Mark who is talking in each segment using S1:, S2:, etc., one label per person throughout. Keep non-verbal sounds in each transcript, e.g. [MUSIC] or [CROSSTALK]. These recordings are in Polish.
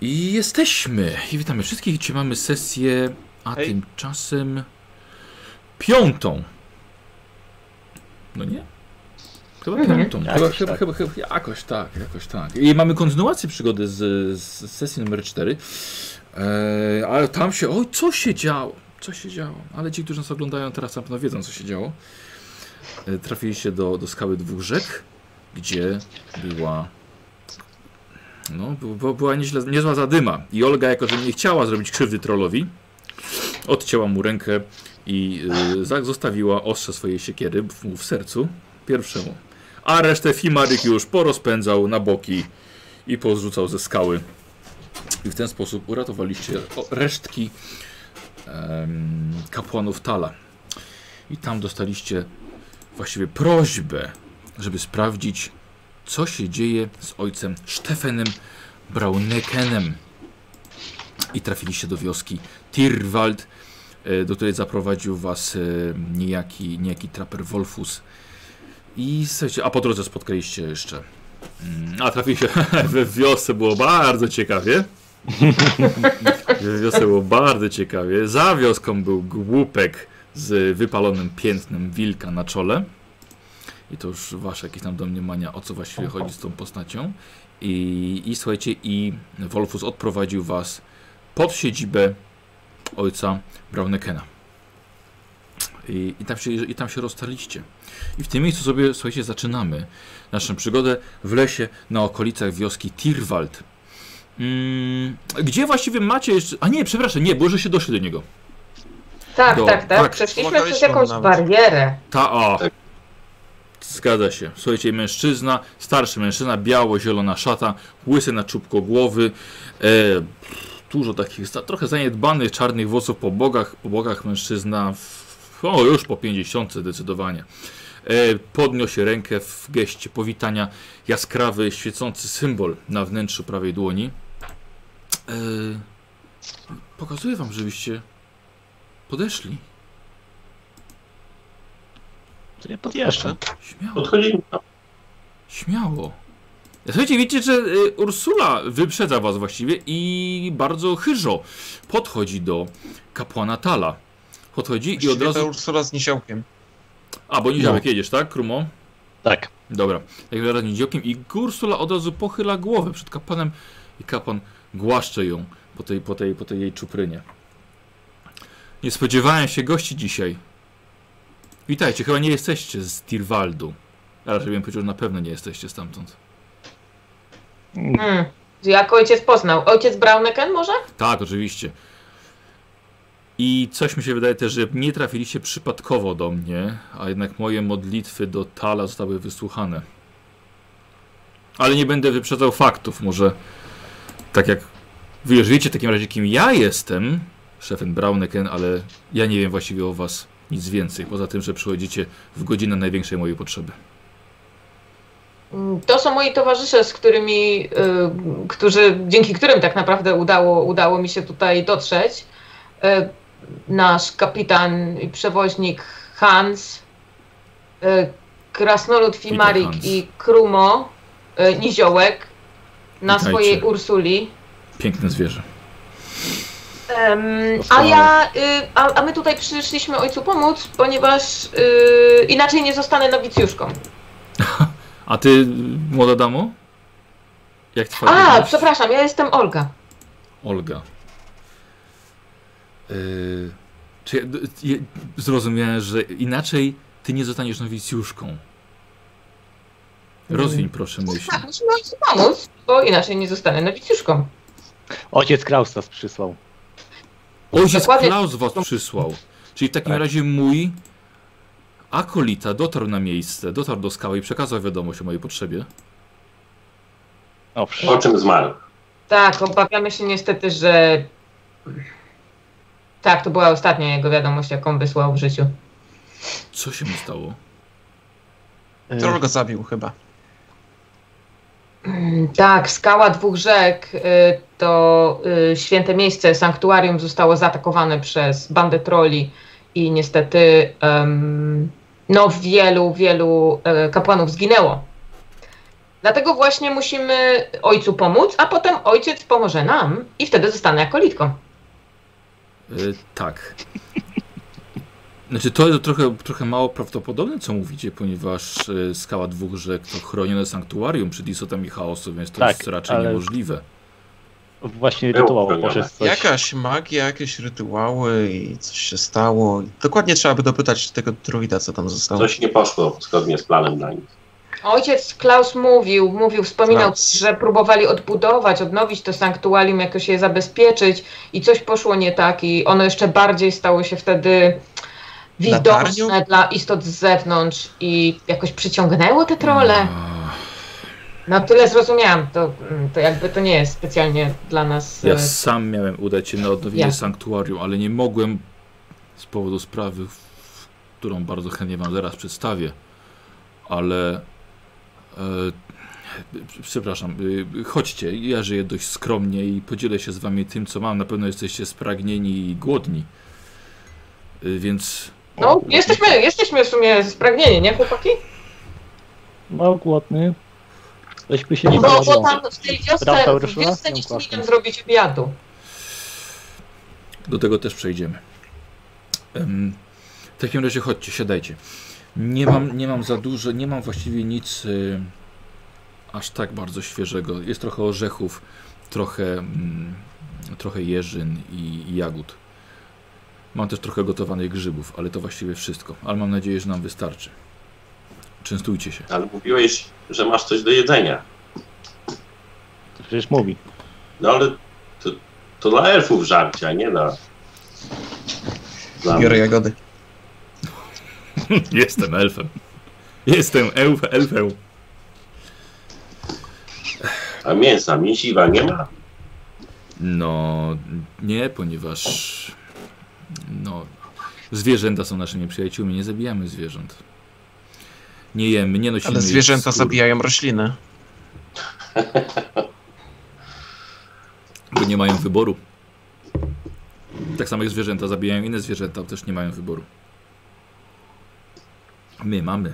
S1: I jesteśmy. I witamy wszystkich. Dzisiaj mamy sesję, a
S2: Hej.
S1: tymczasem piątą. No nie? Chyba piątą.
S2: Jakoś
S1: Chyba,
S2: tak.
S1: chyba, chyba, chyba, jakoś tak, jakoś tak. I mamy kontynuację przygody z, z sesji numer 4. Eee, ale tam się. Oj, co się działo? Co się działo? Ale ci, którzy nas oglądają teraz na pewno wiedzą, co się działo. E, Trafili się do, do skały dwóch rzek, gdzie była. No, bu- bu- była nieźle, niezła zadyma. I Olga, jako że nie chciała zrobić krzywdy trollowi, odcięła mu rękę i y, za- zostawiła ostrze swojej siekiery w- mu w sercu pierwszemu. A resztę Fimaryk już porozpędzał na boki i pozrzucał ze skały. I w ten sposób uratowaliście o- resztki em, kapłanów Tala. I tam dostaliście właściwie prośbę, żeby sprawdzić, co się dzieje z ojcem Stefenem Braunekenem. I trafiliście do wioski Tirwald, e, do której zaprowadził was e, niejaki, niejaki traper Wolfus. I słuchajcie, a po drodze spotkaliście jeszcze. mm, A trafiliście [LAUGHS] we wiosce, było bardzo ciekawie. [LAUGHS] W wiosce było bardzo ciekawie. Za wioską był głupek z wypalonym piętnem wilka na czole. I to już wasze jakieś tam domniemania, o co właściwie chodzi z tą postacią. I, I słuchajcie, i Wolfus odprowadził was pod siedzibę ojca Braunekena. I, i, tam się, I tam się rozstaliście. I w tym miejscu sobie, słuchajcie, zaczynamy naszą przygodę w lesie na okolicach wioski Tirwald. Mm, gdzie właściwie macie jeszcze... A nie, przepraszam, nie, było, że się doszli do niego.
S3: Tak,
S1: Do-
S3: tak, tak,
S1: tak.
S3: Przeszliśmy
S2: Pomagaliśmy
S3: przez jakąś
S2: mu nawet.
S3: barierę.
S1: Ta o. Zgadza się. Słuchajcie, mężczyzna, starszy mężczyzna, biało-zielona szata, łysy na czubko głowy, e, dużo takich za- trochę zaniedbanych czarnych włosów po bogach, po bogach mężczyzna, w, o już po 50 zdecydowanie. E, podniósł rękę w geście powitania, jaskrawy, świecący symbol na wnętrzu prawej dłoni. E, pokazuję wam, żebyście podeszli.
S2: To
S1: No
S2: nie podjeżdżę.
S1: Śmiało.
S4: Podchodzimy.
S1: Śmiało. Słuchajcie, widzicie, że y, Ursula wyprzedza was właściwie i bardzo chyżo podchodzi do kapłana Tala. Podchodzi i od
S2: ta
S1: razu...
S2: Ursula z niziołkiem.
S1: A, bo niziołek jedziesz, tak, Krumo?
S4: Tak.
S1: Dobra. Jak zaraz niziołkiem i Ursula od razu pochyla głowę przed kapłanem i kapłan głaszcze ją po tej, po tej, po tej jej czuprynie. Nie spodziewałem się gości dzisiaj. Witajcie, chyba nie jesteście z Tirwaldu. A Raczej bym powiedział, że na pewno nie jesteście stamtąd.
S3: Hmm. Jak ojciec poznał? Ojciec Brauneken może?
S1: Tak, oczywiście. I coś mi się wydaje też, że nie trafiliście przypadkowo do mnie, a jednak moje modlitwy do Tala zostały wysłuchane. Ale nie będę wyprzedzał faktów, może tak jak wy już wiecie w takim razie kim ja jestem, szefen Brauneken, ale ja nie wiem właściwie o was nic więcej, poza tym, że przychodzicie w godzinę największej mojej potrzeby.
S3: Mm, To są moi towarzysze, z którymi, y, którzy, dzięki którym tak naprawdę udało, udało mi się tutaj dotrzeć. Y, nasz kapitan i przewoźnik Hans, y, krasnolud Fimarik
S1: Hans.
S3: i Krumo, y, Niziołek, na
S1: Witajcie.
S3: swojej Ursuli.
S1: Piękne zwierzę.
S3: Em, a
S4: Doskonale.
S3: ja, y, a, a my tutaj przyszliśmy ojcu pomóc, ponieważ y, inaczej nie zostanę nowicjuszką.
S1: A ty, młoda damo? Jak twoja
S3: A,
S1: godność?
S3: przepraszam, ja jestem Olga.
S1: Olga. Yy, czy ja, d- ja zrozumiałem, że inaczej ty nie zostaniesz nowicjuszką. Rozwiń proszę myśl.
S3: Tak, musimy ojcu pomóc, bo inaczej nie zostanę nowicjuszką.
S4: Ojciec Kraus nas przysłał.
S1: Ojciec
S3: Dokładnie.
S1: Klaus was przysłał. Czyli w takim
S4: Tak.
S1: razie mój akolita dotarł na miejsce, dotarł do skały i przekazał wiadomość o mojej potrzebie.
S4: Owszem. O,
S5: O czym zmarł?
S3: Tak, obawiamy się niestety, że... Tak, to była ostatnia jego wiadomość, jaką wysłał w życiu.
S1: Co się mu stało?
S6: E,
S2: Troll go zabił chyba.
S3: Mm, Tak, skała dwóch rzek y, to y, święte miejsce, sanktuarium zostało zaatakowane przez bandę trolli i niestety em, no wielu, wielu e, kapłanów zginęło. Dlatego właśnie musimy ojcu pomóc, a potem ojciec pomoże nam i wtedy zostanę akolitką.
S1: E, tak. Znaczy, to jest trochę, trochę mało prawdopodobne, co mówicie, ponieważ e, skała dwóch rzek to chronione sanktuarium przed istotami chaosu, więc to
S4: Tak,
S1: jest raczej
S4: ale-
S1: niemożliwe.
S4: Właśnie
S5: Było
S4: rytuał
S5: zrobione.
S4: może coś.
S2: Jakaś magia, jakieś rytuały i coś się stało. Dokładnie trzeba by dopytać tego druida, co tam zostało.
S5: Coś nie poszło zgodnie z planem dla nich.
S3: Ojciec Klaus mówił, mówił, wspominał,
S2: Klaus.
S3: że próbowali odbudować, odnowić to sanktuarium, jakoś je zabezpieczyć i coś poszło nie tak i ono jeszcze bardziej stało się wtedy widoczne
S2: Latarnią?
S3: dla istot z zewnątrz i jakoś przyciągnęło te trole.
S1: Mm. Ach,
S3: No tyle zrozumiałam, to, mm, to jakby to nie jest specjalnie dla nas...
S1: Ja
S3: e,
S1: sam miałem udać się na odnowienie
S3: Jasne.
S1: sanktuarium, ale nie mogłem z powodu sprawy, w- którą bardzo chętnie Wam zaraz przedstawię, ale. E, przepraszam, e, chodźcie, ja żyję dość skromnie i podzielę się z Wami tym, co mam. Na pewno jesteście spragnieni i głodni. E, Więc.
S3: No, jesteśmy, jesteśmy w sumie spragnieni, nie chłopaki?
S4: No, głodny. Coś by się nie
S3: Bo, bo
S4: zjadło.
S3: tam w tej wiosce,
S4: Prawda,
S3: w
S4: Urszula?
S3: wiosce
S4: Nie
S3: nic
S4: ukłapmy.
S3: nie nam zrobić obiadu.
S1: Do tego też przejdziemy. Em, W takim razie chodźcie, siadajcie. Nie mam, nie mam za dużo, nie mam właściwie nic y, aż tak bardzo świeżego. Jest trochę orzechów, trochę, mm, trochę jeżyn i, i jagód. Mam też trochę gotowanych grzybów, ale to właściwie wszystko. Ale mam nadzieję, że nam wystarczy. Częstujcie się.
S5: Ale mówiłeś, że masz coś do jedzenia.
S4: Przecież mówi.
S5: No ale to, to dla elfów żarcia, nie dla... dla
S2: Biorę jagody.
S1: [LAUGHS] Jestem elfem. Jestem elf, elfem.
S5: A mięsa, mięsiwa nie ma?
S1: No nie, ponieważ no, zwierzęta są naszymi przyjaciółmi, nie zabijamy zwierząt. Nie jemy, nie nosimy
S2: Ale
S1: ich
S2: zwierzęta
S1: skór,
S2: zabijają rośliny.
S1: Bo nie mają wyboru. Tak samo jak zwierzęta zabijają inne zwierzęta, też nie mają wyboru. My mamy.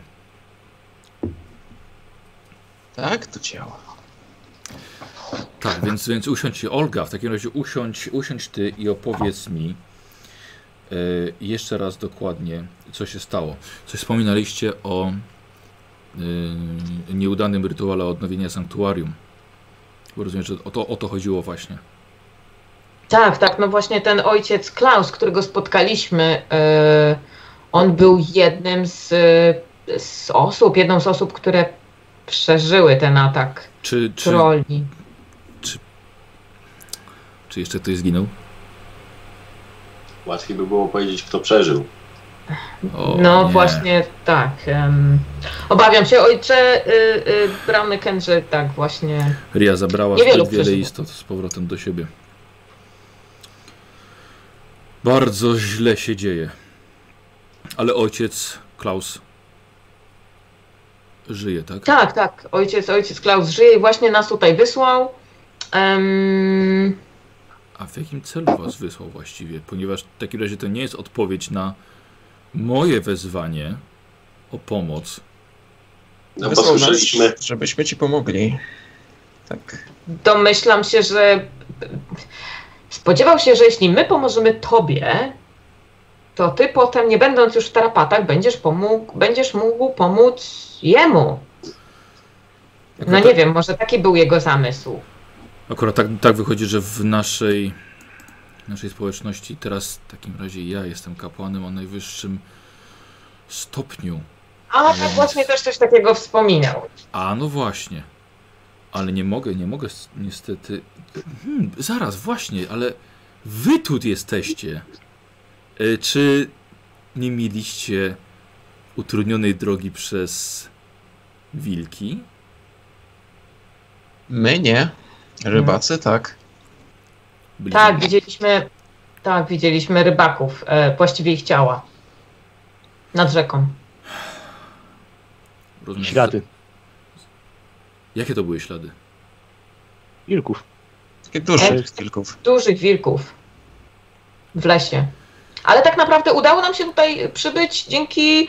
S2: Tak to działa.
S1: Tak, więc, więc usiądź się, Olga, w takim razie usiądź, usiądź ty i opowiedz mi e, jeszcze raz dokładnie, co się stało. Coś wspominaliście o e, nieudanym rytuale odnowienia sanktuarium. Bo rozumiem, że o to, o to chodziło właśnie.
S3: Tak, tak, no właśnie ten ojciec Klaus, którego spotkaliśmy, e, on był jednym z, e, z osób, jedną z osób, które przeżyły ten atak
S1: Czy, czy,
S3: trolli.
S1: czy jeszcze ktoś zginął?
S5: Łatwiej by było powiedzieć, kto przeżył.
S1: O,
S3: no
S1: nie.
S3: właśnie tak. em, obawiam się, ojcze y, y, Browny Kendrze, tak właśnie.
S1: Ria zabrała
S3: Niewielu
S1: zbyt wiele
S3: przeżyło.
S1: istot z powrotem do siebie. Bardzo źle się dzieje. Ale ojciec Klaus żyje, tak?
S3: Tak, tak, ojciec, ojciec Klaus żyje i właśnie nas tutaj wysłał. Em,
S1: A w jakim celu was wysłał właściwie? Ponieważ w takim razie to nie jest odpowiedź na moje wezwanie o pomoc.
S5: No bo
S2: Wysłał nas,
S5: słyszeliśmy,
S2: Żebyśmy ci pomogli. Tak.
S3: domyślam się, że spodziewał się, że jeśli my pomożemy tobie, to ty potem, nie będąc już w tarapatach, będziesz, pomógł, będziesz mógł pomóc jemu.
S1: Jako
S3: No
S1: tak-
S3: nie wiem, może taki był jego zamysł.
S1: Akurat tak, tak wychodzi, że w naszej, naszej społeczności teraz w takim razie ja jestem kapłanem o najwyższym stopniu.
S3: A tak właśnie też coś takiego wspominał.
S1: A no właśnie. Ale nie mogę, nie mogę s- niestety. Hmm, zaraz, właśnie, ale wy tu jesteście. E, Czy nie mieliście utrudnionej drogi przez wilki?
S2: My nie. Rybacy
S5: Mm.
S2: tak.
S1: Byliście-
S3: Tak, widzieliśmy, tak, widzieliśmy rybaków, e, właściwie ich ciała. Nad rzeką.
S1: Rozumiem, że-
S4: Ślady.
S1: Jakie to były ślady?
S4: Wilków.
S2: Takich dużych
S4: E?
S3: Tak.
S2: kilków.
S3: Dużych wilków. W lesie. Ale tak naprawdę udało nam się tutaj przybyć dzięki y,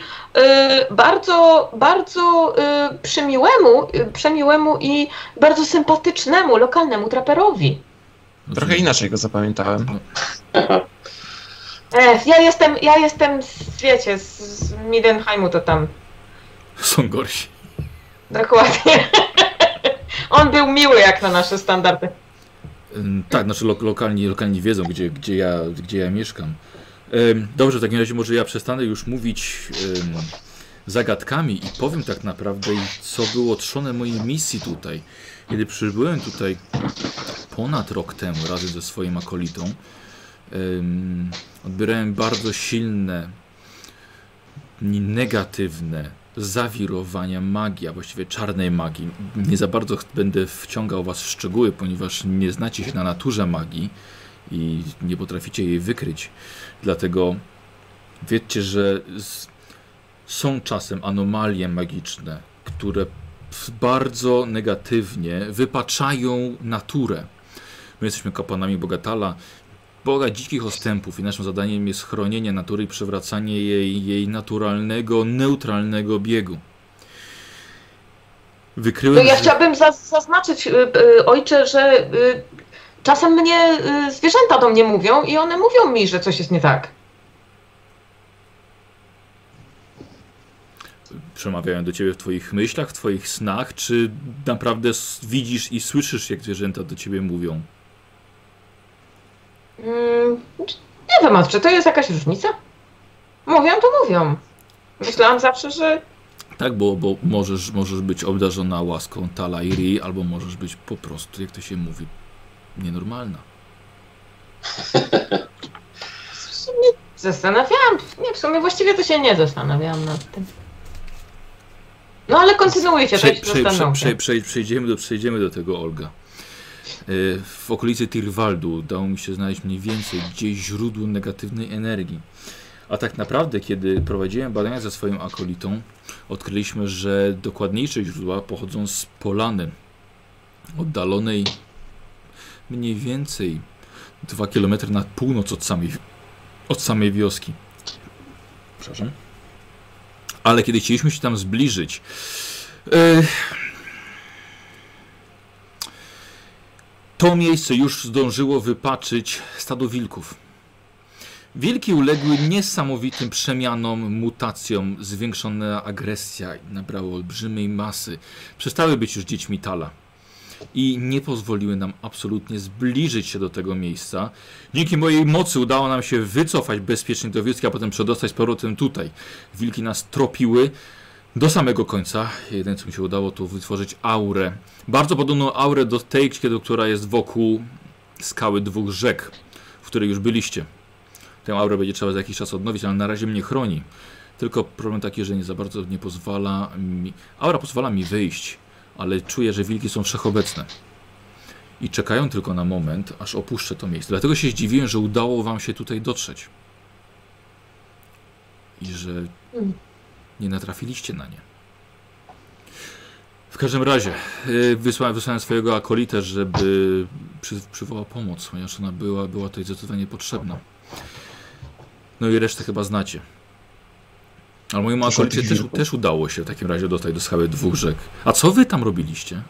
S3: bardzo, bardzo y, przymiłemu, y, przemiłemu i bardzo sympatycznemu lokalnemu traperowi.
S2: Trochę inaczej go zapamiętałem.
S3: Ech, E, ja jestem, ja jestem, z- wiecie, z- z Midenheimu to tam,
S1: Są gorsi.
S3: dokładnie. [LAUGHS] On był miły jak na nasze standardy.
S1: Ym, Tak, znaczy lo- lokalni, lokalni wiedzą, gdzie, gdzie, ja, gdzie ja mieszkam. Ym, Dobrze, w takim razie może ja przestanę już mówić ym, zagadkami i powiem tak naprawdę, co było trzone mojej misji tutaj. Kiedy przybyłem tutaj ponad rok temu razem ze swoim akolitą, ym, odbierałem bardzo silne, ni- negatywne zawirowania magii, a właściwie czarnej magii. Nie za bardzo ch- będę wciągał Was w szczegóły, ponieważ nie znacie się na naturze magii i nie potraficie jej wykryć. Dlatego wiedzcie, że z... są czasem anomalie magiczne, które w- bardzo negatywnie wypaczają naturę. My jesteśmy kapłanami Bogatala, Boga dzikich ostępów i naszym zadaniem jest chronienie natury i przywracanie jej, jej naturalnego, neutralnego biegu.
S3: No
S1: Wykryłem,
S3: ja
S1: że-
S3: chciałabym za- zaznaczyć, y, y, ojcze, że y, czasem mnie y, zwierzęta do mnie mówią i one mówią mi, że coś jest nie tak.
S1: przemawiają do ciebie w twoich myślach, w twoich snach, czy naprawdę s- widzisz i słyszysz, jak zwierzęta do ciebie mówią?
S3: Mm, nie wiem, czy to jest jakaś różnica? Mówią, to mówią. Myślałam zawsze, że
S1: Tak, bo, bo możesz, możesz być obdarzona łaską Talairi, albo możesz być po prostu, jak to się mówi, nienormalna.
S3: w sumie zastanawiałam. Nie, w sumie właściwie to się nie zastanawiałam nad tym. No ale kontynuujcie, to
S1: Prze,
S3: się
S1: prze, prze,
S3: zastanówcie.
S1: prze, prze, przejdziemy, do, przejdziemy do tego, Olga. Y, W okolicy Tirwaldu udało mi się znaleźć mniej więcej gdzieś źródło negatywnej energii. A tak naprawdę, kiedy prowadziłem badania ze swoim akolitą, odkryliśmy, że dokładniejsze źródła pochodzą z polany oddalonej mniej więcej 2 km na północ od samej, od samej wioski. Przepraszam. Ale kiedy chcieliśmy się tam zbliżyć, E, To miejsce już zdążyło wypaczyć stado wilków. Wilki uległy niesamowitym przemianom, mutacjom, zwiększona agresja nabrało olbrzymiej masy. Przestały być już dziećmi Tala i nie pozwoliły nam absolutnie zbliżyć się do tego miejsca. Dzięki mojej mocy udało nam się wycofać bezpiecznie do wioski, a potem przedostać z powrotem tutaj. Wilki nas tropiły, do samego końca. Jeden, co mi się udało, to wytworzyć aurę. Bardzo podobną aurę do tej, kiedy- która jest wokół skały dwóch rzek, w której już byliście. Tę aurę będzie trzeba za jakiś czas odnowić, ale na razie mnie chroni. Tylko problem taki, że nie za bardzo nie pozwala mi. Aura pozwala mi wyjść, ale czuję, że wilki są wszechobecne. I czekają tylko na moment, aż opuszczę to miejsce. Dlatego się zdziwiłem, że udało wam się tutaj dotrzeć. I że
S3: Mm.
S1: nie natrafiliście na nie. W każdym razie y, wysłałem, wysłałem swojego akolitę, żeby przy, przywołał pomoc, ponieważ ona była, była tutaj zdecydowanie potrzebna. No i resztę chyba znacie. Ale mojemu
S2: Dużo
S1: akolicie
S2: tych
S1: też,
S2: wilków.
S1: też udało się w takim razie dostać do skały dwóch rzek. A co wy tam robiliście?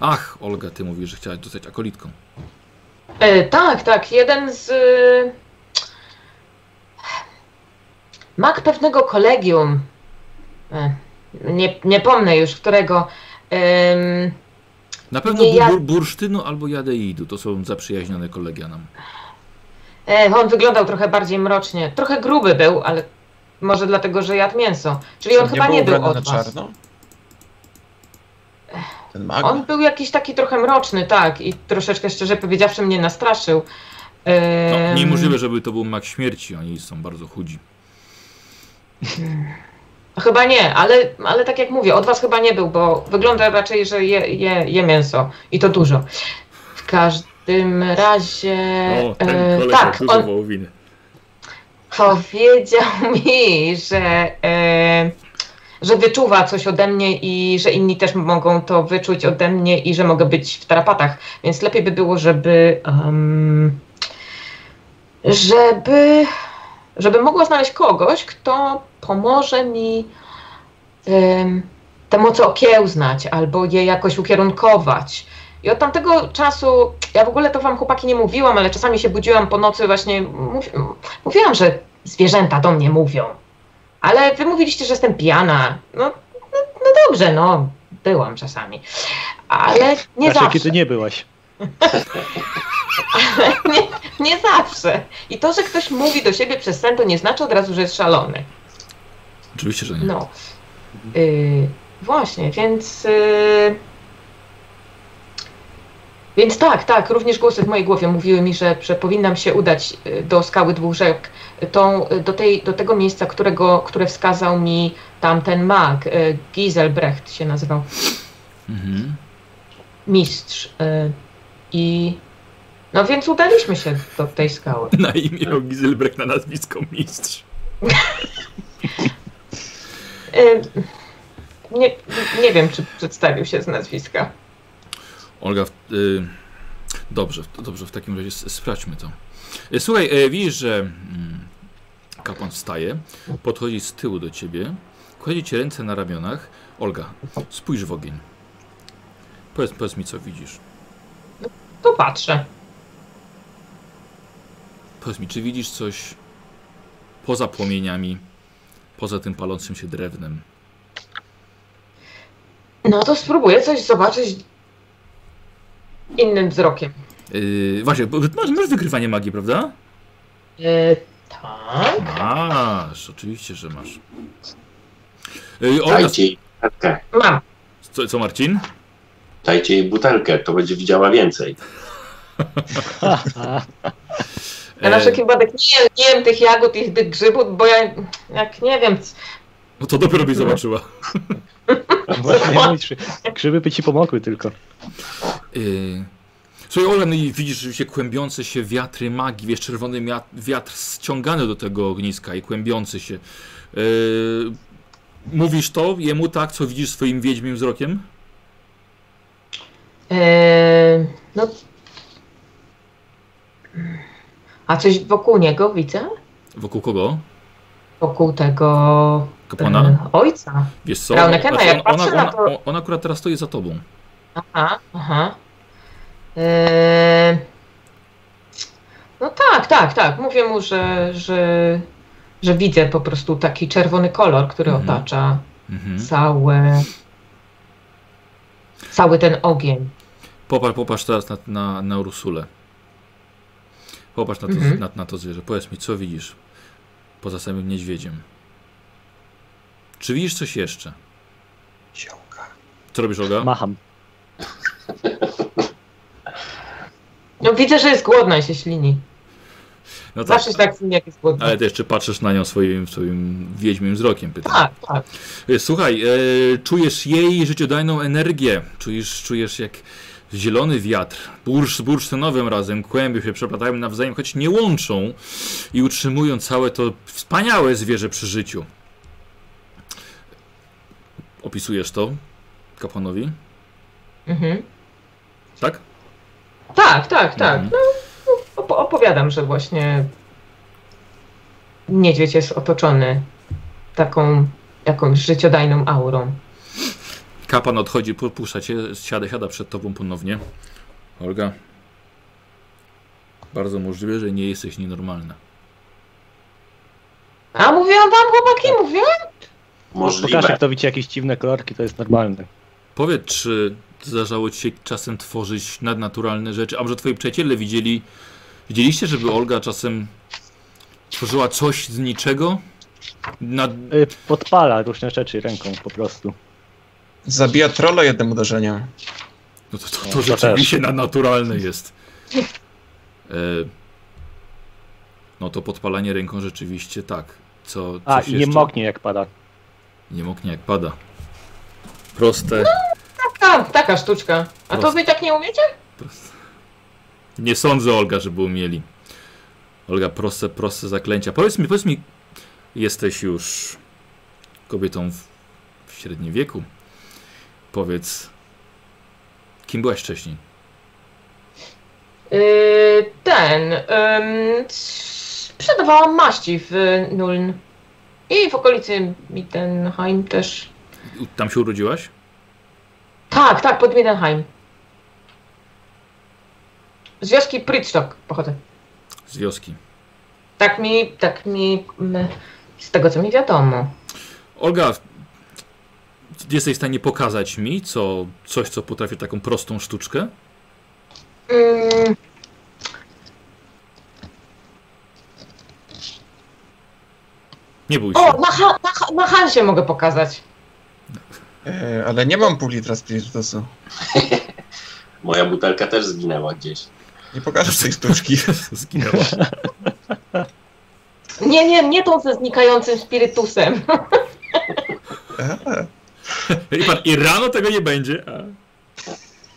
S1: Ach, Olga, ty mówisz, że chciałaś dostać akolitką.
S3: E, tak, tak. Jeden z. Y... Mag pewnego kolegium. E, nie, nie pomnę już którego. Ym,
S1: Na pewno
S3: Nie,
S1: bur,
S3: ja-
S1: bur, bursztynu albo jadeidu, to są zaprzyjaźnione kolegia nam.
S3: e, on wyglądał trochę bardziej mrocznie. Trochę gruby był, ale może dlatego, że jadł mięso. Czyli on
S2: Czy
S3: chyba
S2: był
S3: nie był
S2: ubrany
S3: od
S2: na
S3: was.
S2: czarno? tak? Ten mag?
S3: On był jakiś taki trochę mroczny, tak. I troszeczkę szczerze powiedziawszy mnie nastraszył.
S1: No,
S3: Ym,
S1: niemożliwe, żeby to był mak śmierci, oni są bardzo chudzi.
S3: Chyba nie, ale, ale tak jak mówię, od was chyba nie był, bo wygląda raczej, że je, je, je mięso i to dużo. W każdym razie. e, tak, on
S1: winę.
S3: powiedział [LAUGHS] mi, że, e, że wyczuwa coś ode mnie i że inni też mogą to wyczuć ode mnie i że mogę być w tarapatach. Więc lepiej by było, żeby. em, żeby, żeby mogła znaleźć kogoś, kto pomoże mi em, te moce okiełznać albo je jakoś ukierunkować. I od tamtego czasu, ja w ogóle to wam chłopaki nie mówiłam, ale czasami się budziłam po nocy właśnie, mów, mówiłam, że zwierzęta do mnie mówią. Ale wy mówiliście, że jestem pijana. No, no, no dobrze, no, byłam czasami. Ale nie
S6: Raczej
S3: zawsze.
S6: kiedy nie byłaś.
S3: nie, nie zawsze. I to, że ktoś mówi do siebie przez sen, to nie znaczy od razu, że jest szalony.
S1: Oczywiście, że nie.
S3: No. Y, właśnie, więc. y, więc tak, tak, również głosy w mojej głowie mówiły mi, że, że powinnam się udać y, do skały dwóch rzek, tą, y, do, tej, do tego miejsca, którego, które wskazał mi tamten mag, y, Giselbrecht się nazywał
S1: Mhm. [LAUGHS]
S3: mistrz. y, I. No więc udaliśmy się do tej skały.
S1: Na imię Gizelbrek, na nazwisko mistrz.
S3: Y, Nie, nie wiem, czy przedstawił się z nazwiska.
S1: Olga, w- y, dobrze, w- dobrze, w takim razie s- sprawdźmy to. Y, Słuchaj, y, widzisz, że mm, kapłan wstaje, podchodzi z tyłu do ciebie, kładzie ci ręce na ramionach. Olga, spójrz w ogień. Powiedz, powiedz mi, co widzisz.
S3: To patrzę.
S1: Powiedz mi, czy widzisz coś poza płomieniami, poza tym palącym się drewnem?
S3: No to spróbuję coś zobaczyć innym wzrokiem.
S1: Yy, właśnie, bo masz, masz wykrywanie magii, prawda?
S3: E, tak.
S1: Masz, oczywiście, że masz. Yy, Olga,
S5: Dajcie jej butelkę.
S3: Mam.
S1: co, co Marcin?
S5: Dajcie jej butelkę, to będzie widziała więcej.
S3: Ja na
S1: E,
S3: wszelki wypadek nie, jem- nie jem tych jagód i tych grzybów, bo ja jak nie wiem. c-
S1: No to dopiero byś zobaczyła.
S6: Właśnie,
S5: [LAUGHS]
S6: ja mówię, że grzyby by ci pomogły tylko.
S1: Yy. Słuchaj, Ola, no i widzisz rzeczywiście kłębiące się wiatry magii, wiesz, czerwony mia- wiatr ściągany do tego ogniska i kłębiący się. Yy. Mówisz to jemu tak, co widzisz swoim wiedźmim wzrokiem?
S3: E, no. A coś wokół niego widzę?
S1: Wokół kogo?
S3: Wokół tego
S1: Kapłana?
S3: e, ojca.
S1: Wiesz co?
S3: Raunekena,
S1: Znaczy,
S3: jak
S1: ona,
S3: patrzę
S1: ona,
S3: na to-
S1: ona, ona akurat teraz stoi za tobą.
S3: Aha, aha. Eee, No tak, tak, tak. Mówię mu, że, że, że widzę po prostu taki czerwony kolor, który
S1: Mhm.
S3: otacza
S1: Mhm.
S3: całe, cały ten ogień.
S1: Popatrz, popatrz teraz na, na, na Ursulę. Popatrz na to,
S3: Mhm.
S1: na, na to zwierzę. Powiedz mi, co widzisz poza samym niedźwiedziem? Czy widzisz coś jeszcze?
S2: Ziołka.
S1: Co robisz, Olga?
S6: Macham.
S3: No widzę, że jest głodna i się ślini.
S1: No tak,
S3: Zawsze się tak ślini, jak jest głodna.
S1: ale ty jeszcze patrzysz na nią swoim, swoim wiedźmim wzrokiem, pytam.
S3: Tak, tak.
S1: Słuchaj, e, czujesz jej życiodajną energię. Czujesz, czujesz jak zielony wiatr, bursz z bursztynowym razem kłębią się, przeplatają nawzajem, choć nie łączą i utrzymują całe to wspaniałe zwierzę przy życiu. Opisujesz to kapłanowi?
S3: Mhm.
S1: Tak?
S3: Tak, tak, tak.
S1: Mhm.
S3: Op- opowiadam, że właśnie niedźwiedź jest otoczony taką jakąś życiodajną aurą.
S1: Kapłan odchodzi, pu- puszcza cię, siada, siada przed tobą ponownie. Olga, bardzo możliwe, że nie jesteś nienormalna.
S3: A mówiłam wam, chłopaki, mówiłam?
S6: Pokażę,
S5: Możliwe.
S6: kto widzi jakieś dziwne kolorki, to jest normalne.
S1: Powiedz, czy zdarzało ci się czasem tworzyć nadnaturalne rzeczy? A może twoi przyjaciele widzieli, widzieliście, żeby Olga czasem tworzyła coś z niczego? Nad...
S6: Y, Podpala różne rzeczy ręką po prostu.
S2: Zabija trolla jednym uderzeniem.
S1: No to, to, to,
S6: No, to
S1: rzeczywiście nadnaturalne jest. E... No to podpalanie ręką rzeczywiście tak. Co,
S6: A,
S1: coś
S6: i nie
S1: jeszcze?
S6: moknie jak pada.
S1: Nie moknie jak pada. Proste.
S3: Taka, taka sztuczka. A to
S1: Proste.
S3: wy tak nie umiecie?
S1: Nie sądzę, Olga, żeby umieli. Olga, proste, proste zaklęcia. Powiedz mi, powiedz mi, jesteś już kobietą w, w średnim wieku. Powiedz, kim byłaś wcześniej?
S3: Yy, ten. ym, c- Sprzedawałam maści w y, Nuln. I w okolicy Mittenheim też.
S1: U- Tam się urodziłaś?
S3: Tak, tak, pod Mittenheim. Z wioski Pritstock pochodzę.
S1: Z wioski.
S3: Tak mi, tak mi, mm, z tego co mi wiadomo.
S1: Olga, jesteś w stanie pokazać mi co, coś, co potrafi taką prostą sztuczkę?
S3: Mm.
S1: Nie bój się.
S3: O, na, ha, na, ha- na Hansie mogę pokazać.
S2: E, ale nie mam pół litra spirytusu.
S5: Moja butelka też zginęła gdzieś.
S2: Nie pokażesz
S3: [LAUGHS]
S2: tej sztuczki.
S1: [LAUGHS] Zginęła.
S3: Nie, nie, nie tą ze znikającym spirytusem.
S2: E,
S1: I, pan, I rano tego nie będzie.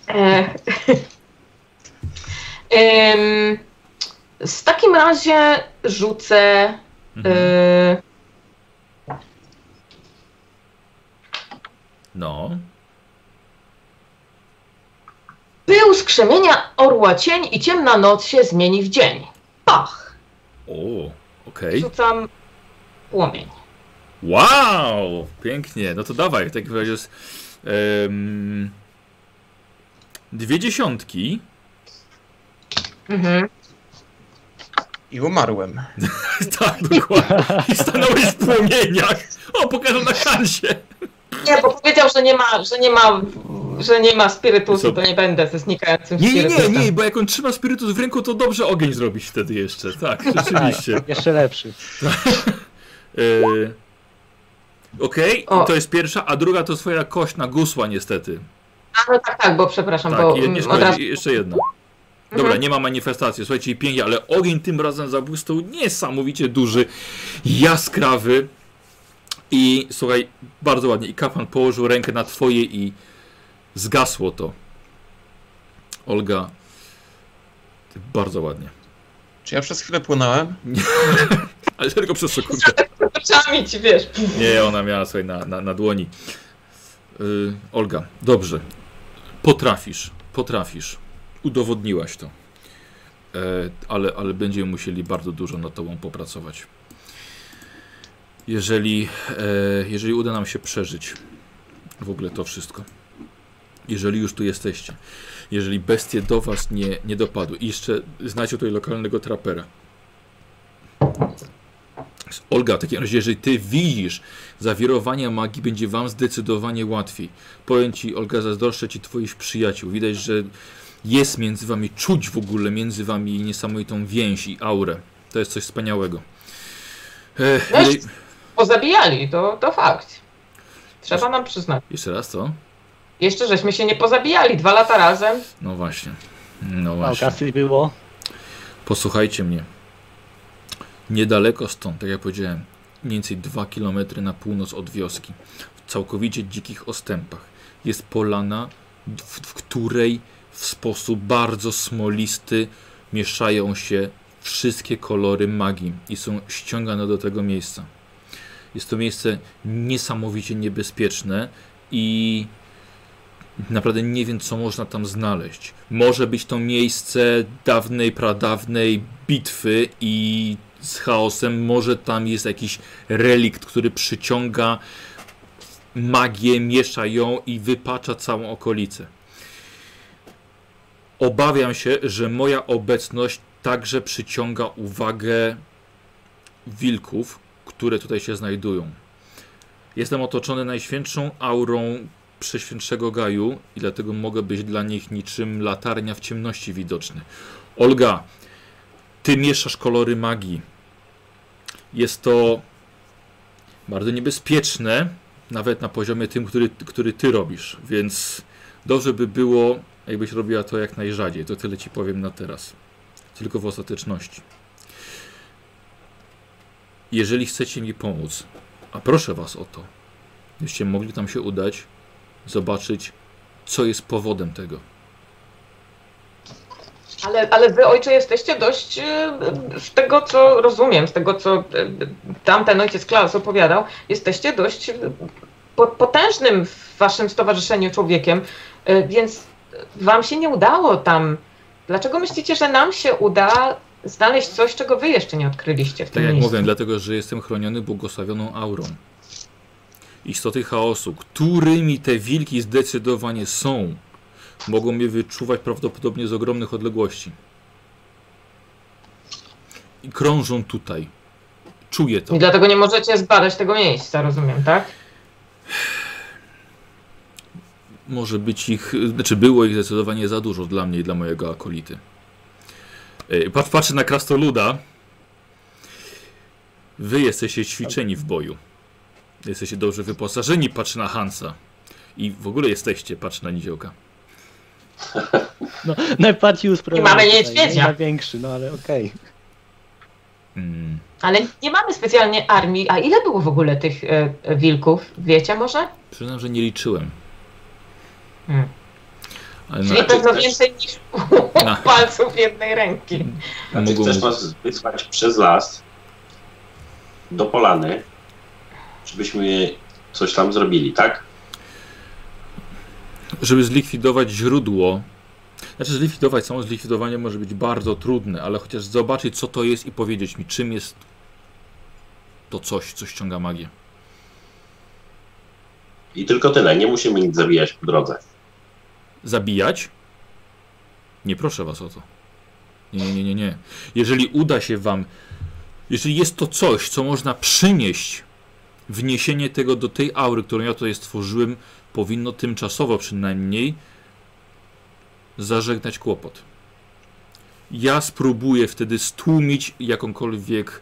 S1: A.
S3: E, [LAUGHS] Em, w takim razie rzucę.
S1: Mhm.
S3: E,
S1: No.
S3: pył z krzemienia orła cień i ciemna noc się zmieni w dzień. Pach!
S1: O, okej.
S3: Rzucam płomień.
S1: Wow! Pięknie. No to dawaj. W takim razie jest. em, dwie dziesiątki. [LAUGHS]
S3: Mhm.
S2: I umarłem.
S1: tak, dokładnie. I stanąłeś w płomieniach. O, pokażę na kansie.
S3: Nie, bo powiedział, że nie ma, że nie ma, że nie ma spirytusu,
S1: Co?
S3: to nie będę ze znikającym
S1: Nie, nie, nie,
S3: spirytusem.
S1: nie, bo jak on trzyma spirytus w ręku, to dobrze ogień zrobić wtedy jeszcze. Tak, rzeczywiście.
S6: Jeszcze lepszy.
S1: Yy... Okej,
S3: O.
S1: to jest pierwsza, a druga to twoja kość na gusła niestety.
S3: A no tak, tak, bo przepraszam,
S1: Tak,
S3: bo
S1: je, nie
S3: mm, od
S1: szkodzi,
S3: razu.
S1: jeszcze jedna. Dobra, nie ma manifestacji, słuchajcie, i pięknie, ale ogień tym razem zabłysnął niesamowicie duży, jaskrawy i słuchaj, bardzo ładnie, i kapłan położył rękę na twoje i zgasło to. Olga, ty bardzo ładnie.
S2: Czy ja przez chwilę płynąłem?
S1: Ale tylko przez sekundę.
S3: Oczami ci wiesz.
S1: Nie, ona miała sobie na, na, na dłoni. Yy, Olga, dobrze. Potrafisz, potrafisz. Udowodniłaś to. E, ale, ale będziemy musieli bardzo dużo nad tobą popracować. Jeżeli, e, jeżeli uda nam się przeżyć w ogóle to wszystko. Jeżeli już tu jesteście. Jeżeli bestie do was nie, nie dopadły. I jeszcze znacie tutaj lokalnego trapera. Olga, w takim razie, jeżeli ty widzisz zawirowania magii, będzie wam zdecydowanie łatwiej. Powiem ci, Olga, zazdroszczę ci twoich przyjaciół. Widać, że jest między wami, czuć w ogóle między wami niesamowitą więź i aurę. To jest coś wspaniałego. E, Ech,
S3: No i-
S1: ile-
S3: Pozabijali, to, to fakt. Trzeba nam przyznać.
S1: Jeszcze raz, co?
S3: Jeszcze żeśmy się nie pozabijali, dwa lata razem.
S1: No właśnie. No
S6: Mało
S1: właśnie.
S6: kasy było. [LAUGHS]
S1: Posłuchajcie mnie. Niedaleko stąd, tak jak powiedziałem, mniej więcej 2 km na północ od wioski, w całkowicie dzikich ostępach, jest polana, w, w której w sposób bardzo smolisty mieszają się wszystkie kolory magii i są ściągane do tego miejsca. Jest to miejsce niesamowicie niebezpieczne i Naprawdę nie wiem, co można tam znaleźć. Może być to miejsce dawnej, pradawnej bitwy i z chaosem. Może tam jest jakiś relikt, który przyciąga magię, miesza ją i wypacza całą okolicę. Obawiam się, że moja obecność także przyciąga uwagę wilków, które tutaj się znajdują. Jestem otoczony najświętszą aurą przeświętszego Gaju i dlatego mogę być dla nich niczym latarnia w ciemności widoczny. Olga, ty mieszasz kolory magii. Jest to bardzo niebezpieczne, nawet na poziomie tym, który, który ty robisz, więc dobrze by było, jakbyś robiła to jak najrzadziej. To tyle ci powiem na teraz. Tylko w ostateczności. Jeżeli chcecie mi pomóc, a proszę was o to, gdybyście mogli tam się udać, zobaczyć, co jest powodem tego.
S3: Ale, ale wy, ojcze, jesteście dość, e, z tego co rozumiem, z tego co e, tamten ojciec Klaus opowiadał, jesteście dość e, po- potężnym w waszym stowarzyszeniu człowiekiem, y, e, więc wam się nie udało tam. Dlaczego myślicie, że nam się uda znaleźć coś, czego wy jeszcze nie odkryliście w tym
S1: Tak jak
S3: miejscu.
S1: mówię, dlatego, że jestem chroniony błogosławioną aurą. Istoty chaosu, którymi te wilki zdecydowanie są, mogą mnie wyczuwać prawdopodobnie z ogromnych odległości. I krążą tutaj. Czuję to.
S3: I dlatego nie możecie zbadać tego miejsca, rozumiem, tak?
S1: Może być ich, znaczy było ich zdecydowanie za dużo dla mnie i dla mojego akolity. Ej, Patrz, patrzę na krastoluda. Wy jesteście ćwiczeni w boju. Jesteście dobrze wyposażeni, patrz na Hansa. I w ogóle jesteście, patrz na Niziołka.
S6: No, najbardziej usprawiedliwy.
S3: I mamy
S6: tutaj,
S3: niedźwiedzia.
S6: nie Największy, no ale okej.
S1: Mm.
S3: Ale nie mamy specjalnie armii. A ile było w ogóle tych e, e, wilków? Wiecie może?
S1: Przyznam, że nie liczyłem.
S3: Hmm.
S1: Ale
S3: Czyli
S1: na,
S5: Znaczy
S3: pewno
S5: też-
S3: więcej niż
S1: na,
S3: [LAUGHS] palców jednej ręki.
S5: A ty
S1: mogą,
S5: chcesz nas wysłać przez las do polany, żebyśmy coś tam zrobili, tak?
S1: żeby zlikwidować źródło. Znaczy zlikwidować, samo zlikwidowanie może być bardzo trudne, ale chociaż zobaczyć co to jest i powiedzieć mi czym jest to coś, co ściąga magię.
S5: I tylko tyle, nie musimy nic zabijać po drodze.
S1: zabijać? Nie proszę was o to. Nie, nie, nie, nie, nie. Jeżeli uda się wam, jeżeli jest to coś, co można przynieść, wniesienie tego do tej aury, którą ja tutaj stworzyłem, powinno tymczasowo przynajmniej zażegnać kłopot. Ja spróbuję wtedy stłumić jakąkolwiek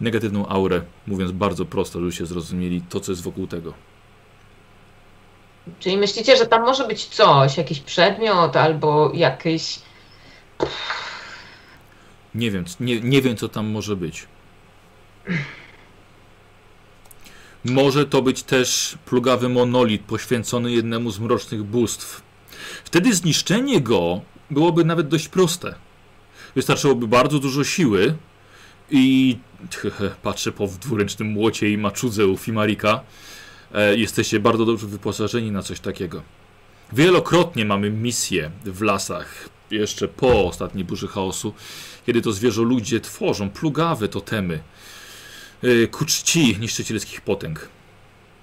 S1: negatywną aurę, mówiąc bardzo prosto, żebyście zrozumieli to, co jest wokół tego.
S3: Czyli myślicie, że tam może być coś, jakiś przedmiot albo jakiś.
S1: Nie wiem, c- nie, nie wiem co tam może być. Może to być też plugawy monolit poświęcony jednemu z mrocznych bóstw. Wtedy zniszczenie go byłoby nawet dość proste. Wystarczyłoby bardzo dużo siły i [LAUGHS] patrzę po dwuręcznym młocie i maczudze u Fimarika. E, jesteście bardzo dobrze wyposażeni na coś takiego. Wielokrotnie mamy misje w lasach, jeszcze po ostatniej burzy chaosu, kiedy to zwierzę ludzie tworzą plugawe totemy yy, ku czci niszczycielskich potęg.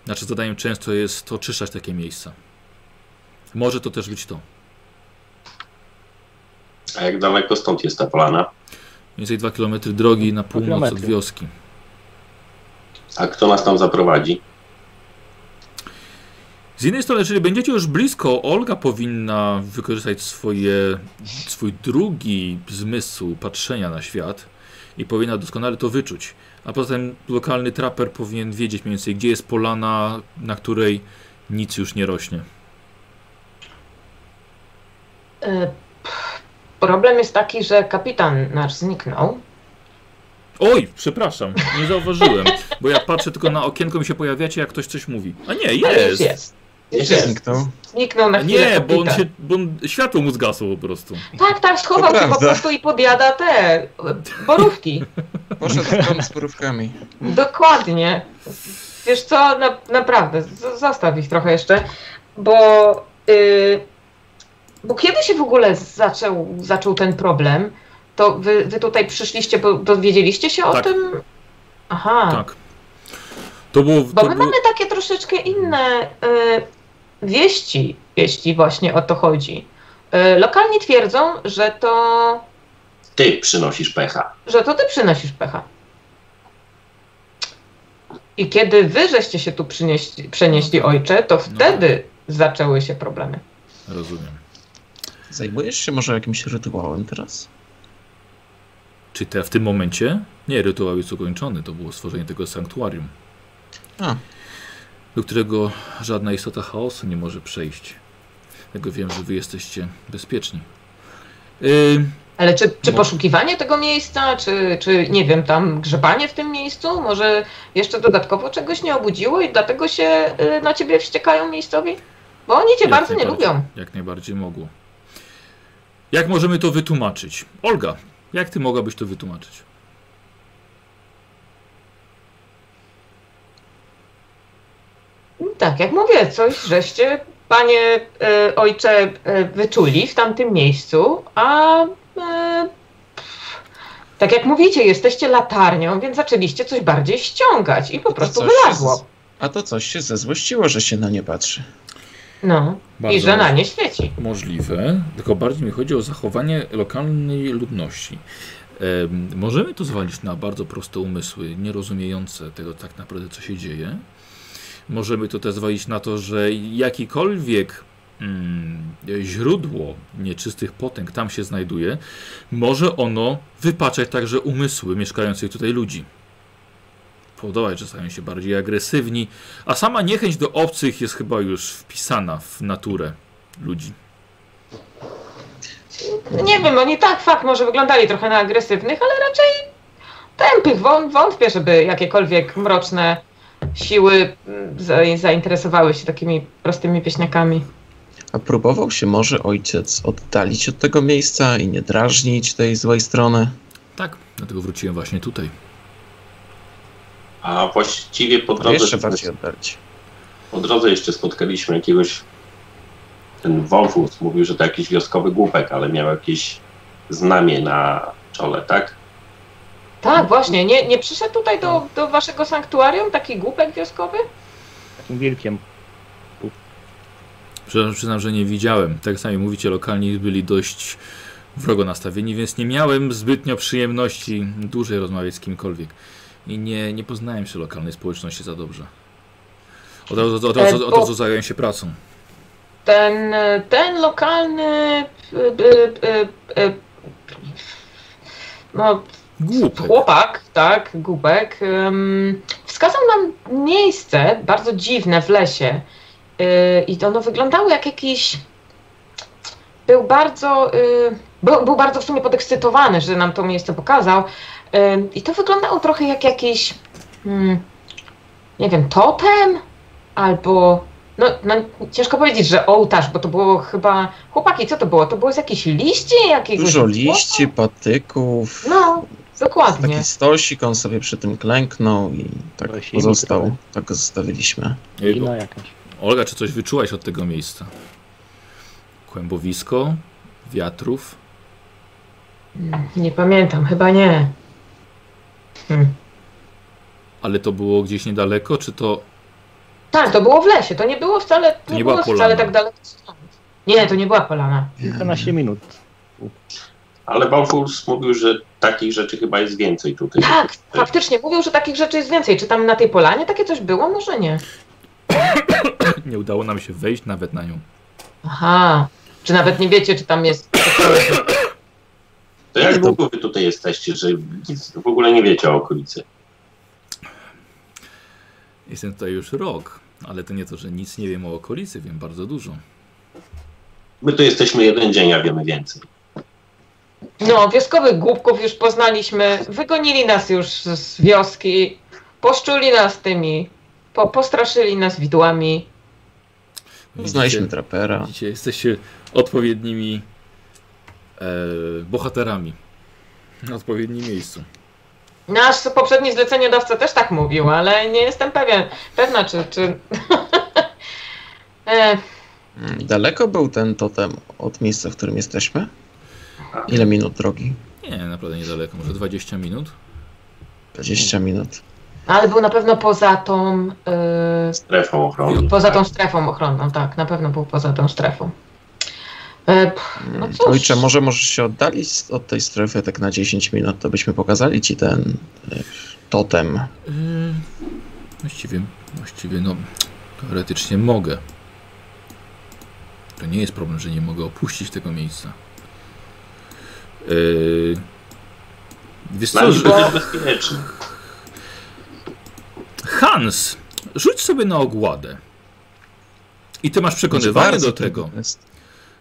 S1: Znaczy zadaniem często jest oczyszczać takie miejsca. Może to też być to.
S5: A jak daleko stąd jest ta polana?
S1: Mniej więcej 2 km drogi na północ od
S6: kilometry.
S1: wioski.
S5: A kto nas tam zaprowadzi?
S1: Z jednej strony, jeżeli będziecie już blisko, Olga powinna wykorzystać swoje, swój drugi zmysł patrzenia na świat i powinna doskonale to wyczuć. A poza tym lokalny traper powinien wiedzieć mniej więcej, gdzie jest polana, na której nic już nie rośnie.
S3: e, pff. Problem jest taki, że kapitan nasz zniknął.
S1: Oj, przepraszam, nie zauważyłem, bo ja patrzę tylko na okienko, mi się pojawiacie, jak ktoś coś mówi. A nie,
S3: Ale już
S1: jest!
S3: jest. Już
S2: Jeszcze
S3: jest.
S2: zniknął.
S3: Zniknął na
S1: A
S3: chwilę.
S1: nie, bo on
S3: kapitan.
S1: się, bo on, światło mu zgasło po prostu.
S3: Tak, tak, schował
S2: To
S3: się po
S2: prawda.
S3: prostu i podjada te e, borówki.
S2: Poszedł stąd z porówkami.
S3: Dokładnie. Wiesz co, na, naprawdę, z- zostaw ich trochę jeszcze, bo, y, bo kiedy się w ogóle zaczął, zaczął ten problem, to wy, wy tutaj przyszliście, bo dowiedzieliście się o
S1: Tak.
S3: tym? Aha,
S1: Tak. To było...
S3: bo
S1: To
S3: my
S1: było
S3: mamy takie troszeczkę inne y, wieści, jeśli właśnie o to chodzi. Y, lokalni twierdzą, że to,
S5: Ty przynosisz pecha.
S3: że to ty przynosisz pecha. I kiedy wy żeście się tu przynieśli, przenieśli ojcze, No to wtedy zaczęły się problemy.
S1: Rozumiem.
S2: Zajmujesz się może jakimś rytuałem teraz?
S1: Czy te w tym momencie? Nie, rytuał jest ukończony. To było stworzenie tego sanktuarium.
S2: A.
S1: Do którego żadna istota chaosu nie może przejść. Dlatego wiem, że wy jesteście bezpieczni. Yy,
S3: Ale czy, czy
S1: No.
S3: poszukiwanie tego miejsca, czy, czy nie wiem, tam grzebanie w tym miejscu, może jeszcze dodatkowo czegoś nie obudziło i dlatego się y, na ciebie wściekają miejscowi? Bo oni cię
S1: Jak
S3: bardzo nie
S1: najbardziej.
S3: lubią.
S1: jak najbardziej mogło. Jak możemy to wytłumaczyć? Olga, jak ty mogłabyś to wytłumaczyć?
S3: No Tak, jak mówię, coś żeście panie e, ojcze e, wyczuli w tamtym miejscu, a e, pff, tak jak mówicie, jesteście latarnią, więc zaczęliście coś bardziej ściągać i po prostu
S2: coś się z-
S3: wylazło.
S2: A to coś się zezłościło, że się na nie patrzy.
S3: No, i że na nie świeci.
S1: możliwe, tylko bardziej mi chodzi o zachowanie lokalnej ludności. Em, Możemy to zwalić na bardzo proste umysły, nierozumiejące tego tak naprawdę, co się dzieje. Możemy to też zwalić na to, że jakikolwiek mm, źródło nieczystych potęg tam się znajduje, może ono wypaczać także umysły mieszkających tutaj ludzi. Powodować, że stają się bardziej agresywni, a sama niechęć do obcych jest chyba już wpisana w naturę ludzi.
S3: Nie wiem, oni tak, fakt, może wyglądali trochę na agresywnych, ale raczej tępych. Wą- Wątpię, żeby jakiekolwiek mroczne siły mm, za- zainteresowały się takimi prostymi pieśniakami.
S2: A próbował się może ojciec oddalić od tego miejsca i nie drażnić tej złej strony?
S1: Tak, dlatego wróciłem właśnie tutaj.
S5: A właściwie po
S2: A
S5: drodze,
S2: jeszcze bardziej oddalić.
S5: po drodze jeszcze spotkaliśmy jakiegoś. Ten wąwóz mówił, że to jakiś wioskowy głupek, ale miał jakieś znamie na czole, tak?
S3: Tak, właśnie. Nie, nie przyszedł tutaj do, do waszego sanktuarium taki głupek wioskowy?
S6: Takim wilkiem.
S1: Przepraszam, przyznam, że nie widziałem. Tak jak sami mówicie, lokalni byli dość wrogo nastawieni, więc nie miałem zbytnio przyjemności dłużej rozmawiać z kimkolwiek. I nie, nie poznałem się lokalnej społeczności za dobrze. Od razu, od razu, od razu, od razu zająłem się pracą.
S3: Ten, e, ten lokalny. e, e, e, e, No,
S1: Głupek.
S3: chłopak, tak, gubek, ym, wskazał nam miejsce bardzo dziwne w lesie. Yy, I to ono wyglądało jak jakiś. Był bardzo. Yy, był, był bardzo w sumie podekscytowany, że nam to miejsce pokazał. Ym, I to wyglądało trochę jak jakiś. mm, nie wiem, totem albo. No, no, ciężko powiedzieć, że ołtarz, bo to było chyba. Chłopaki, co to było? To było z jakichś liści? Jakiegoś
S2: Dużo liści, patyków.
S3: No, dokładnie.
S2: Taki stosik, on sobie przy tym klęknął i tak
S6: Ale się
S2: pozostał.
S6: imitrował.
S2: Tak go zostawiliśmy.
S1: Ej, bo-
S6: Kina jakaś.
S1: Olga, czy coś wyczułaś od tego miejsca? Kłębowisko, wiatrów.
S3: Mm, Nie pamiętam, chyba nie. Hmm.
S1: Ale to było gdzieś niedaleko, czy to...
S3: Tak, to było w lesie, to nie było wcale, to nie
S1: nie
S3: było
S1: była
S3: wcale
S1: polana.
S3: tak daleko stąd. Nie, to nie była polana.
S6: Kilkanaście minut.
S5: Ale Balfurs mówił, że takich rzeczy chyba jest więcej tutaj.
S3: Tak, faktycznie, mówił, że takich rzeczy jest więcej. Czy tam na tej polanie takie coś było? Może nie.
S1: Nie udało nam się wejść nawet na nią.
S3: Aha, czy nawet nie wiecie, czy tam jest...
S5: To jak długo wy tutaj jesteście, że nic w ogóle nie wiecie o okolicy?
S1: Jestem tutaj już rok, ale to nie to, że nic nie wiem o okolicy, wiem bardzo dużo.
S5: My tu jesteśmy jeden dzień, a wiemy więcej.
S3: No, wioskowych głupków już poznaliśmy, wygonili nas już z wioski, poszczuli nas tymi, po, postraszyli nas widłami.
S2: Znaliśmy
S1: Widzicie-
S2: trapera.
S1: Widzicie, jesteście odpowiednimi e, bohaterami. Na odpowiednim miejscu.
S3: Nasz poprzedni zleceniodawca też tak mówił, ale nie jestem pewien, pewna, czy... czy... [LAUGHS] E,
S2: Mm, Daleko był ten totem od miejsca, w którym jesteśmy? Ile minut drogi?
S1: Nie, naprawdę niedaleko, może 20 minut.
S2: 20 minut.
S3: Ale był na pewno poza tą, y,
S5: Strefą ochrony.
S3: poza tą strefą ochronną, tak, na pewno był poza tą strefą. E, [LAUGHS] pff,
S2: Mm,
S3: No cóż.
S2: Ojcze, może możesz się oddalić z- od tej strefy tak na 10 minut, to byśmy pokazali ci ten e, totem.
S1: Yy, właściwie, właściwie, no, teoretycznie mogę. To nie jest problem, że nie mogę opuścić tego miejsca. Yy, wiesz
S5: Dla
S1: co,
S5: nich
S1: że-
S5: będzie bezpiecznie.
S1: Hans, rzuć sobie na ogładę. I ty masz przekonywanie
S2: Znaczy, Bardzo
S1: do tego.
S2: trudny jest.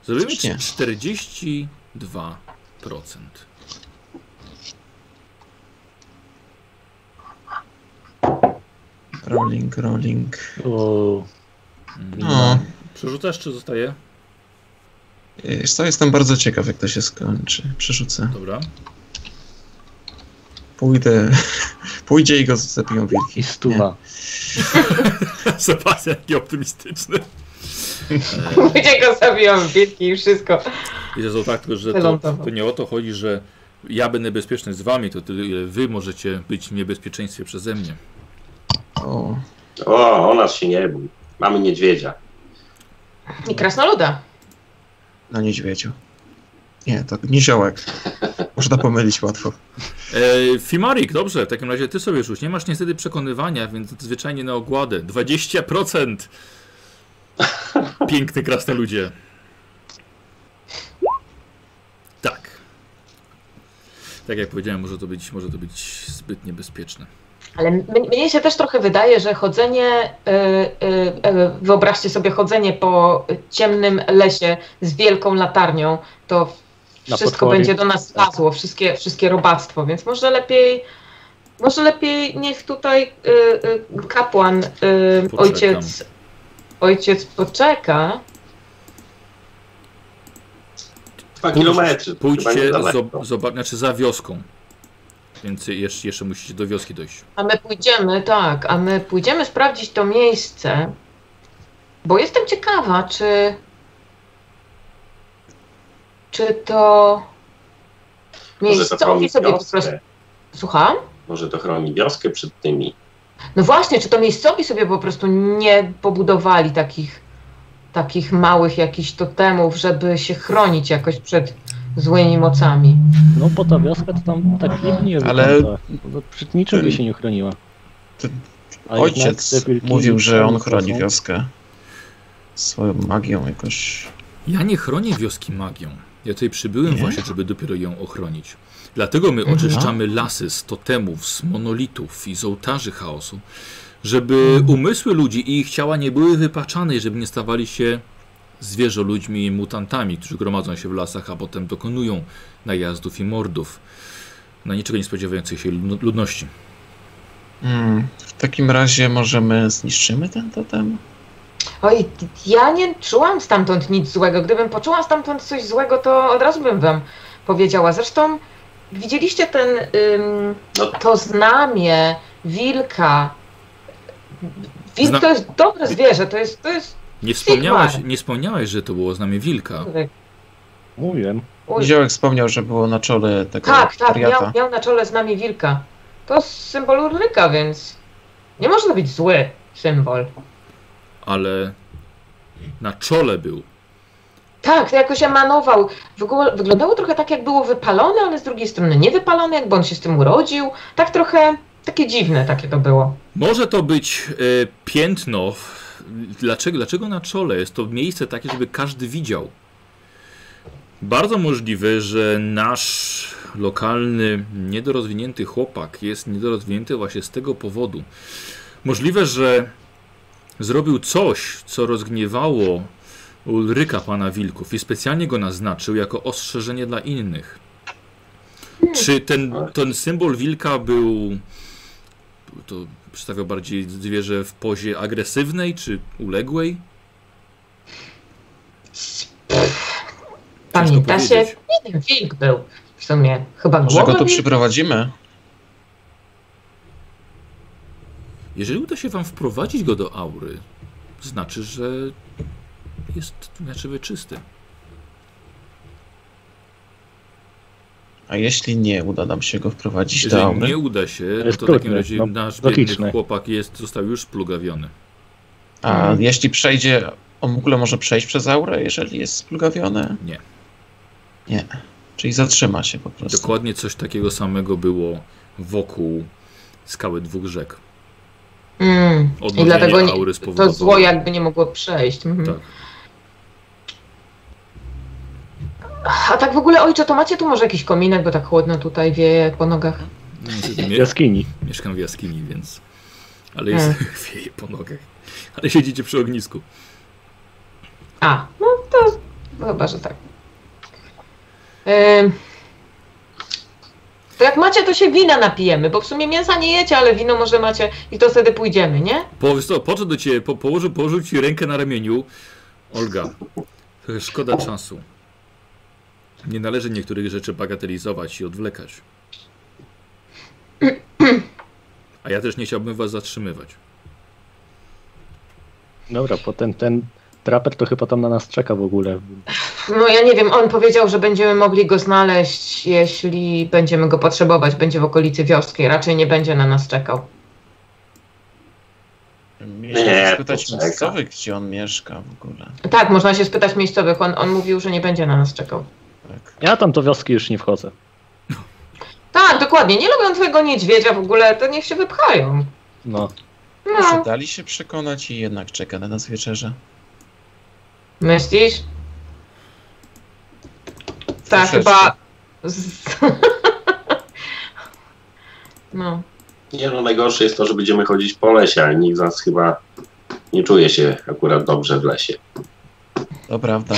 S1: Zrobimy
S2: Faktycznie.
S1: 42%.
S2: Rolling, rolling.
S6: O,
S2: No, E,
S1: Przerzucasz czy zostaje?
S2: Wiesz co, jestem bardzo ciekaw, jak to się skończy. Przerzucę.
S1: [LAUGHS] Dobra.
S2: Pójdę. [LAUGHS] Pójdzie i go zabiją wilki.
S6: I stuwa.
S1: Sebastian, jaki optymistyczny. [LAUGHS]
S3: Ludzie go zabiją w bielki i wszystko.
S1: I to tak, tylko że to, to nie o to chodzi, że ja będę bezpieczny z wami, to tyle, ile wy możecie być w niebezpieczeństwie przeze mnie.
S2: O,
S5: O, o nas się nie bój. Mamy niedźwiedzia.
S3: I krasnoluda.
S2: na niedźwiedziu. Nie, to niziołek. Można pomylić łatwo.
S1: E, Fimarik, dobrze, w takim razie ty sobie rzuć. Nie masz niestety przekonywania, więc zwyczajnie na ogładę. 20%! Piękny krasne ludzie. Tak. Tak jak powiedziałem, może to być, może to być zbyt niebezpieczne.
S3: Ale m- mnie się też trochę wydaje, że chodzenie, y, y, y, wyobraźcie sobie chodzenie po ciemnym lesie z wielką latarnią, to
S6: Na
S3: wszystko
S6: potwory.
S3: będzie do nas
S6: Tak.
S3: lazło, wszystkie, wszystkie robactwo, więc może lepiej, może lepiej niech tutaj y, y, kapłan, y,
S1: Poczekam.
S3: ojciec, ojciec poczeka.
S5: Dwa kilometry. to chyba
S1: Pójdźcie,
S5: niedaleko.
S1: zo- zobac- znaczy za wioską. Więc jeszcze, jeszcze musicie do wioski dojść.
S3: A my pójdziemy, tak, a my pójdziemy sprawdzić to miejsce, bo jestem ciekawa, czy. Czy to.
S5: Może to chroni
S3: Miejscowi sobie po prostu.
S5: wioskę.
S3: Słucham?
S5: Może to chroni wioskę przed tymi.
S3: No właśnie, czy to miejscowi sobie po prostu nie pobudowali takich, takich małych jakichś totemów, żeby się chronić jakoś przed złymi mocami.
S6: No bo ta wioska to tam tak nie
S2: Ale-
S6: wygląda. No, Przed niczym by się nie chroniła.
S2: Ty-
S6: A jednak
S2: Ojciec
S6: te wilki
S2: mówił, że on
S6: są-
S2: chroni
S6: są-
S2: wioskę. Swoją magią jakoś.
S1: Ja nie chronię wioski magią. Ja tutaj przybyłem
S2: Nie?
S1: właśnie, żeby dopiero ją ochronić. Dlatego my oczyszczamy lasy z totemów, z monolitów i z ołtarzy chaosu, żeby umysły ludzi i ich ciała nie były wypaczane i żeby nie stawali się zwierzoludźmi i mutantami, którzy gromadzą się w lasach, a potem dokonują najazdów i mordów na niczego nie spodziewającej się lud- ludności.
S2: Mm, w takim razie możemy zniszczymy ten totem?
S3: Oj, ja nie czułam stamtąd nic złego. Gdybym poczuła stamtąd coś złego, to od razu bym wam powiedziała. Zresztą widzieliście ten, ym,
S5: No.
S3: to znamie wilka. Wilk
S1: Zna-
S3: to jest dobre zwierzę, to jest, to jest,
S1: Nie wspomniałaś,
S3: Sigmar.
S1: nie wspomniałaś, że to było znamie wilka.
S6: Mówiłem.
S3: Uj,
S2: Niziołek wspomniał, że było na czole tego
S3: tak, tak, miał,
S2: wariata.
S3: miał na czole znamie wilka. To symbol Urryka, więc nie może to być zły symbol.
S1: ale na czole był.
S3: Tak, to jakoś emanował. W ogóle Wyglądało trochę tak, jak było wypalone, ale z drugiej strony nie wypalone, jakby on się z tym urodził. Tak trochę, takie dziwne takie to było.
S1: Może to być e, piętno. Dlaczego, dlaczego na czole? Jest to miejsce takie, żeby każdy widział. Bardzo możliwe, że nasz lokalny, niedorozwinięty chłopak jest niedorozwinięty właśnie z tego powodu. Możliwe, że zrobił coś, co rozgniewało Ulryka pana Wilków i specjalnie go naznaczył jako ostrzeżenie dla innych. Czy ten, ten symbol wilka był to przedstawiał bardziej zwierzę w pozie agresywnej czy uległej? Ciężko
S3: Pamięta się,
S1: powiedzieć.
S3: nie wiem, wilk był w sumie, chyba
S2: Może go tu
S3: głowa wilka.
S2: przyprowadzimy?
S1: Jeżeli uda się wam wprowadzić go do aury, znaczy, że jest znaczy czysty.
S2: A jeśli nie uda nam się go wprowadzić do
S1: Jeżeli
S2: aury?
S1: nie uda się, no
S6: jest
S1: to w takim
S6: trudne,
S1: razie
S6: no,
S1: nasz
S6: logiczne.
S1: biedny chłopak jest, został już splugawiony.
S2: A jeśli przejdzie, on w ogóle może przejść przez aurę, jeżeli jest splugawione?
S1: Nie.
S2: Nie. Czyli zatrzyma się po prostu.
S1: Dokładnie coś takiego samego było wokół skały dwóch rzek.
S3: Mm. I
S1: Odnowienie
S3: dlatego nie,
S1: aury
S3: to
S1: spowodowało-
S3: zło jakby nie mogło przejść. Mhm.
S1: Tak.
S3: A tak w ogóle, ojcze, to macie tu może jakiś kominek, bo tak chłodno tutaj wieje po nogach.
S1: No, niestety
S6: W
S1: mie-
S6: jaskini.
S1: mieszkam w jaskini, więc... Ale jest [LAUGHS] wieje po nogach. Ale siedzicie przy ognisku.
S3: A, no to chyba, że tak. Ym, to jak macie, to się wina napijemy, bo w sumie mięsa nie jecie, ale wino może macie i to wtedy pójdziemy, nie?
S1: Po, wiesz co, podszedł do ciebie, po, położył, położył ci rękę na ramieniu. Olga, trochę szkoda czasu. Nie należy niektórych rzeczy bagatelizować i odwlekać. A ja też nie chciałbym was zatrzymywać.
S6: Dobra, potem ten Traper to chyba tam na nas czeka w ogóle.
S3: No ja nie wiem, on powiedział, że będziemy mogli go znaleźć, jeśli będziemy go potrzebować. Będzie w okolicy wioski, raczej nie będzie na nas czekał.
S2: Mieliśmy
S5: Nie,
S2: spytać
S5: poczekaj.
S2: miejscowych, gdzie on mieszka w ogóle.
S3: Tak, można się spytać miejscowych, on, on mówił, że nie będzie na nas czekał.
S2: Tak.
S6: Ja tam do wioski już nie wchodzę.
S3: Tak, dokładnie, nie lubią twojego niedźwiedzia w ogóle, to niech się wypchają.
S6: No.
S3: No,
S2: Dali się przekonać i jednak czeka na nas wieczerze.
S3: myślisz? Tak,
S2: Troszeczkę.
S3: chyba... z- [LAUGHS] No.
S5: Nie no, najgorsze jest to, że będziemy chodzić po lesie, ale nikt z nas chyba nie czuje się akurat dobrze w lesie.
S2: To prawda.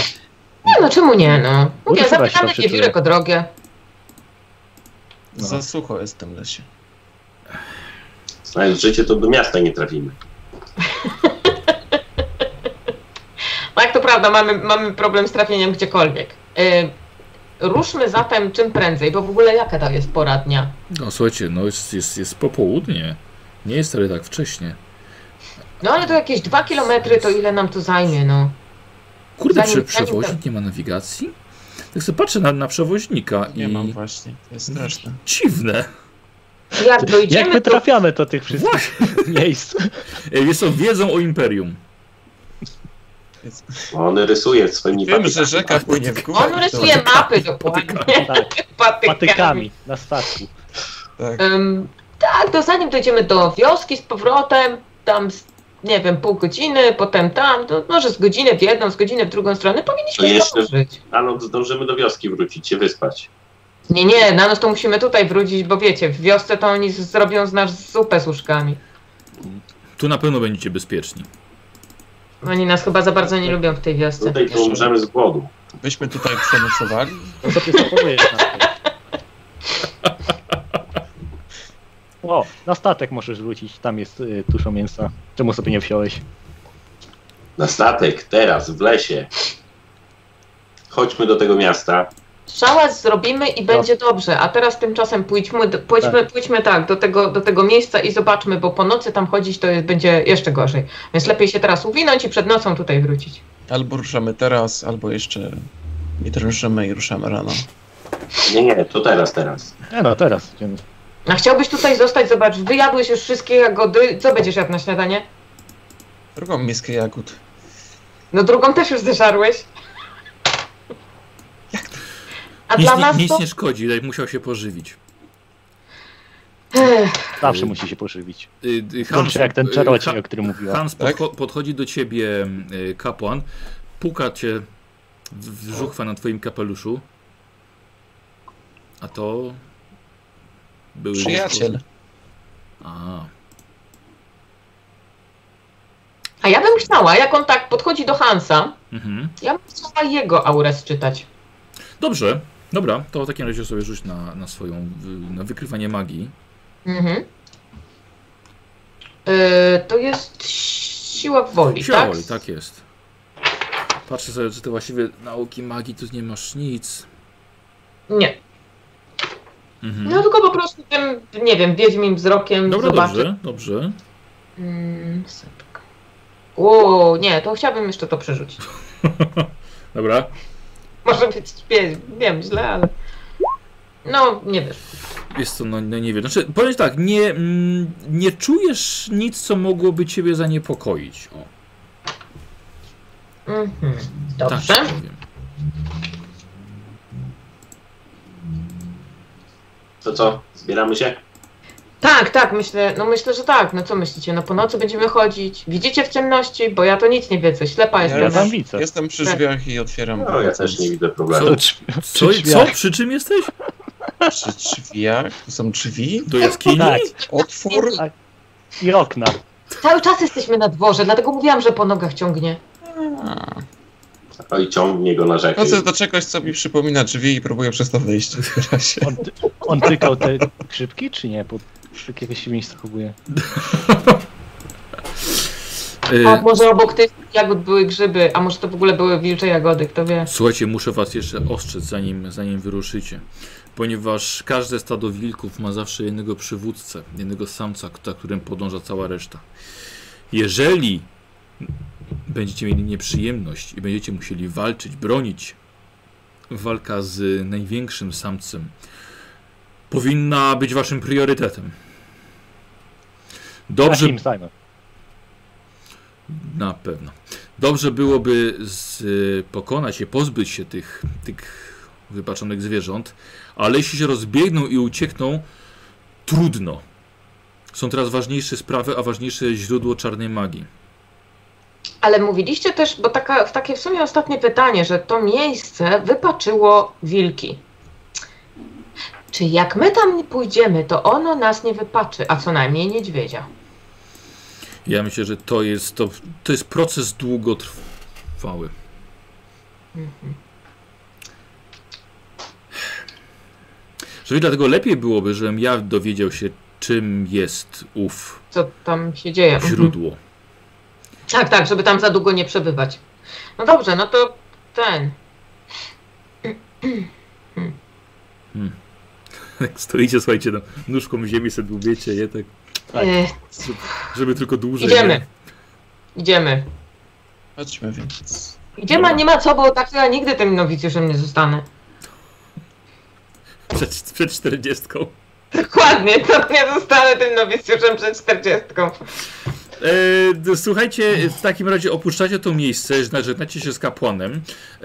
S3: Nie no, czemu nie no?
S6: Może
S3: Mówię,
S6: teraz się
S3: zapytamy
S6: dobrze
S3: wiewiórek o drogę.
S5: No.
S2: Za sucho jest w tym lesie.
S5: Znając życie, to do miasta nie trafimy.
S3: Tak, to prawda, mamy, mamy problem z trafieniem gdziekolwiek. Y, ruszmy zatem czym prędzej, bo w ogóle jaka to jest pora dnia?
S1: No słuchajcie, no jest, jest, jest popołudnie. Nie jest wcale tak wcześnie.
S3: No ale to jakieś dwa kilometry, to ile nam to zajmie, no.
S1: Kurde,
S3: Zanim-
S1: prze,
S3: zanim to-
S1: przewoźnik nie ma nawigacji? Tak sobie patrzę na, na przewoźnika
S2: Nie
S1: i...
S2: mam właśnie. To jest straszne.
S1: Dziwne.
S3: Jak
S6: Jak my
S3: dojdziemy, to...
S6: trafiamy do tych wszystkich
S1: Właśnie.
S2: [LAUGHS]
S6: miejsc?
S1: Ej, Jest to wiedzą o Imperium.
S5: Bo on rysuje swoimi
S2: Wiem, że
S5: papierami.
S2: rzeka płynie w górę.
S3: On rysuje mapy dokładnie,
S6: Tak,
S3: patykami.
S6: patykami na statku.
S2: Tak.
S3: Ym, tak, to zanim dojdziemy do wioski z powrotem, tam, z, nie wiem, pół godziny, potem tam, to może z godziny w jedną, z godziny w drugą stronę,
S5: To
S3: powinniśmy
S5: jeszcze-
S3: zdążyć.
S5: A no, zdążymy do wioski wrócić, się wyspać.
S3: Nie, nie, na noc to musimy tutaj wrócić, bo wiecie, w wiosce to oni z- zrobią z nas zupę z łóżkami.
S1: Tu na pewno będziecie bezpieczni.
S3: Oni nas chyba za bardzo nie lubią w tej wiosce.
S5: Tutaj to umrzemy z głodu.
S2: Byśmy tutaj przenocowali.
S6: No co ty zapowiesz na to? O, na statek możesz wrócić, tam jest y, tuszo mięsa. Czemu sobie nie wziąłeś?
S5: Na statek, teraz, w lesie. Chodźmy do tego miasta.
S3: Szałas zrobimy i będzie
S5: No.
S3: dobrze, a teraz tymczasem pójdźmy, d- pójdźmy, pójdźmy tak, do tego, do tego miejsca i zobaczmy, bo po nocy tam chodzić to jest, będzie jeszcze gorzej. Więc lepiej się teraz uwinąć i przed nocą tutaj wrócić.
S2: Albo ruszamy teraz, albo jeszcze nie drążymy i ruszamy rano.
S5: Nie, nie, to teraz, teraz.
S6: E no, teraz. idziemy.
S3: A chciałbyś tutaj zostać, zobacz, wyjadłeś już wszystkie jagody, co będziesz jadł na śniadanie?
S2: Drugą miskę jagód.
S3: No drugą też już zeżarłeś. A
S1: nic,
S3: dla
S1: nie-
S3: nas
S1: nic
S3: to...
S1: nie szkodzi, jak musiał się pożywić.
S3: Ech,
S6: Zawsze musi się pożywić.
S1: Y, y,
S6: Dobrze, jak ten
S1: y,
S6: czarodziej,
S1: Ha-
S6: o którym mówiła.
S1: Hans
S2: Tak?
S1: podcho- podchodzi do ciebie y, kapłan, puka cię w- w żuchwa na twoim kapeluszu. A to... Były
S2: Przyjaciel.
S1: A,
S3: A ja bym chciała, jak on tak podchodzi do Hansa,
S1: mhm.
S3: ja bym chciała jego aurę czytać.
S1: Dobrze, dobra, to w takim razie sobie rzuć na, na swoją, y, na wykrywanie magii.
S3: Mhm. Y, to jest siła woli,
S1: Siła
S3: tak?
S1: woli, tak jest. Patrzę sobie, czy to właściwie nauki magii, tu nie masz nic.
S3: Nie.
S1: Mhm.
S3: No tylko po prostu tym, nie wiem, wiedźmim wzrokiem
S1: Dobra,
S3: zobaczę.
S1: dobrze, dobrze.
S3: Mm, setka. O, nie, to chciałabym jeszcze to przerzucić.
S1: [LAUGHS] Dobra.
S3: Może być, wie, wiem, źle, ale... No, nie wiesz.
S1: Jest to, no, no nie wiem. Znaczy, powiem ci tak, nie, mm, nie czujesz nic, co mogłoby ciebie zaniepokoić. O,
S3: Mhm.
S1: tak
S3: Dobrze.
S1: ci powiem.
S5: To co, zbieramy się?
S3: Tak, tak, myślę, no myślę, że tak. No co myślicie? No po nocy będziemy chodzić. Widzicie w ciemności? Bo ja to nic nie wiedzę, ślepa jestem.
S6: Ja
S2: już-
S6: tam widzę.
S2: Jestem
S3: Tak.
S2: przy drzwiach i otwieram
S5: No, ja też nie widzę problemu.
S1: Co? Co,
S6: Przy
S1: co?
S6: drzwiach.
S1: Przy czym jesteś?
S2: Przy drzwiach? Tu są drzwi?
S1: Do jaskini?
S6: Tak,
S2: Otwór?
S6: i okna.
S3: Cały czas jesteśmy na dworze, dlatego mówiłam, że po nogach ciągnie.
S2: A.
S5: Oj, ciągnie go na rzekę.
S2: Chodzę do czegoś, No co mi przypomina drzwi i próbuję przez to wyjść w razie.
S6: On, on tykał te grzybki, czy nie? Bo tak w jakiegoś miejsca chowuje.
S3: A
S1: E,
S3: może obok tych jagód były grzyby, a może to w ogóle były wilcze jagody, kto wie.
S1: Słuchajcie, muszę was jeszcze ostrzec, zanim, zanim wyruszycie. Ponieważ każde stado wilków ma zawsze jednego przywódcę, jednego samca, k- za którym podąża cała reszta. Jeżeli będziecie mieli nieprzyjemność i będziecie musieli walczyć, bronić. Walka z największym samcem powinna być waszym priorytetem. Dobrze,
S6: Na Kim Simon.
S1: na pewno. Dobrze byłoby z, y, pokonać je, pozbyć się tych, tych wypaczonych zwierząt, ale jeśli się rozbiegną i uciekną, trudno. Są teraz ważniejsze sprawy, a ważniejsze źródło czarnej magii.
S3: Ale mówiliście też, bo taka, w takie w sumie ostatnie pytanie, że to miejsce wypaczyło wilki. Czy jak my tam nie pójdziemy, to ono nas nie wypaczy, a co najmniej niedźwiedzia.
S1: Ja myślę, że to jest, to, to jest proces długotrwały. Żeby dlatego lepiej byłoby, żebym ja dowiedział się, czym jest ów
S3: Co tam się dzieje? Mhm.
S1: źródło.
S3: Tak, tak, żeby tam za długo nie przebywać. No dobrze, no to ten.
S1: Jak stoicie, słuchajcie, tam nóżką w ziemi sobie dłubiecie je tak,
S6: Tak.
S3: y,
S1: żeby tylko dłużej.
S3: idziemy. Idziemy.
S2: Chodźmy więc.
S3: Gdzie ma, nie ma co, bo tak to ja nigdy tym nowicjuszem nie zostanę. [LAUGHS]
S1: Przed, przed 40.
S3: Dokładnie, to nie zostanę tym nowicjuszem przed czterdziestką.
S1: E, d- słuchajcie, w takim razie opuszczacie to miejsce, zna- żegnacie się z kapłanem. E,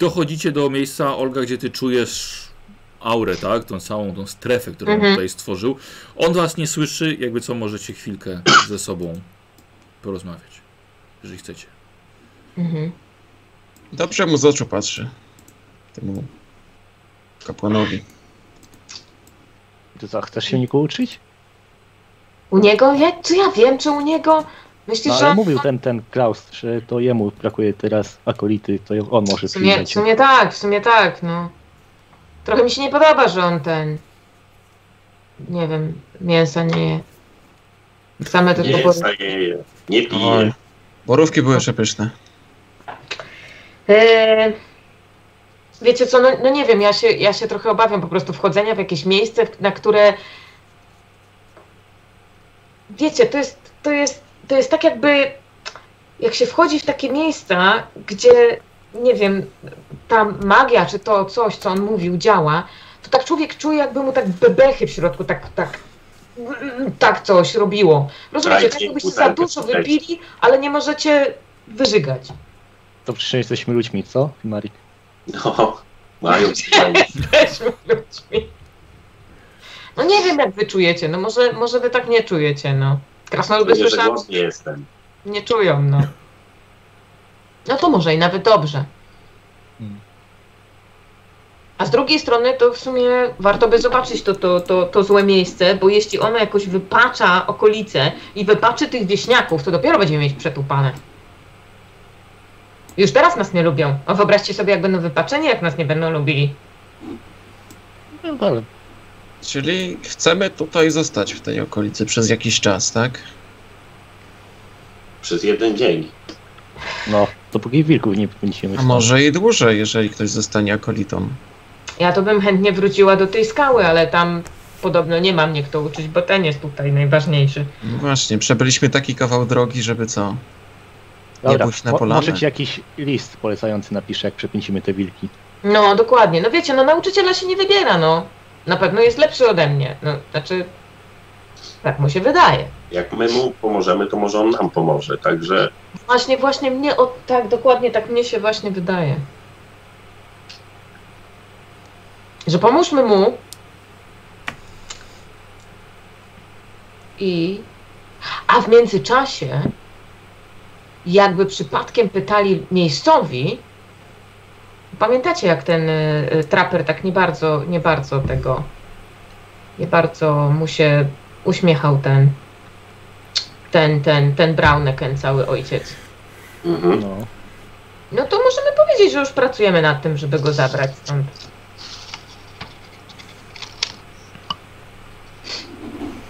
S1: dochodzicie do miejsca, Olga, gdzie ty czujesz aurę, tak? Tą całą tą strefę, którą on
S3: Mhm.
S1: tutaj stworzył. On was nie słyszy, jakby co możecie chwilkę ze sobą porozmawiać, jeżeli chcecie.
S3: Mhm.
S2: Dobrze mu z oczu patrzy. Temu kapłanowi.
S6: Ty co, chcesz się Niku uczyć?
S3: U niego? Ja, czy ja wiem, czy u niego? Myślisz,
S6: No,
S3: że...
S6: ale mówił ten, ten Klaus, że to jemu brakuje teraz akolity, to on może
S3: W sumie, w
S6: przyjrzeć.
S3: sumie tak, w sumie tak, no. Trochę mi się nie podoba, że on ten... Nie wiem, mięsa nie je. Same tylko
S5: Nie,
S3: po...
S5: nie, nie
S2: Oj.
S5: piję.
S2: Borówki były przepyszne.
S3: Eee, wiecie co, no, no nie wiem, ja się, ja się trochę obawiam po prostu wchodzenia w jakieś miejsce, w- na które... Wiecie, to jest, to jest, to jest tak jakby... Jak się wchodzi w takie miejsca, gdzie, nie wiem, ta magia, czy to coś, co on mówił, działa, to tak człowiek czuje, jakby mu tak bebechy w środku, tak, tak, tak coś robiło. Rozumiecie, tak
S5: Dajcie
S3: jakbyście za
S5: butelkę,
S3: dużo
S5: dajcie.
S3: wypili, ale nie możecie wyżygać.
S6: To przecież jesteśmy ludźmi, co, Mari?
S5: No, mają
S3: jesteśmy ludźmi. No nie wiem, jak wy czujecie, no może, może wy tak nie czujecie, no. Krasnoludy
S5: Myślę, że
S3: słyszałam,
S5: głodny jestem.
S3: nie czują, no. No to może i nawet dobrze.
S6: Mm.
S3: A z drugiej strony to w sumie warto by zobaczyć to, to, to, to złe miejsce, bo jeśli ono jakoś wypacza okolice i wypaczy tych wieśniaków, to dopiero będziemy mieć przetupane. Już teraz nas nie lubią. A wyobraźcie sobie, jak będą wypaczeni, jak nas nie będą lubili.
S6: No dobra.
S2: Czyli chcemy tutaj zostać w tej okolicy przez jakiś czas, tak?
S5: Przez jeden dzień.
S6: No, dopóki wilków nie będziemy...
S2: A może i dłużej, jeżeli ktoś zostanie akolitą.
S3: Ja to bym chętnie wróciła do tej skały, ale tam podobno nie ma mnie kto uczyć, bo ten jest tutaj najważniejszy.
S2: No właśnie, przebyliśmy taki kawał drogi, żeby co?
S6: Dobra,
S2: pójść na
S6: mo-
S2: polanę.
S6: Może ci jakiś list polecający napisze, jak przepędzimy te wilki.
S3: No, dokładnie. No wiecie, no nauczyciela się nie wybiera, no. Na pewno jest lepszy ode mnie. No, znaczy, tak mu się wydaje.
S5: Jak my mu pomożemy, to może on nam pomoże. Także
S3: Właśnie, właśnie mnie, o, tak, dokładnie tak mnie się właśnie wydaje. Że pomóżmy mu i... A w międzyczasie, jakby przypadkiem pytali miejscowi, pamiętacie jak ten y, y, traper tak nie bardzo, nie bardzo tego, nie bardzo mu się uśmiechał ten, ten, ten, ten Brauneken, cały ojciec.
S5: mhm.
S6: No.
S3: No to możemy powiedzieć, że już pracujemy nad tym, żeby go zabrać stąd.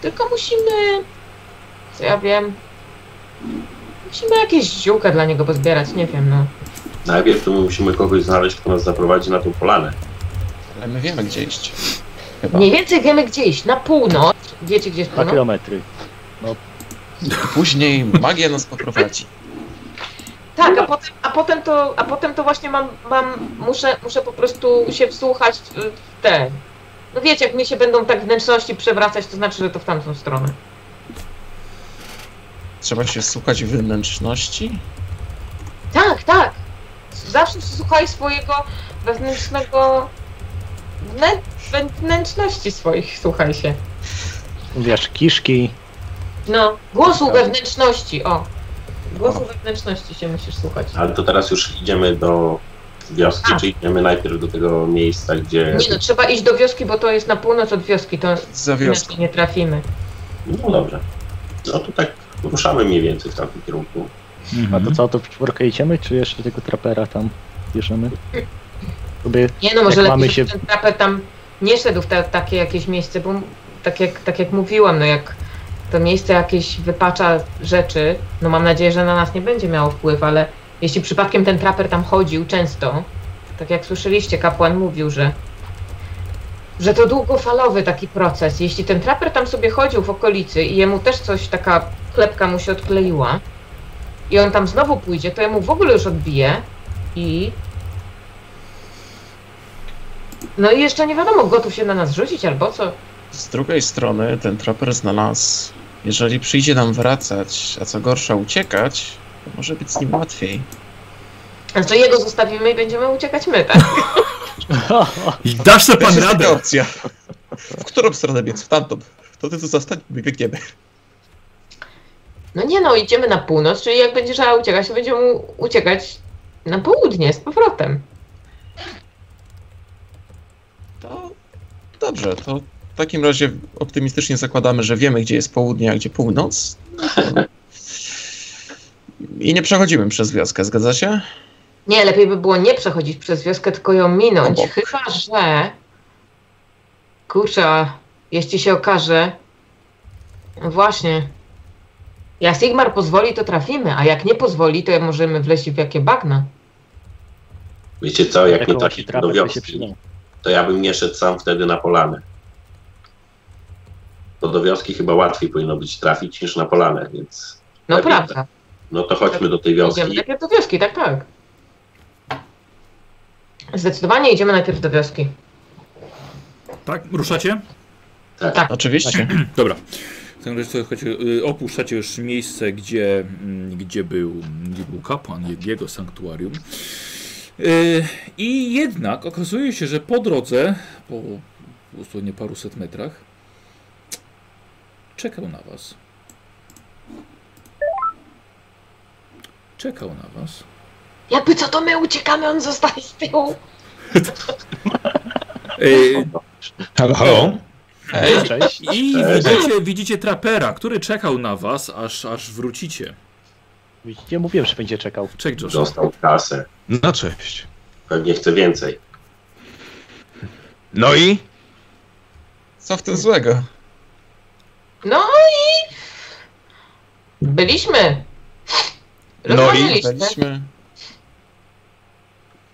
S3: Tylko musimy, co ja wiem, musimy jakieś ziółka dla niego pozbierać, nie wiem, no.
S5: najpierw to my musimy kogoś znaleźć, kto nas zaprowadzi na tą polanę.
S2: Ale my wiemy gdzie iść. Chyba.
S3: Mniej więcej wiemy gdzie iść, na północ. Wiecie gdzie jest
S6: Dwa
S3: północ?
S6: kilometry.
S2: Później magia nas poprowadzi.
S3: Tak, a potem, a potem, to, a potem to właśnie mam, mam muszę, muszę po prostu się wsłuchać w w te. No wiecie, jak mi się będą tak wnętrzności przewracać, to znaczy, że to w tamtą stronę.
S2: Trzeba się słuchać wnętrzności?
S3: Tak, tak. Zawsze słuchaj swojego wewnętrznego. Wnę... wewnętrzności swoich, słuchaj się.
S6: Wiesz, kiszki.
S3: No, głosu wewnętrzności, o. Głosu wewnętrzności się musisz słuchać.
S5: Ale to teraz już idziemy do wioski,
S3: A.
S5: czy idziemy najpierw do tego miejsca, gdzie...
S3: Nie no, trzeba iść do wioski, bo to jest na północ od wioski, to
S2: Za wioską.
S3: inaczej nie trafimy.
S5: No dobrze. No to tak ruszamy mniej więcej w takim kierunku.
S6: A
S5: Mhm.
S6: to co, to w czwórkę idziemy, czy jeszcze tego trapera tam bierzemy?
S5: [LAUGHS]
S6: Sobie
S3: Nie no, może
S6: Jak mamy
S3: lepiej, żeby
S6: się-
S3: ten trapet tam nie szedł w ta, takie jakieś miejsce, bo tak jak, tak jak mówiłam, no jak to miejsce jakieś wypacza rzeczy, no mam nadzieję, że na nas nie będzie miało wpływ, ale jeśli przypadkiem ten traper tam chodził często, tak jak słyszeliście, kapłan mówił, że że to długofalowy taki proces. Jeśli ten traper tam sobie chodził w okolicy i jemu też coś, taka klepka mu się odkleiła i on tam znowu pójdzie, to jemu w ogóle już odbije i no i jeszcze nie wiadomo, gotów się na nas rzucić albo co.
S2: Z drugiej strony ten traper znalazł, jeżeli przyjdzie nam wracać, a co gorsza uciekać, to może być z nim łatwiej.
S3: Znaczy jego zostawimy i będziemy uciekać my, tak?
S1: I dasz sobie
S2: To
S1: pan
S2: jest taka
S1: radę!
S2: opcja. W którą stronę biec? W tamtą. To ty tu zostań, my biegniemy.
S3: No nie no, idziemy na północ, czyli jak będzie trzeba uciekać, to będziemy uciekać na południe z powrotem.
S2: To dobrze, to w takim razie optymistycznie zakładamy, że wiemy, gdzie jest południe, a gdzie północ. No I nie przechodzimy przez wioskę, zgadza się?
S3: Nie, lepiej by było nie przechodzić przez wioskę, tylko ją minąć.
S2: Obok.
S3: Chyba, że. Kurczę, a jeśli się okaże. No Właśnie. Jak Sigmar pozwoli, to trafimy, a jak nie pozwoli, to możemy wleźć w jakie bagna.
S5: Wiecie co, jak my
S6: jakąś
S5: tak
S6: trapę, to się
S5: do
S6: no,
S5: wioski,
S6: przyda.
S5: to ja bym nie szedł sam wtedy na polanę. Bo do wioski chyba łatwiej powinno być trafić niż na polanę, więc
S3: No
S5: Lepiej
S3: prawda.
S5: no to chodźmy do tej wioski.
S3: Idziemy najpierw do wioski, tak, tak. Zdecydowanie idziemy najpierw do wioski.
S1: Tak, ruszacie?
S5: Tak.
S3: Tak.
S2: Oczywiście.
S1: Dobra. W tym razie sobie chodzi, y, opuszczacie już miejsce, gdzie, mm, gdzie, był, gdzie był kapłan je- jego sanktuarium. Y, I jednak okazuje się, że po drodze, po dosłownie paruset metrach, czekał na was. Czekał na was.
S3: Jakby co to my uciekamy, on zostaje z tyłu.
S1: Y,
S7: Halo, halo?
S6: Ej, no, Cześć.
S1: I
S5: Cześć.
S1: widzicie, widzicie trapera, który czekał na was, aż, aż wrócicie.
S6: Widzicie, mówiłem, że będzie czekał.
S1: Czek Josh.
S5: Dostał kasę.
S7: No cześć.
S5: Pewnie chce więcej.
S7: No i?
S2: Co w tym złego?
S3: No i. Byliśmy.
S7: No i
S3: Rozmawialiśmy.
S2: Byliśmy.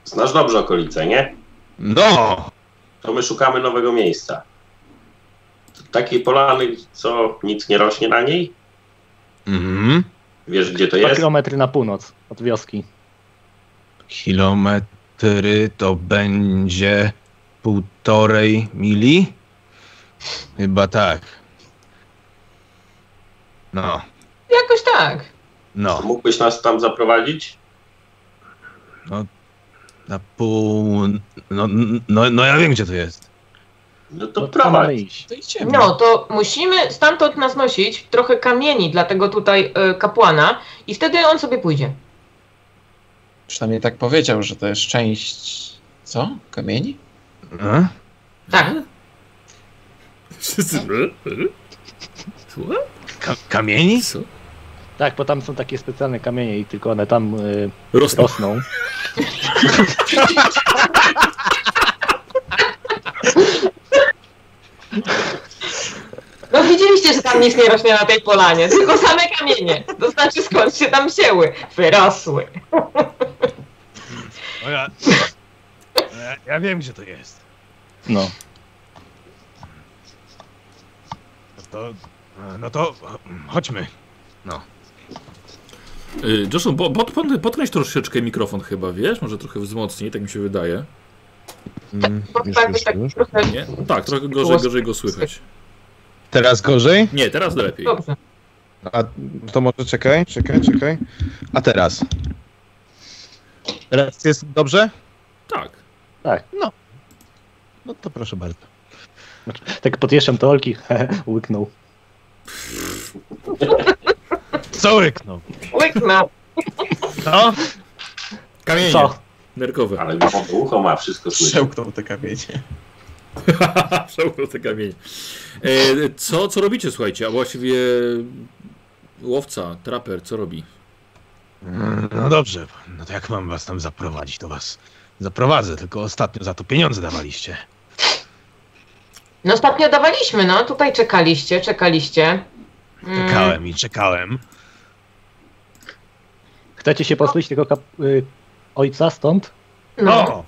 S5: Znasz dobrze okolice, nie?
S7: No!
S5: To my szukamy nowego miejsca. Takiej polany, co nic nie rośnie na niej?
S7: Mhm.
S5: Wiesz, gdzie to
S6: Dwa
S5: jest?
S6: kilometry na północ od wioski.
S7: Kilometry to będzie półtorej mili? Chyba tak. No,
S3: Jakoś tak.
S5: To
S7: no.
S5: Mógłbyś nas tam zaprowadzić?
S7: Na pół... No, no, no ja wiem, gdzie to jest.
S5: No to
S6: No, tam mamy
S5: prowadź.
S6: iść.
S2: To idziemy.
S3: No to musimy stamtąd nas nosić trochę kamieni dla tego tutaj y, kapłana i wtedy on sobie pójdzie.
S2: Przynajmniej tak powiedział, że to jest część... Co? Kamieni?
S7: A?
S3: Tak.
S1: Wszyscy. Co?
S7: Ka kamieni?
S1: Co?
S6: Tak, bo tam są takie specjalne kamienie i tylko one tam y,
S1: Rosną.
S6: rosną.
S3: No widzieliście, że tam nic nie rośnie na tej polanie, tylko same kamienie. To znaczy skąd się tam wzięły? Wyrosły.
S7: No ja, ja, ja wiem, gdzie to jest.
S6: No.
S7: No to, no to chodźmy.
S1: Y, Joshua, bo, bo, pod- podkręć troszeczkę mikrofon chyba, wiesz? Może trochę wzmocnij, tak mi się wydaje.
S8: Mm,
S3: Bo
S8: już,
S3: tak,
S8: już,
S3: tak
S8: już.
S3: trochę...
S1: Nie? Tak, trochę gorzej, gorzej go słychać.
S8: Teraz gorzej?
S1: Nie, teraz lepiej.
S3: Dobrze.
S8: No. A to może czekaj, czekaj, czekaj. A teraz? Teraz jest dobrze?
S1: Tak.
S8: No to proszę bardzo.
S6: Tak podjeżdżam do Olki, [LAUGHS] łyknął.
S8: Co ryknął?
S3: Łyknął.
S8: No?
S1: Kamienie.
S6: Co?
S1: Nerkowe.
S5: Ale głową ucho ma, wszystko słyszy.
S2: Przełknął te kamienie.
S1: [LAUGHS] Przełknął te kamienie. E, co, co robicie, słuchajcie? A właściwie łowca, traper, co robi?
S8: Mm, No dobrze, no to jak mam was tam zaprowadzić, to was zaprowadzę, tylko ostatnio za to pieniądze dawaliście.
S3: No ostatnio dawaliśmy, no tutaj czekaliście, czekaliście. Mm,
S8: Czekałem i czekałem.
S6: Chcecie się pozbyć tego kap... y, ojca stąd?
S3: No.
S8: O!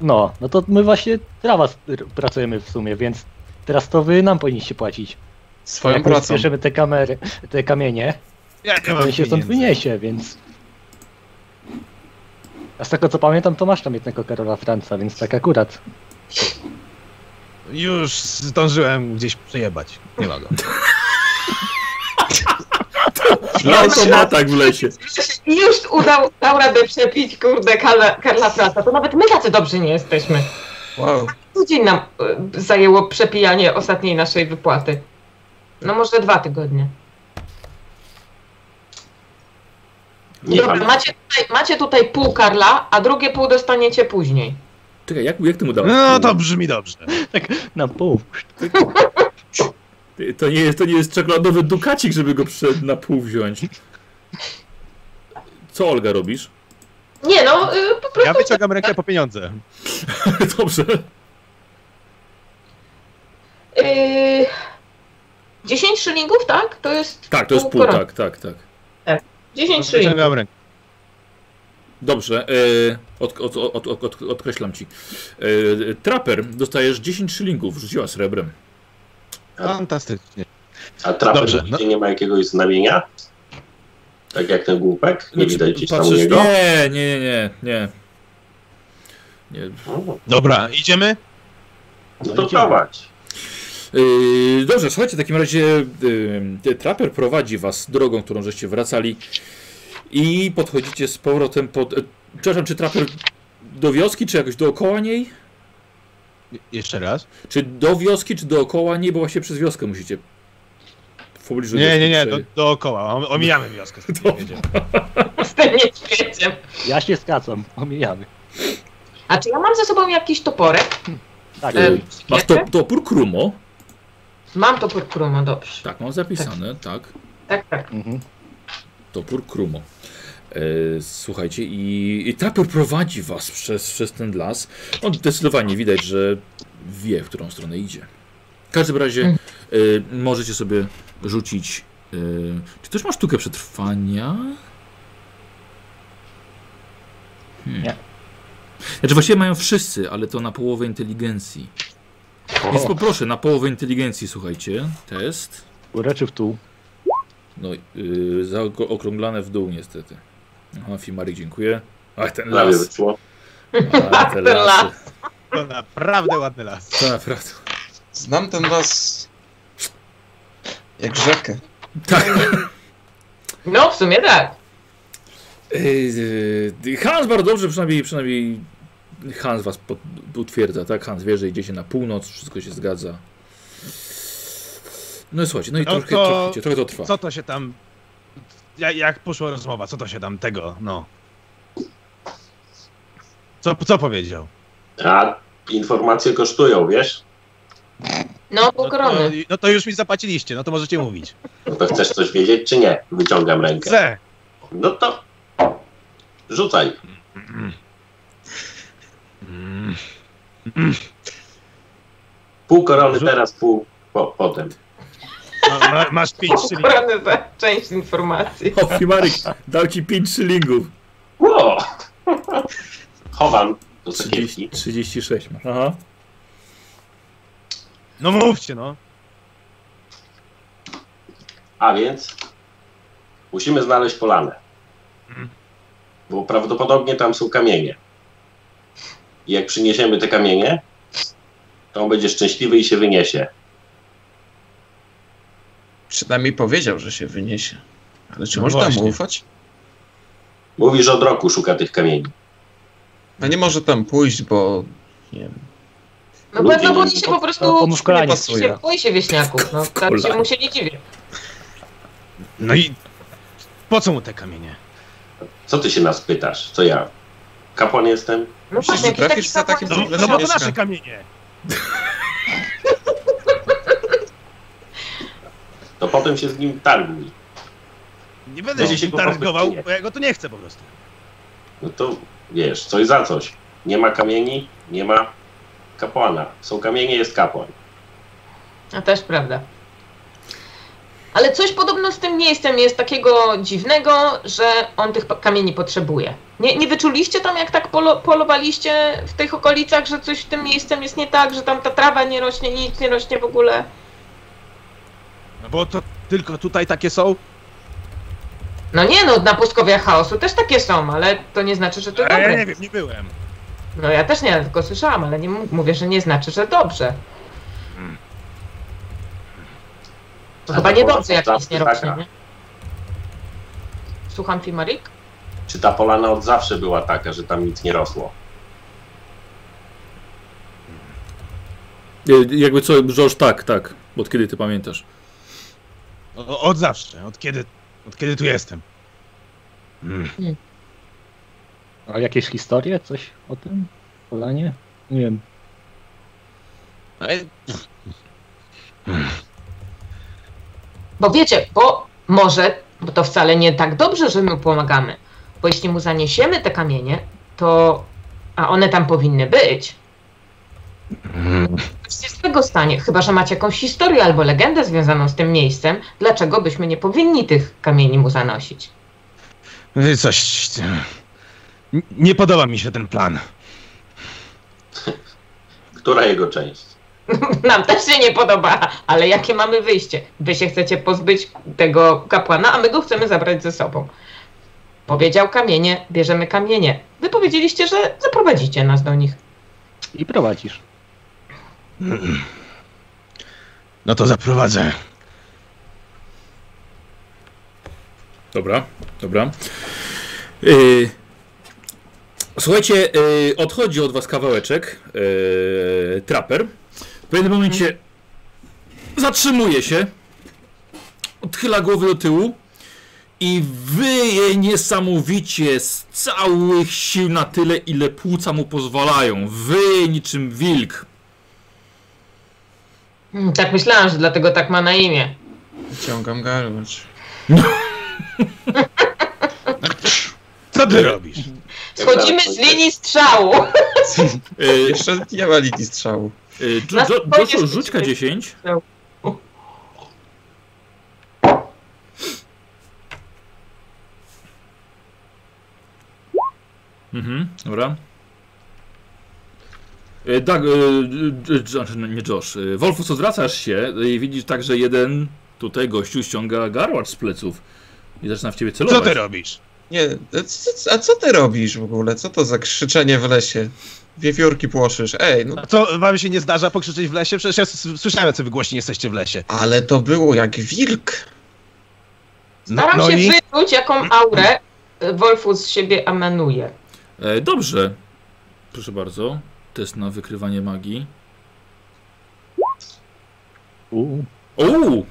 S6: No, no to my właśnie dla was r- pracujemy w sumie, więc teraz to wy nam powinniście płacić.
S2: Swoją
S6: Jak
S2: pracą.
S6: rozbierzemy te kamery, te kamienie,
S8: Jaka
S6: to
S8: mam
S6: on się stąd
S8: pieniędzy?
S6: wyniesie, więc... A z tego co pamiętam, to masz tam jednego Karola Franca, więc tak akurat.
S8: Już zdążyłem gdzieś przejebać. Nie ma go.
S1: Automata tak w lesie.
S3: I już udał, dał radę przepić, kurde, Karla, Karla Prasa. To nawet my tacy dobrzy nie jesteśmy.
S2: Wow.
S3: Tydzień nam y, zajęło przepijanie ostatniej naszej wypłaty. No może dwa tygodnie.
S5: Nie
S3: Dobra,
S5: mam.
S3: macie tutaj, macie tutaj pół Karla, a drugie pół dostaniecie później.
S1: Czekaj, jak, jak ty mu dałeś?
S8: No to brzmi dobrze.
S6: Na pół.
S1: Ty, To nie, jest, to nie jest czekoladowy dukacik, żeby go przed na pół wziąć. Co Olga robisz? [LAUGHS]
S3: Nie no, y, po prostu
S8: Ja wyciągam rękę po pieniądze.
S1: Dobrze.
S3: Yy, 10 szylingów, tak? To jest.
S1: Tak, to jest pół,
S3: korony.
S1: tak, tak, tak.
S3: 10 szylingów.
S8: Wyciągam rękę.
S1: Dobrze, e, od, od, od, od, od, odkreślam ci. E, traper, dostajesz 10 szylingów, rzuciła srebrem.
S8: Fantastycznie.
S5: A traper
S8: Dobrze,
S5: Dobrze,
S1: no-
S5: nie ma jakiegoś znamienia? Tak jak ten głupek? Nie widać gdzieś tam
S1: Znaczy, Patrzysz,
S5: jego?
S1: nie, nie, nie, nie, nie. nie.
S5: No,
S8: Dobra, idziemy?
S5: no to prowadź.
S1: Yy, dobrze, słuchajcie, w takim razie yy, Trapper prowadzi was drogą, którą żeście wracali i podchodzicie z powrotem pod... Yy, przepraszam, czy Trapper do wioski, czy jakoś dookoła niej?
S8: Je- Jeszcze raz?
S1: Czy do wioski, czy dookoła niej, bo właśnie przez wioskę musicie w pobliżu
S8: Nie,
S1: wioski
S8: nie, nie, do,
S1: przejść.
S8: dookoła. O- Omijamy wioskę. z tym
S1: Dobra.
S8: jedziemy.
S3: Z tym niedźwiedziem.
S6: Ja się skacam, omijamy.
S3: A czy ja mam ze sobą jakiś toporek?
S6: Tak,
S1: Yy,
S6: y-
S1: Masz to, topór Krumo?
S3: Mam topór Kruma, dobrze.
S1: Tak, mam zapisane, tak.
S3: Tak, tak.
S6: mhm.
S1: Topór Krumo. E, Słuchajcie, i, i trapper prowadzi was przez, przez ten las. On zdecydowanie widać, że wie, w którą stronę idzie. W każdym razie
S3: Mhm.
S1: e, możecie sobie rzucić. e, czy też masz sztukę przetrwania? Hmm.
S6: Nie.
S1: Znaczy właściwie mają wszyscy, ale to na połowę inteligencji. Więc
S6: o,
S1: poproszę, na połowę inteligencji, słuchajcie, test.
S6: ureczy w tu.
S1: No, yy, zaokrąglane w dół niestety. Aha, Fimarik, dziękuję. Ach, ten
S5: Prawie
S1: las.
S5: wyszło.
S1: A, te
S3: Ten
S1: lasy.
S8: To naprawdę ładny las.
S1: Tak, Naprawdę.
S2: Znam ten las jak rzekę.
S1: Tak.
S3: No w sumie tak.
S1: Yy, yy, Hans bardzo dobrze, przynajmniej, przynajmniej Hans was pot- potwierdza, tak? Hans wie, że idziecie na północ, wszystko się zgadza. No i słuchajcie, no i
S8: No
S1: trochę,
S8: to-
S1: trochę, trochę to trwa.
S8: Co to się tam... ja- Jak poszła rozmowa? Co to się tam tego, no? Co, co powiedział?
S5: A informacje kosztują, wiesz?
S3: No pół
S8: No to,
S3: korony. Tak.
S8: no to już mi zapłaciliście, no to możecie mówić.
S5: No to chcesz coś wiedzieć, czy nie? Wyciągam rękę.
S8: Chcę!
S5: No to rzucaj.
S8: Mm.
S5: Pół korony teraz, pół po, potem.
S8: Ma, ma, masz pięć
S3: Pół
S8: czyli
S3: korony za część informacji.
S1: O, Fimarik, dał ci 5 szylingów.
S5: Ło! [LAUGHS] Chowam do
S1: 30,
S5: sakiewki.
S1: 36 ma. Aha.
S8: No mówcie, no.
S5: A więc musimy znaleźć polanę. Bo prawdopodobnie tam są kamienie. I jak przyniesiemy te kamienie, to on będzie szczęśliwy i się wyniesie.
S2: Przynajmniej powiedział, że się wyniesie. Ale czy
S7: No
S2: można
S7: właśnie.
S2: mu ufać?
S5: Mówi, że od roku szuka tych kamieni.
S2: No nie może tam pójść, bo nie wiem.
S3: No
S5: Ludzie
S3: pewno, bo
S5: nie-
S3: oni się po
S6: To
S3: prostu
S6: mu w kolanie
S2: pasuje.
S6: pasuje.
S3: się boi się wieśniaków. No, tak się mu się nie dziwię.
S7: No i po co mu te kamienie?
S5: Co ty się nas pytasz? Co ja? Kapłan jestem?
S3: No
S2: Myślisz,
S3: właśnie,
S2: że
S3: jakiś
S2: trafisz
S3: taki
S2: za takim
S3: kapłan-
S2: No,
S7: No bo to
S2: mieszka.
S7: nasze kamienie!
S5: To potem się z nim targuj.
S7: Nie będę
S5: No.
S7: się się targował, bo ja go tu nie chcę po prostu.
S5: No to wiesz, coś za coś. Nie ma kamieni, nie ma kapłana. Są kamienie, jest kapłan.
S3: No też prawda. Ale coś podobno z tym miejscem jest takiego dziwnego, że on tych pa- kamieni potrzebuje. Nie, nie wyczuliście tam, jak tak polo, polowaliście w tych okolicach, że coś w tym miejscem jest nie tak, że tam ta trawa nie rośnie, nic nie rośnie w ogóle?
S7: No bo to tylko tutaj takie są.
S3: No nie no, na pustkowia chaosu też takie są, ale to nie znaczy, że to
S7: A ja
S3: dobre.
S7: E, nie wiem, nie byłem.
S3: No ja też nie, tylko słyszałam, ale nie m- mówię, że nie znaczy, że dobrze.
S5: Co
S3: Chyba
S5: ta
S3: niedobrze,
S5: polana
S3: jak
S5: od
S3: nic nie
S5: zawsze
S3: rośnie,
S5: taka?
S3: nie? Słucham Fimarik?
S5: Czy ta polana od zawsze była taka, że tam nic nie rosło?
S1: E, Jakby co, George, tak, tak. Od kiedy ty pamiętasz?
S7: O, od zawsze, od kiedy, od kiedy tu jestem. Mm.
S6: A jakieś historie? Coś o tym? Polanie? Nie wiem.
S2: Ale
S3: Bo wiecie, bo może bo to wcale nie tak dobrze, że mu pomagamy. Bo jeśli mu zaniesiemy te kamienie, to. A one tam powinny być. Coś się z tego stanie, chyba że macie jakąś historię albo legendę związaną z tym miejscem, dlaczego byśmy nie powinni tych kamieni mu zanosić?
S7: Wy Coś. N- Nie podoba mi się ten plan.
S5: Która jego część?
S3: Nam też się nie podoba, ale jakie mamy wyjście? Wy się chcecie pozbyć tego kapłana, a my go chcemy zabrać ze sobą. Powiedział kamienie, bierzemy kamienie. Wy powiedzieliście, że zaprowadzicie nas do nich.
S6: I prowadzisz.
S7: No to zaprowadzę.
S1: Dobra, dobra. Yy, słuchajcie, yy, odchodzi od was kawałeczek yy, traper. W pewnym momencie zatrzymuje się, odchyla głowę do tyłu i wyje niesamowicie z całych sił na tyle, ile płuca mu pozwalają. Wyje niczym wilk.
S3: Mm, Tak myślałam, że dlatego tak ma na imię.
S2: wyciągam garłacz.
S7: Co ty robisz?
S3: Schodzimy z linii strzału.
S1: Yy,
S2: Jeszcze nie ma linii strzału.
S1: yy,
S3: Na
S1: jo,
S3: spokojnie
S1: Joshua, rzuć
S3: skoczymy.
S1: K10. Mhm, dobra. E, Dag, e, e, e, znaczy, no, nie Josh. E, Wolfus, odwracasz się e, i widzisz tak, że jeden tutaj gościu ściąga garłacz z pleców i zaczyna w ciebie
S7: Co
S1: celować.
S7: ty robisz?
S2: Nie, a co- a co ty robisz w ogóle? Co to za krzyczenie w lesie? Wiewiórki płoszysz. Ej, no
S7: A co wam się nie zdarza pokrzyczeć w lesie? Przecież ja s- słyszałem, co wy głośni jesteście w lesie.
S2: ale to było jak wilk.
S7: No,
S3: Staram
S7: no
S3: się
S7: i
S3: wyczuć, jaką aurę y, Wolfus z siebie emanuje.
S1: E, dobrze. Proszę bardzo. Test na wykrywanie magii.
S6: Uuu.
S1: O,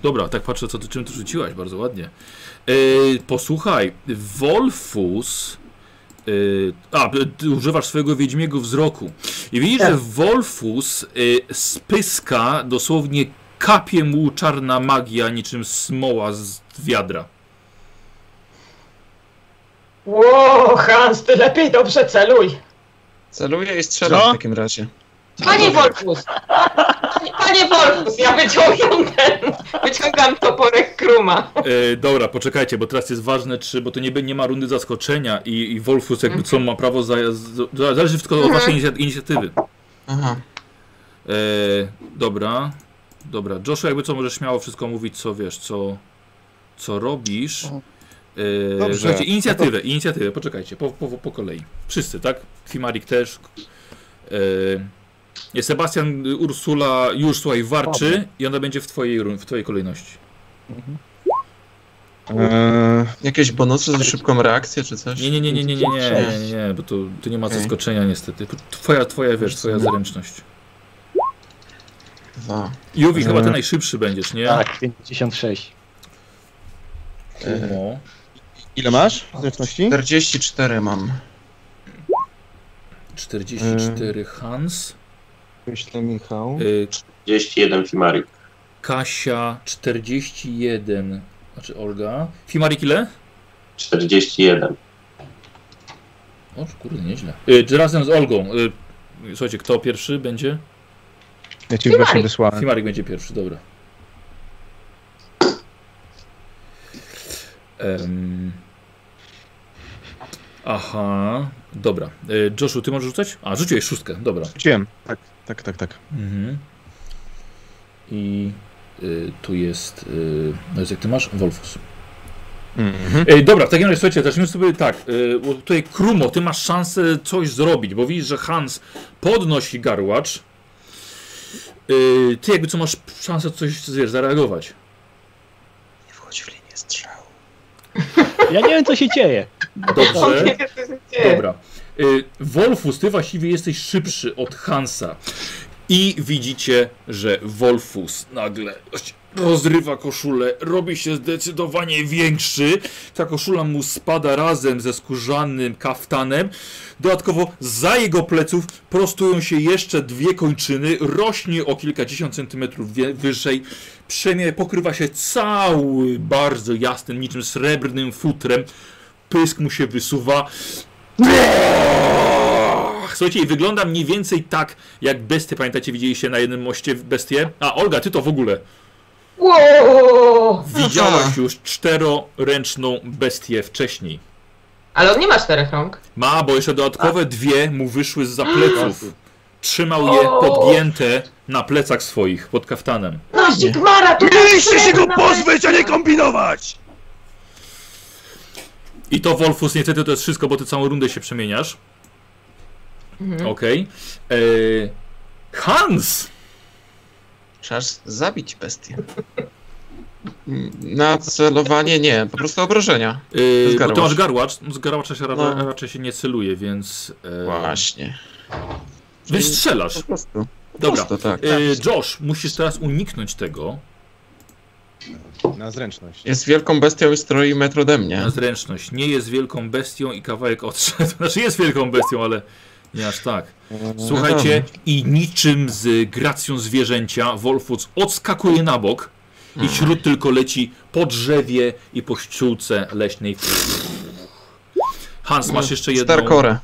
S1: dobra, tak patrzę, co ty czym tu rzuciłaś, bardzo ładnie. E, posłuchaj, Wolfus. E, a, ty używasz swojego wiedźmiego wzroku. I widzisz, że Wolfus e, spyska dosłownie kapie mu czarna magia, niczym smoła z wiadra.
S3: Ło, Hans, ty lepiej dobrze celuj.
S2: Celuję i strzelam
S7: Co?
S2: w takim razie.
S3: Panie Wolfus! Panie- Panie Wolfus, ja wyciągam ten, wyciągam toporek Kruma.
S1: E, dobra, poczekajcie, bo teraz jest ważne, czy, bo to nie, nie ma rundy zaskoczenia i, i Wolfus jakby co ma prawo, za, z- zależy wszystko od waszej inicja- inicjatywy.
S2: Aha.
S1: E, dobra. Dobra, Joshua, jakby co możesz śmiało wszystko mówić, co wiesz, co, co robisz. E, Yy,
S9: Dobrze.
S1: Słuchajcie, inicjatywę, inicjatywę, poczekajcie, po, po, po kolei. Wszyscy, tak? Fimarik też. Yy, Sebastian, y, Ursula już słuchaj warczy
S6: Dobra.
S1: i ona będzie w twojej, ru- w twojej kolejności.
S2: Eee, jakieś bonusy za szybką reakcję czy coś?
S1: Nie, nie, nie, nie, nie, nie, nie, nie, nie, nie bo tu, tu nie ma
S2: Okej.
S1: zaskoczenia niestety. Twoja, twoja, wiesz, twoja zręczność.
S2: Dwa.
S1: Juwi, chyba ty
S2: Mhm.
S1: najszybszy będziesz, nie?
S6: Tak, 56.
S1: No.
S9: Ile masz zręczności?
S2: 44 mam.
S1: 44 Hans,
S9: Myślę, Michał.
S1: y,
S5: 41 Fimarik.
S1: Kasia 41, znaczy Olga. Fimarik ile?
S5: 41.
S1: O kurde, nieźle. Y, czy razem z Olgą. Y, słuchajcie, kto pierwszy będzie?
S9: Ja cię
S3: Fimarik.
S9: właśnie
S8: Tak.
S9: wysłałem.
S1: Fimarik będzie pierwszy, dobra. Em, aha, dobra. Y, Joshu, ty możesz rzucać? A, rzuciłeś szóstkę, dobra.
S9: Rzuciłem. Tak, tak, tak, tak.
S1: Mhm. I y, tu jest. Y, no jest jak ty masz? Wolfus.
S9: Mhm.
S1: Ej, dobra, w takim razie słuchajcie, zacznijmy sobie tak. y, bo tutaj Krumo, ty masz szansę coś zrobić, bo widzisz, że Hans podnosi garłacz. Y, ty jakby co masz szansę coś wiesz, zareagować.
S2: Nie wchodź w linię strzału.
S6: Ja nie wiem, co się dzieje.
S3: On
S1: Dobrze.
S3: nie wie, co się dzieje.
S1: Dobra. Y, Wolfus, ty właściwie jesteś szybszy od Hansa. I widzicie, że Wolfus nagle rozrywa koszulę, robi się zdecydowanie większy. Ta koszula mu spada razem ze skórzanym kaftanem. Dodatkowo za jego pleców prostują się jeszcze dwie kończyny, rośnie o kilkadziesiąt centymetrów wie- wyżej. Przemie pokrywa się cały bardzo jasnym, niczym srebrnym futrem. Pysk mu się wysuwa. Słuchajcie, i wygląda mniej więcej tak, jak bestie. Pamiętacie, widzieliście na jednym moście w bestie? A, Olga, ty to w ogóle.
S3: Wow.
S1: Widziałaś już czteroręczną bestię wcześniej.
S3: Ale on nie ma czterech rąk.
S1: Ma, bo jeszcze dodatkowe dwie mu wyszły z pleców. Trzymał je
S3: O!
S1: podgięte na plecach swoich, pod kaftanem.
S3: No Zigmara, tu
S2: tak
S7: Mieliście się go pozbyć, a nie kombinować!
S1: I to, Wolfus, niestety to jest wszystko, bo ty całą rundę się przemieniasz.
S3: Mhm.
S1: Okej. Eee, Hans!
S2: Trzeba zabić bestię. Mm, Na celowanie nie, po prostu obrażenia.
S1: Eee,
S2: Zgarłacz.
S1: bo ty masz garłacz. Z garłacza się ra-
S2: No.
S1: raczej się nie celuje, więc... eee,
S2: Właśnie.
S1: Więc strzelasz.
S2: Po prostu. Po
S1: Dobra.
S2: prostu tak.
S1: Y, Josh, musisz teraz uniknąć tego
S9: Na zręczność.
S2: Jest wielką bestią i stroi metr ode mnie.
S1: na zręczność. Nie jest wielką bestią i kawałek odszedł. [LAUGHS] Znaczy jest wielką bestią, ale nie aż tak. Słuchajcie, i niczym z gracją zwierzęcia Wolfus odskakuje na bok i śród tylko leci po drzewie i po ściółce leśnej. Hans, masz jeszcze jedną...
S2: Starkorę.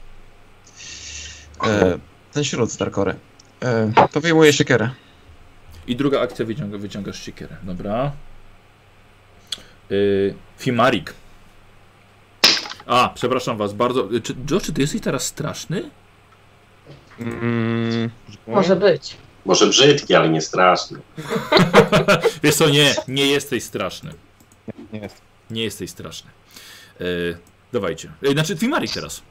S2: E, ten śród Starkorę. E, to wyjmuje siekierę.
S1: I druga akcja wyciąga, wyciągasz siekierę. Dobra. Y, Fimarik. A, przepraszam was bardzo. Y, Czy, Josh, czy ty jesteś teraz straszny?
S9: Mm,
S3: No. Może być.
S5: Może brzydki, ale nie straszny.
S1: Wiesz co, nie, nie jesteś straszny.
S9: nie jest.
S1: Nie jesteś straszny. Y, dawajcie. Y, znaczy, Fimarik teraz.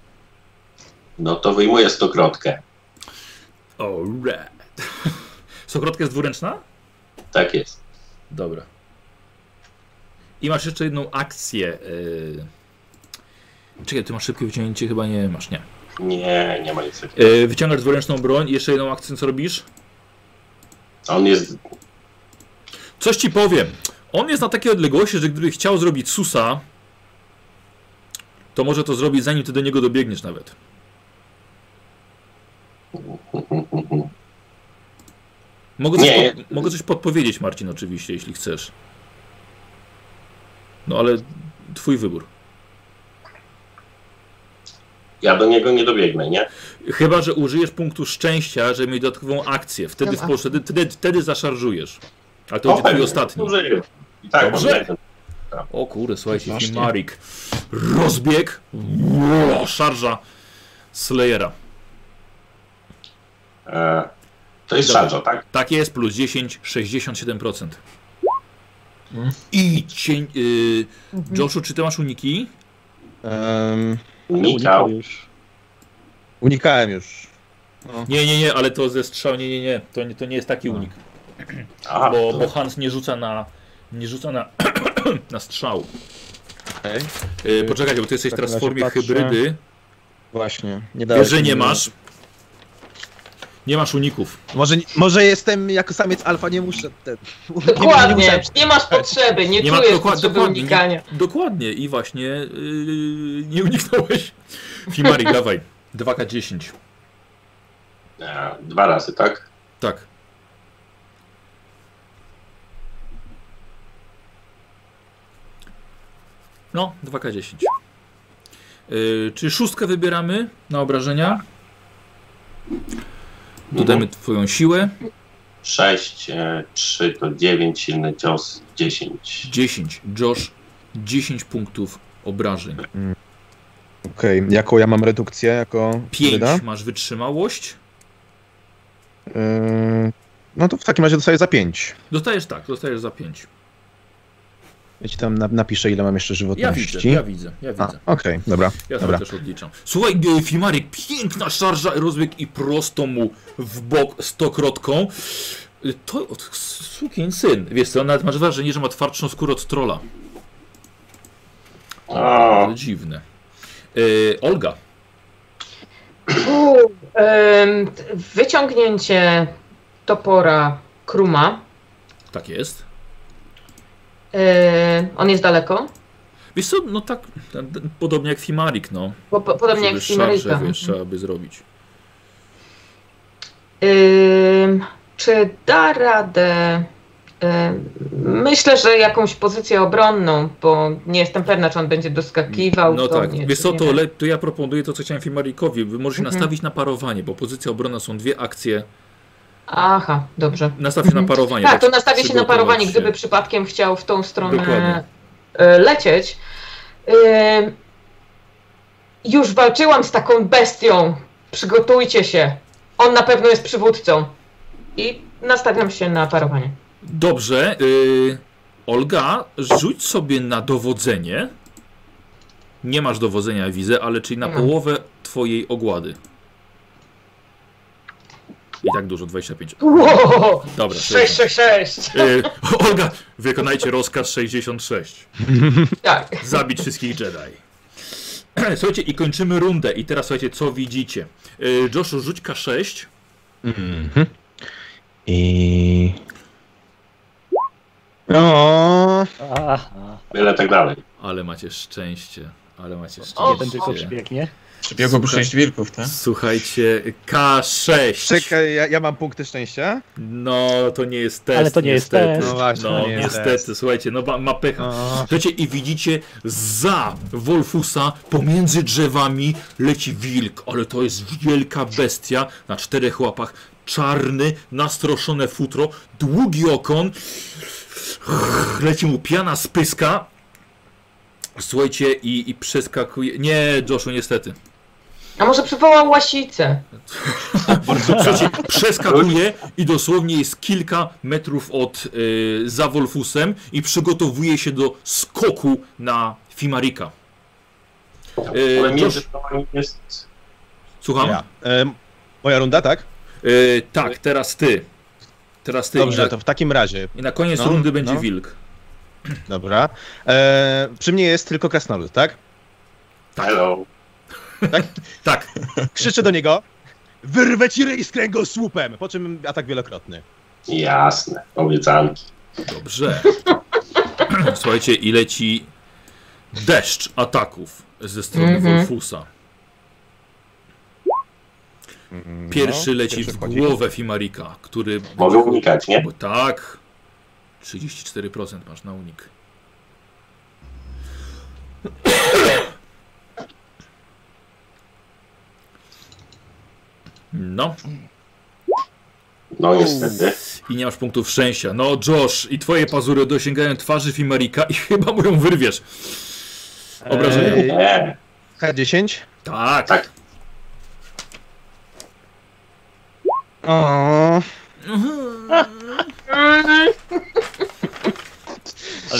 S5: No to wyjmuję stokrotkę.
S1: Alright. [LAUGHS] Sokrotka jest dwuręczna?
S5: Tak jest.
S1: Dobra. I masz jeszcze jedną akcję. y. Czekaj, ty masz szybkie wyciągnięcie? Chyba nie masz, nie.
S5: Nie, nie ma nic takiego.
S1: Y, wyciągasz dwuręczną broń i jeszcze jedną akcję, co robisz?
S5: On jest.
S1: Coś ci powiem. On jest na takiej odległości, że gdyby chciał zrobić susa, to może to zrobić zanim ty do niego dobiegniesz nawet. Mogę coś,
S5: Nie.
S1: pod, mogę coś podpowiedzieć, Marcin, oczywiście, jeśli chcesz. No ale twój wybór.
S5: Ja do niego nie dobiegnę, nie?
S1: Chyba, że użyjesz punktu szczęścia, żeby mieć dodatkową akcję. Wtedy, w, wtedy, wtedy, wtedy zaszarżujesz. A to
S5: O,
S1: będzie twój
S5: pewnie.
S1: ostatni.
S5: Dobrze. I tak,
S1: Dobrze.
S5: może.
S1: O kurde, słuchajcie,
S2: Właśnie.
S1: Marik. Rozbieg. Ło, szarża Slayera.
S5: E, to jest
S1: Dobra.
S5: E, szarża, tak?
S1: Tak jest, plus 10, 67%. I cień. Y, Joshu, czy ty masz uniki?
S9: Em,
S5: Unikał.
S6: już.
S9: unikałem już. No.
S1: Nie, nie, nie, ale to ze strzał, nie, nie, nie. To nie, to nie jest taki unik.
S5: Aha,
S1: bo,
S5: to-
S1: bo Hans nie rzuca na. Nie rzuca na, [CLEARS THROAT] na strzał.
S9: Okej.
S1: Y, poczekajcie, bo ty jesteś
S9: W
S1: teraz w
S9: takim
S1: formie
S9: razie patrzę.
S1: hybrydy.
S9: Właśnie. Nie dałeś
S1: Wiesz, że
S9: mi-
S1: nie masz. Nie masz uników.
S7: Może, może jestem jako samiec alfa, nie muszę ten.
S3: Dokładnie, nie,
S7: musiałem-
S3: masz potrzeby, nie,
S1: Nie ma-
S3: czujesz
S1: dokład-
S3: potrzeby
S1: dokładnie, nie-
S3: unikania.
S1: Dokładnie i właśnie yy, nie uniknąłeś. [LAUGHS] Fimari, dawaj. 2K10.
S5: E, Dwa razy, tak?
S1: Tak. No, 2K10. Yy, czy szóstkę wybieramy na obrażenia? Dodajmy twoją siłę.
S5: 6, 3 e, to 9, silny cios 10.
S1: 10. Josh, 10 punktów obrażeń.
S9: Okej, jaką ja mam redukcję? Jako
S1: 5
S9: Wyda?
S1: masz wytrzymałość.
S9: Em, no to w takim razie dostaję za 5.
S1: Dostajesz tak, dostajesz za 5.
S9: Ja ci tam na, napiszę, ile mam jeszcze
S1: Ja
S9: żywotności.
S1: widzę, ja widzę, ja
S9: A,
S1: widzę.
S9: Okej, dobra.
S1: Ja sobie
S9: Dobra.
S1: też odliczam. Słuchaj, e, Fimarik, piękna szarża, rozbieg i prosto mu w bok stokrotką. E, To od sukien syn. Wiesz co, nawet masz wrażenie, że ma twardszą skórę od trola.
S5: O,
S1: Ale dziwne. E, Olga,
S3: U, em, t- wyciągnięcie topora Kruma.
S1: tak jest.
S3: E, on jest daleko,
S1: Wiesz co, no tak, ten- ten- podobnie jak Fimarik, no.
S3: bo, po, podobnie
S1: Żeby
S3: jak Simaryka.
S1: wiesz, trzeba by zrobić.
S3: Ym, czy da radę? Ym, Myślę, że jakąś pozycję obronną, bo nie jestem pewna, czy on będzie doskakiwał.
S1: No
S3: do
S1: tak,
S3: mnie,
S1: wiesz
S3: czy
S1: co,
S3: nie.
S1: to, le, to ja proponuję to, co chciałem Fimarikowi. Wy możecie
S3: Mhm.
S1: nastawić na parowanie, bo pozycja obronna są dwie akcje.
S3: Aha, dobrze.
S1: Nastaw się na
S3: Mhm.
S1: parowanie.
S3: Tak, to nastawię się na
S1: przygotować
S3: parowanie,
S1: się.
S3: gdyby przypadkiem chciał w tą stronę
S1: Dokładnie.
S3: e, lecieć. Ym, Już walczyłam z taką bestią. Przygotujcie się. On na pewno jest przywódcą. I nastawiam się na parowanie.
S1: Dobrze. y, Olga, rzuć sobie na dowodzenie. Nie masz dowodzenia, widzę, ale czyli na
S3: Nie.
S1: połowę twojej ogłady. I tak dużo, 25.
S3: Wow,
S1: Dobra. to jest-
S3: 666!
S1: Y, Olga, wykonajcie rozkaz 66.
S3: Tak.
S1: Zabić wszystkich Jedi. [CLEARS THROAT] Słuchajcie, i kończymy rundę. I teraz słuchajcie, co widzicie. Y, Joshu, rzuć K6.
S9: Mhm. I. No.
S6: Aha,
S5: Byle tak dalej.
S1: Ale macie szczęście. Ale macie szczęście.
S3: O,
S6: jeden tylko przybiegnie.
S2: Przybiegłoby
S1: Słuchaj.
S2: sześć wilków, tak?
S1: Słuchajcie, K6.
S9: Czekaj, ja, ja mam punkty szczęścia.
S1: No, to nie jest test.
S6: Ale to nie jest
S1: niestety.
S6: test.
S9: No właśnie,
S1: No,
S9: to nie jest
S1: niestety,
S9: test.
S1: słuchajcie, no ma, ma pecha. Słuchajcie, i widzicie, za Wolfusa, pomiędzy drzewami, leci wilk, ale to jest wielka bestia na czterech łapach. Czarny, nastroszone futro, długi okon, leci mu piana z pyska. Słuchajcie, i, i przeskakuje. Nie, Joshu, niestety.
S3: A może przywołał łasicę?
S1: Słuchajcie, przeskakuje i dosłownie jest kilka metrów od y, za Wolfusem i przygotowuje się do skoku na Fimarika.
S5: Ale
S1: Y,
S5: między
S1: Josh,
S5: nami jest...
S1: słucham?
S9: Ja. Em, moja runda, tak?
S1: Y, tak, teraz ty. Teraz ty tak. i,
S9: Dobrze,
S1: na,
S9: to w takim razie.
S1: i na koniec
S9: No,
S1: rundy będzie
S9: no.
S1: wilk.
S9: Dobra. E, przy mnie jest tylko krasnolud, tak?
S5: Hello.
S1: Tak,
S9: Krzyczę do niego. Wyrwę ci ryj z kręgosłupem! Po czym atak wielokrotny.
S5: Jasne, obiecanki.
S1: dobrze. [CLEARS THROAT] Słuchajcie, i leci deszcz ataków ze strony
S3: Mhm.
S1: Wolfusa. Pierwszy
S9: Mhm, no,
S1: leci
S9: pierwszy
S1: w
S9: wchodzi.
S1: głowę Fimarika, który...
S5: Mogę unikać, nie?
S1: Bo tak. 34% masz na unik. No,
S5: No niestety.
S1: i nie masz punktów szczęścia. No, Josh, i twoje pazury dosięgają twarzy Fimerika i [LAUGHS] chyba mu ją wyrwiesz. Obrażenia.
S9: Eee,
S5: Nie,
S9: K10.
S1: Tak.
S5: tak.
S9: O,
S1: Mhm.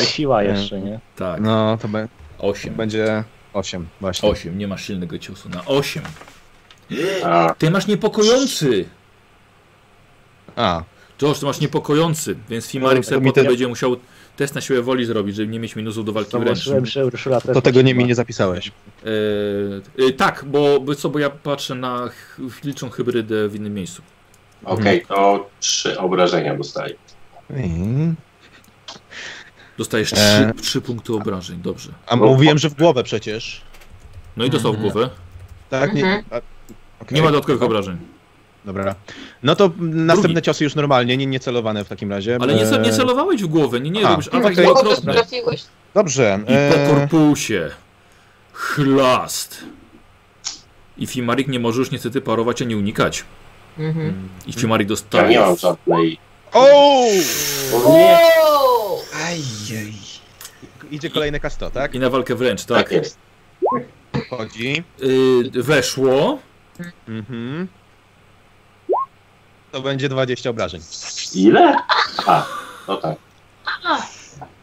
S6: siła jeszcze, nie?
S1: Tak,
S8: No, to be-
S1: 8.
S8: będzie 8 właśnie.
S1: 8, nie masz silnego ciosu. Na 8.
S5: A,
S1: Ty masz niepokojący!
S8: A,
S1: George, ty masz niepokojący, więc Fimarik
S8: No,
S1: sobie
S8: mi
S1: potem
S8: te-
S1: będzie musiał test na siłę woli zrobić, żeby nie mieć minusów do
S8: No,
S1: walki wręcz.
S6: Zobaczyłem, że Urszula też
S8: to tego nie
S6: tak ma.
S8: mi nie zapisałeś.
S1: Yy, yy, tak, bo, bo co, bo ja patrzę na ch- liczą hybrydę w innym miejscu. Mhm.
S5: okej, to trzy obrażenia dostaję.
S8: Mm.
S1: Dostajesz
S8: E.
S1: 3, trzy punkty obrażeń, dobrze.
S8: A mówiłem, że w głowę przecież.
S1: No i dostał w
S8: Mhm.
S1: głowę.
S8: Tak? Nie,
S3: Mhm.
S8: a, okej.
S1: Nie ma dodatkowych obrażeń.
S8: Dobra. No to następne ciosy już normalnie, nie niecelowane w takim razie.
S1: Ale nie, ce- nie
S8: E,
S1: celowałeś w głowę, nie, nie
S8: A,
S1: robisz. A
S5: No,
S8: okej.
S1: tak
S8: Okej.
S3: Bo też
S1: dwukrotne.
S3: trafiłeś.
S8: Dobrze.
S1: I po
S8: E,
S1: korpusie. Chlast. I Fimarik nie może już niestety parować, a nie unikać.
S3: Mhm.
S1: I Fimarik
S5: Ja nie
S1: dostaje
S5: mam żadnej.
S8: o!
S5: O nie,
S3: Wow!
S8: Ajej. Idzie kolejne kasto, tak?
S1: i na walkę wręcz,
S5: tak
S1: tak?
S5: jest.
S8: Chodzi.
S1: Yy, weszło.
S8: Mhm. To będzie 20 obrażeń.
S5: Ile? A, no tak.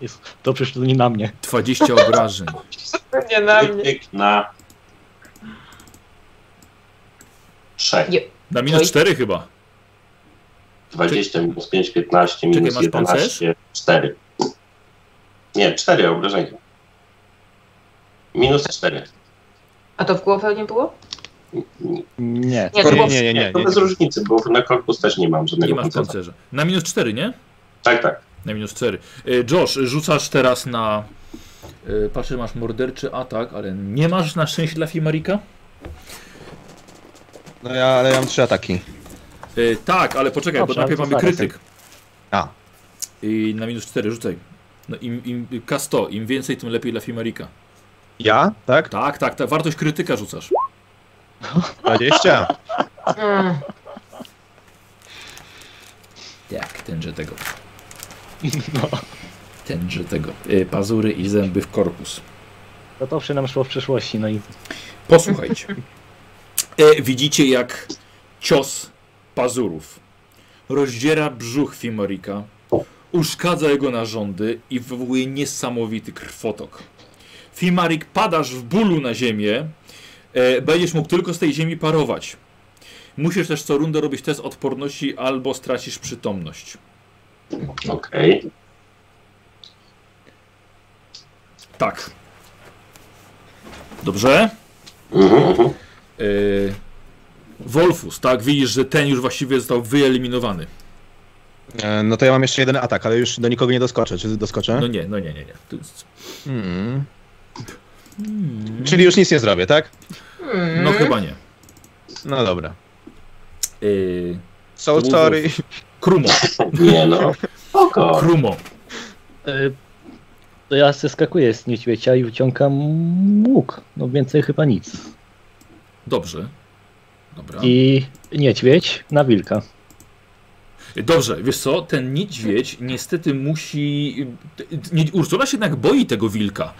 S6: Jest, to przecież to nie na mnie.
S1: 20 obrażeń.
S3: Nie na mnie.
S5: Krytyk na trzech.
S3: Nie.
S1: Na minus
S3: Oj.
S1: 4 chyba.
S5: 20 minus 5, 15 minus
S1: masz pancerz?
S5: 11, 4. Nie, 4 obrażenia. Minus 4.
S3: A to w głowę nie było?
S6: Nie.
S3: Nie, to
S8: Kor-
S3: było
S8: nie,
S3: w...
S8: nie, nie, nie,
S5: To
S8: nie.
S5: bez różnicy, bo na korpus też nie mam
S1: Nie
S5: żadnego
S1: masz
S5: pancerza.
S1: pancerza. Na minus 4, nie?
S5: Tak, tak.
S1: Na minus 4. Yy, Josh, rzucasz teraz na. Yy, patrzę, masz morderczy atak, ale nie masz na szczęście dla Fimarika?
S8: No ja, ale ja mam trzy ataki.
S1: Yy, tak, ale poczekaj,
S6: Dobrze,
S1: bo najpierw
S6: ale
S1: mamy
S6: to zaraz.
S1: krytyk.
S8: A.
S1: I na minus 4 rzucaj. No im, im K100, im więcej, tym lepiej dla Fimarika.
S8: Ja? Tak?
S1: Tak, tak, tak. Wartość krytyka rzucasz.
S8: 20.
S3: Mm.
S1: Tak, tenże tego.
S6: No.
S1: Tenże tego. Y, Pazury i zęby w korpus.
S6: To dobrze nam szło w przeszłości, no i
S1: Posłuchajcie. E, widzicie jak cios pazurów rozdziera brzuch Fimorika, uszkadza jego narządy i wywołuje niesamowity krwotok. Fimarik, padasz w bólu na ziemię, e, będziesz mógł tylko z tej ziemi parować. Musisz też co rundę robić test odporności albo stracisz przytomność.
S5: Okej.
S1: Tak. Dobrze?
S5: Mhm, mhm.
S1: Yy, Wolfus, tak? Widzisz, że ten już właściwie został wyeliminowany.
S8: E, No to ja mam jeszcze jeden atak, ale już do nikogo nie doskoczę. Czy doskoczę?
S1: No nie, no nie, nie, nie. To jest-
S8: Mm.
S1: Hmm.
S8: Czyli już nic nie zrobię, tak?
S3: Mm.
S1: No chyba nie.
S8: No dobra.
S1: Yy,
S8: So
S1: Mów,
S8: sorry.
S1: Krumo, [LAUGHS]
S5: Nie no. Spoko.
S1: Krumo.
S6: Y, To ja zeskakuję z niedźwiedzia i wyciągam łuk. No więcej chyba nic.
S1: Dobrze. Dobra.
S6: I niedźwiedź na wilka.
S1: Dobrze, wiesz co, ten niedźwiedź niestety musi... Nie, Ursula się jednak boi tego wilka.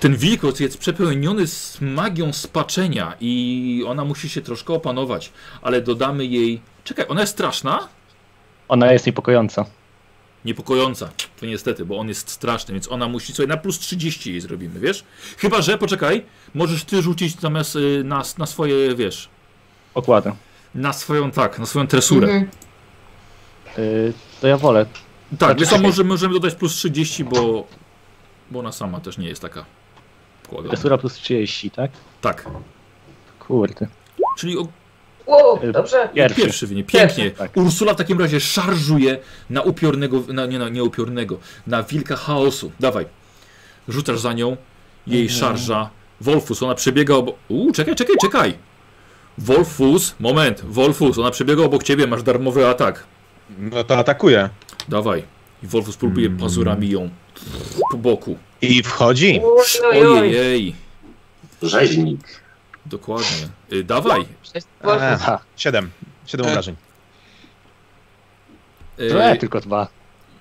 S1: Ten wilkoc jest przepełniony z magią spaczenia i ona musi się troszkę opanować, ale dodamy jej... Czekaj, ona jest straszna?
S6: Ona jest niepokojąca.
S1: Niepokojąca, to niestety, bo on jest straszny, więc ona musi sobie na plus 30 jej zrobimy, wiesz? Chyba, że, poczekaj, możesz ty rzucić zamiast y, na, na swoje, wiesz,
S6: Okładam.
S1: na swoją, tak, na swoją tresurę.
S3: Mhm.
S6: Y, To ja wolę.
S1: Tak, wiesz co,
S6: Poczekaj.
S1: może, możemy dodać plus 30, bo, bo ona sama też nie jest taka kłaga.
S6: Dresura plus 30, tak?
S1: Tak,
S6: Kurde.
S1: czyli o,
S3: Wow, dobrze.
S1: pierwszy,
S6: Pierwszy.
S1: pierwszy wynik, pięknie.
S6: Pierwszy, tak.
S1: Ursula w takim razie szarżuje na upiornego, na, nie na nie upiornego, na wilka chaosu. Dawaj, rzucasz za nią, jej
S6: Mhm.
S1: szarża. Wolfus, ona przebiega obok... Uuu, czekaj, czekaj, czekaj. Wolfus, moment, Wolfus, ona przebiega obok ciebie, masz darmowy atak.
S8: No to atakuję.
S1: Dawaj. I Wolfus próbuje
S6: Mhm.
S1: pazurami ją po boku.
S8: I wchodzi.
S3: Ojoj, oj.
S1: Ojej,
S5: Rzeźnik.
S1: dokładnie. Y,
S6: No.
S1: dawaj.
S3: Wolfus,
S8: Aha. 7. 7 obrażeń.
S1: Y, E,
S6: To No ja tylko dwa.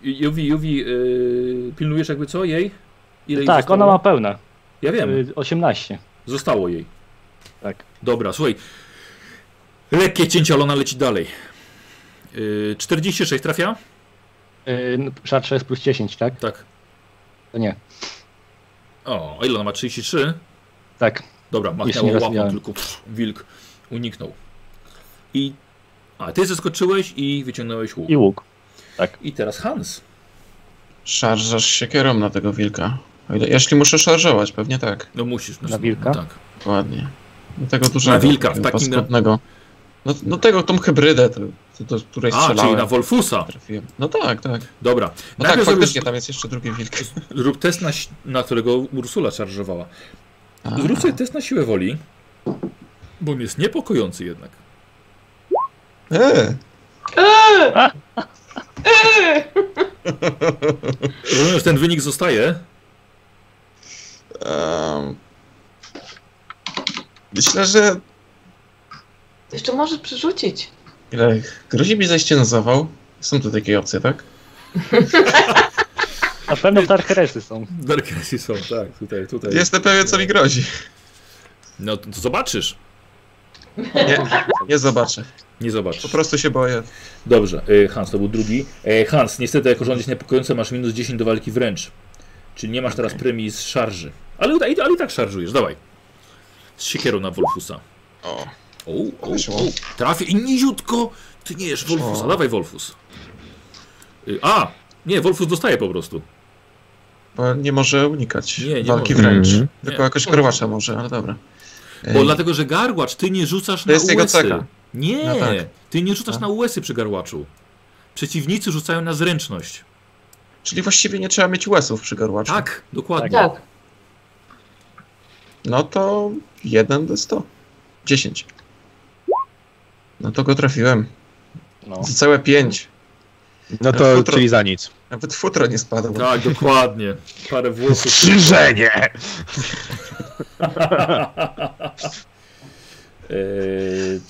S1: Juwi, Juwi, y, pilnujesz jakby co jej? Ile jej
S6: Tak,
S1: zostało?
S6: ona ma pełne.
S1: Ja wiem,
S6: Y, 18.
S1: zostało jej.
S6: Tak.
S1: Dobra, słuchaj. Lekkie cięcie, ale ona leci dalej. Y, 46 trafia?
S6: Y, no, Szarsza jest plus 10, tak?
S1: Tak.
S6: To nie.
S1: O, a ile ona ma? 33?
S6: Tak.
S1: Dobra,
S6: Jeszcze
S1: machnęło
S6: nie
S1: łapą,
S6: rozwijałem.
S1: tylko pff, wilk uniknął. I... A, ty zaskoczyłeś i wyciągnąłeś łuk.
S6: I łuk.
S1: I teraz Hans.
S2: Szarżasz siekierą na tego wilka. O ile, jeśli muszę szarżować, pewnie tak.
S1: No musisz. Znaczy,
S6: Na wilka?
S1: no Tak.
S2: Dokładnie. Do tego dużego.
S1: wilka, w takim-
S2: paskudnego. No, no tego, tą hybrydę, to, to, do której
S1: A, czyli
S2: strzelałem.
S1: na Wolfusa.
S2: Trafiłem. No tak, tak.
S1: Dobra.
S2: No tak,
S1: Najpierw zrobisz,
S2: faktycznie, tam jest jeszcze drugi wilk.
S1: rób test, na, si- na którego Ursula szarżowała.
S2: A,
S1: Zrób sobie test na siłę woli, bo on jest niepokojący jednak.
S2: e,
S1: Rozumiem, że ten wynik zostaje.
S2: em, myślę, że
S3: Jeszcze możesz przerzucić.
S2: ile grozi mi zejście na zawał. Są tu takie opcje, tak?
S6: Na pewno Tarkeresy są.
S1: Darkesi są, tak, tutaj, tutaj.
S2: Jestem pewien, co mi grozi.
S1: No to to zobaczysz.
S2: Nie, nie zobaczę.
S1: Nie
S2: Po
S1: zobaczysz.
S2: prostu się boję.
S1: Dobrze, e, Hans, to był drugi. E, Hans, niestety, jako rządziec niepokojący, masz minus 10 do walki wręcz. Czyli nie masz teraz premii z szarży. Ale, uda- ale i tak szarżujesz, dawaj. Z siekierą na Wolfusa.
S2: O,
S1: O, o, o. Trafi i niziutko tniesz Wolfusa.
S2: O.
S1: Dawaj, Wolfus. Y, A! Nie, Wolfus dostaje po prostu.
S2: bo nie może unikać
S1: Nie, nie
S2: walki
S1: może.
S2: wręcz.
S8: Mhm.
S2: Tylko
S1: Nie.
S2: jakoś korwacza może, ale dobra.
S1: Bo
S2: Ej,
S1: dlatego, że garłacz, ty nie rzucasz
S2: To jest
S1: na
S2: jego
S1: USy.
S2: cecha.
S1: Nie,
S2: No tak.
S1: ty nie rzucasz
S2: No.
S1: na USy przy garłaczu. Przeciwnicy rzucają na zręczność.
S2: Czyli właściwie nie trzeba mieć łesów przy garłaczu.
S1: Tak, dokładnie.
S3: Tak.
S2: No to 1 do 100. 10. No to go trafiłem.
S6: No.
S2: Za całe 5.
S8: No to,
S2: Futro.
S8: czyli za nic.
S2: Nawet futro nie spadło.
S1: Tak, dokładnie. Parę włosów.
S7: Strzyżenie!
S1: Eee,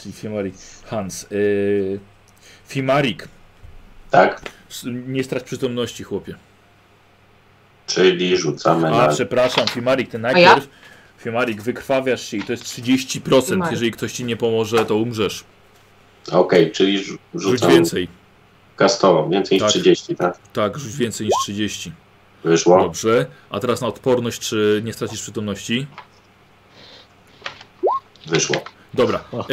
S1: czyli Fimari. Hans. Eee, Fimarik.
S5: Tak?
S1: S- Nie strać przytomności, chłopie.
S5: Czyli rzucamy
S1: A,
S5: na...
S1: przepraszam, Fimarik, ty najpierw. Fimarik, wykrwawiasz się i to jest 30%.
S3: Fimarik.
S1: Jeżeli ktoś ci nie pomoże, to umrzesz.
S5: Okej, czyli rzu-
S1: Rzuć
S5: rzucam
S1: więcej.
S5: kastową, więcej
S1: Tak.
S5: niż 30, tak?
S1: Tak, rzuć więcej niż 30.
S5: Wyszło?
S1: Dobrze. A teraz na odporność, czy nie stracisz przytomności?
S5: Wyszło.
S1: Dobra.
S6: O.
S1: Eee,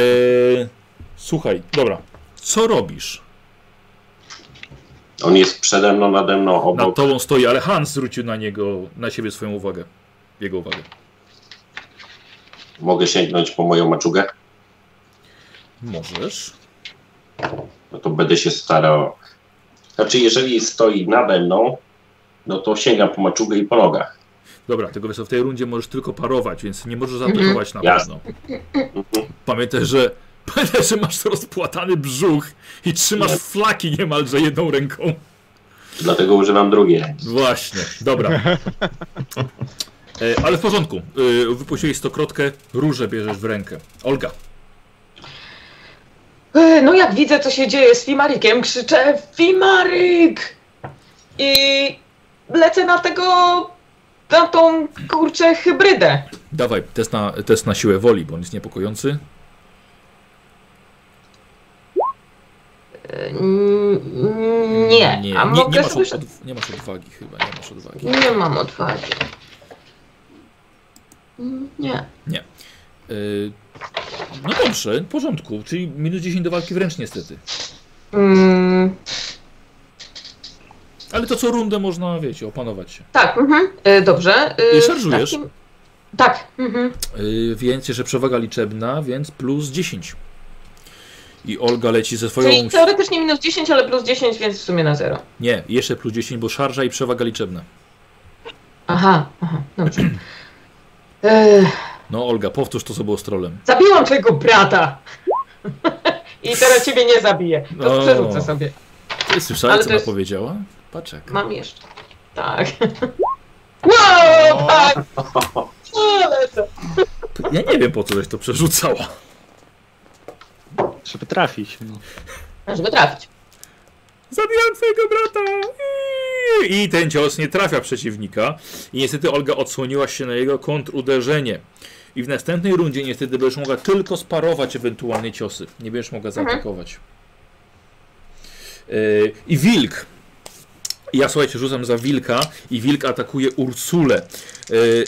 S1: słuchaj, dobra. Co robisz?
S5: On jest przede mną, nade mną,
S1: Nad
S5: obok.
S1: tobą stoi, ale Hans zwrócił na niego, na siebie swoją uwagę. Jego uwagę.
S5: Mogę sięgnąć po moją maczugę?
S1: Możesz.
S5: No to będę się starał... Znaczy, jeżeli stoi nade mną, no to sięgam po maczugę i po nogach.
S1: Dobra, tego wiesz, co, w tej rundzie możesz tylko parować, więc nie możesz
S3: Mhm.
S1: zaatakować na
S5: Jasne.
S1: pewno. Pamiętaj, że [LAUGHS] pamiętaj, że masz rozpłatany brzuch i trzymasz flaki niemalże jedną ręką.
S5: Dlatego używam drugiej ręki.
S1: Właśnie, dobra. E, ale w porządku. E, wypuściłeś stokrotkę, różę bierzesz w rękę. Olga,
S3: E, No jak widzę, co się dzieje z Fimarikiem, krzyczę Fimarik! I lecę na tego, na tą kurczę hybrydę.
S1: dawaj, test na, test na siłę woli, bo on jest niepokojący.
S3: Mm, Nie,
S1: nie,
S3: a
S1: nie,
S3: mogę
S1: nie, masz,
S3: sobie...
S1: od, od, nie masz odwagi chyba, nie masz odwagi.
S3: Nie mam odwagi. Mm, Nie.
S1: E, no dobrze, w porządku, czyli minus 10 do walki wręcz niestety.
S3: Mm,
S1: Ale to co rundę można, wiecie, opanować się.
S3: tak, mhm. E, dobrze. E,
S1: I szarżujesz?
S3: w takim- Tak, mhm.
S1: Yy, więc jeszcze przewaga liczebna, więc plus 10. I Olga leci ze swoją.
S3: Czyli teoretycznie minus 10, ale plus 10, więc w sumie na zero.
S1: Nie, jeszcze plus 10, bo szarża i przewaga liczebna.
S3: Aha, aha, dobrze. E,
S1: No, Olga, powtórz to, co było z trolem.
S3: zabiłam twojego brata! [LAUGHS] I teraz ciebie nie zabiję. To
S1: O.
S3: przerzucę sobie.
S1: Ty słyszałeś,
S3: Ale
S1: co
S3: to
S1: ona
S3: jest-
S1: powiedziała? Paczek.
S3: Mam jeszcze. Tak. [LAUGHS] Wow, tak! O, lecę.
S1: Ja nie wiem, po co żeś to przerzucała.
S6: Żeby trafić. No.
S3: Żeby trafić. [LAUGHS]
S1: Zabiłam twojego brata! Iii. I ten cios nie trafia przeciwnika. I niestety Olga odsłoniła się na jego kontruderzenie. I w następnej rundzie niestety będziesz mogła tylko sparować ewentualnie ciosy. Nie będziesz mogła zaatakować. Yy, I E, wilk. Ja słuchajcie, rzucam za wilka i wilk atakuje Ursulę. Yy,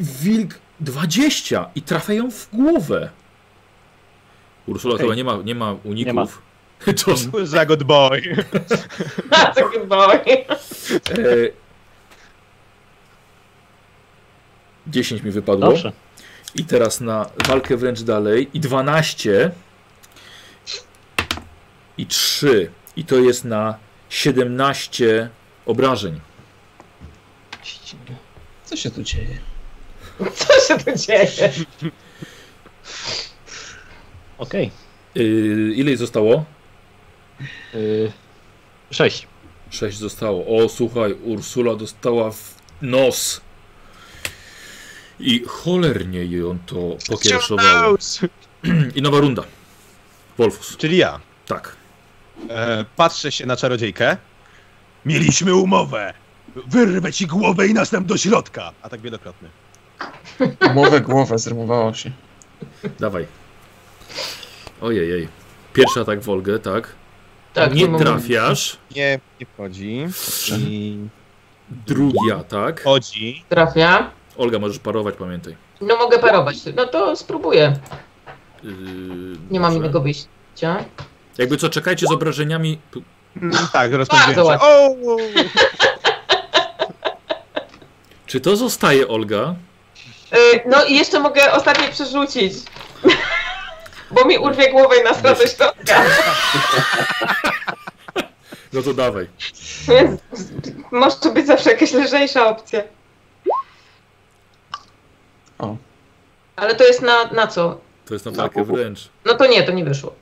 S1: wilk 20 i trafia ją w głowę. Ursula
S6: Ej.
S1: chyba nie ma, nie ma
S6: Nie ma.
S1: uników. [LAUGHS] To,
S8: Za good boy.
S3: Tak chyba.
S1: yy, 10 mi wypadło.
S6: Dobrze.
S1: I teraz na walkę wręcz dalej. I 12. I 3. I to jest na 17 obrażeń.
S2: Co się tu dzieje?
S3: Co się tu dzieje?
S6: Okej.
S1: Yy, ile jej zostało?
S6: Y, Sześć.
S1: 6 zostało. O, słuchaj, Ursula dostała w nos. I cholernie ją to pokiereszowało. I nowa runda. Wolfus.
S8: Czyli ja.
S1: Tak.
S8: E, patrzę się na czarodziejkę.
S7: Mieliśmy umowę. Wyrwę ci głowę i następ do środka.
S8: A tak wielokrotny.
S2: Głowę, głowę, zrymowało się.
S1: Dawaj. Ojej, jej. Pierwszy atak w Olgę, tak?
S3: Tak,
S1: Nie
S3: to
S1: trafiasz.
S8: Nie, nie wchodzi. I
S1: Drugi atak.
S8: wchodzi.
S3: Trafia.
S1: Olga, możesz parować, pamiętaj.
S3: No mogę parować. No to spróbuję.
S1: Yy,
S3: Nie mam
S1: dobrze.
S3: innego wyjścia.
S1: Jakby co, czekajcie z obrażeniami. p-
S8: Mm, Tak, rozpędziłem się.
S3: łatwo.
S8: O!
S1: Czy to zostaje, Olga?
S3: Y, No i jeszcze mogę ostatnie przerzucić. [LAUGHS] Bo mi urwie głowę i nas radość to. [LAUGHS]
S1: No to dawaj.
S3: Więc może to być zawsze jakaś lżejsza opcja.
S2: O.
S3: Ale to jest na, na co?
S1: To jest na
S5: Na
S1: walkę
S5: pupu.
S1: wręcz.
S3: No to nie, to nie wyszło.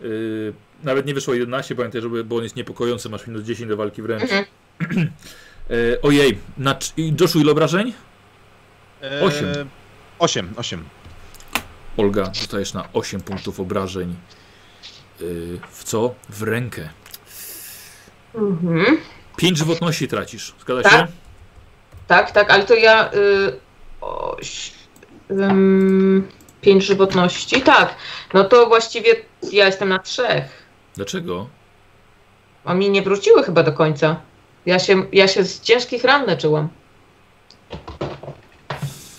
S1: Yy, nawet nie wyszło 11, pamiętaj, żeby, bo on jest niepokojący, masz minus 10 do walki wręcz.
S3: Mhm.
S1: [CLEARS THROAT] Yy, ojej, na, cz- i Joshu ile obrażeń?
S8: E,
S1: Osiem.
S8: Osiem, osiem.
S1: Olga, dostajesz na 8 punktów obrażeń. Yy, w co? W rękę.
S3: Mhm.
S1: 5 żywotności tracisz, zgadza
S3: Tak.
S1: się?
S3: Tak, tak, ale to ja. Y, oś, ym, pięć żywotności, tak. No to właściwie ja jestem na trzech.
S1: Dlaczego?
S3: A mi nie wróciły chyba do końca. Ja się, ja się z ciężkich ran leczyłam.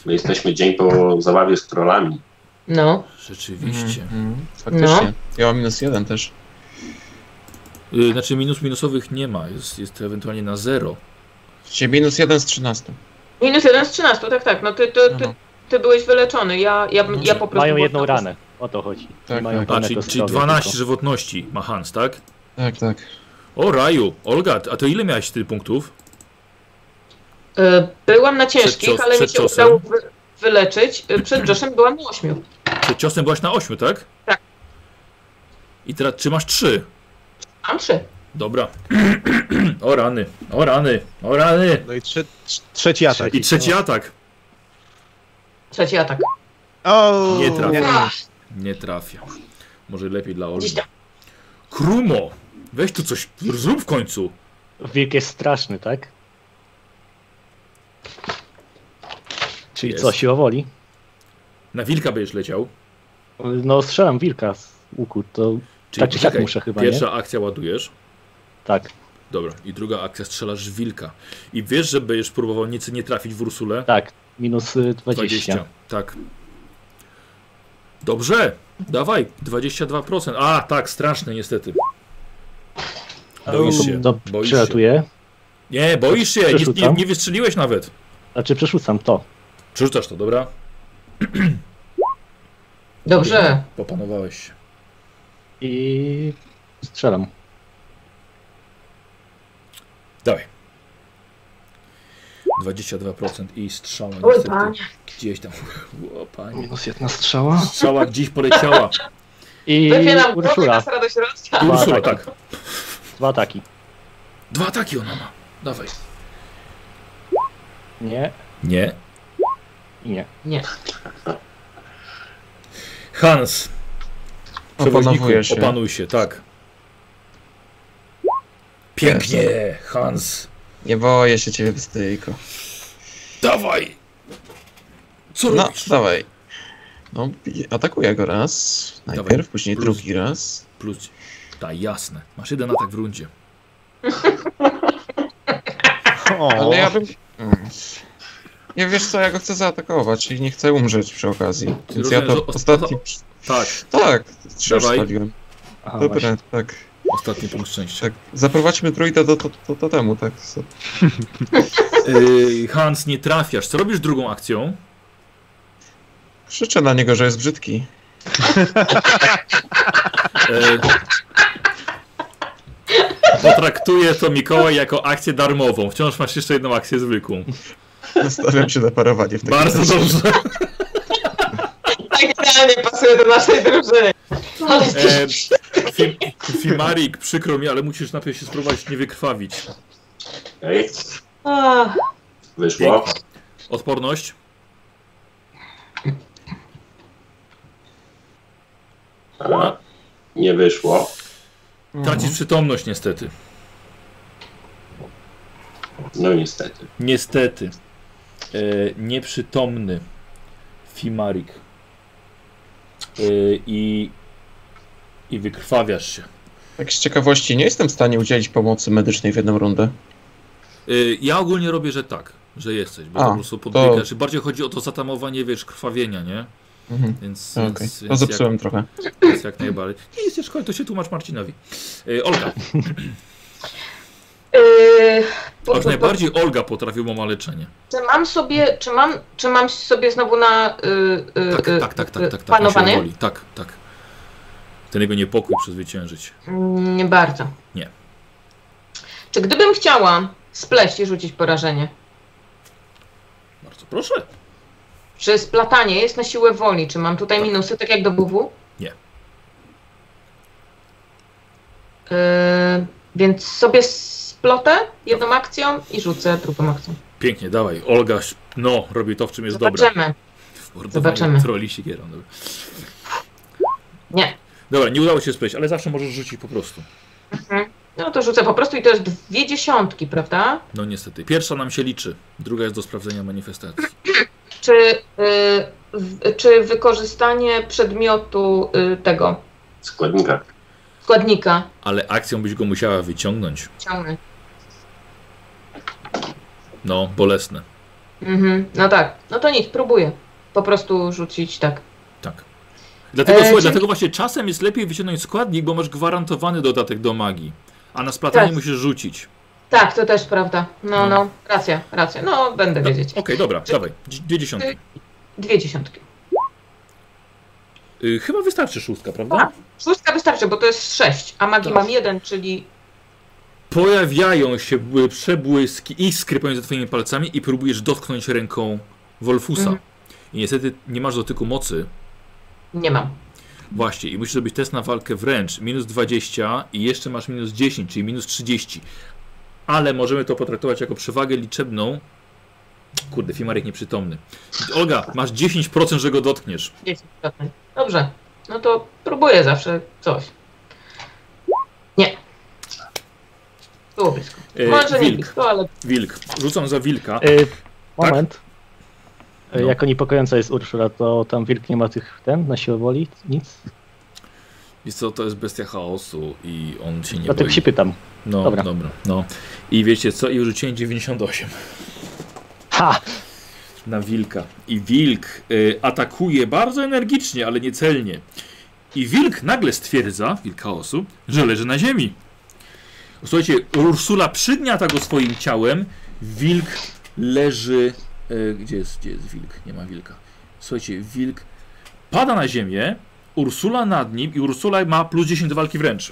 S5: My jesteśmy dzień po zabawie z trollami.
S3: No.
S1: Rzeczywiście.
S2: Mhm, Faktycznie. Ja mam minus jeden też.
S1: Yy, znaczy minus minusowych nie ma, jest, jest ewentualnie na 0.
S2: Czyli minus jeden z 13.
S3: Minus jeden z 13, tak, tak. No ty, ty, ty,
S1: Mhm.
S2: No.
S3: ty byłeś wyleczony. Ja, ja, bym- ja po prostu.
S6: Mają jedną
S3: byłam-
S6: ranę. O to chodzi.
S2: Tak,
S6: mają
S2: tak.
S1: A,
S6: dane
S1: czyli,
S6: kostkowe
S1: czyli 12
S6: tylko.
S1: żywotności ma Hans, tak?
S2: Tak, tak.
S1: O raju, Olga, a to ile miałaś ty punktów?
S3: Y, Byłam na ciężkich,
S1: cios-
S3: ale mi
S1: przed
S3: się
S1: ciosem.
S3: udało wy, wyleczyć. Y, Przed Joshem byłam na 8.
S1: Przed ciosem byłaś na 8, tak?
S3: Tak.
S1: I teraz trzymasz 3.
S3: Mam 3.
S1: Dobra. [CLEARS THROAT] o rany, o rany, o rany.
S8: No i trze- trz- trzeci atak.
S1: I trzeci atak.
S3: Trzeci atak.
S8: O!
S1: Nie trafił.
S3: Ach,
S1: Nie trafia. Może lepiej dla Olgi.
S3: Gdzieś tam.
S1: Krumo! Weź tu coś, zrób w końcu.
S6: Wilk jest straszny, tak? Czyli
S1: Jest.
S6: co, siła woli?
S1: Na wilka będziesz leciał.
S6: No strzelam wilka z łuku, to Tak czy siak
S1: poczekaj,
S6: muszę chyba, nie?
S1: Pierwsza akcja ładujesz.
S6: tak,
S1: Dobra. I druga akcja strzelasz w wilka. I wiesz, że będziesz próbował nic nie trafić w Ursulę.
S6: tak. Minus y, 20.
S1: Tak. Dobrze. Dawaj. 22%. A, tak, straszne niestety. Boisz się.
S6: To
S1: Boisz się.
S6: przelatuję.
S1: Nie, boisz się, nie, nie,
S6: Przerzucam.
S1: nie wystrzeliłeś nawet.
S6: Znaczy przerzucam to.
S1: Przerzucasz to, dobra?
S3: Dobrze.
S1: Popanowałeś się.
S6: I strzelam.
S1: Dawaj. 22% i strzała
S3: Oj,
S1: niestety
S3: panie.
S1: gdzieś tam. O, panie.
S6: Minus jedna strzała.
S1: Strzała gdzieś poleciała.
S6: I
S3: Wypieram głowę,
S6: Urszula.
S3: nas radość rozcia.
S6: Dwa
S1: Ursula,
S6: ataki.
S1: tak.
S6: Dwa ataki.
S1: Dwa ataki ona ma. Dawaj.
S6: Nie
S1: Nie.
S6: i nie.
S3: Nie.
S1: Hans. Przewoźniku,
S2: Opanowuje się.
S1: opanuj się, tak. Pięknie, Hans.
S2: Nie boję się ciebie, Wystyjko.
S1: Dawaj. Co
S2: No,
S1: robisz?
S2: dawaj. No, i atakuję go raz.
S1: Dawaj.
S2: Najpierw, później
S1: Plus.
S2: drugi raz.
S1: Plus. Tak, jasne. Masz jeden atak w rundzie.
S2: Ale ja bym... Mm. Nie wiesz co, ja go chcę zaatakować i nie chcę umrzeć przy okazji. Więc ja
S1: Rozumiem, że
S2: to
S1: os-
S2: ostatni...
S1: Tak,
S2: Tak, trzy już
S1: Dawaj.
S2: stawiłem.
S6: Aha,
S2: Dobra, tak,
S1: ostatni punkt szczęścia.
S2: tak. Zaprowadźmy trójdę do, do, do, do temu, tak. So- Tak.
S1: Yy, Hans, nie trafiasz. Co robisz drugą akcją?
S2: Krzyczę na niego, że jest brzydki.
S1: E, potraktuję to Mikołaj jako akcję darmową. Wciąż masz jeszcze jedną akcję zwykłą.
S2: Tak. Nastawiam się na parowanie w takim
S1: Bardzo
S2: razie.
S1: dobrze.
S3: Tak idealnie pasuje do naszej drużyny. Ale
S1: E, Fim, Fimarik, przykro mi, ale musisz najpierw się spróbować nie wykrwawić.
S5: Ej,
S3: Ach,
S5: wyszło.
S1: Odporność?
S5: A, nie wyszło.
S1: Tracisz przytomność niestety.
S5: No niestety.
S1: Niestety. E, nieprzytomny Fimarik. E, i, I wykrwawiasz się.
S2: Tak z ciekawości, nie jestem w stanie udzielić pomocy medycznej w jedną rundę.
S1: Y, Ja ogólnie robię, że tak, że jesteś, bo
S2: A,
S1: to po prostu podbiegasz.
S2: to-
S1: Bardziej chodzi o to zatamowanie, wiesz, krwawienia, nie?
S2: Mhm.
S1: Więc,
S2: Okej,
S1: więc,
S2: to
S1: więc, jak,
S2: zepsułem trochę.
S1: więc jak najbardziej. Nie jest szkoda, to się tłumacz Marcinowi. Y, Olga,
S3: yy, po-
S1: aż
S3: po-
S1: najbardziej Olga potrafi ma leczenie.
S3: Czy mam sobie, czy mam, czy mam sobie znowu na y, y,
S1: Tak,
S3: y,
S1: tak, tak, tak,
S3: y,
S1: tak, tak. on się
S3: panowanie?
S1: boli. Tak, tak. Ten jego niepokój przezwyciężyć.
S3: Mm, Nie bardzo.
S1: Nie.
S3: Czy gdybym chciała spleść i rzucić porażenie?
S1: Bardzo proszę.
S3: Czy splatanie jest na siłę woli? Czy mam tutaj minusy, tak jak do BW?
S1: Nie.
S3: Y, więc sobie splotę jedną akcją i rzucę drugą akcją.
S1: Pięknie, dawaj. Olga, no, robi to, w czym jest dobra.
S3: Zobaczymy.
S1: W mordowaniu
S3: Zobaczymy.
S1: Troli się gierą, dobra.
S3: Nie.
S1: Dobra, nie udało się spleść, ale zawsze możesz rzucić po prostu.
S3: No to rzucę po prostu i to jest dwie dziesiątki, prawda?
S1: No niestety. Pierwsza nam się liczy, druga jest do sprawdzenia manifestacji.
S3: Czy, y, w- czy wykorzystanie przedmiotu y, tego
S5: Składnika.
S3: składnika
S1: Ale akcją byś go musiała wyciągnąć.
S3: ciągnie?
S1: No, bolesne.
S3: Mhm, no tak, no to nic, próbuję. Po prostu rzucić tak.
S1: Tak. Dlatego,
S3: E,
S1: słuchaj,
S3: czyli-
S1: dlatego właśnie czasem jest lepiej wyciągnąć składnik, bo masz gwarantowany dodatek do magii. A na splatanie
S3: Tak.
S1: musisz rzucić.
S3: Tak, to też prawda. No, no, racja, racja. No, będę
S1: Da-
S3: wiedzieć.
S1: Okej, dobra, dawaj. dzi- Dwie dziesiątki.
S3: Dwie dziesiątki.
S1: Y, chyba wystarczy szóstka, prawda?
S3: Tak. Szóstka wystarczy, bo to jest sześć, a magii
S1: Dobrze.
S3: mam jeden, czyli
S1: Pojawiają się b- przebłyski, iskry pomiędzy twoimi palcami i próbujesz dotknąć ręką Wolfusa.
S3: Mhm.
S1: I niestety nie masz dotyku mocy,
S3: nie mam.
S1: Właśnie, i musisz zrobić test na walkę wręcz. Minus 20 i jeszcze masz minus 10, czyli minus 30. Ale możemy to potraktować jako przewagę liczebną. Kurde, Fimarek nieprzytomny. Olga, masz 10%, że go dotkniesz.
S3: 10%. Dobrze, no to próbuję zawsze coś. Nie. Było blisko.
S1: E,
S3: Może nie E-
S1: wilk.
S3: blisko, ale [LAUGHS]
S1: Wilk, rzucam za wilka.
S6: Y, moment.
S1: No.
S6: Y, Jako niepokojąca jest Urszula, to tam wilk nie ma tych ten na siłę woli, nic.
S1: Wiesz co, to jest bestia chaosu i on się nie
S6: Dlatego
S1: boi.
S6: się pytam.
S1: No, dobra.
S6: Dobra.
S1: no. I wiecie co? I wrzuciłem 98
S6: Ha!
S1: Tak. na wilka. I wilk y, atakuje bardzo energicznie, ale niecelnie. I wilk nagle stwierdza, wilk chaosu, że leży na ziemi. Słuchajcie, Ursula przygniata go swoim ciałem. Wilk leży. E, gdzie, jest, gdzie jest wilk? Nie ma wilka. Słuchajcie, wilk pada na ziemię. Ursula nad nim i Ursula ma plus 10 do walki wręcz.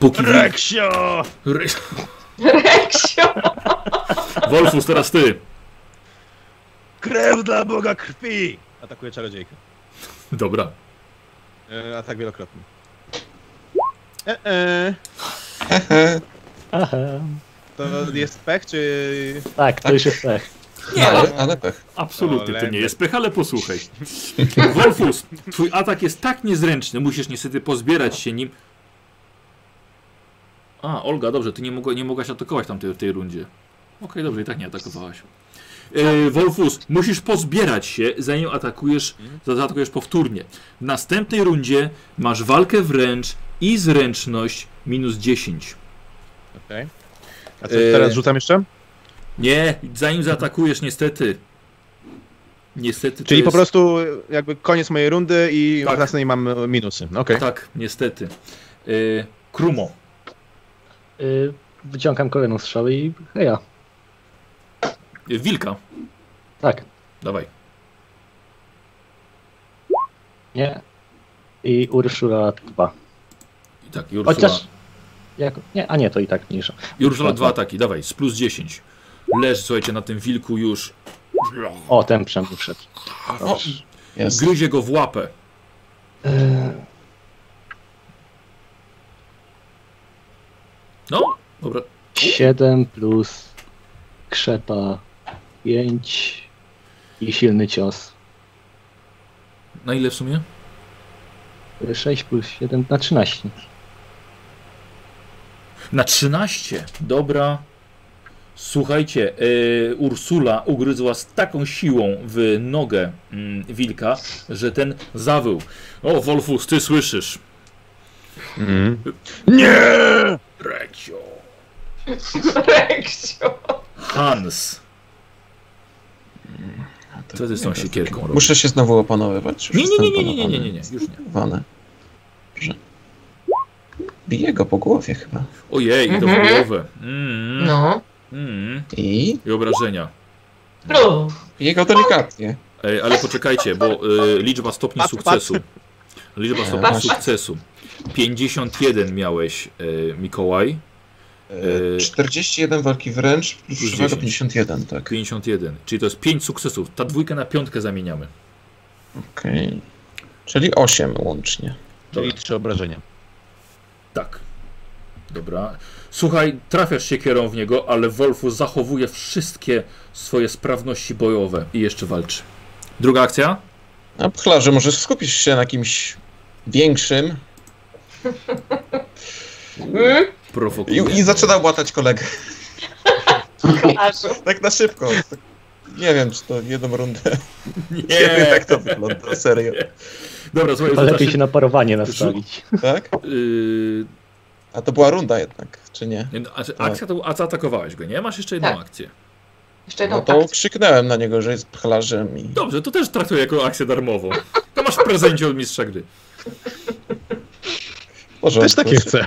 S1: Póki wilk.
S7: Reksio!
S1: Re...
S3: Reksio!
S1: Wolfus, teraz ty.
S7: Krew dla Boga krwi!
S8: Atakuje czarodziejkę.
S1: Dobra.
S8: E, atak wielokrotny. E, e,
S6: Aha.
S8: to jest pech, czy...
S6: Tak, to już jest pech.
S2: Nie, No,
S1: no.
S2: ale, ale pech.
S1: Absolutnie, to nie
S8: Olejny.
S1: jest pech, ale posłuchaj. Wolfus, twój atak jest tak niezręczny, musisz niestety pozbierać się nim. A, Olga, dobrze, ty nie, mogła, nie mogłaś atakować tam tej, tej rundzie. Okej, dobrze, i tak nie atakowałaś. E, Wolfus, musisz pozbierać się, zanim atakujesz, zaatakujesz powtórnie. W następnej rundzie masz walkę wręcz i zręczność minus 10.
S8: A co teraz
S1: Y-
S8: rzucam jeszcze?
S1: Nie, zanim zaatakujesz, niestety. Niestety. to
S8: Czyli po
S1: jest-
S8: prostu jakby koniec mojej rundy i
S1: Tak.
S8: w następnej mam e, minusy. Okej.
S1: Tak, niestety. Y, Krumo.
S6: Y, wyciągam kolejną strzałę i heja.
S1: Y, Wilka.
S6: Tak,
S1: Dawaj.
S6: nie. I Urszula 2.
S1: I tak, i Ursula.
S6: Chociaż. Jako, nie, a nie, to i tak mniejsza.
S1: I Ursula dwa ataki, dawaj, z plus 10. Leż, słuchajcie, na tym wilku już.
S6: O, ten przemówił wszedł.
S1: O,
S2: Jest.
S1: gryzie go w łapę.
S6: Y,
S1: No, dobra.
S6: 7 plus krzepa 5 i silny cios.
S1: Na ile w sumie?
S6: 6 plus 7 na 13.
S1: Na 13. Dobra. Słuchajcie, y, Ursula ugryzła z taką siłą w nogę mm, wilka, że ten zawył. O, Wolfus, ty słyszysz.
S8: Mhm.
S1: Recio.
S3: Reksio.
S1: Hans. Co ty z tą siekierką robisz?
S2: Muszę się znowu opanowywać. Już
S1: Nie, nie, nie,
S2: jestem
S1: nie, nie, nie, nie, nie,
S2: opanowany.
S1: nie, już nie.
S2: Opanowany. Dobrze. Biję go po głowie chyba.
S1: Ojej, i to
S3: Mhm.
S1: wojowe. Mm,
S3: No.
S1: mm.
S2: I
S1: I obrażenia.
S3: No.
S2: biję go delikatnie.
S1: Ej, ale poczekajcie, bo y, liczba stopni sukcesu. Liczba stopni
S2: Patrz.
S1: sukcesu. 51 miałeś, y, Mikołaj.
S2: E, 41 walki wręcz, plus
S1: Yy. Plus
S2: przewaga
S1: 10.
S2: 51, tak.
S1: 51. Czyli to jest 5 sukcesów. Ta dwójkę na piątkę zamieniamy.
S2: Okej. Czyli 8 łącznie.
S8: Czyli trzy obrażenia.
S1: Tak. Dobra. Słuchaj, trafiasz siekierą w niego, ale Wolfu zachowuje wszystkie swoje sprawności bojowe i jeszcze walczy. Druga akcja?
S2: A pchlarze, może skupisz się na kimś większym
S3: Mm?
S2: i,
S1: Prowokuje.
S2: i zaczyna łatać kolegę. [LAUGHS]
S3: Aż.
S2: Tak na szybko. Tak, nie wiem, czy to jedną rundę. Kiedy
S1: Nie.
S2: [LAUGHS] tak to wygląda, serio.
S1: Dobra, słuchaj,
S6: To lepiej
S1: rzucasz,
S6: się na parowanie nastawić.
S2: Tak?
S1: y,
S2: A to była runda jednak, czy nie?
S1: Nie, no, a, akcja to, a zaatakowałeś go, nie? Masz jeszcze jedną
S3: Tak.
S1: akcję.
S3: Jeszcze jedną
S2: No to
S1: tak.
S3: akcję.
S2: krzyknąłem na niego, że jest pchlarzem i...
S1: Dobrze, to też traktuję jako akcję darmową. To masz w prezencie od mistrza gry.
S2: Może
S8: Też takie chcę.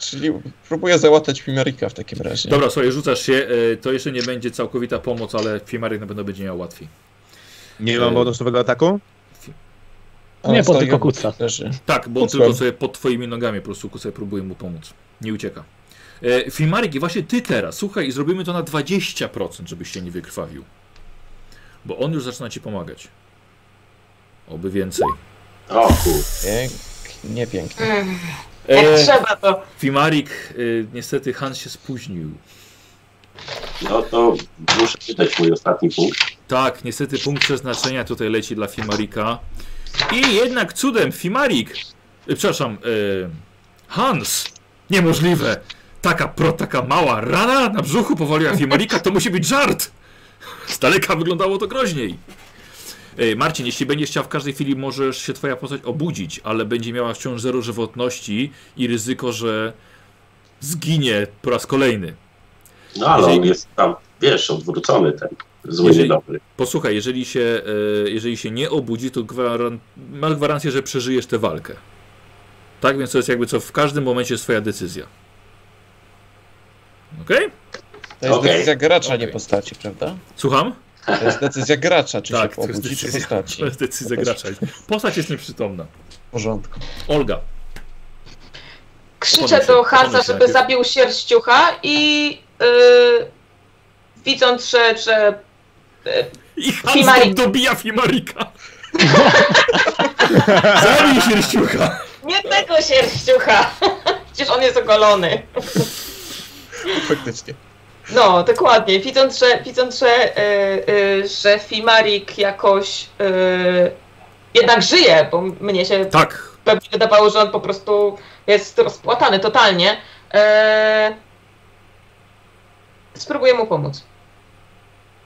S2: Czyli próbuję załatać Pimerika w takim razie.
S1: Dobra, słuchaj, rzucasz się, e, to jeszcze nie będzie całkowita pomoc, ale Fiemarek na pewno będzie miał łatwiej.
S8: Nie mam bonusowego ataku?
S2: Ale
S6: Nie, bo
S2: stoi
S6: tylko
S2: obok
S6: kuca.
S2: pchlarzy.
S1: Tak, bo on
S2: Kucłem.
S1: tylko sobie pod twoimi nogami po prostu kucaj próbuje mu pomóc. Nie ucieka. E, Filmarik, i właśnie ty teraz, słuchaj, i zrobimy to na 20%, żebyś się nie wykrwawił. Bo on już zaczyna ci pomagać. Oby więcej.
S5: O kur...
S2: Pięknie, pięknie.
S3: Mm, jak
S1: E,
S3: trzeba to.
S1: Fimarik, e, niestety Hans się spóźnił.
S5: No to muszę wydać mój ostatni punkt.
S1: Tak, niestety punkt przeznaczenia tutaj leci dla Fimarika. I jednak cudem Fimarik, e, przepraszam, e, Hans, niemożliwe. Taka pro, taka mała rana na brzuchu powaliła Fimarika, to musi być żart. Z daleka wyglądało to groźniej. E, Marcin, jeśli będziesz chciał, w każdej chwili możesz się twoja postać obudzić, ale będzie miała wciąż zero żywotności i ryzyko, że zginie po raz kolejny.
S5: No ale on
S1: Jeżeli-
S5: jest tam, wiesz, odwrócony ten. Zły,
S1: Jeżeli-
S5: niedobry.
S1: Posłuchaj, jeżeli się, e, jeżeli się nie obudzi, to gwaran- masz gwarancję, że przeżyjesz tę walkę. Tak więc to jest jakby co w każdym momencie swoja decyzja. Okej?
S2: To jest
S5: Okej.
S2: decyzja gracza,
S1: Okej.
S2: nie postaci, prawda?
S1: Słucham?
S2: To jest decyzja gracza, czy
S1: Tak,
S2: się
S1: to jest
S2: pobudzi, czy
S1: decyzja-
S2: postaci.
S1: To jest decyzja gracza. Postać jest nieprzytomna.
S2: W porządku.
S1: Olga.
S3: Krzyczę
S1: Podnieś się,
S3: do Hansa,
S1: podnieś się
S3: żeby
S1: najpierw.
S3: zabił sierściucha i y, widząc, że, że
S1: I
S3: Fimarik.
S1: Hans dobija Fimarika. [LAUGHS] Zabij sierściucha.
S3: nie tego sierściucha, [LAUGHS] przecież on jest ogolony.
S2: Faktycznie.
S3: No, dokładnie. Widząc, że, widząc, że, y, y, że Fimarik jakoś y, jednak żyje, bo mnie się
S1: Tak.
S3: pewnie wydawało, że on po prostu jest rozpłatany totalnie. Eee... Spróbuję mu pomóc.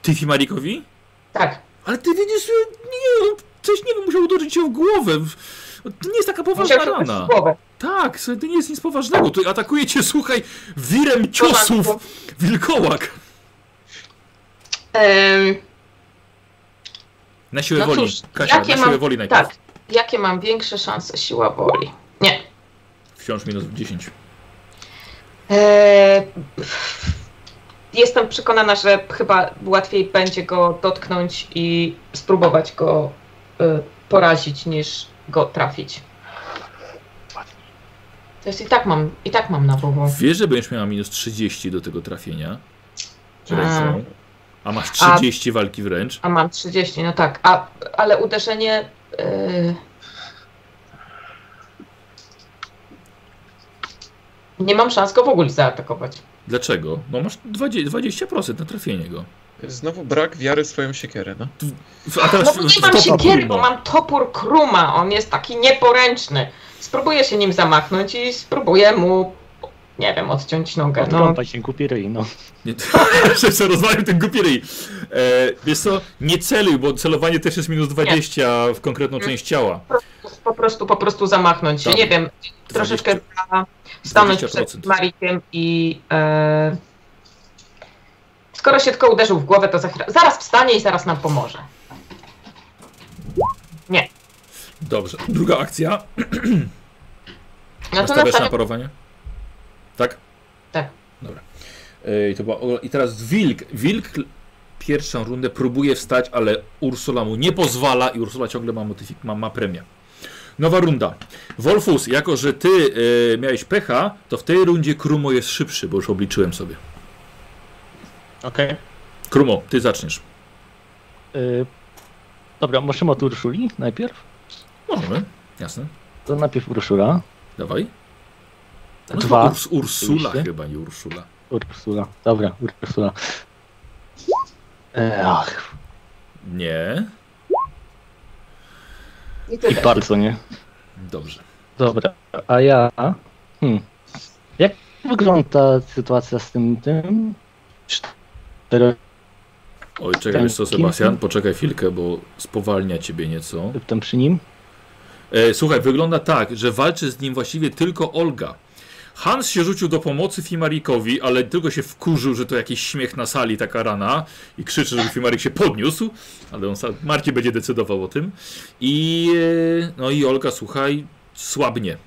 S1: Ty Fimarikowi?
S3: Tak.
S1: Ale ty widzisz, że nie, on coś nie wiem, musiał uderzyć cię w głowę. W- To nie jest taka poważna
S3: Musiał szukać
S1: rana.
S3: głowę.
S1: Tak, słuchaj, to nie jest nic poważnego. Ty atakujecie, słuchaj, wirem ciosów wilkołak.
S3: Em,
S1: Na siłę
S3: No
S1: woli.
S3: cóż,
S1: Kasia, na
S3: jakie
S1: siłę
S3: mam-
S1: woli najpierw.
S3: tak, jakie mam większe szanse? Siła woli. Nie.
S1: Wciąż minus 10.
S3: E, Jestem przekonana, że chyba łatwiej będzie go dotknąć i spróbować go e, porazić niż go trafić. To jest i tak mam, i tak mam na WW.
S1: Wiesz, że będziesz miała minus 30 do tego trafienia.
S3: A,
S1: A masz
S3: A-
S1: 30 walki wręcz.
S3: a mam 30, no tak. A, ale uderzenie. e, Nie mam szans go w ogóle zaatakować.
S1: Dlaczego? No masz 20%, 20% na trafienie go.
S2: Znowu brak wiary w swoją siekierę, no.
S1: A
S3: No
S1: teraz
S3: bo nie mam
S1: stopa
S3: siekiery,
S1: Primo.
S3: bo mam topór kruma. On jest taki nieporęczny. Spróbuję się nim zamachnąć i spróbuję mu, nie wiem, odciąć nogę. No,
S6: Odkąpać się głupi ryj, no.
S1: Nie, [LAUGHS] że się rozwalił ten głupi ryj. E, wiesz co, nie celuj, bo celowanie też jest minus 20 w konkretną
S3: Mm.
S1: część ciała.
S3: po prostu, po prostu zamachnąć się.
S1: Dobra.
S3: Nie wiem, troszeczkę
S1: 20,
S3: za- stanąć
S1: 20%.
S3: przed Marikiem i... E, skoro się tylko uderzył w głowę, to za, chwilę- zaraz wstanie i zaraz nam pomoże.
S1: Dobrze, druga akcja.
S3: No to
S1: Nastawiasz na
S3: nastawiam
S1: parowanie? Tak?
S3: Tak.
S1: Dobra. E, I, to była, o, I teraz wilk. Wilk pierwszą rundę próbuje wstać, ale Ursula mu nie pozwala i Ursula ciągle ma, motyfik, ma, ma premię. Nowa runda. Wolfus, jako że ty e, miałeś pecha, to w tej rundzie Krumo jest szybszy, bo już obliczyłem sobie.
S8: Okej.
S1: Krumo, ty zaczniesz.
S6: Y, dobra, możemy od Urszuli najpierw?
S1: Możemy. Jasne.
S6: To najpierw Urszula.
S1: Dawaj. No
S6: Dwa.
S1: chyba Urs, Ursula
S6: Oczywiście.
S1: chyba, nie Urszula.
S6: Ursula. Dobra, Ursula. E, ach,
S1: Nie.
S3: I
S6: i
S3: tyle.
S6: bardzo nie.
S1: Dobrze.
S6: Dobra, a ja. Hmm. Jak wygląda sytuacja z tym tym? Cztero,
S1: Oj, czekaj,
S6: Ten
S1: wiesz co,
S6: Tak. kim-
S1: Sebastian, poczekaj chwilkę, bo spowalnia ciebie nieco.
S6: tam przy nim?
S1: E, słuchaj, wygląda tak, że walczy z nim właściwie tylko Olga. Hans się rzucił do pomocy Fimarikowi, ale tylko się wkurzył, że to jakiś śmiech na sali, taka rana i krzyczy, żeby Fimarik się podniósł, ale on sam, Marki będzie decydował o tym. I e, no i Olga, słuchaj, słabnie.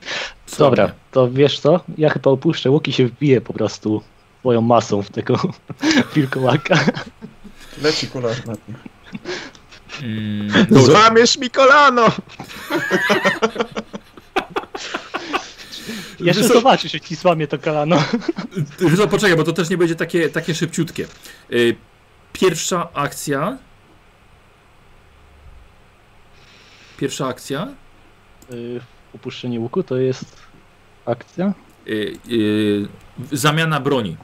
S1: słabnie.
S6: Dobra, to wiesz co? Ja chyba opuszczę łuki się wbiję po prostu swoją masą w tego [LAUGHS] wilkołaka.
S2: Leci kularz na tym.
S1: Mm, dobra.
S8: Złamiesz mi kolano!
S6: Jeszcze
S1: Wysok-
S6: zobaczysz, że ci złamie to kolano.
S1: Wiesz co, poczekaj, bo to też nie będzie takie, takie szybciutkie. Y, Pierwsza akcja. Pierwsza akcja.
S6: Y, Opuszczenie łuku to jest akcja?
S1: Y, y, Zamiana broni.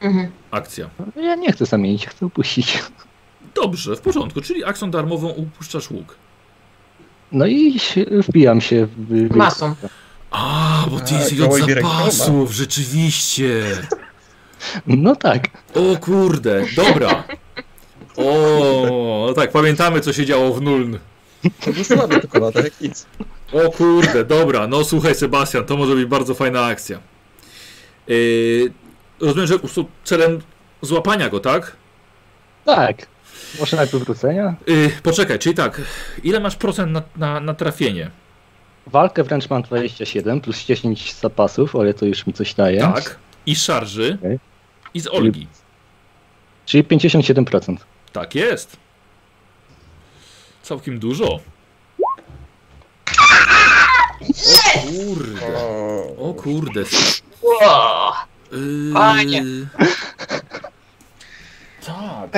S3: Mhm.
S1: Akcja.
S6: No, Ja nie chcę zamienić, chcę opuścić.
S1: Dobrze, w porządku, czyli akcją darmową upuszczasz łuk.
S6: No i się- wbijam się w wilkołaka.
S3: Masą.
S1: A, bo ty
S2: A,
S1: jesteś od
S2: gołębi rękoma.
S1: zapasów, rzeczywiście.
S6: No tak.
S1: O kurde, dobra. O, no tak, pamiętamy co się działo w Nuln.
S2: To był słaby to kolada, jak nic.
S1: O kurde, dobra, no słuchaj Sebastian, to może być bardzo fajna akcja. Yy, rozumiem, że po prostu celem złapania go, tak?
S6: Tak. Może najpierw wrócenia?
S1: Yy, poczekaj, czyli tak, ile masz procent na, na, na trafienie?
S6: Walkę wręcz mam 27 plus 10 zapasów, ale to już mi coś daje.
S1: Tak. I szarży.
S6: Okej.
S1: I z Olgi.
S6: Czyli 57%.
S1: Tak jest. Całkiem dużo. O kurde.
S2: O,
S1: O kurde.
S3: Wow.
S1: Yy...
S3: Panie.
S1: Tak.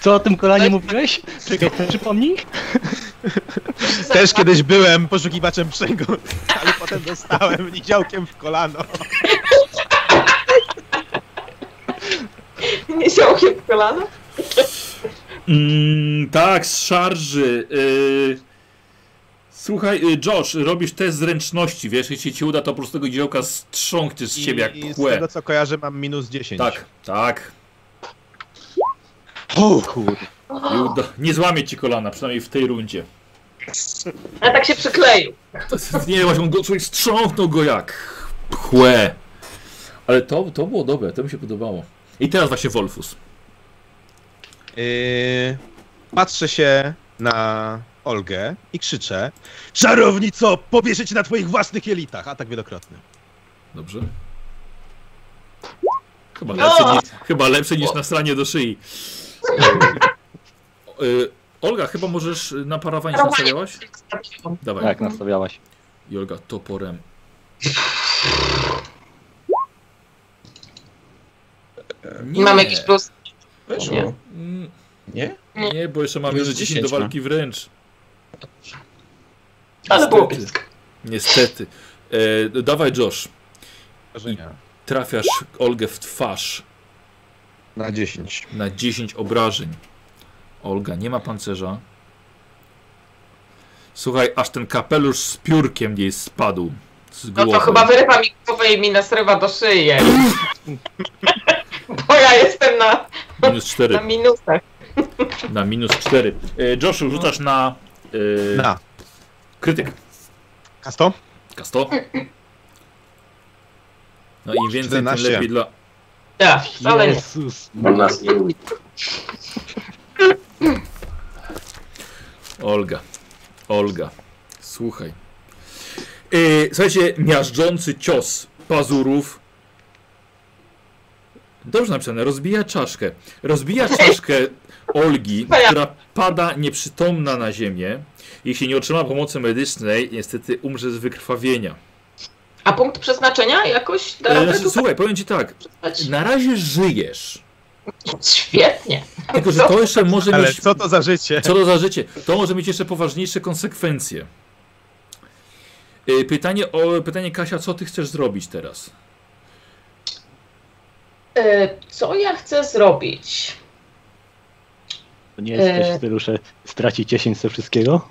S6: Co o tym kolanie mówiłeś? Czekaj, przypomnij?
S8: Też kiedyś byłem poszukiwaczem przygód, [LAUGHS] ale potem dostałem niziołkiem w kolano.
S3: Nie ziołkiem w kolano?
S1: Mm, tak, z szarży. Yy... Słuchaj, yy, Josh, robisz test zręczności, wiesz, jeśli ci uda, to po prostu tego dziełka strząk ty z siebie
S8: I
S1: jak
S8: z tego
S1: płe.
S8: co kojarzę mam minus 10.
S1: Tak, tak.
S8: Hu.
S1: I uda... Nie złamie ci kolana, przynajmniej w tej rundzie.
S3: A tak się przykleił.
S1: Nie, właśnie on go coś strząknął go jak chłe. Ale to, to było dobre, to mi się podobało. I teraz właśnie Wolfus.
S8: Yy, patrzę się na Olgę i krzyczę Czarownico, powieszę ci na twoich własnych jelitach! tak Atak wielokrotny.
S1: Dobrze? Chyba lepsze niż, chyba lepsze niż na stranie do szyi. E, e, Olga, chyba możesz na parawanie się
S3: Parowanie.
S1: nastawiałaś? Dawaj.
S6: Tak, nastawiałaś.
S1: I Olga toporem. Nie.
S3: Mam jakiś plus.
S2: Weszło.
S1: Mm,
S2: Nie?
S1: Nie, bo jeszcze mam
S2: Plus no.
S1: minus 10 do
S2: 10
S1: walki wręcz.
S3: Ale było
S1: Niestety.
S3: blisko.
S1: Niestety. E, dawaj Josh,
S8: Wrażenia.
S1: trafiasz Olgę w twarz
S2: Na 10.
S1: na 10 obrażeń. Olga nie ma pancerza. Słuchaj, aż ten kapelusz z piórkiem jej spadł z
S3: No
S1: głowy.
S3: to chyba wyrywa mi głowę i mi nasrywa do szyję. Bo ja jestem na,
S1: Minus 4.
S3: na minusach.
S1: Na minus 4. E, Joshu, rzucasz na... E,
S8: Na.
S1: Krytyk.
S8: Kasto?
S1: Kasto. No im więcej,
S8: 14.
S1: tym lepiej dla...
S3: Ja, wcale nie.
S6: Jezus.
S5: On nas nie lubi.
S1: Olga. Olga. Słuchaj. Yy, słuchajcie, miażdżący cios pazurów. Dobrze napisane, rozbija czaszkę. Rozbija czaszkę Olgi, która pada nieprzytomna na ziemię. Jeśli nie otrzyma pomocy medycznej, niestety umrze z wykrwawienia.
S3: A punkt przeznaczenia jakoś da
S1: Yy,
S3: radę
S1: znaczy, słuchaj, powiem ci tak.
S3: tutaj
S1: Na razie żyjesz.
S3: Świetnie.
S1: Tylko, że to jeszcze może
S8: Ale
S1: mieć
S8: co to za życie?
S1: Co to za życie? To może mieć jeszcze poważniejsze konsekwencje. Y, Pytanie, o, pytanie Kasia, co ty chcesz zrobić teraz?
S3: E, co ja chcę zrobić?
S6: To nie jest
S3: E.
S6: też stylu, że straci 10 ze wszystkiego?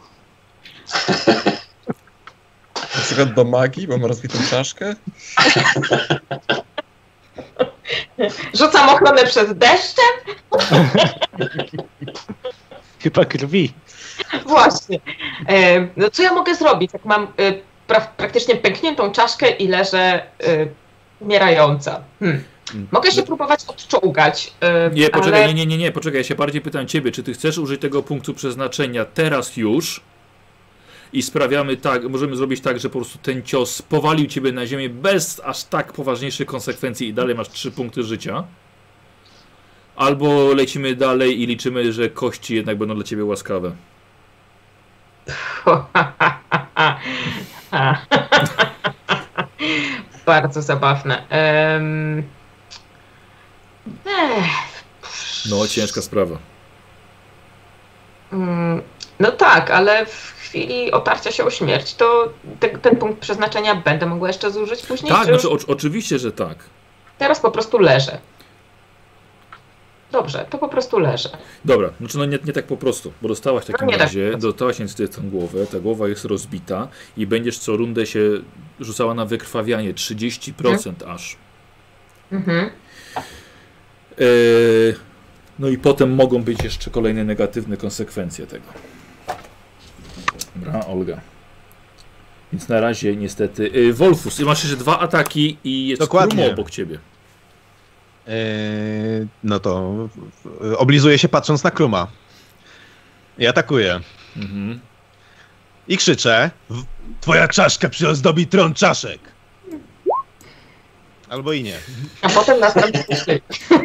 S2: Przykład do magii, bo mam rozbitą czaszkę.
S3: Rzucam ochronę przed deszczem?
S6: Chyba krwi.
S3: Właśnie. E, no co ja mogę zrobić? Jak mam e, pra- praktycznie pękniętą czaszkę i leżę e, umierająca. Hmm. Mogę się próbować odczołgać. E,
S1: Nie, poczekaj,
S3: ale... [LAUGHS]
S1: nie, nie, nie, nie, poczekaj, ja się bardziej pytam ciebie, czy ty chcesz użyć tego punktu przeznaczenia teraz już i sprawiamy tak, możemy zrobić tak, że po prostu ten cios powalił ciebie na ziemię bez aż tak poważniejszych konsekwencji i dalej masz trzy punkty życia. Albo lecimy dalej i liczymy, że kości jednak będą dla ciebie łaskawe.
S3: [LAUGHS] Bardzo zabawne. Em, eh, ech,
S1: No, ciężka sprawa.
S3: mm, No tak, ale w chwili otarcia się o śmierć, to te, ten punkt przeznaczenia będę mogła jeszcze zużyć później.
S1: Tak,
S3: czy już
S1: znaczy, o, oczywiście, że tak.
S3: teraz po prostu leżę. Dobrze, to po prostu leżę.
S1: Dobra, znaczy no nie, nie tak po prostu, bo dostałaś w takim
S3: No nie tak
S1: razie,
S3: po prostu.
S1: dostałaś niestety tę głowę, ta głowa jest rozbita i będziesz co rundę się rzucała na wykrwawianie, 30% aż.
S3: Mhm.
S1: Eee, no i potem mogą być jeszcze kolejne negatywne konsekwencje tego. Dobra, Olga. Więc na razie niestety... Yy, Wolfus, i masz jeszcze dwa ataki i jest
S8: Dokładnie.
S1: Krumo obok ciebie.
S8: Yy, no to yy, oblizuję się patrząc na Kruma. I atakuję.
S1: Mhm.
S8: I krzyczę "W- Twoja czaszka przyozdobi tron czaszek! Albo i nie.
S3: A potem [LAUGHS] następny.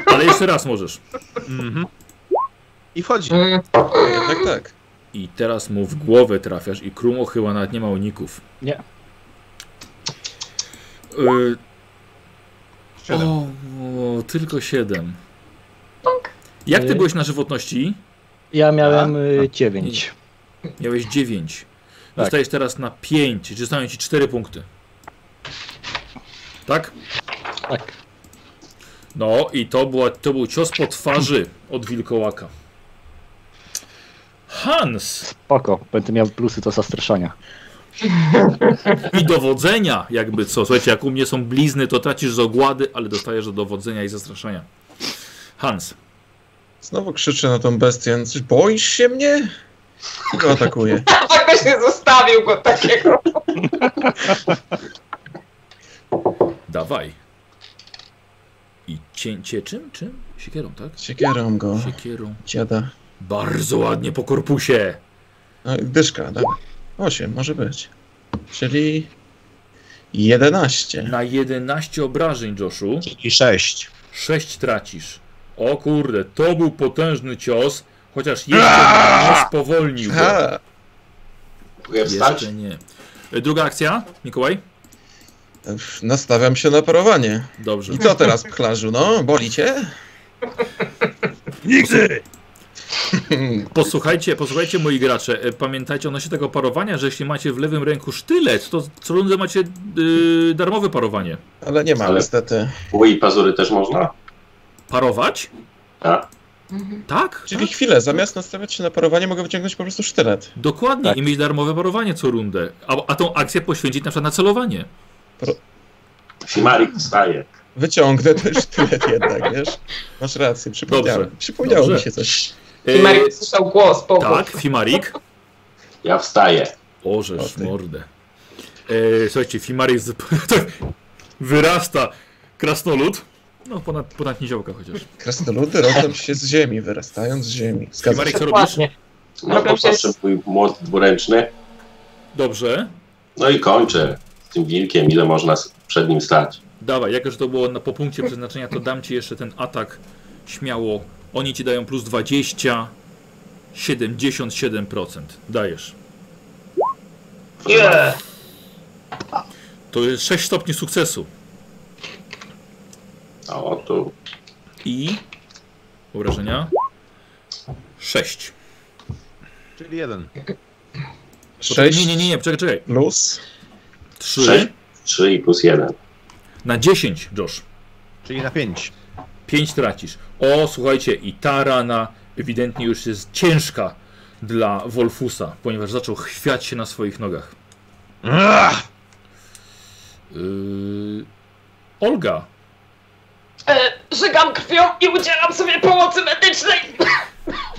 S1: Ale jeszcze raz możesz.
S8: Mhm. I wchodzi.
S3: Mm,
S2: Tak, tak.
S1: I teraz mu w głowę trafiasz i Krumo chyba nawet nie ma uników.
S6: Nie.
S1: Y,
S8: Siedem.
S1: O, o, tylko 7.
S3: Pąk.
S1: Jak ty
S6: Y-
S1: byłeś na żywotności?
S6: Ja
S1: Tak?
S6: miałem y, 9.
S1: Miałeś 9.
S6: Tak.
S1: Dostajesz teraz na 5, czyli zostają ci 4 punkty. Tak?
S6: Tak.
S1: No i to, była, to był cios po twarzy od wilkołaka. Hans!
S6: Spoko, będę miał plusy do zastraszania.
S1: I dowodzenia, jakby co. Słuchajcie, jak u mnie są blizny, to tracisz z ogłady, ale dostajesz do dowodzenia i zastraszania. Hans.
S2: Znowu krzyczę na tą bestię. Coś, boisz się mnie? Go atakuje.
S3: Faktycznie zostawił go takiego.
S1: Dawaj. I cięcie czym? Czym? Siekierą, tak?
S2: Siekierą go.
S1: Siekierą.
S2: Dziada.
S1: Bardzo ładnie po korpusie.
S2: No, dyszka, tak. 8 może być. Czyli 11.
S1: Na 11 obrażeń, Joshu.
S8: I sześć.
S1: 6 tracisz. O kurde, to był potężny cios, chociaż jeszcze nie spowolnił
S2: [LAUGHS]
S1: go.
S2: Ha!
S5: Próbuję wstać.
S1: Jeszcze nie. E, Druga akcja, Mikołaj?
S2: Pff, Nastawiam się na parowanie.
S1: Dobrze.
S2: I co teraz, pchlarzu? No, boli cię?
S8: Nigdy!
S1: Posłuchajcie, posłuchajcie moi gracze, e, pamiętajcie odnośnie tego parowania, że jeśli macie w lewym ręku sztylet, to co rundę macie y, darmowe parowanie.
S2: Ale nie ma,
S5: Ale-
S2: niestety.
S5: Uj, i pazury też można?
S1: Parować?
S5: A,
S1: Tak?
S2: Czyli chwilę, zamiast nastawiać się na parowanie, mogę wyciągnąć po prostu sztylet.
S1: Dokładnie
S2: Tak.
S1: i mieć darmowe parowanie co rundę. A, a tą akcję poświęcić na przykład na celowanie.
S5: Simarik wstaje.
S2: Wyciągnę ten sztylet jednak, wiesz? Masz rację, przypomniałem.
S1: Dobrze.
S2: Przypomniało mi
S1: Dobrze.
S2: się coś.
S3: I Mario słyszał głos po
S1: tak, Fimarik.
S5: Ja wstaję.
S2: O
S1: Orzesz
S2: ty.
S1: mordę. E, słuchajcie, Fimarik z... [LAUGHS] tak, wyrasta krasnolud. No, ponad, ponad niziołka chociaż.
S2: Krasnoludy rodzą się z ziemi, wyrastają z ziemi. Zgadza się.
S1: Fimarik, co robisz?
S3: Dokładnie.
S5: No
S3: Dobra,
S5: poproszę
S3: przecież-
S5: mój młot dwuręczny.
S1: Dobrze.
S5: No i kończę z tym wilkiem, ile można s- przed nim stać.
S1: Dawaj, jako że to było na, po punkcie przeznaczenia, to dam ci jeszcze ten atak śmiało. Oni ci dają plus 20, 77%. Dajesz.
S3: Nie.
S1: To jest 6 stopni sukcesu.
S5: O, tu.
S1: I obrażenia 6.
S8: Czyli jeden.
S2: Sześć
S1: Nie, nie, nie, nie, czekaj, czekaj.
S2: plus.
S1: 3
S5: Sześć. 3 i plus 1.
S1: na 10, Josh.
S8: Czyli na pięć.
S1: 5 tracisz. O, słuchajcie, i ta rana ewidentnie już jest ciężka dla Wolfusa, ponieważ zaczął chwiać się na swoich nogach.
S8: Ach!
S1: Yy... Olga,
S3: E, żygam krwią i udzielam sobie pomocy medycznej.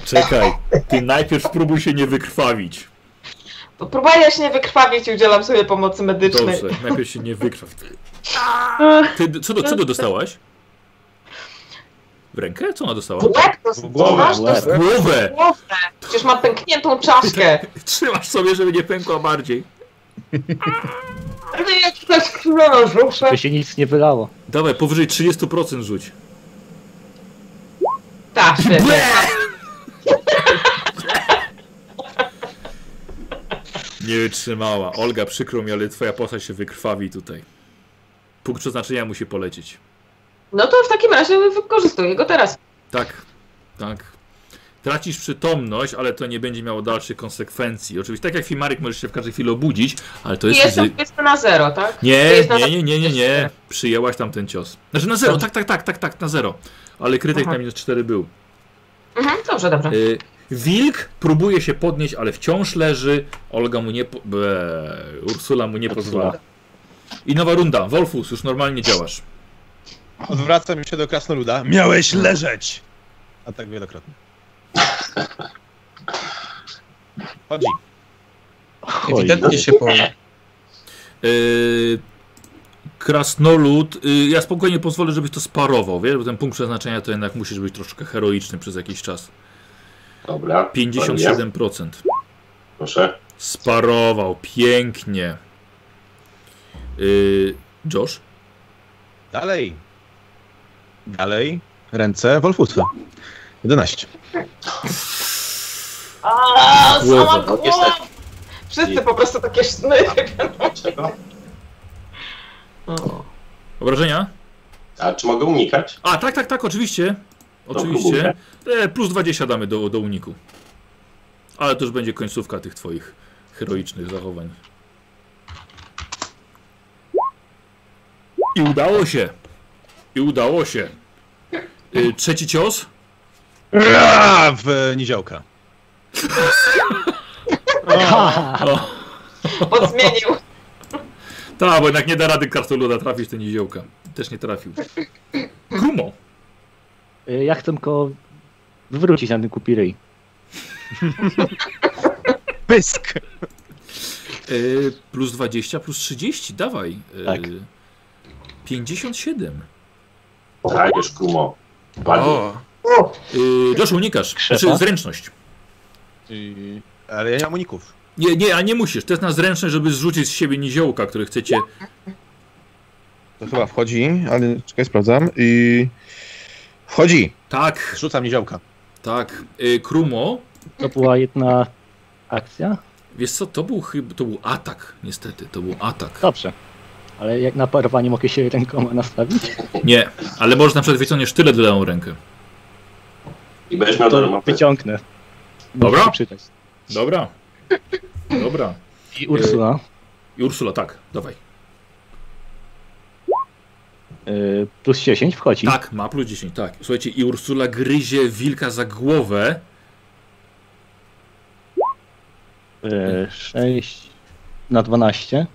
S1: czekaj, ty najpierw spróbuj się nie wykrwawić.
S3: Próbuję się nie wykrwawić i udzielam sobie pomocy medycznej.
S1: Dobrze, najpierw się nie wykrwaw. Ty, co, do, co do dostałaś? W rękę? Co ona dostała?
S3: W Łeb to
S8: głowę,
S3: masz
S8: w
S3: to
S8: łeb.
S1: W głowę!
S3: głowę. Przecież mam pękniętą czaszkę.
S1: Trzymasz sobie, żeby nie pękła bardziej.
S3: [LAUGHS] Ale jak ktoś krwiono rzucę.
S6: By się nic nie wylało.
S1: Dawaj, powyżej 30% rzuć.
S3: Tak, świetnie.
S1: Nie wytrzymała. Olga, przykro mi, ale twoja postać się wykrwawi tutaj. Punkt przeznaczenia musi polecieć.
S3: No to w takim razie wykorzystuję go teraz.
S1: Tak, tak. Tracisz przytomność, ale to nie będzie miało dalszych konsekwencji. Oczywiście, tak jak Fimarik, możesz się w każdej chwili obudzić, ale to
S3: I
S1: jest...
S3: jestem powiedzmy na zero, tak? Czy
S1: Nie,
S3: jest na-
S1: nie, nie, nie, nie, nie. Przyjęłaś tam ten cios. Znaczy na zero, tak, tak, tak, tak, tak, na zero. Ale krytyk
S3: Aha.
S1: na minus 4 był.
S3: Mhm, dobrze, dobrze.
S1: Y, wilk próbuje się podnieść, ale wciąż leży. Olga mu nie... Po... Be, Ursula mu nie pozwala. I nowa runda. Wolfus, już normalnie działasz.
S8: Odwracam się do krasnoluda. Miałeś leżeć! A tak wielokrotnie. Chodzi.
S6: Oj,
S2: Ewidentnie się po...
S1: Yy, krasnolud, yy, ja spokojnie pozwolę, żebyś to sparował, wiesz, bo ten punkt przeznaczenia to jednak musisz być troszkę heroiczny przez jakiś czas.
S5: Dobra. Robię.
S1: 57%.
S5: Proszę.
S1: Sparował, pięknie. Yy, Josh?
S8: Dalej. Dalej. Ręce Wolfusa. 11.
S3: A, sama
S1: Głowa.
S3: głowa. Wszyscy po prostu takie [LAUGHS] sny.
S5: Dlaczego?
S1: Obrażenia?
S5: A czy mogę unikać?
S1: A, tak, tak, tak, oczywiście. Oczywiście.
S5: próbuję.
S1: E, plus 20 damy do, do uniku. Ale to już będzie końcówka tych twoich heroicznych zachowań. I udało się. I udało się. Y, trzeci cios.
S8: Ra! W niziołka.
S3: Podzmienił.
S1: Tak, bo jednak nie da rady kartoluda trafić ten niziołka. Też nie trafił. Krumo.
S6: Y, Ja chcę tylko wywrócić na tym kupirej.
S8: Pysk!
S1: Y, plus 20, plus 30, dawaj. Y,
S6: Tak.
S1: 57.
S5: Dajesz, Tak, kumo. Ładnie.
S2: O,
S1: Yy, Joshua, unikasz.
S6: Krzepa?
S1: Znaczy, zręczność.
S8: I... Ale ja nie mam uników.
S1: Nie, nie, a nie musisz. To jest na zręczność, żeby zrzucić z siebie niziołka, który chcecie.
S8: To chyba wchodzi, ale czekaj, sprawdzam. I... Wchodzi!
S1: Tak,
S8: Rzucam niziołka.
S1: tak. Yy, Krumo.
S6: To była jedna akcja?
S1: Wiesz co, to był chyba, to był atak, niestety, to był atak.
S6: Dobrze. Ale jak na parowanie mogę się rękoma nastawić?
S1: Nie, ale może na przykład wyciągniesz sztylet w lewą rękę.
S5: I będziesz miał dobrą mapę.
S6: Wyciągnę. Musi
S1: Dobra.
S6: się Przydać.
S1: Dobra. Dobra.
S6: I Ursula.
S1: I Ursula, tak, dawaj.
S6: Y, plus 10 wchodzi.
S1: Tak, ma plus 10, tak. Słuchajcie, i Ursula gryzie wilka za głowę.
S6: Y, 6 na 12.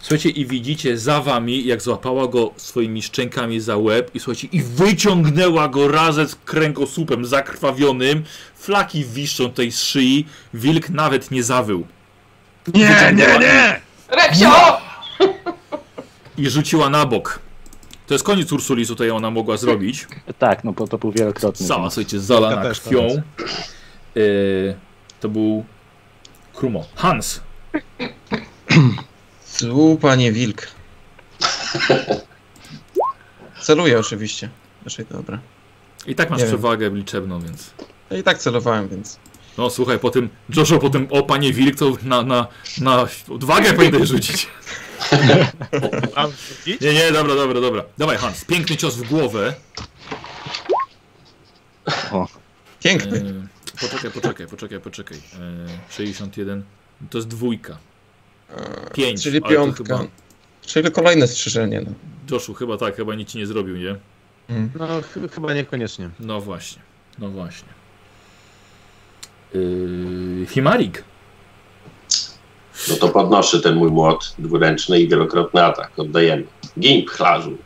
S1: Słuchajcie, i widzicie za wami, jak złapała go swoimi szczękami za łeb i słuchajcie, i wyciągnęła go razem z kręgosłupem zakrwawionym. Flaki wiszczą tej z szyi. Wilk nawet nie zawył.
S7: Nie, nie, nie!
S3: Reksio!
S1: I rzuciła na bok. To jest koniec Ursuli, tutaj ona mogła zrobić.
S6: Tak, no bo to był wielokrotny.
S1: Sama, słuchajcie, zalana
S8: Ja też
S1: krwią.
S8: teraz.
S1: Y, to był Krumo. Hans.
S2: tu panie wilk. Celuję oczywiście. Raczej dobra.
S1: I tak masz
S2: Nie wiem.
S1: przewagę liczebną, więc.
S2: Ja i tak celowałem, więc.
S1: No słuchaj, po tym Joshua, po tym o panie wilk, to na, na, na odwagę powinieneś rzucić.
S8: [LAUGHS] Mam rzucić?
S1: Nie, nie, dobra, dobra, dobra. Dawaj Hans, piękny cios w głowę.
S2: Piękny.
S1: Yy, poczekaj, poczekaj, poczekaj, poczekaj. Yy, 61. To jest dwójka. Pięć.
S2: Czyli
S1: ale to
S2: piątka.
S1: Chyba,
S2: Czyli kolejne strzyżenie. No.
S1: Joshua, chyba tak, chyba nic ci nie zrobił, nie?
S8: No, ch- chyba niekoniecznie.
S1: No właśnie, no właśnie. Yy, Himarik.
S5: No to podnoszę ten mój młot dwuręczny i wielokrotny atak. Oddajemy. Gim, chlarzu.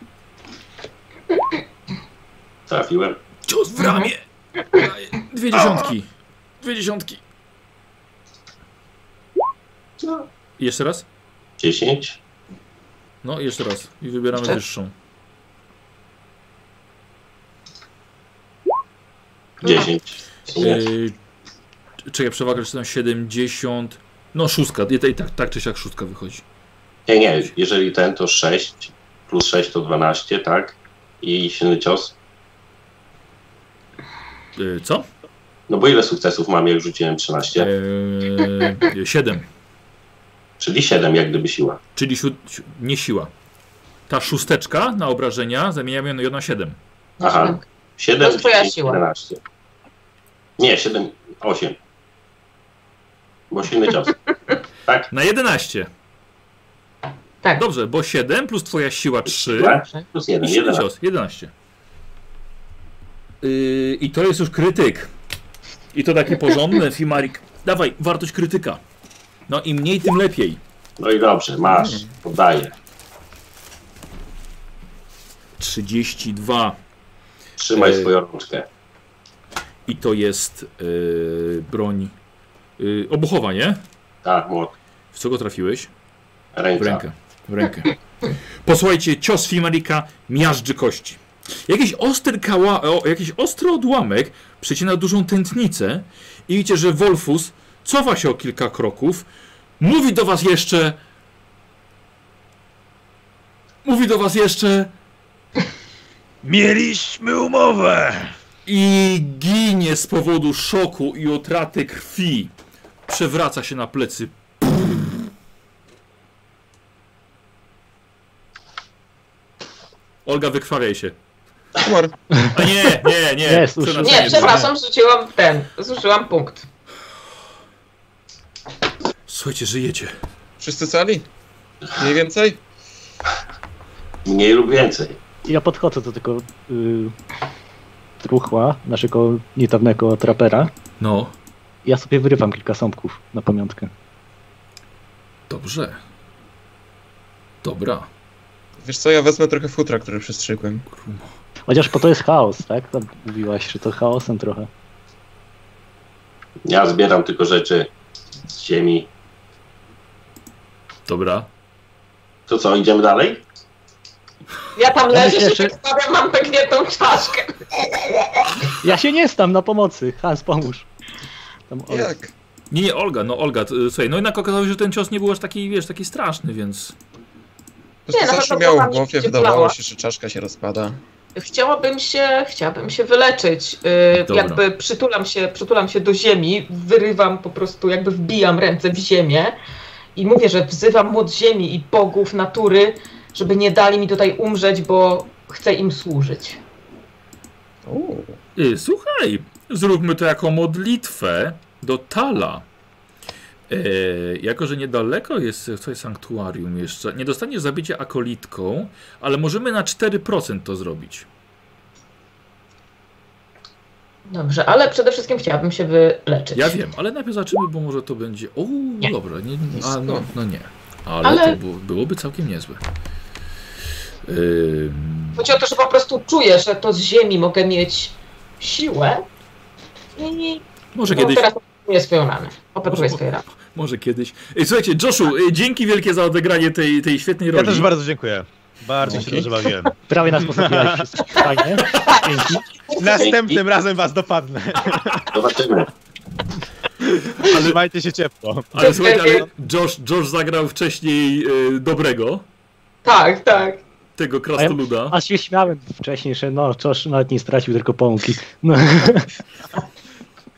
S5: Trafiłem.
S1: Cios w ramię. Daję. Mhm. Dwie dziesiątki. Dwie dziesiątki.
S5: No.
S1: I Jeszcze raz?
S5: 10.
S1: No, i jeszcze raz. I wybieramy
S3: Jeszcze?
S1: wyższą.
S5: 10. W sumie.
S1: Yy, czekaj, przewaga, czy tam 70. No, szóstka. I, i tak, tak czy siak szóstka wychodzi.
S5: Nie, nie. Jeżeli ten to 6 plus 6 to 12, tak? I silny cios.
S1: Yy, co?
S5: No bo ile sukcesów mam, jak rzuciłem 13?
S1: Yy, 7.
S5: Czyli 7 jak gdyby siła.
S1: Czyli siu, siu, nie siła. Ta szósteczka na obrażenia zamieniamy ją na 7.
S5: Aha. 7,
S3: To jest twoja
S5: 10,
S3: siła.
S5: 11. Nie, 7, 8. Bo silny cios. Tak?
S1: Na 11.
S3: Tak.
S1: Dobrze, bo 7 plus twoja siła 3.
S5: Dwa? Tak? Plus
S1: I
S5: 1,
S1: silny
S5: 11.
S1: cios, 11. Yy, I to jest już krytyk. I to taki porządny Fimarik. Dawaj, wartość krytyka. No im mniej, tym lepiej.
S5: No i dobrze, masz. Poddaję.
S1: 32.
S5: Trzymaj
S1: Yy.
S5: swoją rączkę.
S1: I to jest yy, broń yy, obuchowa, nie?
S5: Tak, młot.
S1: W co go trafiłeś? W
S5: Ręka.
S1: rękę. W rękę. Posłuchajcie, cios Fimarika miażdży kości. Jakiś ostry, kała, o, jakiś ostry odłamek przecina dużą tętnicę i widzicie, że Wolfus cofa się o kilka kroków, mówi do was jeszcze... Mówi do was jeszcze
S7: Mieliśmy umowę!
S1: i ginie z powodu szoku i utraty krwi. Przewraca się na plecy. Olga, wykrwawiaj się.
S2: Humor.
S1: A nie, nie, nie.
S6: Nie, słusznie.
S1: Przepraszam,
S3: Nie, przepraszam, rzuciłam ten. Zużyłam punkt.
S1: Słuchajcie, żyjecie.
S2: Wszyscy cali? Mniej więcej?
S5: Mniej lub więcej.
S6: Ja podchodzę do tego y, truchła, naszego niedawnego trapera.
S1: No,
S6: Ja sobie wyrywam kilka sąbków na pamiątkę.
S1: dobrze. Dobra.
S2: Wiesz co, ja wezmę trochę futra, które przystrzykłem.
S1: Krumo.
S6: Chociaż po to jest chaos, tak? Tam mówiłaś, że to chaosem trochę.
S5: Ja zbieram tylko rzeczy z ziemi.
S1: Dobra.
S5: To co, idziemy dalej?
S3: Ja tam
S6: Ja
S3: leżę,
S6: myślę,
S3: się
S6: że-
S3: tak stawiam, mam pękniętą czaszkę.
S6: Ja się nie stam na pomocy. Hans, pomóż. Tam Olek.
S2: Jak?
S1: Nie, nie, Olga, no Olga, t- słuchaj, no jednak okazało się, że ten cios nie był aż taki, wiesz, taki straszny, więc...
S2: Po prostu
S3: Nie, no to
S2: zawsze
S3: to
S2: miał
S3: tam
S2: w głowie,
S3: się
S2: wydawało
S3: plała.
S2: się, że czaszka się rozpada.
S3: Chciałabym się, chciałabym się wyleczyć. Yy,
S1: Dobra.
S3: jakby przytulam się, przytulam się do ziemi, wyrywam po prostu, jakby wbijam ręce w ziemię i mówię, że wzywam moc ziemi i bogów natury, żeby nie dali mi tutaj umrzeć, bo chcę im służyć.
S2: Uuu.
S1: Y, słuchaj, zróbmy to jako modlitwę do Tala. Y, jako, że niedaleko jest e, twoje sanktuarium jeszcze, nie dostaniesz zabicia akolitką, ale możemy na 4% to zrobić.
S3: Dobrze, ale przede wszystkim chciałabym się wyleczyć.
S1: Ja wiem, ale najpierw zobaczymy, bo może to będzie... O,
S3: Nie.
S1: dobra, nie, a,
S2: Wszystko.
S1: no, no nie. Ale,
S3: Ale-
S1: to było, byłoby całkiem niezłe. Ym,
S3: Chodzi o to, że po prostu czuję, że to z ziemi mogę mieć siłę i
S1: może
S3: no,
S1: kiedyś...
S3: teraz opatruję swoją ranę. Opatruję
S1: Może-
S3: swoje rany.
S1: Może kiedyś. Ej, Słuchajcie, Joshu, y, dzięki wielkie za odegranie tej, tej świetnej
S9: Ja
S1: roli.
S9: też bardzo dziękuję. Bardzo się dobrze
S2: Dzięki.
S1: [LAUGHS]
S9: bawiłem.
S6: Prawie nas postawiłeś wszystkich. Fajnie. Dzięki.
S9: Następnym razem was
S1: [LAUGHS]
S9: dopadnę.
S5: Zobaczymy.
S9: Trzymajcie się ciepło.
S1: ale słuchajcie, ale Josh, Josh zagrał wcześniej y, dobrego,
S3: Tak, tak.
S1: tego krasnoluda.
S6: Aż się śmiałem wcześniej, że no, Josh nawet nie stracił tylko pąki. No,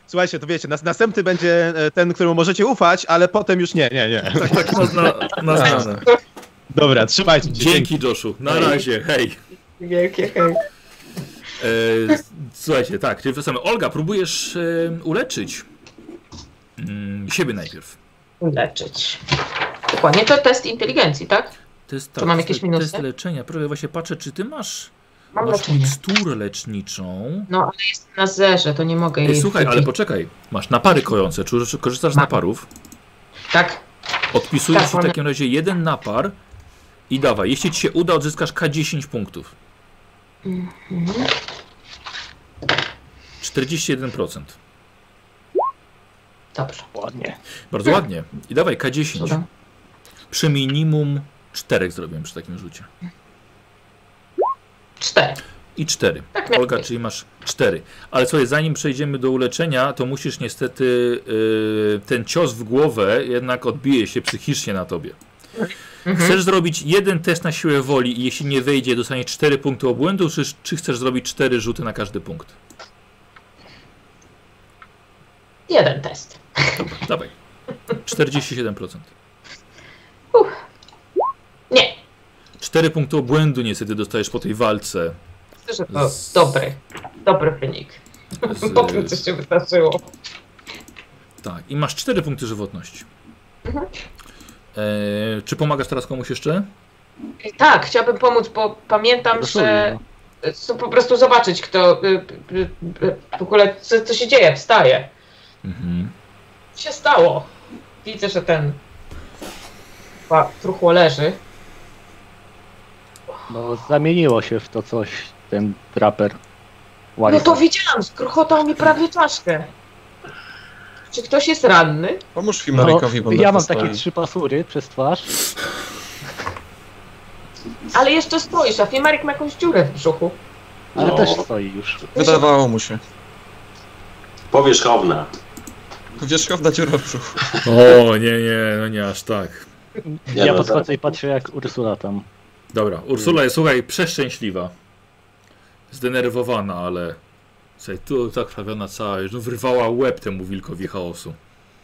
S9: Słuchajcie, to wiecie, nas, następny będzie e, ten, któremu możecie ufać, ale potem już nie, nie, nie.
S1: Tak, tak, na, na, na zmianę.
S9: Dobra, trzymajcie się.
S1: Dzięki Joshu, na razie, hej.
S3: Wielkie hej.
S1: E, słuchajcie, tak, czyli wracamy. Olga, próbujesz e, uleczyć mm, siebie najpierw.
S3: Leczyć. Dokładnie, to test inteligencji, tak?
S1: To jest
S3: To mam jakieś
S1: test-
S3: minusy?
S1: Test leczenia. Prawie właśnie patrzę, czy ty masz,
S3: Mam
S1: masz
S3: leczenie.
S1: miksturę leczniczą.
S3: No, ale jestem na zerze, to nie mogę
S1: Ej,
S3: jej...
S1: słuchaj, ale poczekaj. Masz napary kojące, czy czy korzystasz z
S3: Mam.
S1: naparów?
S3: Tak,
S1: Odpisujesz
S3: Tak,
S1: ci w
S3: one-
S1: takim razie jeden napar i dawaj. Jeśli ci się uda, odzyskasz K10 punktów. 41%.
S3: dobrze.
S6: ładnie.
S1: Bardzo ładnie. I dawaj K10.
S3: Tak. Dobra.
S1: Przy minimum 4 zrobiłem przy takim rzucie.
S3: Cztery.
S1: I 4.
S3: Tak miało
S1: Olga,
S3: być.
S1: czyli masz 4. Ale słuchaj, zanim przejdziemy do uleczenia, to musisz niestety yy, ten cios w głowę jednak odbije się psychicznie na tobie.
S3: Mhm.
S1: Chcesz zrobić jeden test na siłę woli i jeśli nie wejdzie, dostaniesz 4 punkty obłędu, czy, czy chcesz zrobić 4 rzuty na każdy punkt?
S3: Jeden test.
S1: Dobra, dawaj. 47%.
S3: Nie,
S1: 4 punkty obłędu niestety dostajesz po tej walce.
S3: myślę, że to
S1: Z-
S3: dobry, dobry wynik.
S1: Z,
S3: [LAUGHS] Po tym, co się wydarzyło.
S1: tak, i masz 4 punkty żywotności. E, czy pomagasz teraz komuś jeszcze?
S3: Tak, chciałabym pomóc, bo
S6: No
S3: pamiętam, że...
S6: Gratuluję.
S3: Chcę po prostu zobaczyć, kto... y, y, y, W ogóle, co, co się dzieje, wstaje.
S1: Mhm.
S3: Co się stało? Widzę, że ten... Chyba truchło leży.
S6: No, zamieniło się w to coś ten traper.
S3: No
S6: Ładnie.
S3: to widziałam, skruchotał mi prawie czaszkę. Czy ktoś jest ranny?
S2: Pomóż Fimorykowi, bo
S6: No, ja
S2: na
S6: mam
S2: to stoi.
S6: takie trzy pasury przez twarz.
S3: Ale jeszcze stoisz, a Fimarik ma jakąś dziurę w brzuchu.
S6: Ale
S5: No.
S6: też stoi już.
S2: Wydawało mu się.
S5: Powierzchowna.
S2: Wierzchowna dziura w brzuchu.
S1: O, nie, nie, no nie aż tak.
S6: ja
S5: Nie, no,
S6: podchodzę i patrzę jak Ursula tam.
S1: Dobra, Ursula jest, słuchaj, przeszczęśliwa. Zdenerwowana, ale... Słuchaj, tu tak prawiona cała, no wyrwała łeb temu wilkowi chaosu.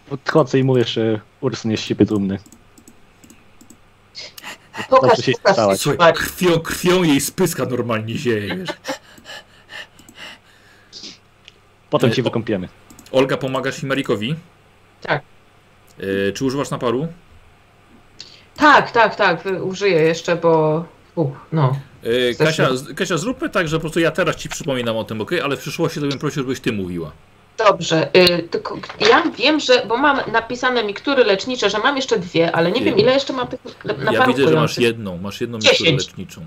S6: Podchodzę i mówię, że Ursun jest z siebie dumny.
S3: Pokaż,
S6: Dobrze się
S3: pokaż.
S6: stałaś.
S1: Słuchaj, krwią, krwią jej spyska normalnie zieje, wiesz.
S6: Potem
S1: Ej,
S6: cię
S1: o-
S6: wykąpiemy.
S1: Olga, pomagasz Himarikowi?
S3: Tak.
S1: E, czy używasz naparu?
S3: Tak, tak, tak, y, użyję jeszcze, bo... Uch, no.
S1: E,
S3: Chcesz
S1: Kasia, z- Kasia, zróbmy tak, że po prostu ja teraz ci przypominam o tym, ok? Ale w przyszłości to bym prosił, żebyś ty mówiła.
S3: Dobrze, y, tylko ja wiem, że... Bo mam napisane miktury lecznicze, że mam jeszcze dwie, ale nie wiem ile jeszcze mam tych le-
S1: ja
S3: naparów
S1: widzę, że masz
S3: kojących.
S1: jedną, masz jedną mieszurę
S3: Dziesięć.
S1: leczniczą.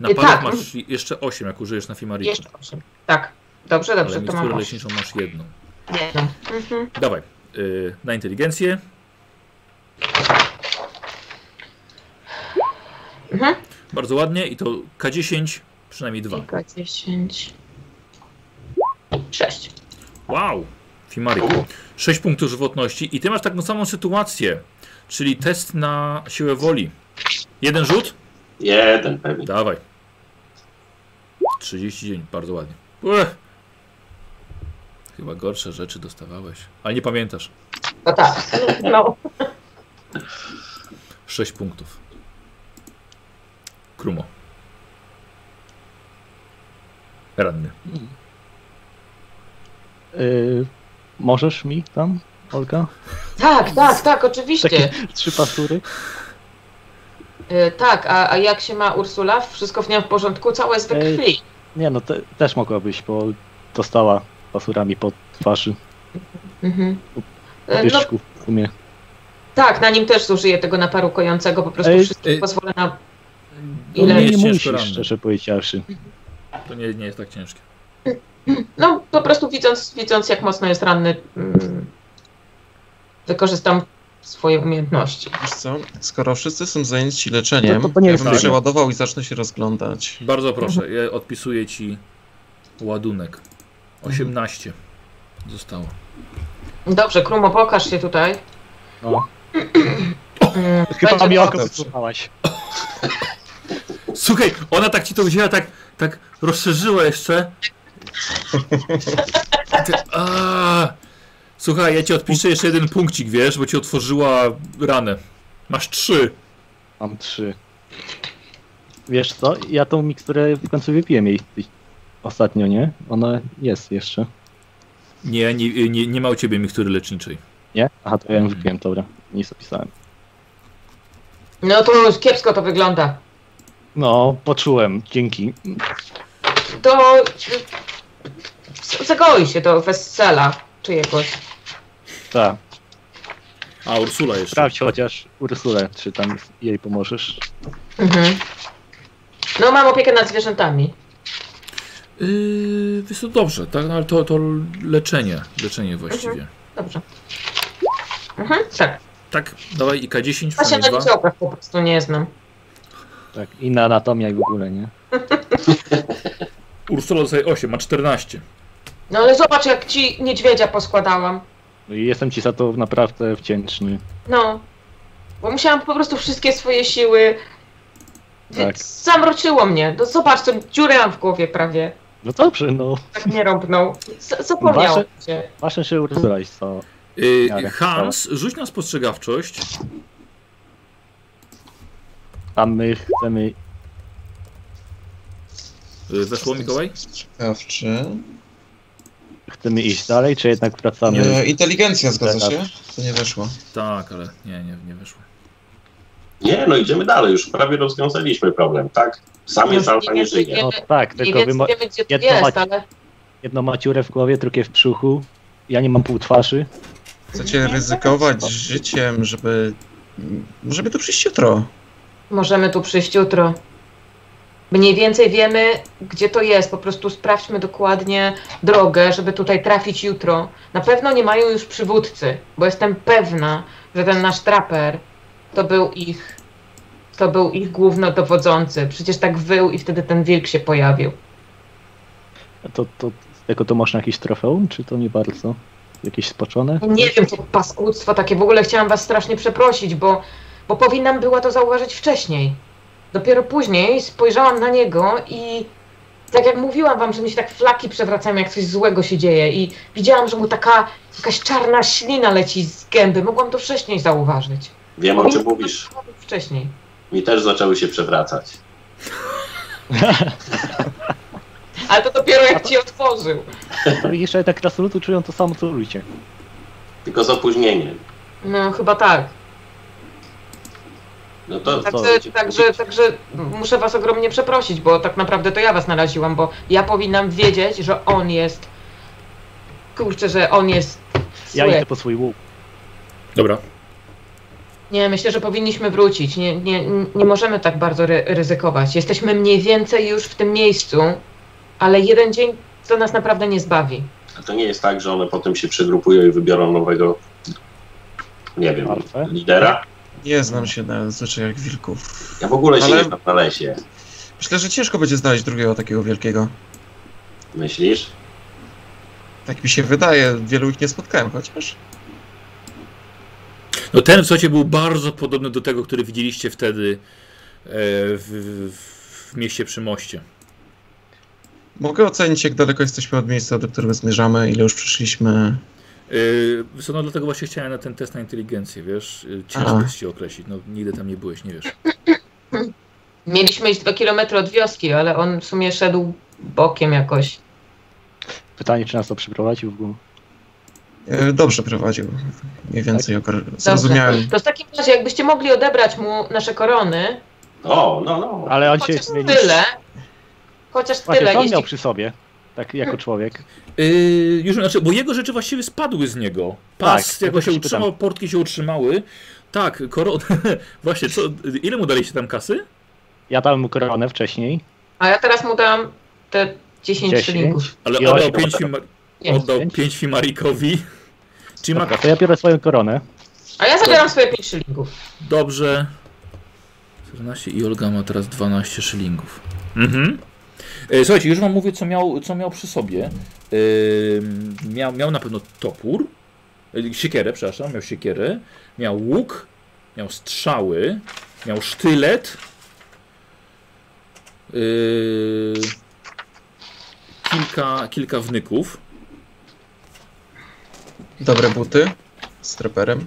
S1: Naparów
S3: tak.
S1: masz jeszcze 8, jak użyjesz na Fimariku.
S3: Jeszcze osiem. Tak, dobrze, dobrze,
S1: ale
S3: to mam
S1: mieszurę
S3: osiem.
S1: leczniczą masz jedną.
S3: Nie wiem. Mhm.
S1: Dawaj. Y, na inteligencję.
S3: Mhm.
S1: Bardzo ładnie i to K10, przynajmniej dwa.
S3: Tylko 10. 6.
S1: Wow! Fimari. 6 punktów żywotności i ty masz taką samą sytuację, czyli test na siłę woli. Jeden rzut?
S5: Jeden pewnie.
S1: Dawaj. 30 dzień, bardzo ładnie. Ech. Chyba gorsze rzeczy dostawałeś, ale nie pamiętasz.
S3: No tak. No.
S1: 6 punktów. Krumo. Ranny.
S6: Y, możesz mi tam, Olka?
S3: Tak, tak, tak, oczywiście.
S6: Trzy pasury?
S3: Y, tak, a, a jak się ma Ursula? Wszystko w nią w porządku, całe jest we
S6: Ej.
S3: krwi.
S6: Nie no, te, też mogłabyś, bo dostała pasurami pod twarzy,
S3: Mhm.
S6: po
S3: E, No
S6: piersiku w sumie.
S3: tak, na nim też zużyję tego naparu kojącego, po prostu
S6: Ej.
S3: wszystko
S1: Ej.
S3: pozwolę na...
S1: To nie
S3: Ile?
S1: jest
S6: No, nie
S1: ciężko
S6: musisz,
S1: ranny.
S6: szczerze powiedziawszy.
S1: To nie, nie jest tak ciężkie.
S3: No, po prostu widząc, widząc jak mocno jest ranny, mm, wykorzystam swoje umiejętności.
S2: Wiesz co, skoro wszyscy są zajęci leczeniem,
S6: To- to nie
S2: ja
S6: jest
S2: bym
S1: tak.
S2: przeładował i zacznę się rozglądać.
S1: Bardzo proszę, ja odpisuję ci ładunek. 18 zostało.
S3: Dobrze, Krumo, pokaż się tutaj.
S6: No.
S3: Mm,
S6: Chyba
S3: będzie
S6: mi oko
S3: dobrze.
S6: wysłuchałaś.
S1: Słuchaj, ona tak ci to wzięła, tak, tak rozszerzyła jeszcze. Ty, a, słuchaj, ja ci odpiszę jeszcze jeden punkcik, wiesz, bo ci otworzyła ranę. Masz trzy.
S6: Mam trzy. Wiesz co, ja tą miksturę w końcu wypiłem jej ty- ostatnio, nie? Ona jest jeszcze.
S1: Nie, nie, nie, nie ma u ciebie mikstury leczniczej.
S6: Nie? Aha, to ja ją wypiłem, dobra. Nie zapisałem.
S3: No to już kiepsko to wygląda.
S6: No, poczułem, dzięki.
S3: To... y, Zagoi się do wesela czyjegoś.
S6: Tak,
S1: A, Ursula jeszcze.
S6: sprawdź chociaż Ursulę, czy tam jej pomożesz.
S3: Mhm. No mam opiekę nad zwierzętami.
S1: Yy, wiesz co, dobrze, tak, no, ale to, to leczenie, leczenie właściwie.
S3: Dobrze. Mhm, tak.
S1: Tak, dawaj i K10,
S3: Ja się
S1: przynajmniej
S3: na
S1: dwa.
S3: dzieciakach po prostu nie znam.
S6: Tak, inna anatomia i w ogóle, nie?
S1: Ursula dostaje 8, ma 14.
S3: No ale zobacz, jak ci niedźwiedzia poskładałam.
S6: No i jestem ci za to naprawdę wdzięczny.
S3: No. Bo musiałam po prostu wszystkie swoje siły.
S6: Tak.
S3: Tak. Zamroczyło mnie. No zobacz, tą dziurę mam w głowie prawie.
S6: No dobrze, no.
S3: Tak mnie rąbnął. Z- Zapomniałam się.
S6: Masz jeszcze Ursula i co?
S1: Yy,
S6: Miarę.
S1: Hans, rzuć na spostrzegawczość. Y,
S6: A my chcemy...
S1: Yy, weszło Mikołaj?
S2: Spostrzegawczy.
S6: Chcemy iść dalej, czy jednak wracamy?
S2: E, inteligencja zgadza
S6: Teraz.
S2: się? To nie weszło.
S1: Tak, ale nie, nie, nie weszło.
S5: Nie, no idziemy dalej, już prawie rozwiązaliśmy problem, tak? Sam jest alfa nie żyje.
S6: No tak,
S3: I
S6: tylko wy
S3: więc
S6: ma...
S3: wiemy, gdzie to
S6: jedno
S3: jest,
S6: macie.
S3: ale
S6: jedno ma dziurę w głowie, drugie w brzuchu. Ja nie mam pół twarzy.
S2: Chcecie ryzykować życiem, żeby... Żeby to przyjść jutro.
S3: możemy tu przyjść jutro. Mniej więcej wiemy, gdzie to jest. Po prostu sprawdźmy dokładnie drogę, żeby tutaj trafić jutro. Na pewno nie mają już przywódcy, bo jestem pewna, że ten nasz traper to był ich. To był ich głównodowodzący. Przecież tak wył i wtedy ten wilk się pojawił.
S6: To, to z tego to można jakiś trofeum, czy to nie bardzo? Jakieś spaczone?
S3: Nie wiem, to paskudstwo takie. W ogóle chciałam was strasznie przeprosić, bo, bo powinnam była to zauważyć wcześniej. Dopiero później spojrzałam na niego i tak jak mówiłam wam, że mi się tak flaki przewracają, jak coś złego się dzieje i widziałam, że mu taka jakaś czarna ślina leci z gęby. Mogłam to wcześniej zauważyć.
S5: Wiem o czym mówisz.
S3: Wcześniej.
S5: Mi też zaczęły się przewracać.
S3: Ale to dopiero jak ci otworzył.
S6: To widzisz, że jednak krasnoludy tak czują to samo, co ludzie.
S5: Tylko z opóźnieniem.
S3: No chyba tak.
S5: No to...
S3: Także, także, także muszę was ogromnie przeprosić, bo tak naprawdę to ja was naraziłam, bo ja powinnam wiedzieć, że on jest. Kurczę, że on jest.
S6: Ja
S3: zły.
S6: idę po swój łuk.
S1: Dobra.
S3: Nie, myślę, że powinniśmy wrócić. Nie, nie, nie możemy tak bardzo ry ryzykować. Jesteśmy mniej więcej już w tym miejscu, ale jeden dzień to nas naprawdę nie zbawi.
S5: A to nie jest tak, że one potem się przegrupują i wybiorą nowego, nie wiem,
S6: Alfę?
S5: lidera?
S2: Nie znam się na zwyczajach wilków.
S5: Ja w ogóle się
S2: Ale-
S5: nie znam na lesie.
S2: Myślę, że ciężko będzie znaleźć drugiego takiego wielkiego.
S5: Myślisz?
S2: Tak mi się wydaje, wielu ich nie spotkałem chociaż.
S1: No ten, słuchajcie, był bardzo podobny do tego, który widzieliście wtedy e, w, w, w mieście przy moście.
S2: Mogę ocenić, jak daleko jesteśmy od miejsca, do którego zmierzamy, ile już przyszliśmy.
S1: Yy, no dlatego właśnie chciałem na ten test na inteligencję, wiesz? Yy, Ciężko
S2: Aha.
S1: jest ci określić, no nigdy tam nie byłeś, nie wiesz.
S3: Mieliśmy iść dwa kilometry od wioski, ale on w sumie szedł bokiem jakoś.
S6: Pytanie, czy nas to przyprowadził w ogóle.
S2: E, Dobrze prowadził. Mniej więcej tak? zrozumiałem.
S3: To w takim razie, jakbyście mogli odebrać mu nasze korony,
S5: O, no, no.
S6: Ale on się
S3: chociaż
S6: zmienił.
S3: tyle, chociaż
S6: Właśnie,
S3: tyle,
S6: co on miał
S3: jeśli
S6: przy sobie? Tak jako człowiek.
S1: Yy, już, znaczy, bo jego rzeczy właściwie spadły z niego. Pas
S6: Tak, to
S1: jako się
S6: też pytam.
S1: utrzymał, portki się utrzymały. Tak, koron... [LAUGHS] właśnie, co, ile mu daliście tam kasy?
S6: Ja dałem mu koronę wcześniej.
S3: A ja teraz mu dam te 10
S6: 10.
S3: szylingów.
S1: Ale
S6: I
S1: oddał
S6: osiem.
S1: 5 fimar...
S3: Nie.
S1: oddał
S6: Pięć.
S1: pięć Fimarikowi. Czyli ma
S6: Dobra, No, to ja biorę swoją koronę.
S3: A ja zabieram swoje 5 szylingów.
S1: Dobrze. 14 i Olga ma teraz 12 szylingów. Mhm. E, Słuchajcie, już wam mówię, co miał, co miał przy sobie. Ym, miał, miał na pewno topór, e, siekierę, przepraszam, miał siekierę, miał łuk, miał strzały, miał sztylet, yy, kilka, kilka wnyków.
S2: Dobre buty z treperem.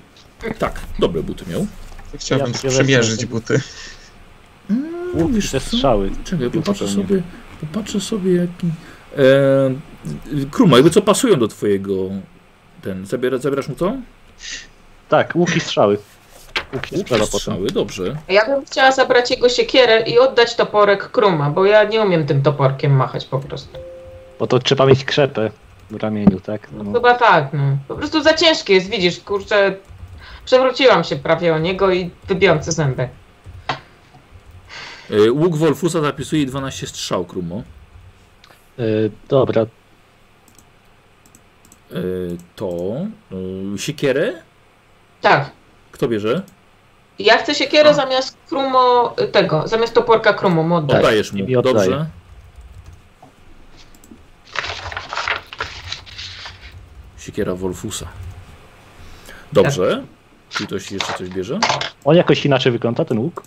S1: Tak, dobre buty miał.
S2: Chciałbym
S6: Ja sobie
S2: przymierzyć
S6: wezmę-
S2: buty.
S6: Łuk,
S1: No wiesz
S6: te
S1: co?
S6: strzały.
S1: Czekaj,
S6: Piłka
S1: popatrzę
S6: pewnie.
S1: sobie, popatrzę sobie jaki... E, y, Kruma, jakby co pasują do twojego... Ten, zabiera, zabierasz mu to?
S6: Tak, łuk i strzały. Łuk i strzela potem.
S1: Strzały, dobrze.
S3: A Ja bym chciała zabrać jego siekierę i oddać toporek Kruma, bo ja nie umiem tym toporkiem machać po prostu.
S6: Bo to trzeba mieć krzepę w ramieniu, tak? No.
S3: Chyba tak, no. Po prostu za ciężkie jest, widzisz, kurczę. Przewróciłam się prawie o niego i wybiłam co zęby.
S1: E, Łuk Wolfusa zapisuje 12 strzał, Krumo.
S6: Y, dobra,
S1: E, To... e, Siekierę?
S3: Tak.
S1: Kto bierze?
S6: Tak,
S3: Ja chcę siekierę zamiast Krumo tego, zamiast toporka Krumo mu oddać.
S1: Oddajesz
S6: mi
S1: mu,
S6: oddaję.
S1: dobrze. Siekiera Wolfusa. Dobrze. Czy ktoś jeszcze coś bierze?
S6: On jakoś inaczej wygląda, ten łuk?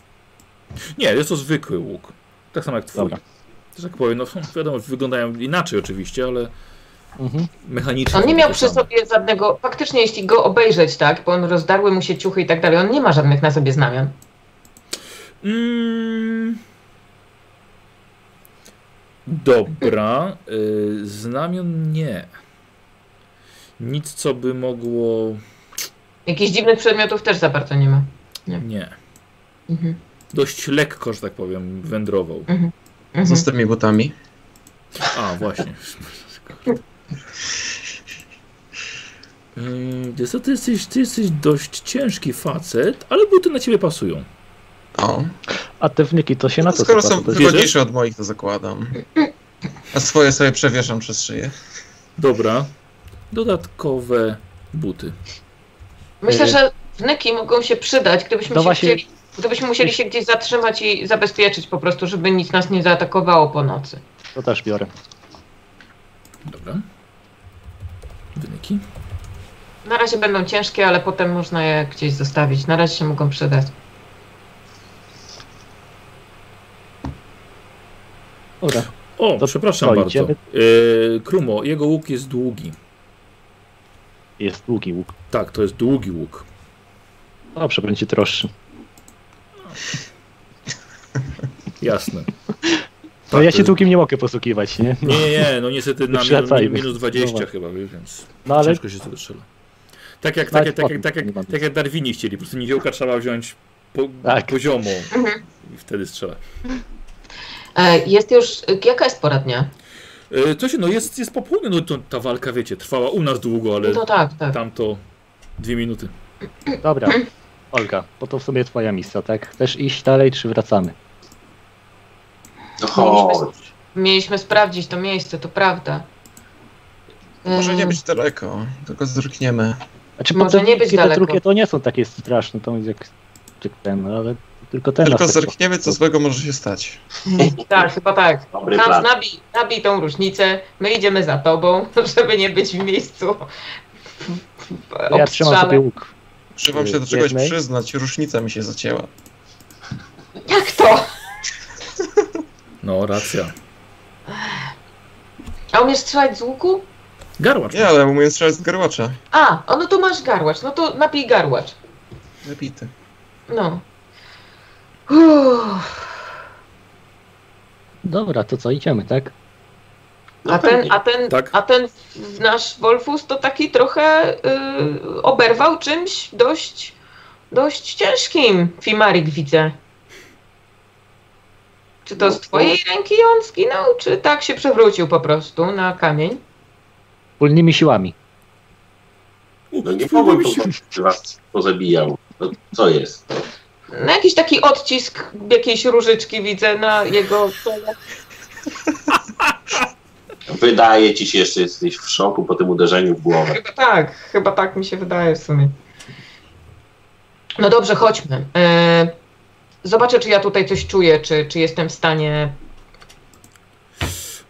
S1: Nie, jest to zwykły łuk. Tak samo jak twój.
S6: Dobra.
S1: Że tak powiem, no wiadomo, wyglądają inaczej oczywiście, ale
S6: Mhm.
S1: mechanicznie.
S3: On nie
S1: są
S3: miał
S1: te
S3: przy
S1: same.
S3: sobie żadnego, faktycznie jeśli go obejrzeć, tak, bo on rozdarły mu się ciuchy i tak dalej, on nie ma żadnych na sobie znamion.
S1: Mm. Dobra. y, Znamion nie. Nic, co by mogło.
S3: Jakichś dziwnych przedmiotów też za bardzo nie ma.
S1: Nie.
S3: Mhm.
S1: Dość lekko, że tak powiem, wędrował.
S2: Co
S3: Mhm.
S2: z tymi butami?
S1: A, właśnie. Ym, Y, Wiesz co, ty jesteś, ty jesteś dość ciężki facet, ale buty na ciebie pasują.
S2: O.
S6: A te wniki to się na
S2: No
S6: co
S2: skoro
S6: zakłada?
S2: są
S6: To jest-
S2: wygodniejsze od moich, to zakładam. A swoje sobie przewieszam przez szyję.
S1: Dobra. Dodatkowe buty.
S3: Myślę,
S6: Y-
S3: że wnyki mogą się przydać, gdybyśmy,
S6: No
S3: się
S6: właśnie-
S3: chcieli, gdybyśmy musieli się gdzieś zatrzymać i zabezpieczyć po prostu, żeby nic nas nie zaatakowało po nocy.
S6: To też biorę.
S1: Dobra. Wyniki.
S3: Na razie będą ciężkie, ale potem można je gdzieś zostawić. Na razie się mogą przydać.
S6: Dobra.
S1: O,
S6: To
S1: przepraszam
S6: co,
S1: bardzo.
S6: idziemy?
S1: Yy, Krumo, jego łuk jest długi.
S6: Jest długi łuk.
S1: Tak, to jest długi łuk.
S6: Dobrze, będzie droższy. No, [LAUGHS]
S1: Jasne.
S2: Tak,
S6: No ja się
S1: to-
S6: długim nie mogę posługiwać, nie? No,
S1: Nie, nie, nie, no niestety na minus,
S6: Wracajmy.
S1: minus 20
S6: Dobra.
S1: chyba, wiesz, więc
S6: no ale
S1: ciężko się to wystrzela. Tak jak, tak,
S6: Nawet
S1: jak, tak, jak,
S6: potem
S1: tak, jak,
S6: nie mamy.
S1: tak jak Darwini chcieli, po prostu niziołka trzeba wziąć po,
S6: Tak.
S1: poziomo
S3: Mhm.
S1: i wtedy strzela.
S3: E, Jest już. Jaka jest pora dnia?
S1: Yy, co się, no jest, jest po południu, no to ta walka, wiecie, trwała u nas długo, ale
S3: No tak, tak.
S1: tamto dwie minuty.
S6: dobra. Olga, bo to w sumie twoja misja, tak? Chcesz iść dalej, czy wracamy?
S5: No chodź.
S3: Mieliśmy sprawdzić to miejsce, to prawda.
S2: Może
S6: Mm.
S2: nie być daleko, tylko zrkniemy.
S6: Znaczy,
S3: Może
S6: potem
S3: nie być
S6: te
S3: daleko.
S6: drugie to nie są takie straszne, to jest jak jak ten, ale tylko ten
S2: Tylko
S6: nas tak-
S2: zerkniemy, co złego może się stać.
S3: [LAUGHS] Tak, chyba tak.
S5: Dobry
S3: Hans,
S5: plan.
S3: nabij, nabij tą różnicę, my idziemy za tobą, [LAUGHS] żeby nie być w miejscu w
S6: Ja trzymam
S3: obstrzale.
S6: sobie łuk.
S2: Muszę wam się do
S6: Z
S2: czegoś
S6: jednej?
S2: przyznać, różnica mi się zacięła.
S3: Jak to?
S1: No, racja.
S3: A umiesz strzelać z łuku?
S1: Garłacz.
S2: Nie, ale umiem strzelać z garłacza.
S3: A, o, no to masz garłacz, no to napij garłacz.
S2: Wypity.
S3: No. Uff.
S6: Dobra, to co, idziemy, tak?
S5: No
S3: A ten,
S5: pewnie.
S3: a ten,
S1: Tak.
S3: a ten nasz Wolfus to taki trochę y, oberwał czymś dość, dość ciężkim, Fimarik widzę. Czy to z
S5: No,
S3: twojej ręki on zginął, czy tak się przewrócił po prostu na kamień?
S6: Wspólnymi siłami.
S5: No nie mogłem tu was pozabijał. No, co jest?
S3: No jakiś taki odcisk jakiejś różyczki widzę na jego czole.
S5: Wydaje ci się, jeszcze jesteś w szoku po tym uderzeniu w głowę.
S3: Chyba tak, chyba tak mi się wydaje w sumie. No dobrze, chodźmy. E, zobaczę, czy ja tutaj coś czuję, czy, czy jestem w stanie.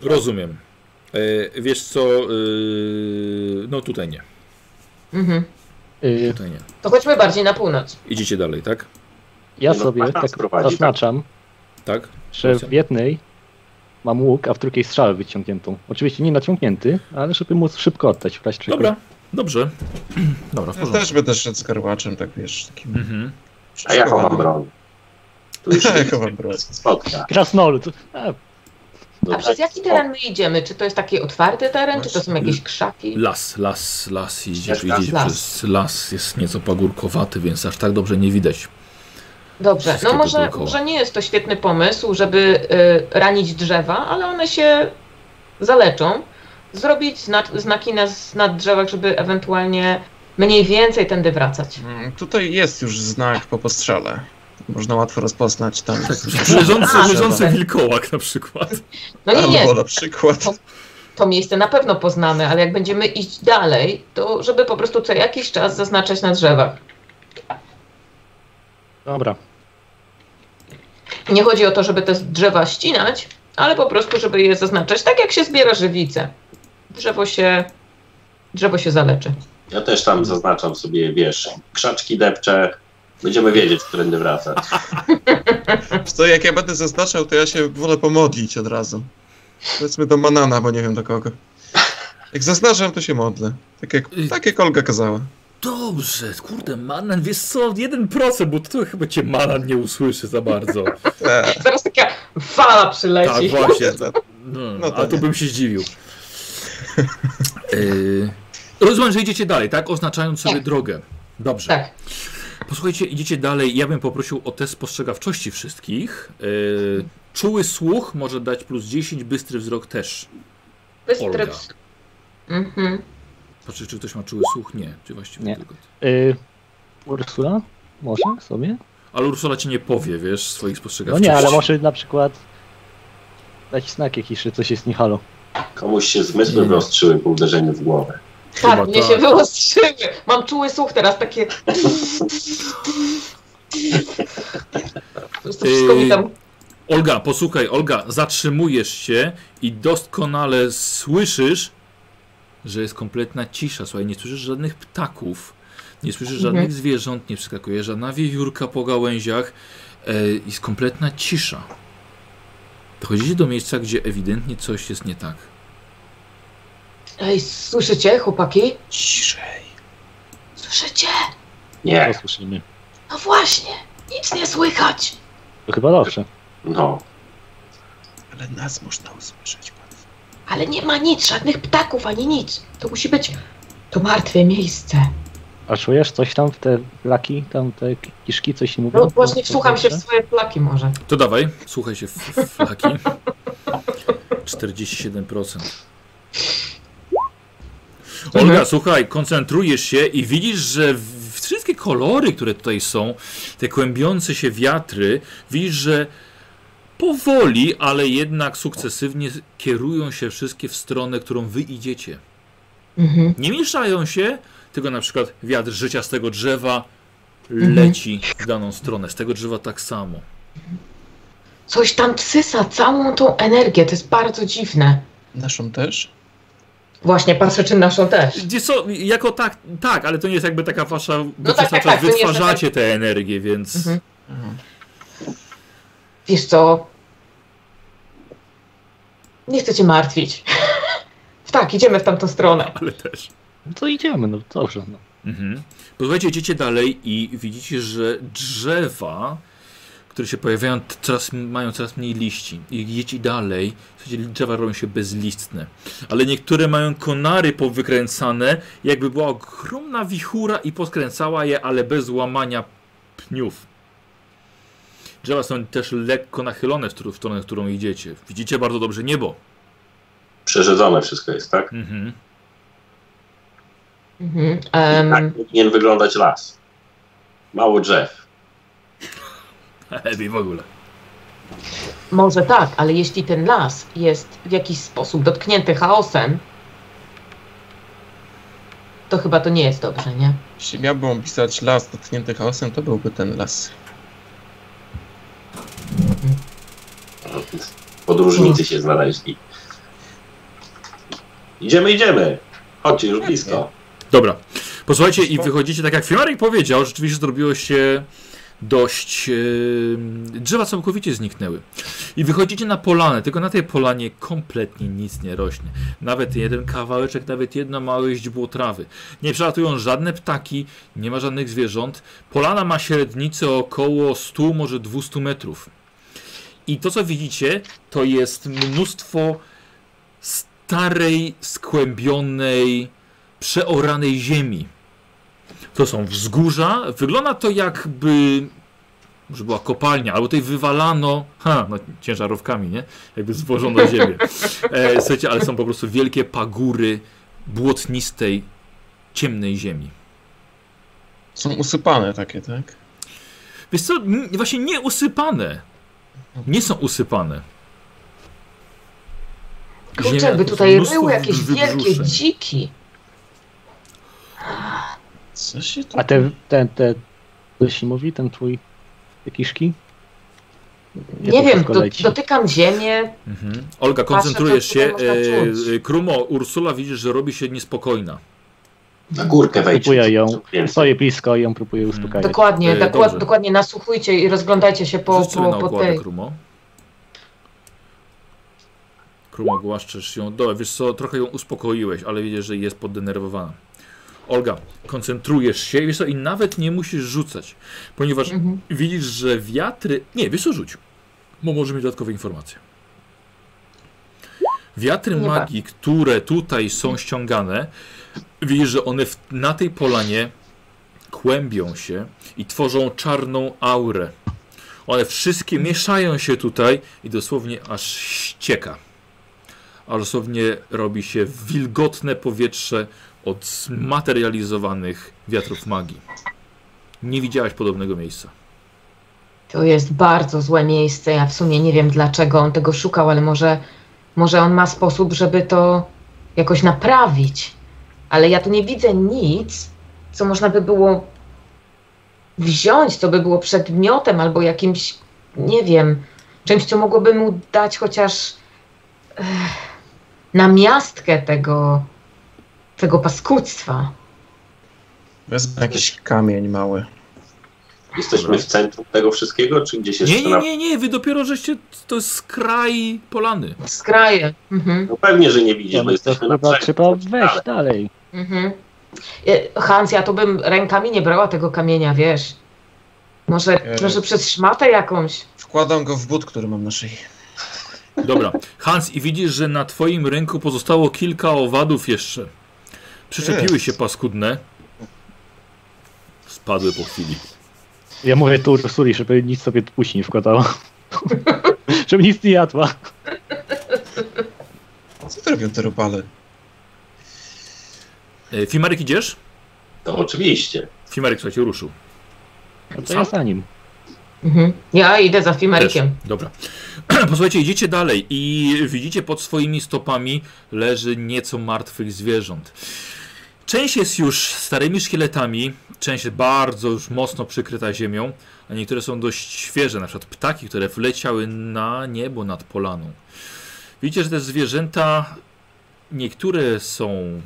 S1: Rozumiem. E, wiesz co, e, no tutaj nie,
S3: Mhm.
S6: Y,
S1: tutaj nie.
S3: To chodźmy bardziej na północ.
S1: Idziecie dalej, tak?
S6: ja
S5: No,
S6: sobie
S5: nas
S6: tak
S5: prowadzi, tak.
S6: zaznaczam,
S1: Tak?
S6: że w jednej mam łuk, a w drugiej strzałę wyciągniętą. Oczywiście nie naciągnięty, ale żeby móc szybko oddać w razie czego.
S1: Dobra, dobrze. [CLEARS THROAT] Dobra, w
S2: Ja
S1: porządku.
S2: też będę szedł z garłaczem, tak wiesz, takim...
S1: Mhm.
S5: A ja chowam broń. Tu
S2: [LAUGHS]
S5: już
S2: Ja
S5: się
S2: chowam broń.
S5: spotka.
S6: Krasnolud. A,
S5: No
S3: A przez
S5: tak,
S3: jaki teren my idziemy? Czy to jest taki otwarty teren, czy to są jakieś krzaki?
S1: Las, las, las idziesz,
S5: Jest las,
S1: idziesz
S3: las.
S1: przez las, jest nieco pagórkowaty, więc aż tak dobrze nie widać.
S3: Dobrze, no
S1: Wszystkiego
S3: może,
S1: dookoła.
S3: może nie jest to świetny pomysł, żeby y, ranić drzewa, ale one się zaleczą. Zrobić zna znaki na, na drzewach, żeby ewentualnie mniej więcej tędy wracać.
S2: Mm, Tutaj jest już znak po postrzale. Można łatwo rozpoznać tam.
S1: Tak, No, Leżący,
S3: A,
S1: leżący
S3: dobra.
S1: wilkołak na przykład.
S3: No nie, nie,
S2: Albo na przykład.
S3: to miejsce na pewno poznamy, ale jak będziemy iść dalej, to żeby po prostu co jakiś czas zaznaczać na drzewach.
S6: dobra.
S3: Nie chodzi o to, żeby te drzewa ścinać, ale po prostu, żeby je zaznaczać, tak jak się zbiera żywice. Drzewo się, drzewo się zaleczy.
S5: Ja też tam zaznaczam sobie, wiesz, krzaczki depcze. Będziemy wiedzieć, którędy wracać.
S2: Wiesz Co, jak ja będę zaznaczał, to ja się wolę pomodlić od razu. Powiedzmy do Manana, bo nie wiem do kogo. Jak zaznaczam, to się modlę. Tak jak, tak jak Olga kazała.
S1: Dobrze, kurde, Manan, wiesz co, 1%, bo to chyba cię Manan nie usłyszy za bardzo. [LAUGHS]
S2: Eee,
S3: Zaraz taka fala
S1: Tak,
S3: przyleci.
S1: właśnie.
S2: No
S1: No,
S2: to
S1: a to
S2: nie.
S1: bym się zdziwił. Yy, rozumiem, że idziecie dalej, tak? Oznaczając sobie
S3: Tak.
S1: drogę. Dobrze.
S3: Tak.
S1: Posłuchajcie, idziecie dalej. Ja bym poprosił o test spostrzegawczości wszystkich. Yy, czuły słuch może dać plus 10, bystry wzrok też.
S3: Bystry
S1: Olga.
S3: ps- Mhm.
S1: Patrzę, czy ktoś ma czuły słuch? Nie, czy właściwie
S6: Nie.
S1: tylko ty.
S6: Y, Ursula? Może sobie?
S1: Ale Ursula ci nie powie, wiesz, swoich
S6: No
S1: spostrzegawczości.
S6: nie, ale może na przykład dać znak jakiś, że coś jest nie halo.
S5: Komuś się zmysły wyostrzyły po uderzeniu w głowę.
S1: Chyba
S3: Tak, mnie
S1: tak.
S3: się wyostrzyły. Mam czuły słuch teraz, takie... Po prostu wszystko mi tam...
S1: Olga, posłuchaj, Olga, zatrzymujesz się i doskonale słyszysz, że jest kompletna cisza. Słuchaj, nie słyszysz żadnych ptaków, nie słyszysz
S3: Mhm.
S1: żadnych zwierząt, nie przeskakuje żadna wiewiórka po gałęziach. E, jest kompletna cisza. Dochodzicie do miejsca, gdzie ewidentnie coś jest nie tak.
S3: Ej, słyszycie, chłopaki?
S2: Ciszej.
S3: Słyszycie?
S5: Nie,
S6: To słyszymy.
S3: No właśnie, nic nie słychać.
S6: To chyba dobrze.
S5: no.
S2: Ale nas można usłyszeć łatwo.
S3: Ale nie ma nic, żadnych ptaków ani nic. To musi być to martwe miejsce.
S6: A czujesz coś tam w te laki, tam te kiszki, coś nie mówią?
S3: No właśnie wsłucham się w swoje plaki może.
S1: To dawaj, słuchaj się w, w flaki. 47%. Olga, słuchaj, koncentrujesz się i widzisz, że w- wszystkie kolory, które tutaj są, te kłębiące się wiatry, widzisz, że powoli, ale jednak sukcesywnie kierują się wszystkie w stronę, którą wy idziecie.
S3: Mhm.
S1: Nie mieszają się, tylko na przykład wiatr życia z tego drzewa leci w daną stronę. Z tego drzewa tak samo.
S3: Coś tam sysa całą tą energię, to jest bardzo dziwne.
S2: Naszą też?
S3: Właśnie, patrzę czy naszą też.
S1: Gdzie co, jako tak, tak, ale to nie jest jakby taka wasza, no
S3: tak, tak, tak, to nie jest
S1: wytwarzacie tę energię, więc
S3: Mhm. Wiesz co? Nie chcę cię martwić. [LAUGHS] tak, idziemy w tamtą stronę.
S1: ale też.
S6: No to idziemy, no dobrze. No.
S1: Mhm. Posłuchajcie, idziecie dalej i widzicie, że drzewa, które się pojawiają, t- coraz, mają coraz mniej liści. I idziecie dalej, słuchajcie, drzewa robią się bezlistne. Ale niektóre mają konary powykręcane, jakby była ogromna wichura i poskręcała je, ale bez łamania pniów. Drzewa są też lekko nachylone w którą- w stronę, w którą idziecie. Widzicie bardzo dobrze niebo.
S5: Przerzedzone wszystko jest, tak?
S1: Mhm. [LAUGHS]
S3: Mhm.
S5: I
S3: em,
S5: Tak powinien wyglądać las. Mało drzew.
S1: Lepiej w ogóle.
S3: Może tak, ale jeśli ten las jest w jakiś sposób dotknięty chaosem, to chyba to nie jest dobrze, nie?
S2: Jeśli miałbym opisać las dotknięty chaosem, to byłby ten las.
S6: Mm.
S5: Podróżnicy się znaleźli. Idziemy, idziemy. Chodźcie, już blisko.
S1: Dobra. Posłuchajcie i wychodzicie, tak jak Fimarek powiedział, rzeczywiście zrobiło się dość... e, drzewa całkowicie zniknęły. I wychodzicie na polanę, tylko na tej polanie kompletnie nic nie rośnie. Nawet jeden kawałeczek, nawet jedno małe źdźbło trawy. Nie przelatują żadne ptaki, nie ma żadnych zwierząt. Polana ma średnicę około 100, może 200 metrów. I to, co widzicie, to jest mnóstwo starej, skłębionej, przeoranej ziemi. To są wzgórza. Wygląda to jakby. Może była kopalnia, albo tutaj wywalano. Ha, no ciężarówkami, nie? Jakby zwożono ziemię. E, słuchajcie, ale są po prostu wielkie pagury błotnistej, ciemnej ziemi.
S2: Są usypane takie, tak?
S1: Wiesz co, n- właśnie nie usypane. Nie są usypane.
S3: Kurczę,
S1: Ziemia
S3: jakby
S1: to
S3: tutaj
S1: mnóstwo
S3: ryły jakieś
S1: wybrzuszeń.
S3: wielkie dziki.
S2: Co się tu...
S6: A te, ten, te, co się mówi, ten twój, te kiszki?
S3: Nie,
S6: to
S3: wiem,
S6: wszystko
S3: do,
S6: leci.
S3: dotykam ziemię.
S1: Mhm. Olga,
S3: Patrzę,
S1: koncentrujesz
S3: co tutaj
S1: się.
S3: można czuć.
S1: E, e, Krumo, Ursula widzisz, że robi się niespokojna.
S5: Na górkę wejdźcie.
S6: Próbuję ją,
S5: Więc
S6: stoję blisko i ją próbuję uspokajać.
S1: E,
S3: Dokładnie, dokład,
S1: dobrze.
S3: dokładnie nasłuchujcie i rozglądajcie się po,
S1: Rzuć sobie na
S3: po, po
S1: ogładę,
S3: tej.
S1: Krumo. Krumo, głaszczesz ją. Dobra, wiesz co, trochę ją uspokoiłeś, ale widzisz, że jest poddenerwowana. Olga, koncentrujesz się wiesz co, i nawet nie musisz rzucać, ponieważ
S3: Mhm.
S1: widzisz, że wiatry... Nie, wiesz co, rzuć, bo może mieć dodatkowe informacje. Wiatry
S3: Nie
S1: magii, które tutaj są ściągane, widzisz, że one w, na tej polanie kłębią się i tworzą czarną aurę. One wszystkie mieszają się tutaj i dosłownie aż ścieka. A dosłownie robi się wilgotne powietrze od zmaterializowanych wiatrów magii. Nie widziałaś podobnego miejsca.
S3: To jest bardzo złe miejsce. Ja w sumie nie wiem dlaczego on tego szukał, ale może, może on ma sposób, żeby to jakoś naprawić. Ale ja tu nie widzę nic, co można by było wziąć, co by było przedmiotem albo jakimś, nie wiem, czymś, co mogłoby mu dać chociaż eh, namiastkę tego, tego paskudztwa.
S2: Wezmę jakiś kamień mały.
S5: Jesteśmy w centrum tego wszystkiego, czy gdzieś jeszcze
S1: Nie, nie,
S5: na...
S1: nie, nie, wy dopiero żeście, to jest skraj polany.
S3: Skraje. Mhm.
S5: No pewnie, że nie widzisz,
S6: Ja
S5: bo
S6: bym to
S5: jesteśmy na
S6: chyba
S5: brzegu.
S6: trzeba wejść dalej.
S3: Mhm. E, Hans, ja to bym rękami nie brała tego kamienia, wiesz. Może,
S2: E.
S3: może przez szmatę jakąś.
S2: Wkładam go w but, który mam na szyi.
S1: Dobra, Hans, i widzisz, że na twoim rynku pozostało kilka owadów jeszcze. Przyczepiły się paskudne. Spadły po chwili.
S6: Ja mówię tu Ursuli, żeby nic sobie później nie wkładała. [LAUGHS] żeby nic nie jadła.
S2: Co to robią te robale?
S1: E, Fimarek idziesz?
S5: To oczywiście.
S1: Fimarek, słuchajcie, ruszył.
S6: No to ja za nim.
S3: Mhm. Ja idę za Fimerikiem.
S1: Też. Dobra. [CLEARS THROAT] Posłuchajcie, idziecie dalej i widzicie pod swoimi stopami leży nieco martwych zwierząt. Część jest już starymi szkieletami, część bardzo już mocno przykryta ziemią, a niektóre są dość świeże, na przykład ptaki, które wleciały na niebo nad polaną. Widzicie, że te zwierzęta, niektóre są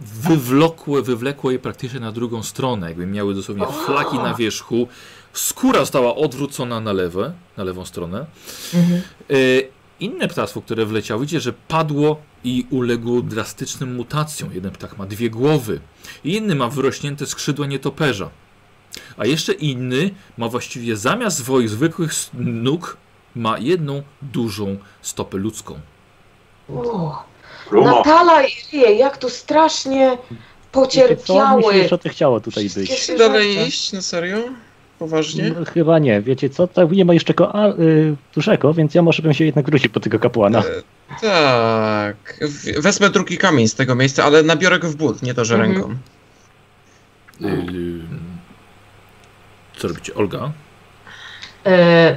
S1: wywlokłe, wywlekłe i praktycznie na drugą stronę, jakby miały dosłownie flaki na wierzchu. Skóra została odwrócona na, lewe, na lewą stronę.
S3: Mhm.
S1: E, Inne ptactwo, które wleciało, widzicie, że padło i uległo drastycznym mutacjom. Jeden ptak ma dwie głowy, inny ma wyrośnięte skrzydła nietoperza, a jeszcze inny ma właściwie zamiast swoich zwykłych s- nóg ma jedną dużą stopę ludzką.
S3: O,
S5: Rumo,
S3: Natala i Rie, jak tu strasznie
S6: Co? Mi się
S3: pocierpiały.
S6: jeszcze to chciało tutaj być.
S3: Wszystkie
S2: Dalej
S3: zwierzęta.
S2: iść? Na serio? Poważnie?
S6: No, chyba nie, wiecie co? Tak, nie ma jeszcze ko- a, y, dużego, więc ja może bym się jednak wrócił po tego kapłana.
S2: Tak. W- Wezmę drugi kamień z tego miejsca, ale nabiorę go w but, nie to, że
S3: Mhm.
S2: ręką.
S5: No.
S1: Ym, Y, mm. Co robicie, Olga?
S3: E,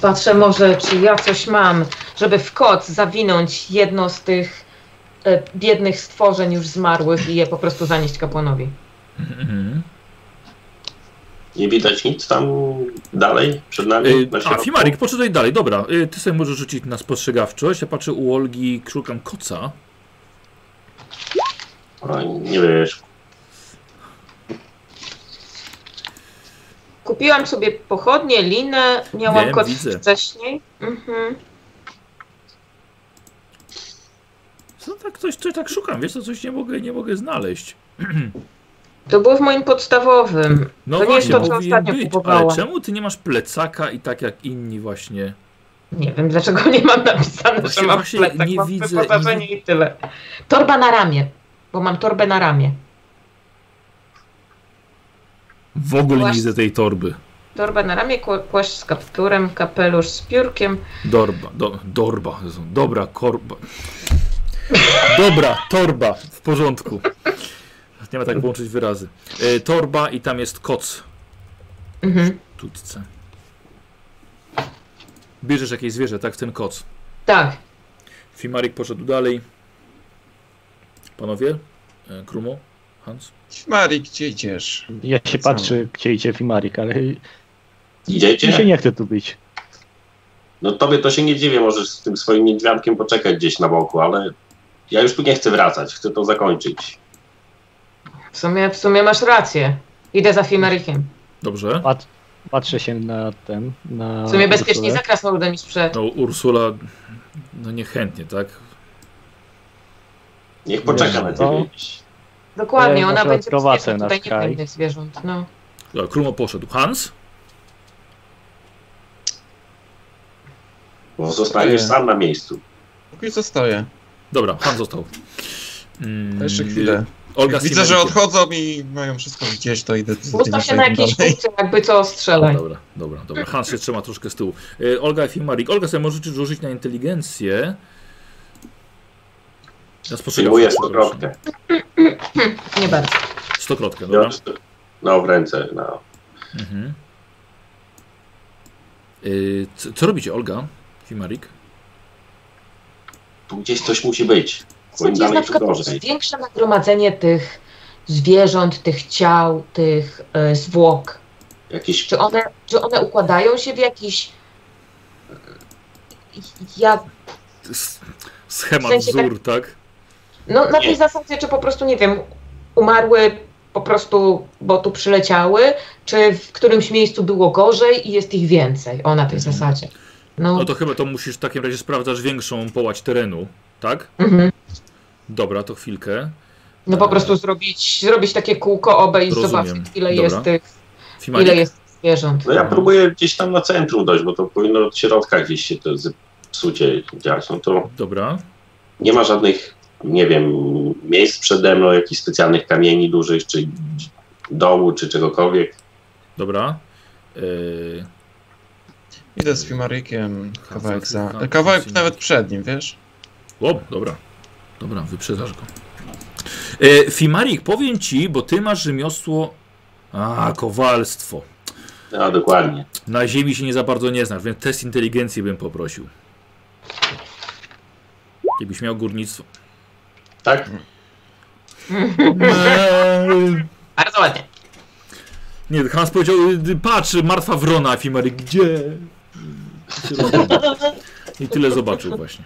S3: Patrzę może, czy ja coś mam, żeby w koc zawinąć jedno z tych e, biednych stworzeń już zmarłych i je po prostu zanieść kapłanowi.
S5: nie widać nic tam dalej przed nami?
S1: Yy,
S5: na
S1: a,
S5: środku?
S1: Fimarik, poczytaj dalej, dobra. Yy, ty sobie możesz rzucić na spostrzegawczość. Ja patrzę u Olgi, szukam koca.
S5: A, Nie wiesz,
S3: Kupiłam sobie pochodnie, linę, miałam
S1: Wiem,
S3: kot
S1: widzę.
S3: wcześniej. Mhm.
S1: Co tak, coś, coś tak szukam, wiesz co, coś nie mogę, nie mogę znaleźć.
S3: To było w moim podstawowym.
S1: No
S3: To nie jest
S1: właśnie,
S3: to, co
S1: powinien
S3: ostatnio
S1: być, ale
S3: kupowałam.
S1: czemu ty nie masz plecaka i tak jak inni właśnie?
S3: Nie wiem, dlaczego nie mam napisane,
S1: Właśnie-
S3: że mam
S1: właśnie
S3: plecak,
S1: nie
S3: mam
S1: widzę-
S3: wyposażenie i tyle. Torba na ramię, bo mam torbę na ramię.
S1: W ogóle nie
S3: Właśnie.
S1: widzę tej torby.
S3: Torba na ramię, kło- płaszcz z kapturem, kapelusz z piórkiem.
S1: Dorba, do, dorba, Jezu, dobra, korba. Dobra, torba, w porządku. Nie ma tak łączyć wyrazy. E, torba i tam jest koc
S3: Mhm.
S1: w tutce. Bierzesz jakieś zwierzę, tak, w ten koc.
S3: Tak.
S1: Fimarik poszedł dalej. Panowie? E, Krumo? Hans?
S2: Mari, gdzie idziesz?
S6: Ja się
S2: Co?
S6: patrzę, gdzie idzie Fimarik, ale mi się
S5: idziecie?
S6: nie chce tu być.
S5: No tobie to się nie dziwię, możesz z tym swoim niedźwiadkiem poczekać gdzieś na boku, ale ja już tu nie chcę wracać, chcę to zakończyć.
S3: W sumie, w sumie masz rację. Idę za Fimerikiem.
S1: Dobrze.
S6: Pat- patrzę się na ten, na...
S3: W sumie bezpieczniej
S6: Ursulę.
S3: za krasnoludem niż przed.
S1: No, Ursula, no niechętnie, tak?
S5: Niech poczeka
S6: Wiesz,
S5: na
S6: no.
S5: ciebie.
S6: Ja
S3: Dokładnie, ona
S6: może
S3: będzie
S6: odprowadzę
S3: bezpieczna
S6: na
S3: tutaj
S6: skraj.
S3: niewinnych zwierząt. No.
S1: Dobra, E, Krumo poszedł. Hans?
S5: Bo zostaniesz
S2: Nie.
S5: sam na miejscu.
S2: Póki zostaję.
S1: Dobra, Hans został. Mm,
S2: Jeszcze chwilę.
S1: Olga
S2: Jak
S1: z
S2: widzę, że
S1: Fimarikiem.
S2: odchodzą i mają wszystko gdzieś, to idę z
S3: Ustaw się na jakiejś punkcie, jakby co strzelaj.
S1: Dobra, dobra, dobra. Hans się trzyma troszkę z tyłu. E, Olga i Fimarik. Olga sobie możecie rzucić na inteligencję. Ja spostrzegam.
S5: Przyjmuję stokrotkę.
S3: Nie bardzo.
S1: Stokrotkę, dobra.
S5: Biorę sto- No w ręce, no.
S1: Mhm. Y, co, co robicie, Olga? Fimarik?
S5: Tu gdzieś coś musi być. Bo im
S3: Sądzi jest na
S5: dalej, tym
S3: przykład
S5: gorzej.
S3: większe nagromadzenie tych zwierząt, tych ciał, tych e, zwłok.
S5: Jakiś
S3: Czy one, czy one układają się w jakiś... Jak,
S1: S- Schemat,
S3: W sensie
S1: wzór, tak?
S3: No na
S5: Nie.
S3: tej zasadzie, czy po prostu, nie wiem, umarły po prostu, bo tu przyleciały, czy w którymś miejscu było gorzej i jest ich więcej, o na tej
S1: Mhm.
S3: zasadzie. No,
S1: No to chyba to musisz w takim razie sprawdzasz większą połać terenu, tak?
S3: mhm.
S1: Dobra, to chwilkę.
S3: no po prostu zrobić, zrobić takie kółko obe i
S1: Rozumiem.
S3: zobaczyć, ile
S1: Dobra.
S3: jest tych,
S1: Fimarik?
S3: ile jest zwierząt.
S5: No ja próbuję gdzieś tam na centrum dojść, bo to powinno od środka gdzieś się to zepsucie dziać. No to
S1: Dobra.
S5: nie ma żadnych, nie wiem, miejsc przede mną, jakichś specjalnych kamieni dużych, czy dołu, czy czegokolwiek.
S1: Dobra. Yy,
S2: Idę z Fimarikiem kawałek za...
S1: Kawałek
S2: Kawałek
S1: za-
S2: nawet przed nim, wiesz?
S1: o, dobra. Dobra, wyprzedzasz go. Y, Yy, Fimarik, powiem ci, bo ty masz rzemiosło... A, kowalstwo.
S5: No dokładnie.
S1: Na ziemi się nie za bardzo nie znasz, więc test inteligencji bym poprosił. Gdybyś miał górnictwo.
S5: Tak?
S3: Bardzo ładnie.
S1: Nie, Hans powiedział, y, patrz, martwa wrona, Efimery, gdzie? I tyle zobaczył. I tyle zobaczył właśnie.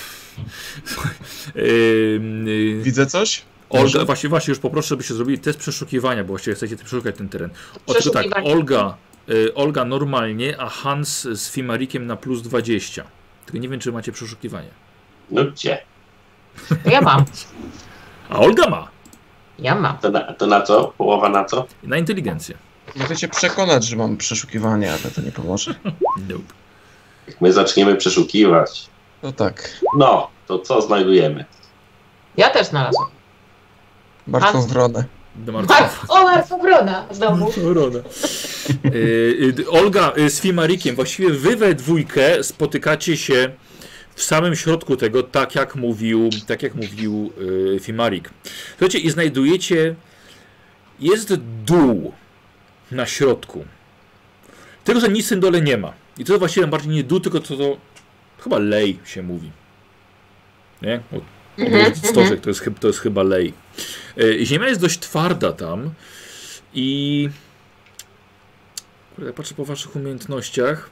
S1: [LAUGHS] Słuchaj, ym, y,
S2: Widzę coś?
S1: Olga, właśnie, właśnie już poproszę, żebyście zrobili test przeszukiwania, bo właściwie chcecie przeszukać ten teren. O, tylko tak,
S3: Przeszukiwanie.
S1: Olga, y, Olga normalnie, a Hans z Fimarikiem na plus 20. Tylko nie wiem, czy macie przeszukiwanie.
S5: No gdzie?
S3: To ja mam.
S1: A Olga ma!
S3: Ja mam.
S5: To na, to na co? Połowa na co?
S1: Na inteligencję.
S2: Mogę cię przekonać, że mam przeszukiwanie, ale to nie pomoże.
S1: Nope.
S5: Jak my zaczniemy przeszukiwać,
S2: No tak.
S5: no, to co znajdujemy?
S3: Ja też znalazłam.
S2: Martwą
S3: A-
S2: wronę.
S1: Do Marka.
S3: Mark, [LAUGHS] o, Marfobrona znowu.
S1: Y, y, d- Olga y, z Fimarikiem, właściwie wy we dwójkę spotykacie się w samym środku tego, tak jak mówił, tak jak mówił y, Fimarik. Słuchajcie, i znajdujecie, jest dół na środku. Tylko, że nic w tym dole nie ma. I to właściwie bardziej nie dół, tylko to, to chyba lej się mówi. Nie? Bo
S3: Mhm,
S1: Stożek, to jest, chyb- to jest chyba lej. Y, Ziemia jest dość twarda tam i Kurde, patrzę po waszych umiejętnościach,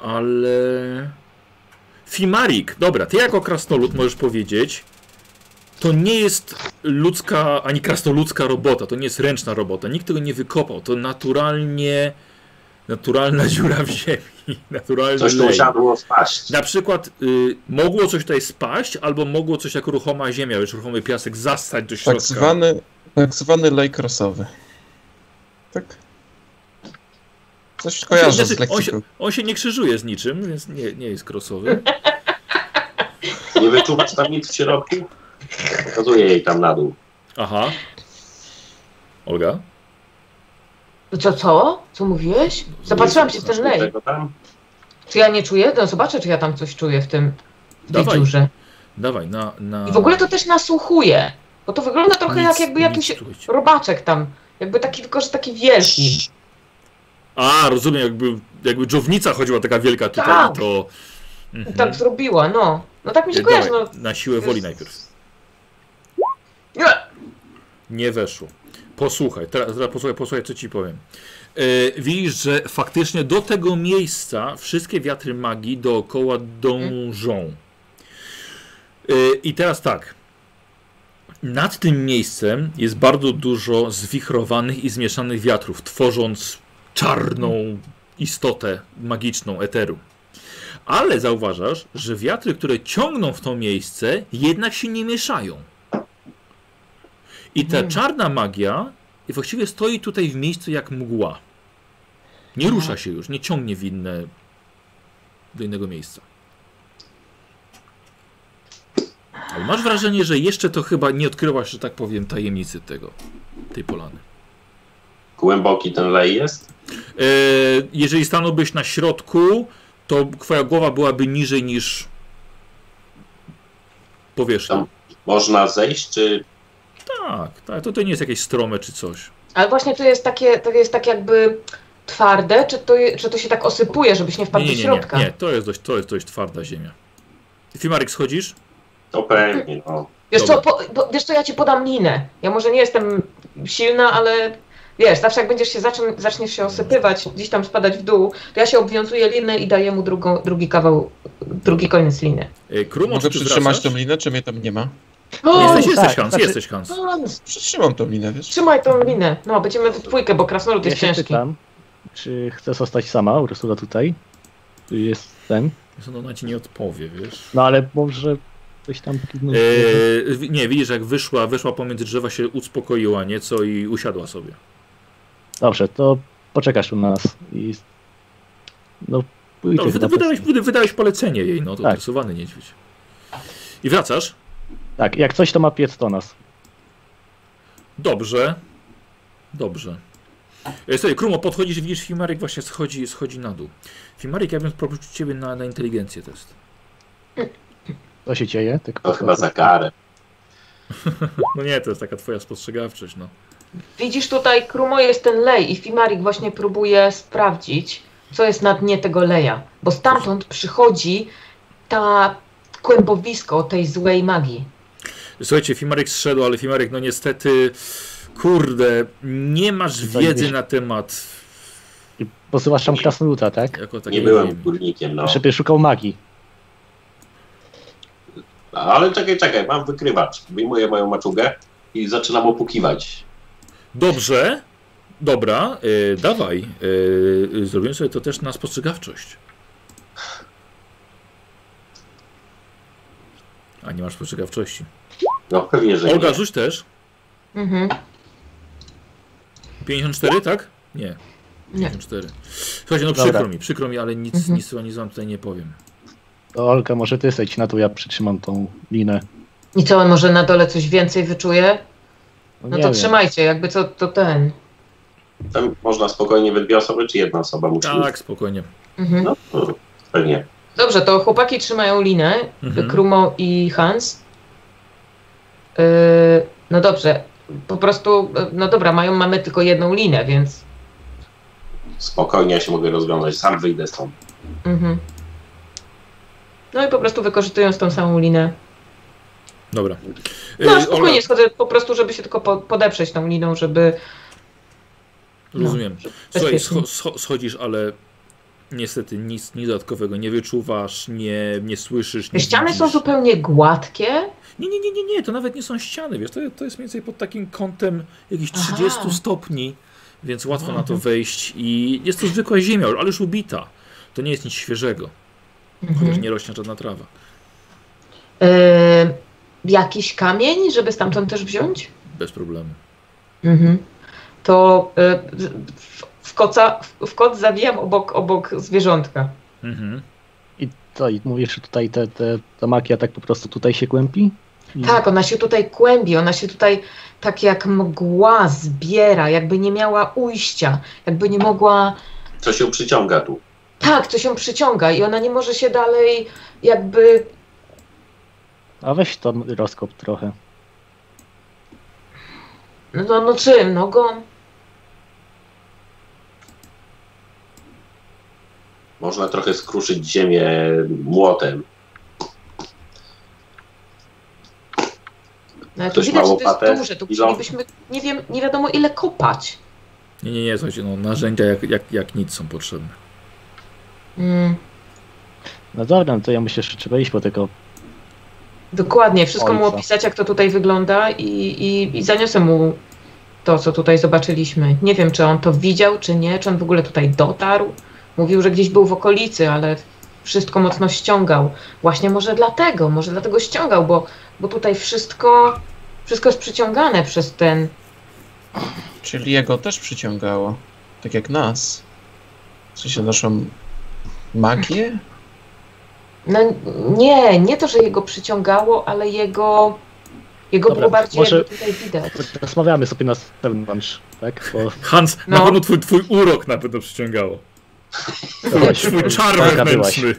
S1: ale... Fimarik, dobra, ty jako krasnolud możesz powiedzieć, to nie jest ludzka, ani krasnoludzka robota, to nie jest ręczna robota, nikt tego nie wykopał, to naturalnie, naturalna [LAUGHS] dziura w ziemi, naturalny
S5: Coś tu
S1: lej.
S5: usiadło spaść.
S1: Na przykład y, mogło coś tutaj spaść, albo mogło coś jak ruchoma ziemia, już ruchomy piasek zastać do środka. Znaczy,
S2: Tak zwany, tak zwany lej krosowy. Tak? Coś kojarzę z
S1: znaczy, on, się,
S2: lektyką.
S1: on się nie krzyżuje z niczym, więc nie, nie jest krosowy.
S5: Nie wyczuwasz tam nic w środku? Pokazuję jej tam na dół.
S1: Aha. Olga?
S3: No Co, co? Co mówiłeś? Zapatrzyłam się w ten
S5: Coś
S3: lej.
S5: tego tam?
S3: Czy ja nie czuję? No zobaczę, czy ja tam coś czuję w tym w tej
S1: Dawaj.
S3: dziurze.
S1: Dawaj, na... na...
S3: I w ogóle to też nasłuchuję, bo to wygląda trochę
S1: Nic-
S3: jak jakby
S1: nic
S3: jakiś
S1: czuć.
S3: robaczek tam. Jakby taki, tylko że taki wielki.
S1: A, rozumiem, jakby, jakby dżownica chodziła taka wielka tutaj,
S3: Tak.
S1: to... Mhm.
S3: Tak zrobiła, no. No tak mi się
S1: Y,
S3: kojarzy,
S1: dawaj,
S3: no.
S1: Na siłę woli najpierw.
S3: Nie!
S1: Nie weszło. Posłuchaj, teraz, teraz posłuchaj, posłuchaj, co ci powiem. E, widzisz, że faktycznie do tego miejsca wszystkie wiatry magii dookoła dążą. E, I teraz tak. Nad tym miejscem jest bardzo dużo zwichrowanych i zmieszanych wiatrów, tworząc czarną istotę magiczną eteru. Ale zauważasz, że wiatry, które ciągną w to miejsce, jednak się nie mieszają. I ta
S3: Mm.
S1: czarna magia właściwie stoi tutaj w miejscu jak mgła. Nie rusza się już, nie ciągnie w inne, do innego miejsca. Ale masz wrażenie, że jeszcze to chyba nie odkryłaś, że tak powiem, tajemnicy tego, tej polany.
S5: Głęboki ten lej jest?
S1: E, jeżeli stanąłbyś na środku, to twoja głowa byłaby niżej niż powierzchnia.
S5: Tam. Można zejść, czy
S1: Tak, tak, to, to nie jest jakieś strome czy coś.
S3: Ale właśnie to jest takie, to jest tak jakby twarde, czy to, je- czy to się tak osypuje, żebyś nie
S1: Nie,
S3: wpadł
S1: nie,
S3: do
S1: nie, nie,
S3: środka?
S1: nie to, jest dość, to jest dość twarda ziemia. Fimarek, schodzisz?
S5: to pewnie, no.
S3: Wiesz, co,
S1: Dobra.
S3: po, bo, wiesz co, ja ci podam linę. Ja może nie jestem silna, ale wiesz, zawsze jak będziesz się zaczą, zaczniesz się osypywać, gdzieś tam spadać w dół, to ja się obwiązuję linę i daję mu drugą, drugi kawał, drugi koniec liny.
S1: E, Krumo,
S2: Mogę
S1: czy ty
S2: przytrzymać
S1: wracasz?
S2: tą linę, czy mnie tam nie ma?
S6: No!
S4: tak,
S1: Jesteś, jesteś Hans,
S4: znaczy-
S1: jesteś Hans.
S3: Hans,
S2: Przytrzymam tą linę, wiesz?
S3: Trzymaj tą linę. No, będziemy w dwójkę, bo krasnolud
S6: Ja
S3: jest
S6: się
S3: ciężki.
S6: pytam, czy chcesz zostać sama, Ursula, tutaj? Czy jest ten?
S1: Wiesz, Ona ci nie odpowie, wiesz.
S6: No ale może coś tam... kiwnąć.
S1: E, wi- nie, widzisz, jak wyszła, wyszła pomiędzy drzewa, się uspokoiła nieco i usiadła sobie.
S6: Dobrze, to poczekasz u nas i... No, pójdę
S1: No, wyda-
S6: chyba
S1: wydałeś,
S6: po-
S1: wyda- wydałeś polecenie jej, no to
S6: Tak.
S1: taksowany niedźwiedź. I wracasz?
S6: Tak, jak coś to ma piec do nas.
S1: Dobrze. Dobrze. E, Słuchaj, Krumo, podchodzisz i widzisz, Fimarek właśnie schodzi, schodzi na dół. Fimarek, ja bym poprosił ciebie na, na inteligencję test.
S6: Co się dzieje? Tak
S5: To chyba za karę.
S1: No nie, to jest taka twoja spostrzegawczość, no.
S3: Widzisz tutaj, Krumo, jest ten lej i Fimarik właśnie próbuje sprawdzić, co jest na dnie tego leja. Bo stamtąd przychodzi ta kłębowisko tej złej magii.
S1: Słuchajcie, Fimarek zszedł, ale Fimarek, no niestety, kurde, nie masz
S6: Zajebiście.
S1: wiedzy na temat
S6: Posyłasz tam krasnoluta, tak?
S1: jako
S5: Nie
S1: takiej
S5: byłem
S1: ziemi.
S5: górnikiem, no.
S6: Żeby szukał magii.
S5: Ale czekaj, czekaj, mam wykrywacz. Wyjmuję moją maczugę i zaczynam opukiwać.
S1: Dobrze, dobra, y, dawaj, y, zrobimy sobie to też na spostrzegawczość. A nie masz spostrzegawczości.
S5: No pewnie, że
S1: Olga,
S5: nie.
S1: rzuć też.
S3: Mhm.
S1: 54, tak? Nie.
S3: Nie.
S1: 54. Słuchajcie, no
S6: Dobra.
S1: przykro mi, przykro mi, ale nic,
S3: Mhm.
S1: nic, nic wam tutaj nie powiem.
S6: To Olka, może ty sejdź na to, ja przytrzymam tą linę.
S3: I co, on może na dole coś więcej wyczuje? No
S6: nie
S3: to
S6: wiem.
S3: trzymajcie, jakby co, to ten.
S5: Tam można spokojnie we dwie osoby, czy jedna osoba musi.
S1: Tak, spokojnie.
S3: Mhm.
S5: No, no, pewnie.
S3: Dobrze, to chłopaki trzymają linę,
S1: Mhm.
S3: Krumo i Hans. Yy, no dobrze, po prostu, yy, no dobra, mają, mamy tylko jedną linę, więc...
S5: Spokojnie ja się mogę rozwiązać. Sam wyjdę stąd.
S3: Mhm. No i po prostu wykorzystując tą samą linę.
S1: Dobra.
S3: No
S1: Y,
S3: spokojnie, schodzę po prostu, żeby się tylko po, podeprzeć tą liną, żeby...
S1: Rozumiem. Słuchaj,
S3: bezpiecznie.
S1: scho- scho- schodzisz, ale niestety nic, nic dodatkowego nie wyczuwasz, nie, nie słyszysz. Nie
S3: Ściany są
S1: widzisz.
S3: zupełnie gładkie.
S1: Nie, nie, nie, nie, nie, to nawet nie są ściany, wiesz, to, to jest mniej więcej pod takim kątem jakichś
S3: Aha. Mhm.
S1: 30 stopni, więc łatwo na to wejść i jest to zwykła ziemia, ale już ubita. To nie jest nic świeżego, chociaż
S3: Mhm.
S1: nie rośnie żadna trawa.
S3: Yy, jakiś kamień, żeby stamtąd też wziąć?
S1: Bez problemu.
S3: Mhm. To y, w, w, koca, w, w kot zawijam obok, obok zwierzątka.
S1: Mhm.
S6: I co, i mówisz, że tutaj te, te, ta magia tak po prostu tutaj się kłębi? I
S5: Mhm.
S3: Tak, ona się tutaj kłębi, ona się tutaj tak jak mgła zbiera, jakby nie miała ujścia, jakby nie mogła.
S5: Co się przyciąga tu?
S3: Tak, coś ją przyciąga i ona nie może się dalej jakby.
S6: A weź to rozkop trochę.
S3: No, no czym? Nogą?
S5: Można trochę skruszyć ziemię młotem.
S3: No, ale to
S5: Ktoś
S3: widać, że
S5: ma
S3: to
S5: łopatę?
S3: jest duże. Tu
S5: I lą-
S3: musielibyśmy nie, wiem, nie wiadomo ile kopać.
S1: Nie, nie, nie, słuchajcie, no, narzędzia jak, jak, jak nic są potrzebne.
S3: Mm,
S6: No dobra, no to ja myślę, że trzeba iść po tego.
S3: dokładnie, wszystko mu
S6: Ojca.
S3: opisać, jak to tutaj wygląda, i, i, i zaniosę mu to, co tutaj zobaczyliśmy. Nie wiem, czy on to widział, czy nie, czy on w ogóle tutaj dotarł. Mówił, że gdzieś był w okolicy, ale wszystko mocno ściągał. Właśnie może dlatego, może dlatego ściągał, bo, bo tutaj wszystko, wszystko jest przyciągane przez ten.
S2: Czyli jego też przyciągało. Tak jak nas. W sensie naszą magię?
S3: No nie, nie to, że jego przyciągało, ale jego. Jego
S6: Dobra,
S3: było bardziej
S6: może-
S3: jakby tutaj widać.
S6: Rozmawiamy sobie na zewnątrz, tak?
S1: [LAUGHS]
S6: Bo
S1: Hans, na
S3: No.
S1: pewno twój, twój urok na pewno przyciągało. Twój czar
S6: Taka byłaś.
S1: wewnętrzny.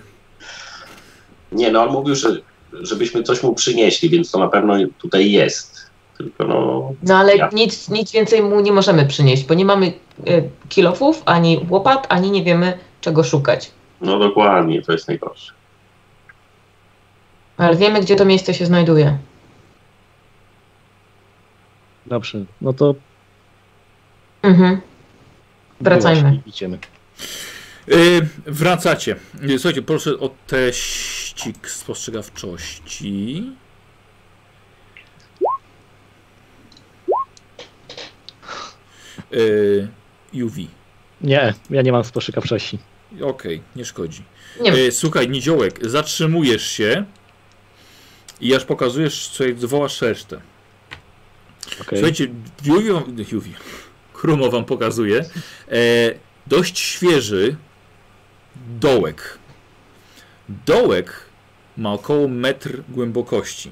S5: Nie, no on mówił, że żebyśmy coś mu przynieśli, więc to na pewno tutaj jest. Tylko no,
S3: No ale
S5: Ja.
S3: nic, nic więcej mu nie możemy przynieść, bo nie mamy e, kilofów, ani łopat, ani nie wiemy czego szukać.
S5: no dokładnie, to jest najgorsze.
S3: Ale wiemy, gdzie to miejsce się znajduje.
S6: Dobrze, no to
S3: Mhm. Wracajmy.
S6: byłaś i Idziemy.
S1: Y, wracacie. Y, Słuchajcie, proszę o teścik spostrzegawczości. Y, UV.
S6: Nie, ja nie mam spostrzegawczości.
S1: Okej, nie szkodzi.
S3: Nie wiem.
S1: E, słuchaj, Niziołek, zatrzymujesz się i aż pokazujesz, co jak wołasz resztę.
S6: Okej.
S1: Słuchajcie, Juwi, wam- Juwi, Krumo wam pokazuje e, dość świeży dołek. Dołek ma około metr głębokości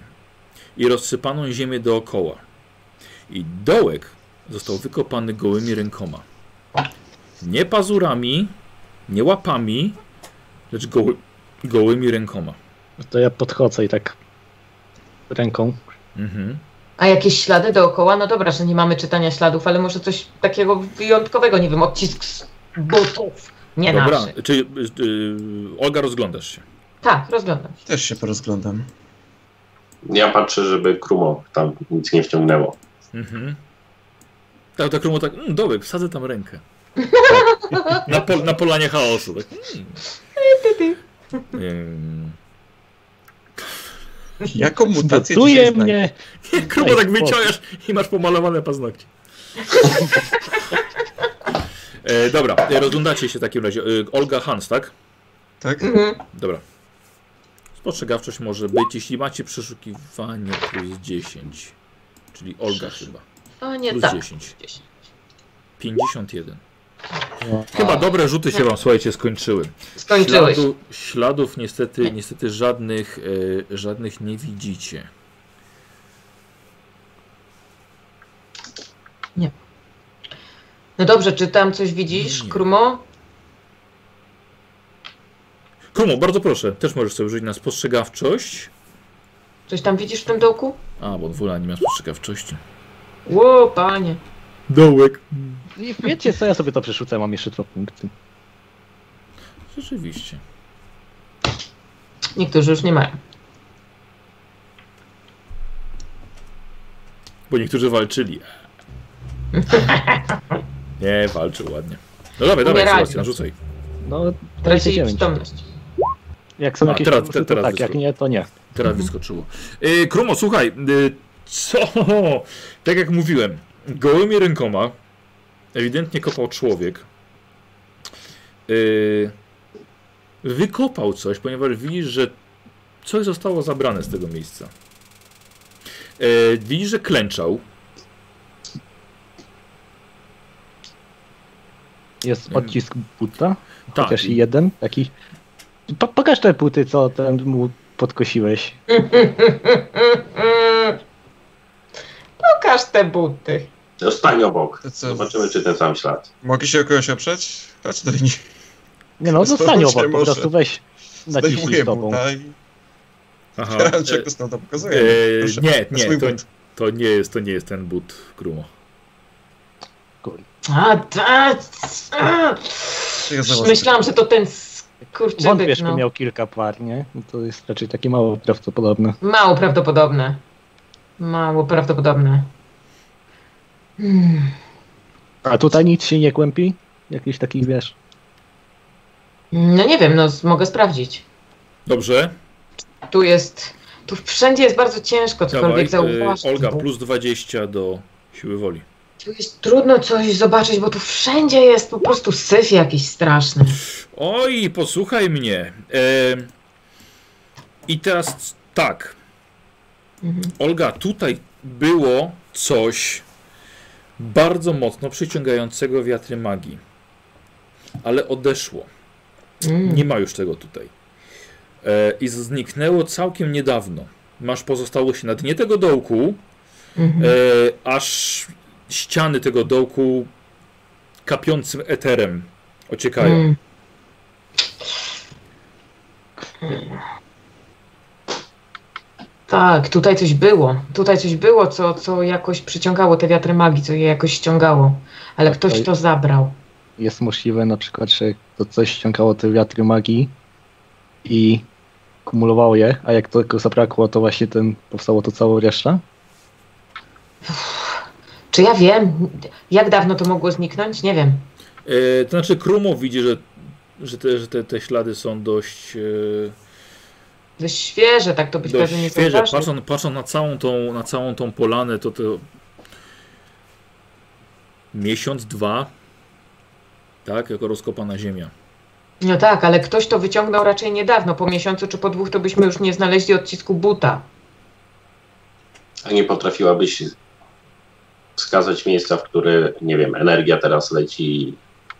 S1: i rozsypaną ziemię dookoła. I dołek został wykopany gołymi rękoma. Nie pazurami, nie łapami, lecz goły,
S6: no
S1: gołymi rękoma.
S6: To ja podchodzę i tak ręką
S1: Mhm.
S3: A jakieś ślady dookoła? No dobra, że nie mamy czytania śladów, ale może coś takiego wyjątkowego, nie wiem, odcisk z butów. Nie
S1: Dobra,
S3: naszych.
S1: czyli y, y, Olga rozglądasz się.
S3: Tak, rozglądam się.
S2: Też się porozglądam.
S5: Ja patrzę, żeby Krumo tam nic nie wciągnęło.
S1: Mhm. Tak, tak, Rumo tak, mm, dobry, wsadzę tam rękę. na, pol, na polanie chaosu. Tak. Mm. Ym.
S2: Jaką mutację
S6: Zbutuje
S2: dzisiaj znajdę?
S6: mnie!
S1: Krumo tak wyciągasz i masz pomalowane paznokcie. [LAUGHS] e, dobra, e, rozglądacie się w takim razie. E, Olga Hans, tak?
S2: Tak?
S3: Mhm.
S1: Dobra. Spostrzegawczość może być, jeśli macie przeszukiwanie plus 10. Czyli Olga chyba.
S3: O nie,
S1: Plus
S3: tak.
S1: 10. 51. Chyba dobre rzuty się wam, słuchajcie, skończyły.
S3: Skończyłeś.
S1: Śladu, śladów niestety, niestety żadnych, e, żadnych nie widzicie.
S3: No dobrze, czy tam coś widzisz,
S1: Nie.
S3: Krumo?
S1: Krumo, bardzo proszę, też możesz sobie rzucić na spostrzegawczość.
S3: Coś tam widzisz w tym dołku?
S1: A, bo dwula nie ma spostrzegawczości.
S3: Ło, panie.
S1: Dołek.
S6: I Wiecie co, ja sobie to przerzucę, mam jeszcze dwa punkty.
S1: Rzeczywiście.
S3: Niektórzy już nie mają.
S1: Bo niektórzy
S3: [LAUGHS]
S1: walczyli. Nie, walczył ładnie. No dawaj, dawaj,
S3: Umierali.
S1: Sebastian, rzucaj.
S6: No,
S3: Tracili
S6: 29.
S3: przytomność.
S6: Jak są
S1: A,
S6: jakieś
S1: teraz-
S6: bonusy, to
S1: teraz
S6: tak,
S1: wystarczy.
S6: jak nie, to nie.
S1: Teraz wyskoczyło. Y, Krumo, słuchaj, y, co? [LAUGHS] Tak jak mówiłem, gołymi rękoma ewidentnie kopał człowiek. Y, wykopał coś, ponieważ widzisz, że coś zostało zabrane z tego miejsca. Y, widzisz, że klęczał.
S6: Jest odcisk buta,
S1: Tak.
S6: chociaż i jeden taki. Po, pokaż te buty, co ten mu podkosiłeś.
S3: Pokaż te buty.
S5: Zostań obok.
S2: To co?
S5: Zobaczymy, czy ten sam ślad.
S2: Mogę się o kogoś oprzeć? Chodź do linii.
S6: Nie no,
S2: Bez
S6: zostań
S2: powodu się
S6: obok, po
S2: może.
S6: prostu weź naciśnij
S2: Zdejmuję
S6: tobą.
S2: buta i
S1: Aha.
S2: [LAUGHS] teraz jak to tam pokazuje.
S1: E,
S6: Yy,
S2: Proszę,
S1: nie,
S2: to jest mój
S1: nie, to,
S2: but.
S1: to nie jest, to nie jest ten but, Krumo.
S3: A, ta, a.
S2: Ja zaraz-
S3: Myślałam, że to ten skurczybyk.
S6: Wątpię, że
S3: No.
S6: miał kilka par, nie? No To jest raczej takie mało prawdopodobne.
S3: Mało prawdopodobne. Mało prawdopodobne. Hmm.
S6: A tutaj nic się nie kłębi? Jakiś taki, wiesz...
S3: No nie wiem, no z- mogę sprawdzić.
S1: Dobrze,
S3: Tu jest. Tu wszędzie jest bardzo ciężko
S1: dawaj.
S3: cokolwiek
S1: E,
S3: zauważyć.
S1: Olga,
S3: bo
S1: plus 20 do siły woli.
S3: Tu jest trudno coś zobaczyć, bo tu wszędzie jest po prostu syf jakiś straszny.
S1: Oj, posłuchaj mnie. E, I teraz c- tak.
S3: Mhm.
S1: Olga, tutaj było coś bardzo mocno przyciągającego wiatry magii. Ale odeszło.
S3: Mm.
S1: Nie ma już tego tutaj. E, I zniknęło całkiem niedawno. Masz pozostałości na dnie tego dołku,
S3: Mhm.
S1: e, aż ściany tego dołku kapiącym eterem ociekają.
S3: Mm. Tak, tutaj coś było. Tutaj coś było, co, co jakoś przyciągało te wiatry magii, co je jakoś ściągało. Ale
S6: Tak,
S3: ktoś
S6: to-
S3: to zabrał.
S6: Jest możliwe na przykład, że to coś ściągało te wiatry magii i kumulowało je, a jak tego zabrakło, to właśnie ten powstało to całe reszta.
S3: Czy ja wiem, jak dawno to mogło zniknąć? Nie wiem.
S1: E, to znaczy Krumo widzi, że, że, te, że te, te ślady są dość, e,
S3: Dość świeże, tak to być pewnie nie
S1: dość świeże.
S3: zauważy.
S1: Patrząc, patrząc na, całą tą, na całą tą polanę, to to miesiąc, dwa, tak, jako rozkopana ziemia.
S3: No tak, ale ktoś to wyciągnął raczej niedawno. Po miesiącu czy po dwóch to byśmy już nie znaleźli odcisku buta.
S5: A nie potrafiłabyś wskazać miejsca, w które, nie wiem, energia teraz leci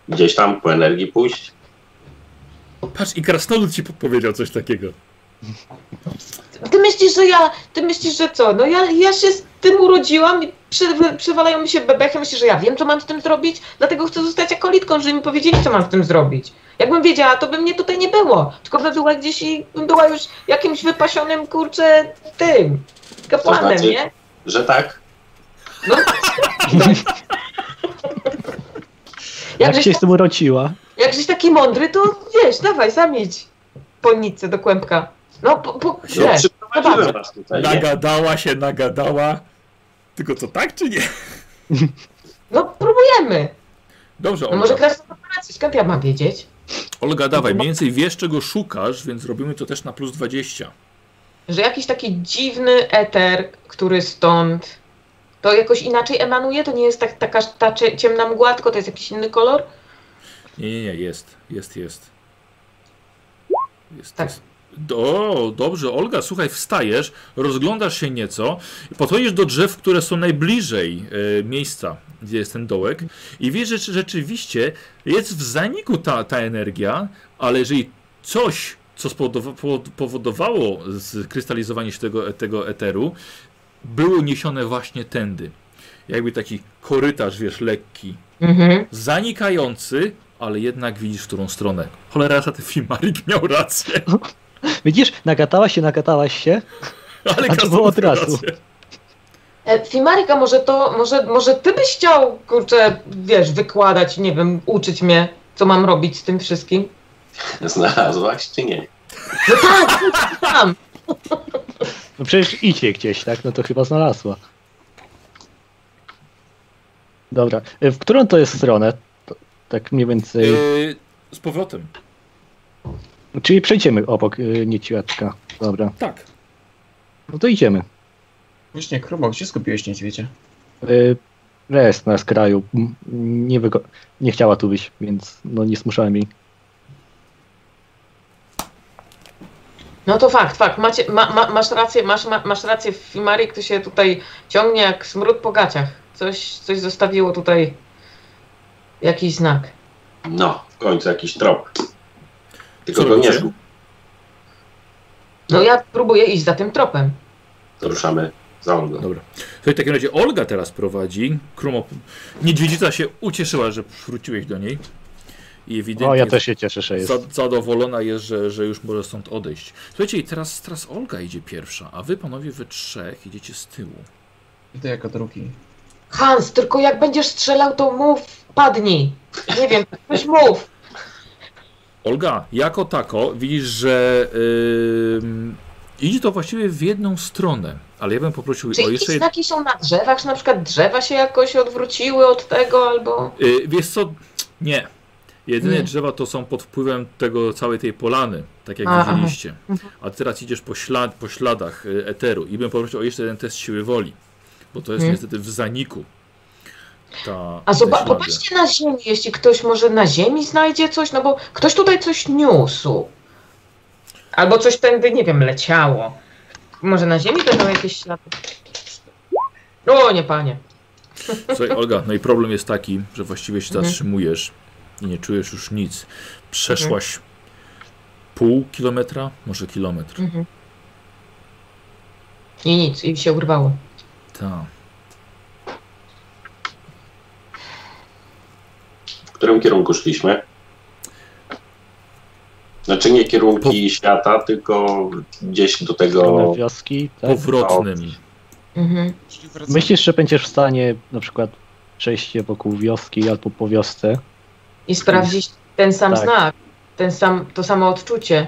S5: gdzieś tam, po energii pójść?
S1: Patrz, i krasnolud ci podpowiedział coś takiego.
S3: Ty myślisz, że ja, ty myślisz, że co? No ja, ja się z tym urodziłam i prze- przewalają mi się bebechy, myślisz, że ja wiem, co mam z tym zrobić, dlatego chcę zostać akolitką, żeby mi powiedzieli, co mam z tym zrobić. Jakbym wiedziała, to by mnie tutaj nie było, tylko by była gdzieś i bym była już jakimś wypasionym, kurczę, tym, kapłanem,
S5: To znaczy-
S3: nie?
S5: że tak?
S6: [LAUGHS] Jak
S3: Jakżeś,
S6: się z tym urociła?
S3: jakżeś taki mądry, to wiesz, dawaj, zamieć polnicę do kłębka. No, po, po,
S5: No,
S3: nie.
S5: przyprowadziłem was tutaj. Nie?
S1: Nagadała się, nagadała. Tylko co tak czy nie?
S3: no próbujemy.
S1: Dobrze,
S3: No może
S1: Olga.
S3: teraz operację, skąd ja mam wiedzieć?
S1: Olga, dawaj, mniej więcej wiesz, czego szukasz, więc robimy to też na plus 20.
S3: Że jakiś taki dziwny eter, który stąd, to jakoś inaczej emanuje? To nie jest tak, taka ta cie- ciemna mgła, tylko to jest jakiś inny kolor?
S1: Nie, nie, nie, jest, jest, jest. Jest,
S3: Tak.
S1: jest. O, dobrze, Olga, słuchaj, wstajesz, rozglądasz się nieco, podchodzisz do drzew, które są najbliżej e, miejsca, gdzie jest ten dołek i wiesz, że rzeczywiście jest w zaniku ta, ta energia, ale jeżeli coś, co spowodowa- powo- powodowało skrystalizowanie się tego, tego eteru, było niesione właśnie tędy. Jakby taki korytarz, wiesz, lekki,
S3: Mhm.
S1: zanikający, ale jednak widzisz, w którą stronę. Cholera, jasna, ten Fimarik miał rację. [LAUGHS]
S6: Widzisz, nagatałaś się, nagatałaś się.
S1: Ale
S6: A to było od
S1: Krasnolud miał
S6: razu.
S1: rację.
S3: E, Fimarika, może to, może, może ty byś chciał, kurczę, wiesz, wykładać, nie wiem, uczyć mnie, co mam robić z tym wszystkim?
S2: Tak.
S5: Znalazłaś czy nie?
S3: No tak, tam.
S6: No przecież idzie gdzieś, tak? No to chyba znalazła. Dobra. e, W którą to jest stronę? To, tak mniej więcej.
S1: Yy, z powrotem.
S6: Czyli przejdziemy obok y, niedźwiadka. Dobra.
S1: Tak.
S6: No to idziemy.
S2: Właśnie, Krumo, gdzie skupiłeś niedźwiedzia?
S6: Y, Jest na skraju. M, Nie, wygo- nie chciała tu być, więc no nie zmuszałem jej.
S3: No to fakt, fakt. Macie, ma, ma, masz rację, masz, ma, masz rację. Fimarik to się tutaj ciągnie jak smród po gaciach. Coś, coś zostawiło tutaj jakiś znak.
S5: No, w końcu jakiś trop. Tylko
S1: Co
S5: go nie
S1: robicie?
S5: zgub.
S3: No ja próbuję iść za tym tropem.
S5: To ruszamy za Olgą.
S1: Dobra. Słuchaj, w takim razie Olga teraz prowadzi. Krumo... Niedźwiedzica się ucieszyła, że wróciłeś do niej. I ewidentnie
S6: O, ja też się cieszę, że jest.
S1: za- zadowolona jest, że, że już może stąd odejść. Słuchajcie, i teraz, teraz Olga idzie pierwsza, a wy panowie we trzech idziecie z tyłu.
S2: Idę jako drugi.
S3: Hans, tylko jak będziesz strzelał, to mów, padnij. Nie wiem, coś mów.
S1: Olga, jako tako widzisz, że ym, idzie to właściwie w jedną stronę, ale ja bym poprosił
S3: Czy
S1: o
S3: jakieś
S1: jeszcze jedno.
S3: znaki są na drzewach? Czy na przykład drzewa się jakoś odwróciły od tego albo...
S1: Y, wiesz co? Nie. Jedyne
S3: Nie.
S1: drzewa to są pod wpływem tego całej tej polany, tak jak
S3: A, aha. Mhm.
S1: widzieliście. A ty teraz idziesz po, ślad, po śladach y, eteru i bym poprosił o jeszcze jeden test siły woli, bo to jest
S3: Mhm.
S1: niestety w zaniku. Ta,
S3: A
S1: te
S3: zoba-
S1: ślady.
S3: popatrzcie na ziemię, jeśli ktoś może na ziemi znajdzie coś, no bo ktoś tutaj coś niósł. Albo coś tędy, nie wiem, leciało. Może na ziemi będą jakieś ślady. O, nie panie.
S1: Słuchaj, Olga, no i problem jest taki, że właściwie się
S3: Mhm.
S1: zatrzymujesz i nie czujesz już nic. Przeszłaś
S3: Mhm.
S1: pół kilometra, może kilometr.
S3: I nic, i się urwało.
S1: Ta.
S5: W którym kierunku szliśmy? Znaczy nie kierunki świata, tylko gdzieś do tego...
S6: Stronę wioski, tak?
S1: Powrotnym.
S3: Mhm.
S2: Czyli wracamy.
S6: Myślisz, że będziesz w stanie na przykład przejść się wokół wioski albo po wiosce?
S3: I sprawdzić ten sam
S6: Tak.
S3: znak, ten sam, to samo odczucie.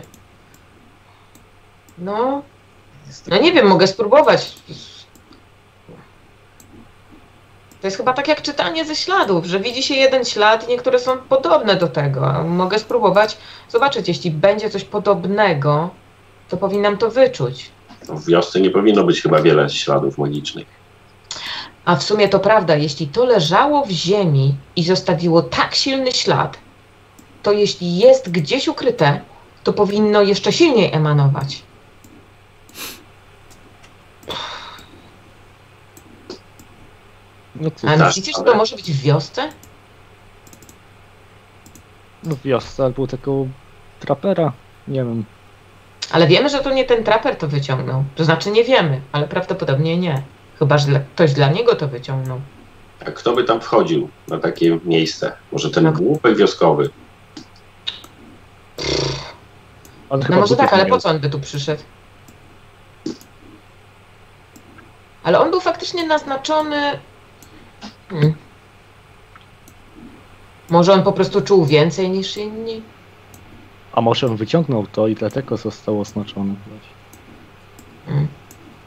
S3: No, no nie wiem, mogę spróbować. To jest chyba tak jak czytanie ze śladów, że widzi się jeden ślad i niektóre są podobne do tego. A Mogę spróbować zobaczyć, jeśli będzie coś podobnego, to powinnam to wyczuć.
S5: W wiosce nie powinno być chyba wiele śladów magicznych.
S3: A w sumie to prawda, jeśli to leżało w ziemi i zostawiło tak silny ślad, to jeśli jest gdzieś ukryte, to powinno jeszcze silniej emanować.
S6: No cóż,
S3: A
S5: Tak,
S3: myślicie, że
S5: ale-
S3: to może być w wiosce?
S6: no w wiosce albo tego trapera, nie wiem.
S3: Ale wiemy, że to nie ten traper to wyciągnął. To znaczy nie wiemy, ale prawdopodobnie nie. Chyba, że dla- ktoś dla niego to wyciągnął.
S5: A kto by tam wchodził na takie miejsce? Może ten
S3: No.
S6: Tak.
S5: głupek wioskowy?
S6: On
S3: No
S6: chyba
S3: może
S6: butów
S3: tak, ale
S6: nie
S3: po
S6: miał.
S3: co on by tu przyszedł? Ale on był faktycznie naznaczony. Hmm. Może on po prostu czuł więcej niż inni?
S6: A może on wyciągnął to i dlatego został oznaczony.
S3: Hmm.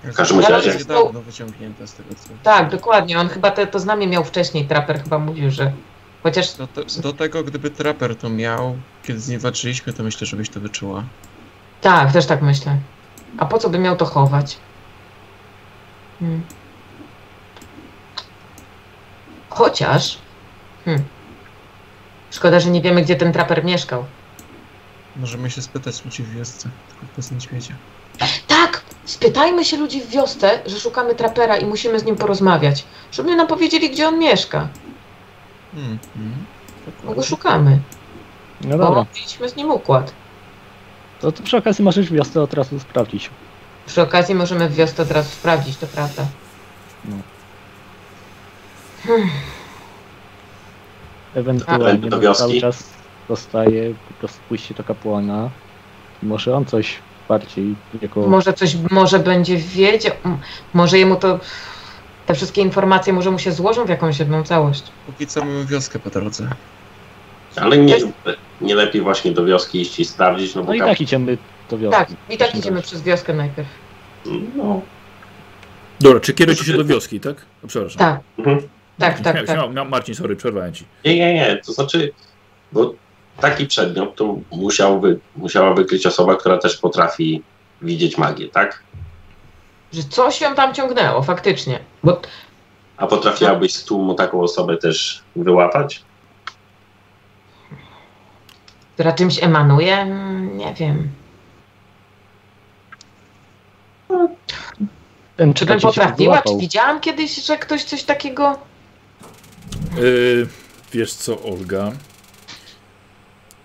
S5: W każdym
S3: Ale on
S5: razie-
S2: jest dawno no, wyciągnięte z tego co.
S3: Tak, dokładnie. On chyba te, to znamie miał wcześniej. Trapper chyba mówił, że. Chociaż
S2: Do, te, do tego, gdyby Trapper to miał, kiedy z nim walczyliśmy, to myślę, żebyś to wyczuła.
S3: tak, też tak myślę. A po co by miał to chować? Hmm. Chociaż. Hmm. Szkoda, że nie wiemy, gdzie ten traper mieszkał.
S2: Możemy się spytać ludzi w wiosce, tylko bez niedźwiedzia.
S3: Tak, spytajmy się ludzi w wiosce, że szukamy trapera i musimy z nim porozmawiać, żeby nam powiedzieli, gdzie on mieszka.
S2: Hmm, hmm.
S3: Bo go szukamy,
S6: No
S3: bo
S6: dobra,
S3: mieliśmy z nim układ.
S6: to, to przy okazji możesz w wiosce od razu sprawdzić.
S3: Przy okazji możemy w wiosce teraz sprawdzić, to prawda.
S6: No.
S3: Hmm, Tak,
S6: Ewentualnie
S5: do
S6: bo
S5: wioski?
S6: cały czas dostaje po prostu pójście do kapłana. I Może on coś bardziej jako...
S3: Może coś, może będzie wiedział, m- może jemu to, te wszystkie informacje może mu się złożą w jakąś jedną całość.
S2: Póki co mamy wioskę po drodze.
S5: Ale nie, nie lepiej właśnie do wioski iść i sprawdzić, no bo
S6: No i
S5: tam...
S6: tak idziemy do wioski.
S3: Tak, i tak idziemy
S6: Dobrze.
S3: przez wioskę najpierw.
S5: No,
S1: Dobra, czy kierujecie się do wioski, tak? O, przepraszam.
S3: Tak,
S5: Mhm.
S3: tak, tak,
S1: Śmiał-
S3: tak.
S1: śmiał- Marcin, sorry, przerwałem ci.
S5: Nie, nie, nie. To znaczy, bo taki przedmiot to musiał wy, musiała wykryć osoba, która też potrafi widzieć magię, tak?
S3: Że coś ją tam ciągnęło, faktycznie. Bo t-
S5: A potrafiłabyś z tłumu taką osobę też wyłapać?
S3: która czymś emanuje, mm, nie wiem.
S6: Ten
S3: Czy
S6: czekaj,
S3: bym
S6: cię
S3: potrafiła? Czy
S6: wyłapał.
S3: widziałam kiedyś, że ktoś coś takiego...
S1: Yy, wiesz co, Olga?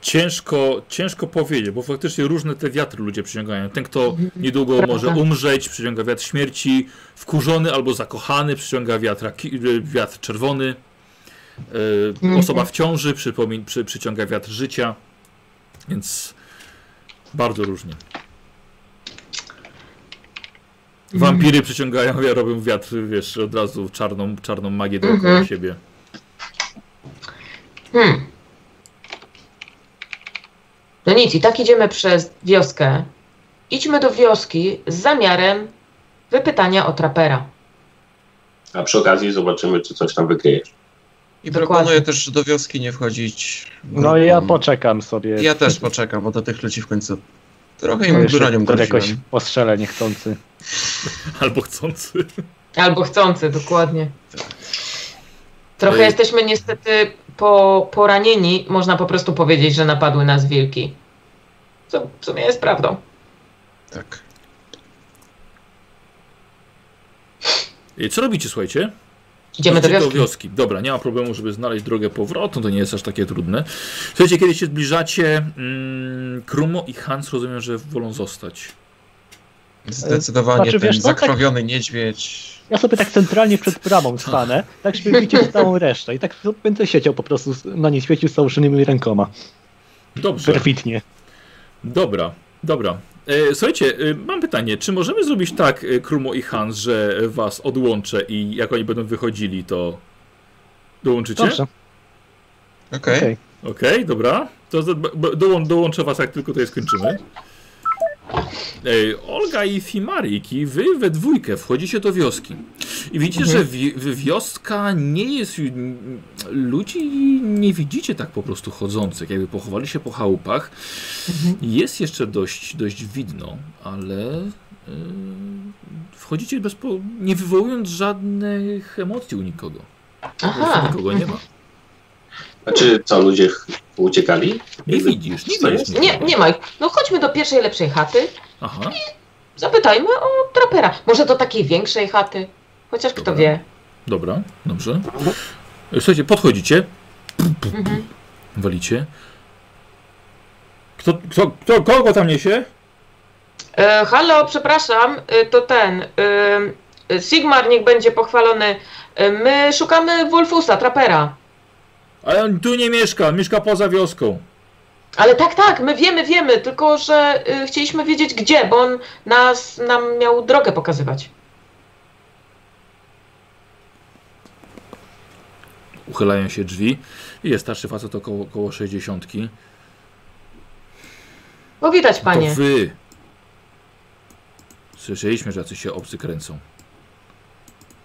S1: Ciężko, ciężko powiedzieć, bo faktycznie różne te wiatry ludzie przyciągają. Ten, kto niedługo
S3: Mhm. Prawda.
S1: może umrzeć, przyciąga wiatr śmierci. Wkurzony albo zakochany przyciąga wiatra, ki- yy, wiatr czerwony. Yy,
S3: Mhm.
S1: Osoba w ciąży przypomin, przy, przyciąga wiatr życia. Więc bardzo różnie.
S3: Mhm.
S1: Wampiry przyciągają, ja robią wiatr, wiesz, od razu czarną, czarną magię dookoła
S3: Mhm.
S1: siebie.
S3: Hmm. No nic, i tak idziemy przez wioskę. Idźmy do wioski z zamiarem wypytania o trapera.
S5: A przy okazji zobaczymy, czy coś tam wykryjesz.
S2: I
S3: Dokładnie.
S2: proponuję też do wioski nie wchodzić.
S6: No i ja
S2: grupą.
S6: poczekam sobie.
S2: Ja też poczekam, bo do tych ludzi w końcu trochę
S6: Bo
S2: im
S6: jeszcze
S2: bronią
S6: któregoś
S2: groziłem.
S6: postrzelę niechcący.
S1: [LAUGHS] Albo chcący.
S3: Albo chcący, dokładnie.
S1: Ej.
S3: Trochę jesteśmy niestety po, poranieni. Można po prostu powiedzieć, że napadły nas wilki. Co w sumie jest prawdą.
S2: Tak.
S1: I E, Co robicie, słuchajcie?
S3: Idziemy do
S1: Idziecie
S3: wioski.
S1: Dobra, nie ma problemu, żeby znaleźć drogę powrotną, to nie jest aż takie trudne. Słuchajcie, kiedy się zbliżacie, mm, Krumo i Hans rozumiem, że wolą zostać.
S2: Zdecydowanie
S6: Znaczy,
S2: ten
S6: wiesz co, tak-
S2: zakrwawiony niedźwiedź.
S6: Ja sobie tak centralnie przed bramą stanę, tak żeby widzieć całą resztę. I tak będę siedział po prostu z- na niej świecił z założonymi rękoma.
S1: Dobrze,
S6: Perfitnie.
S1: dobra, dobra. E, słuchajcie, e, mam pytanie, czy możemy zrobić tak, e, Krumo i Hans, że was odłączę i jak oni będą wychodzili, to dołączycie?
S6: Dobrze,
S2: Okej.
S6: okej.
S1: Okej, dobra. To z- b- b- dołą, dołączę was, jak tylko tutaj skończymy. Ej, Olga i Fimariki, wy we dwójkę wchodzicie do wioski. I widzicie, że wi wi- wioska nie jest. ju- n- Ludzi nie widzicie tak po prostu chodzących, jakby pochowali się po chałupach. Jest jeszcze dość, dość widno, ale. y, Wchodzicie bez po... nie wywołując żadnych emocji u nikogo. Po prostu
S3: Aha.
S1: Nikogo nie ma.
S5: A czy co, ludzie ch- uciekali?
S1: Nie widzisz, nie
S5: Co
S1: widzisz.
S5: jest?
S1: nikogo.
S3: Mhm. Nie, nie ma ich. No chodźmy do pierwszej lepszej chaty.
S1: Aha.
S3: Zapytajmy o trapera. Może do takiej większej chaty. Chociaż kto
S1: Dobra.
S3: wie.
S1: Dobra, dobrze. Słuchajcie, podchodzicie,
S3: Mhm.
S1: walicie. Kto, kto, kto, kogo tam niesie?
S3: E, halo, przepraszam, e, to ten. E, e, Sigmar niech będzie pochwalony. E, my szukamy Wolfusa, trapera.
S1: Ale on tu nie mieszka, mieszka poza wioską.
S3: Ale tak, tak, my wiemy, wiemy, tylko że y, e, chcieliśmy wiedzieć gdzie, bo on nas, nam miał drogę pokazywać.
S1: uchylają się drzwi. I jest starszy facet około, około 60.
S3: No widać,
S1: To
S3: panie.
S1: wy! Słyszeliśmy, że jacyś się obcy kręcą.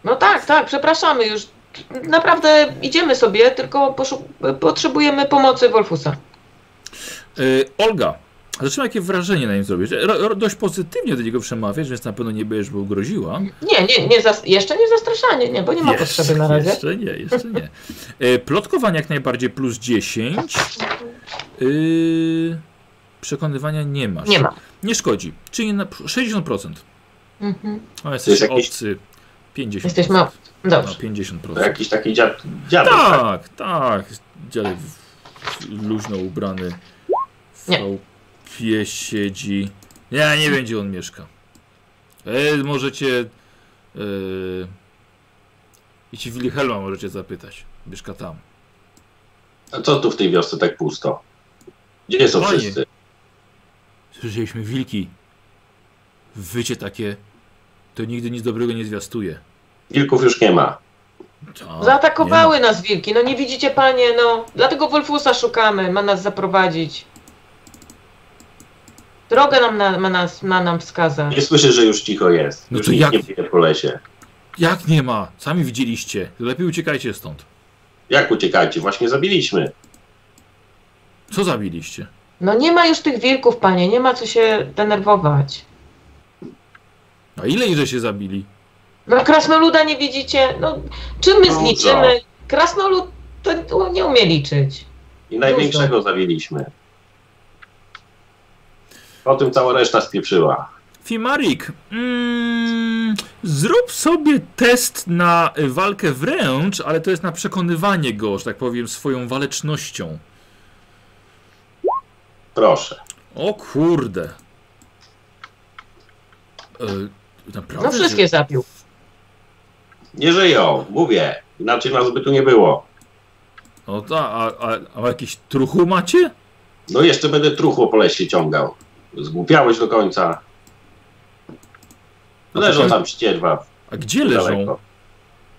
S3: No tak, tak, przepraszamy już. Naprawdę idziemy sobie, tylko poszu- potrzebujemy pomocy Wolfusa.
S1: E, Olga, zaczyna jakie wrażenie na nim zrobić. Ro, ro, dość pozytywnie do niego przemawiasz, więc na pewno nie będziesz mu groziła.
S3: Nie, nie, nie zas- jeszcze nie zastraszanie, nie, bo nie ma potrzeby na razie.
S1: Jeszcze nie, jeszcze nie. E, plotkowanie jak najbardziej plus 10. E, przekonywania nie masz.
S3: Nie ma.
S1: Nie szkodzi. Czyli na 60%.
S3: Mhm.
S1: O, jesteś
S5: To jest jakiś- Tak?
S1: obcy. 50%.
S3: Jesteśmy. Dobrze.
S1: No, 50%.
S5: To jakiś taki dziad, dziadek.
S1: Tak,
S5: Tak.
S1: tak. Dziadek w- w- luźno ubrany w
S3: Nie.
S1: chałupie siedzi. Nie, nie wiem gdzie on mieszka. E, możecie... E, I ci Wilhelma możecie zapytać. Mieszka tam.
S5: A co tu w tej wiosce tak pusto? Gdzie są
S1: Panie.
S5: wszyscy?
S1: Słyszeliśmy wilki. Wycie takie. To nigdy nic dobrego nie zwiastuje.
S5: Wilków już nie ma.
S1: Ta,
S3: Zaatakowały nas wilki, no nie widzicie panie, no. Dlatego Wolfusa szukamy, ma nas zaprowadzić. Drogę nam na, ma, nas, ma nam wskazać.
S5: Nie słyszę, że już cicho jest.
S1: No
S5: już
S1: to
S5: nikt
S1: jak-
S5: nie biegnie po lesie.
S1: Jak nie ma? Sami widzieliście. Lepiej uciekajcie stąd.
S5: Jak uciekajcie? Właśnie zabiliśmy.
S1: Co zabiliście?
S3: No nie ma już tych wilków, panie, nie ma co się denerwować.
S1: A ile iże się zabili?
S3: No krasnoluda nie widzicie? No czym my
S5: Dużo.
S3: zliczymy? Krasnolud to to nie umie liczyć.
S5: I największego zawiliśmy. O tym cała reszta spieprzyła.
S1: Fimarik, mm, zrób sobie test na y, walkę wręcz, ale to jest na przekonywanie go, że tak powiem, swoją walecznością.
S5: Proszę.
S1: O kurde. E, naprawdę?
S3: No wszystkie zabił.
S5: Nie żyją, mówię. Inaczej nas by tu nie było.
S1: No ta, a, a, a jakiś truchu macie?
S5: No jeszcze będę truchło po lesie ciągał. Zgłupiałeś do końca. Leżą tam ścierwa
S1: A gdzie leżą?
S5: daleko.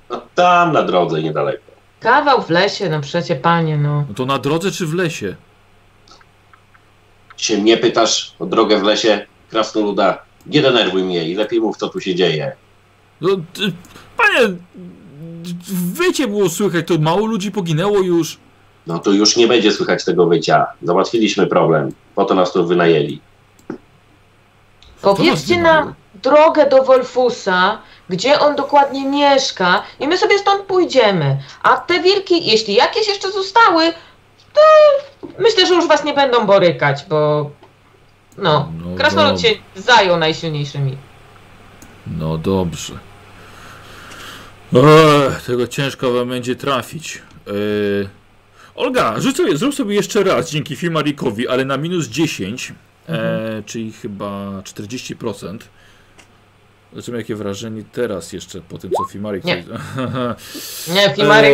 S5: No tam na drodze niedaleko.
S3: Kawał w lesie, no przecie panie, no.
S1: No to na drodze czy w lesie?
S5: się mnie pytasz o drogę w lesie, krasnoluda, nie denerwuj mnie i lepiej mów, co tu się dzieje.
S1: No, ty, panie, wycie było słychać, to mało ludzi poginęło już.
S5: No to już nie będzie słychać tego wycia. Załatwiliśmy problem. Po to nas tu wynajęli.
S1: To
S3: Powiedzcie
S1: nas
S3: nam drogę do Wolfusa, gdzie on dokładnie mieszka i my sobie stąd pójdziemy. A te wilki, jeśli jakieś jeszcze zostały, to myślę, że już was nie będą borykać, bo no,
S1: No
S3: krasnolud
S1: dobrze.
S3: się zajął najsilniejszymi.
S1: No dobrze. Ech, tego ciężko wam będzie trafić. Yy... Olga, rzuć sobie, zrób sobie jeszcze raz dzięki Fimarikowi, ale na minus 10, e, czyli chyba 40%. Zobaczymy jakie wrażenie teraz jeszcze po tym co Fimarik...
S3: Nie.
S1: [LAUGHS]
S3: Nie,
S1: E,
S3: Fimarik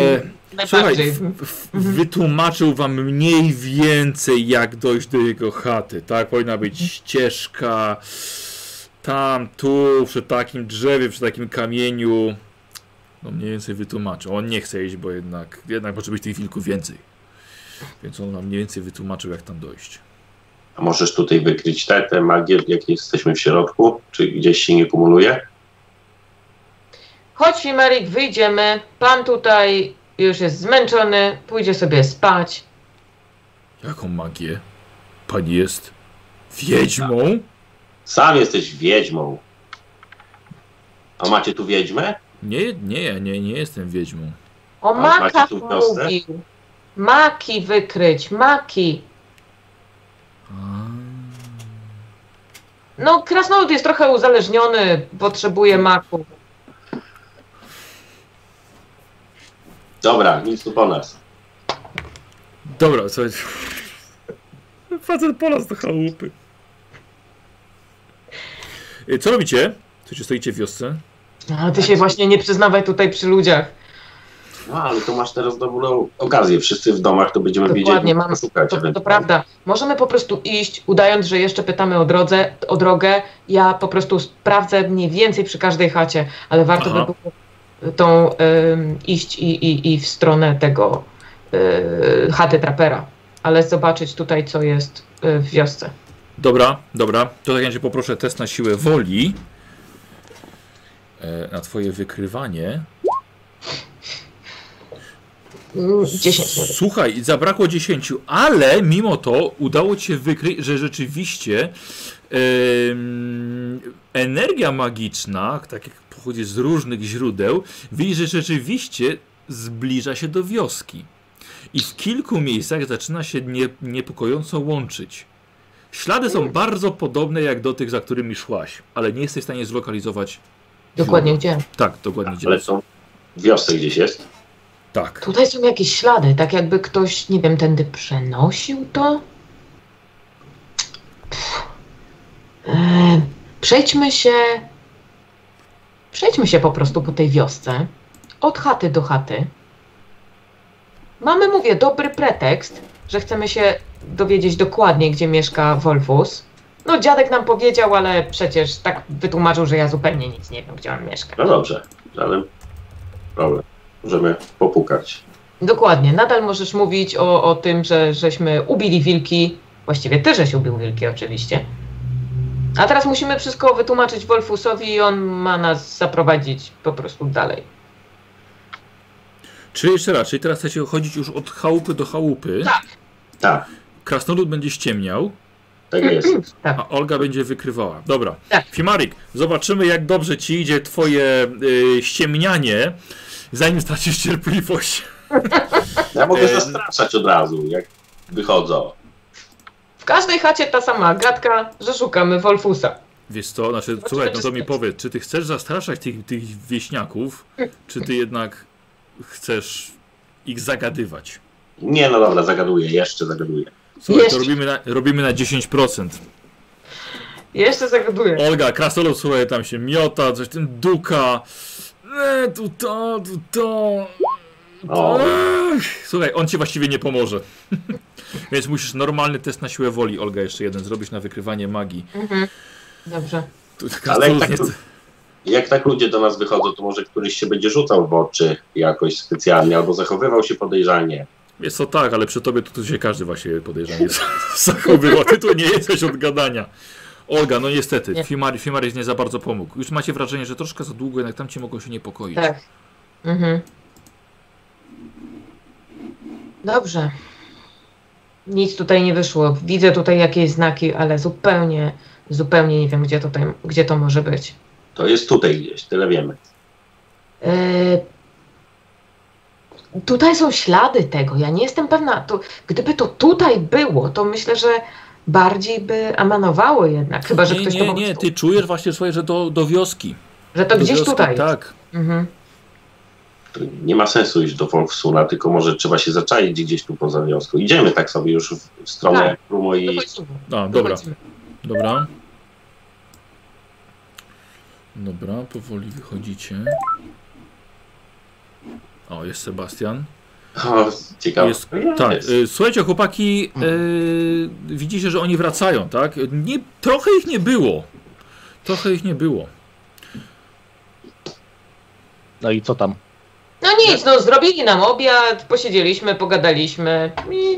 S1: Słuchaj,
S3: najbardziej.
S1: w- w- wytłumaczył wam mniej więcej, jak dojść do jego chaty, tak? Powinna być ścieżka tam, tu, przy takim drzewie, przy takim kamieniu. No mniej więcej wytłumaczył. On nie chce iść, bo jednak, jednak może być tych wilków więcej. Więc on wam mniej więcej wytłumaczył, jak tam dojść.
S5: A możesz tutaj wykryć te, te magie, jakie jesteśmy w środku? Czy gdzieś się nie kumuluje?
S3: Chodź Fimarik, wyjdziemy. Pan tutaj już jest zmęczony, pójdzie sobie spać.
S1: Jaką magię? Pani jest wiedźmą?
S5: Sam jesteś wiedźmą. A macie tu wiedźmę?
S1: Nie, nie, nie, nie jestem wiedźmą.
S3: O
S5: A macie
S3: makach
S5: tu wiosnę?
S3: mówił. Maki wykryć, maki.
S1: A.
S3: No, krasnolud jest trochę uzależniony, potrzebuje maku.
S5: Dobra, nic tu po nas.
S1: Dobra, słuchaj. Facet po nas do chałupy. Y, Co robicie? Słuchajcie, stoicie w wiosce?
S3: Ale ty się właśnie nie przyznawaj tutaj przy ludziach.
S5: No ale to masz teraz dobrą okazję. Wszyscy w domach to będziemy
S3: Dokładnie,
S5: wiedzieli,
S3: mam- no
S5: szukać.
S3: To, to prawda. Możemy po prostu iść, udając, że jeszcze pytamy o drodze, o drogę. Ja po prostu sprawdzę mniej więcej przy każdej chacie, ale warto
S1: Aha.
S3: by było tą em, iść i, i, i w stronę tego y, chaty trapera, ale zobaczyć tutaj, co jest y, w wiosce.
S1: Dobra, dobra. To w takim razie poproszę test na siłę woli. E, na twoje wykrywanie. No,
S3: Mm, 10 minut.
S1: Słuchaj, zabrakło 10, ale mimo to udało ci się wykryć, że rzeczywiście em, energia magiczna, tak jak pochodzi z różnych źródeł, widzisz, że rzeczywiście zbliża się do wioski. I w kilku miejscach zaczyna się nie, niepokojąco łączyć. Ślady są bardzo podobne jak do tych, za którymi szłaś, ale nie jesteś w stanie zlokalizować.
S3: Dokładnie gdzie?
S1: Tak, dokładnie gdzie.
S5: Ale są w wiosce gdzieś jest.
S1: Tak.
S3: Tutaj są jakieś ślady, tak jakby ktoś, nie wiem, tędy przenosił to. Pff. Eee, Przejdźmy się. Przejdźmy się po prostu po tej wiosce. Od chaty do chaty. Mamy, mówię, dobry pretekst, że chcemy się dowiedzieć dokładnie, gdzie mieszka Wolfus. No, dziadek nam powiedział, ale przecież tak wytłumaczył, że ja zupełnie nic nie wiem, gdzie on mieszka.
S5: No dobrze, żaden problem. Możemy popukać.
S3: Dokładnie, nadal możesz mówić o, o tym, że żeśmy ubili wilki. Właściwie ty żeś ubił wilki, oczywiście. A teraz musimy wszystko wytłumaczyć Wolfusowi i on ma nas zaprowadzić po prostu dalej.
S1: Czyli jeszcze raz, czyli teraz chcecie chodzić już od chałupy do chałupy.
S3: Tak.
S5: Tak,
S1: Krasnolud będzie ściemniał,
S5: tak jest.
S3: Tak.
S1: a Olga będzie wykrywała. Dobra.
S3: Tak.
S1: Fimarik, zobaczymy jak dobrze ci idzie twoje y, ściemnianie, zanim stracisz cierpliwość.
S5: Ja mogę
S1: Em.
S5: zastraszać od razu, jak wychodzą.
S3: W każdej chacie ta sama gadka, że szukamy Wolfusa.
S1: Wiesz co, znaczy,
S3: Zobaczymy,
S1: słuchaj, no
S3: czy
S1: to mi
S3: straci.
S1: powiedz, czy ty chcesz zastraszać tych, tych wieśniaków, czy ty jednak chcesz ich zagadywać?
S5: Nie, no dobra, zagaduję, jeszcze zagaduję.
S1: Słuchaj, to
S3: Jeszcze.
S1: robimy na, robimy na 10%.
S3: Jeszcze zagaduję.
S1: Olga, Krasnolud, słuchaj, tam się miota, coś tym duka. E, tu to, tu to.
S5: O.
S1: Ech. Słuchaj, on ci właściwie nie pomoże. [LAUGHS] Więc musisz normalny test na siłę woli, Olga, jeszcze jeden zrobić na wykrywanie magii.
S3: Mhm. Dobrze.
S1: Tu,
S5: Ale
S1: Krasnolud
S5: jak tak,
S1: nie chce-
S5: jak tak ludzie do nas wychodzą, to może któryś się będzie rzucał w oczy jakoś specjalnie, albo zachowywał się podejrzanie.
S1: Wiesz co, tak, ale przy tobie to tu się każdy właśnie podejrzanie [LAUGHS] z- zachowywa. Ty tu nie jesteś od gadania. Olga, no niestety,
S3: Nie.
S1: Fimari, Fimaris nie za bardzo pomógł. Już macie wrażenie, że troszkę za długo jednak tam cię mogą się niepokoić.
S3: Tak. Mhm. Dobrze. Nic tutaj nie wyszło. Widzę tutaj jakieś znaki, ale zupełnie, zupełnie nie wiem, gdzie, tutaj, gdzie to może być.
S5: To jest tutaj gdzieś, tyle wiemy.
S3: E, Tutaj są ślady tego. Ja nie jestem pewna. To, gdyby to tutaj było, to myślę, że bardziej by amanowało jednak. Chyba, że
S1: nie,
S3: ktoś to
S1: nie,
S3: po
S1: nie,
S3: prostu,
S1: ty czujesz właśnie, słuchaj, że do, do wioski.
S3: Że to
S1: do
S3: gdzieś
S1: wioski,
S3: tutaj.
S1: Tak.
S3: Mhm.
S5: To nie ma sensu iść do Wolfsuna, tylko może trzeba się zaczaić gdzieś tu poza wioską. Idziemy tak sobie już w w stronę
S3: Tak.
S5: rumu i
S3: Dochodzimy.
S1: A, dobra,
S3: Dochodzimy.
S1: dobra. Dobra, powoli wychodzicie. O, jest Sebastian.
S5: o, ciekawe.
S1: Jest-
S5: No jest.
S1: Tak, y, słuchajcie, chłopaki, y, widzicie, że oni wracają, tak? Nie, trochę ich nie było. Trochę ich nie było.
S6: No i co tam?
S3: No nic, no zrobili nam obiad, posiedzieliśmy, pogadaliśmy. I,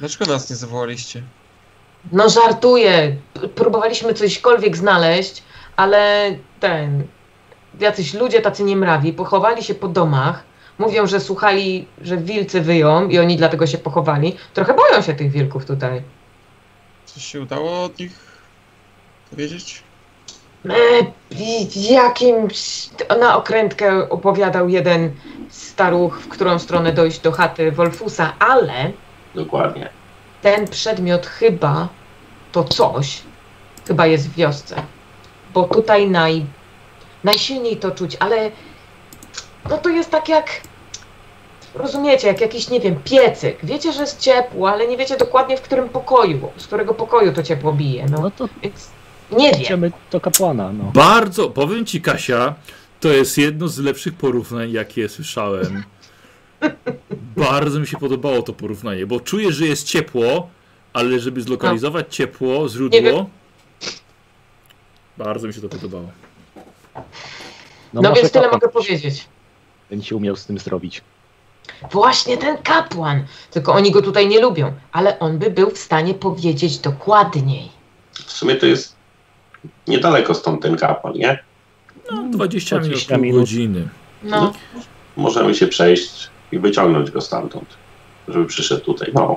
S2: Dlaczego nas nie zawołaliście?
S3: no żartuję, P- próbowaliśmy cośkolwiek znaleźć, ale ten, jacyś ludzie tacy niemrawi pochowali się po domach, mówią, że słuchali, że wilcy wyją i oni dlatego się pochowali. Trochę boją się tych wilków tutaj.
S2: Coś się udało od nich dowiedzieć?
S3: E, i jakimś na okrętkę opowiadał jeden staruch, w którą stronę dojść do chaty Wolfusa, ale
S5: Dokładnie.
S3: ten przedmiot chyba to coś, chyba jest w wiosce. Bo tutaj naj, najsilniej to czuć, ale no to jest tak jak, rozumiecie, jak jakiś, nie wiem, piecyk. Wiecie, że jest ciepło, ale nie wiecie dokładnie w którym pokoju, z którego pokoju to ciepło bije. No,
S6: No to
S3: więc nie wiem.
S6: idziemy do kapłana, no.
S1: Bardzo, powiem ci, Kasia, to jest jedno z lepszych porównań, jakie słyszałem. Bardzo mi się podobało to porównanie, bo czuję, że jest ciepło, ale żeby zlokalizować
S6: No.
S1: ciepło, źródło.
S3: Nie wiem.
S1: Bardzo mi się to podobało.
S3: No, więc tyle mogę powiedzieć.
S6: Ten się umiał z tym zrobić.
S3: Właśnie ten kapłan. Tylko oni go tutaj nie lubią, ale on by był w stanie powiedzieć dokładniej.
S5: W sumie to jest niedaleko stąd ten kapłan, nie?
S1: No, 20 minut,
S6: 20
S1: pół
S6: minut.
S1: godziny.
S3: No,
S5: Możemy się przejść i wyciągnąć go stamtąd, żeby przyszedł tutaj. No,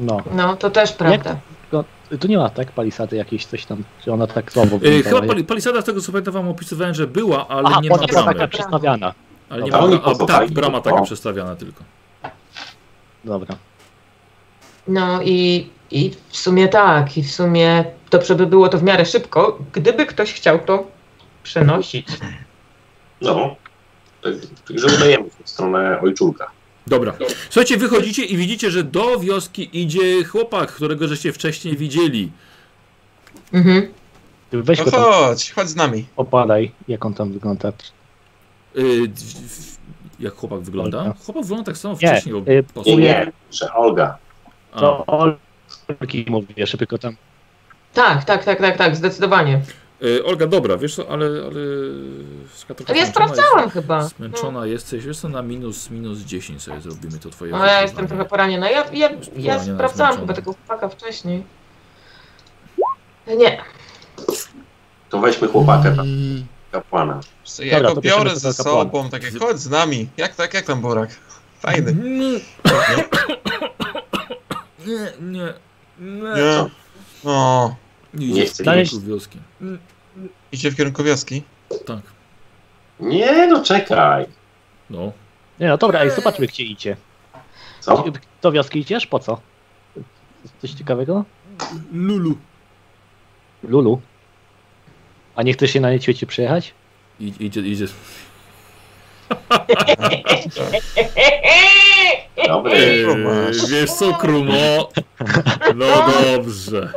S6: No.
S3: no to też prawda.
S6: Tu nie ma tak palisady jakiejś coś tam, czy ona tak słabo
S1: E, chyba
S6: wyglądała?
S1: pali- palisada, z tego co pamiętam, wam opisywałem, że była, ale
S6: Aha,
S1: nie ma
S6: ona była
S1: bramy.
S6: taka przestawiana.
S1: Ale nie
S5: A
S1: ma,
S5: oni
S1: a, tak,
S5: pozostali.
S1: brama taka
S5: O.
S1: przestawiana tylko.
S6: Dobra.
S3: No i, i w sumie tak, i w sumie dobrze by było to w miarę szybko, gdyby ktoś chciał to przenosić.
S5: no. Tak- Także udajemy się w stronę ojczulka.
S1: Dobra. Słuchajcie, wychodzicie i widzicie, że do wioski idzie chłopak, którego żeście wcześniej widzieli.
S3: Mhm.
S6: Ty Weź
S2: No
S6: go tam,
S2: chodź, chodź z nami.
S6: opadaj, jak on tam wygląda.
S1: Y, w- w- jak chłopak wygląda?
S6: Olga.
S1: Chłopak wygląda tak samo
S6: Nie,
S1: wcześniej. bo
S6: y,
S1: po-
S5: Nie, nie, że Olga.
S1: A,
S6: To Olki mówię, żeby go tam...
S3: Tak, tak, tak, tak, tak, zdecydowanie.
S1: y, Olga, dobra, wiesz co, ale... ale...
S3: Ale ja sprawdzałam chyba. No.
S1: Zmęczona jesteś, wiesz co, na minus, minus 10 sobie zrobimy to twoje
S3: No ja
S1: wyzwanie.
S3: jestem trochę poraniona. Ja, ja, ja
S1: Poraniona,
S3: sprawdzałam
S1: zmęczona.
S3: chyba tego chłopaka wcześniej. Nie, [LAUGHS]
S5: To weźmy chłopaka tam,
S3: Mm.
S5: kapłana.
S2: Wiesz co, Ja
S6: Dobra,
S2: go
S6: to bierzemy
S2: biorę
S6: tego
S2: ze
S6: kapłana.
S2: sobą, takie chodź z nami. Jak tak, jak tam Borak?
S6: Mhm.
S2: Fajny.
S1: Nie, nie, nie. nie.
S2: Nie. No,
S1: nie.
S5: Nie
S1: Idzie w
S5: chcę
S1: kierunku wioski.
S2: idzie w kierunku wioski.
S1: Tak,
S5: Nie, no czekaj.
S1: no.
S6: Nie no dobra, ej, zobaczmy gdzie idzie.
S5: Co?
S6: Do wioski idziesz? Po co? Coś ciekawego?
S1: Lulu.
S6: Lulu. A nie chcesz się na nieciecie przyjechać?
S1: I, idzie, idzie.
S5: Dobry.
S2: masz.
S1: wiesz co, Krumo?
S3: [LAUGHS]
S1: No dobrze.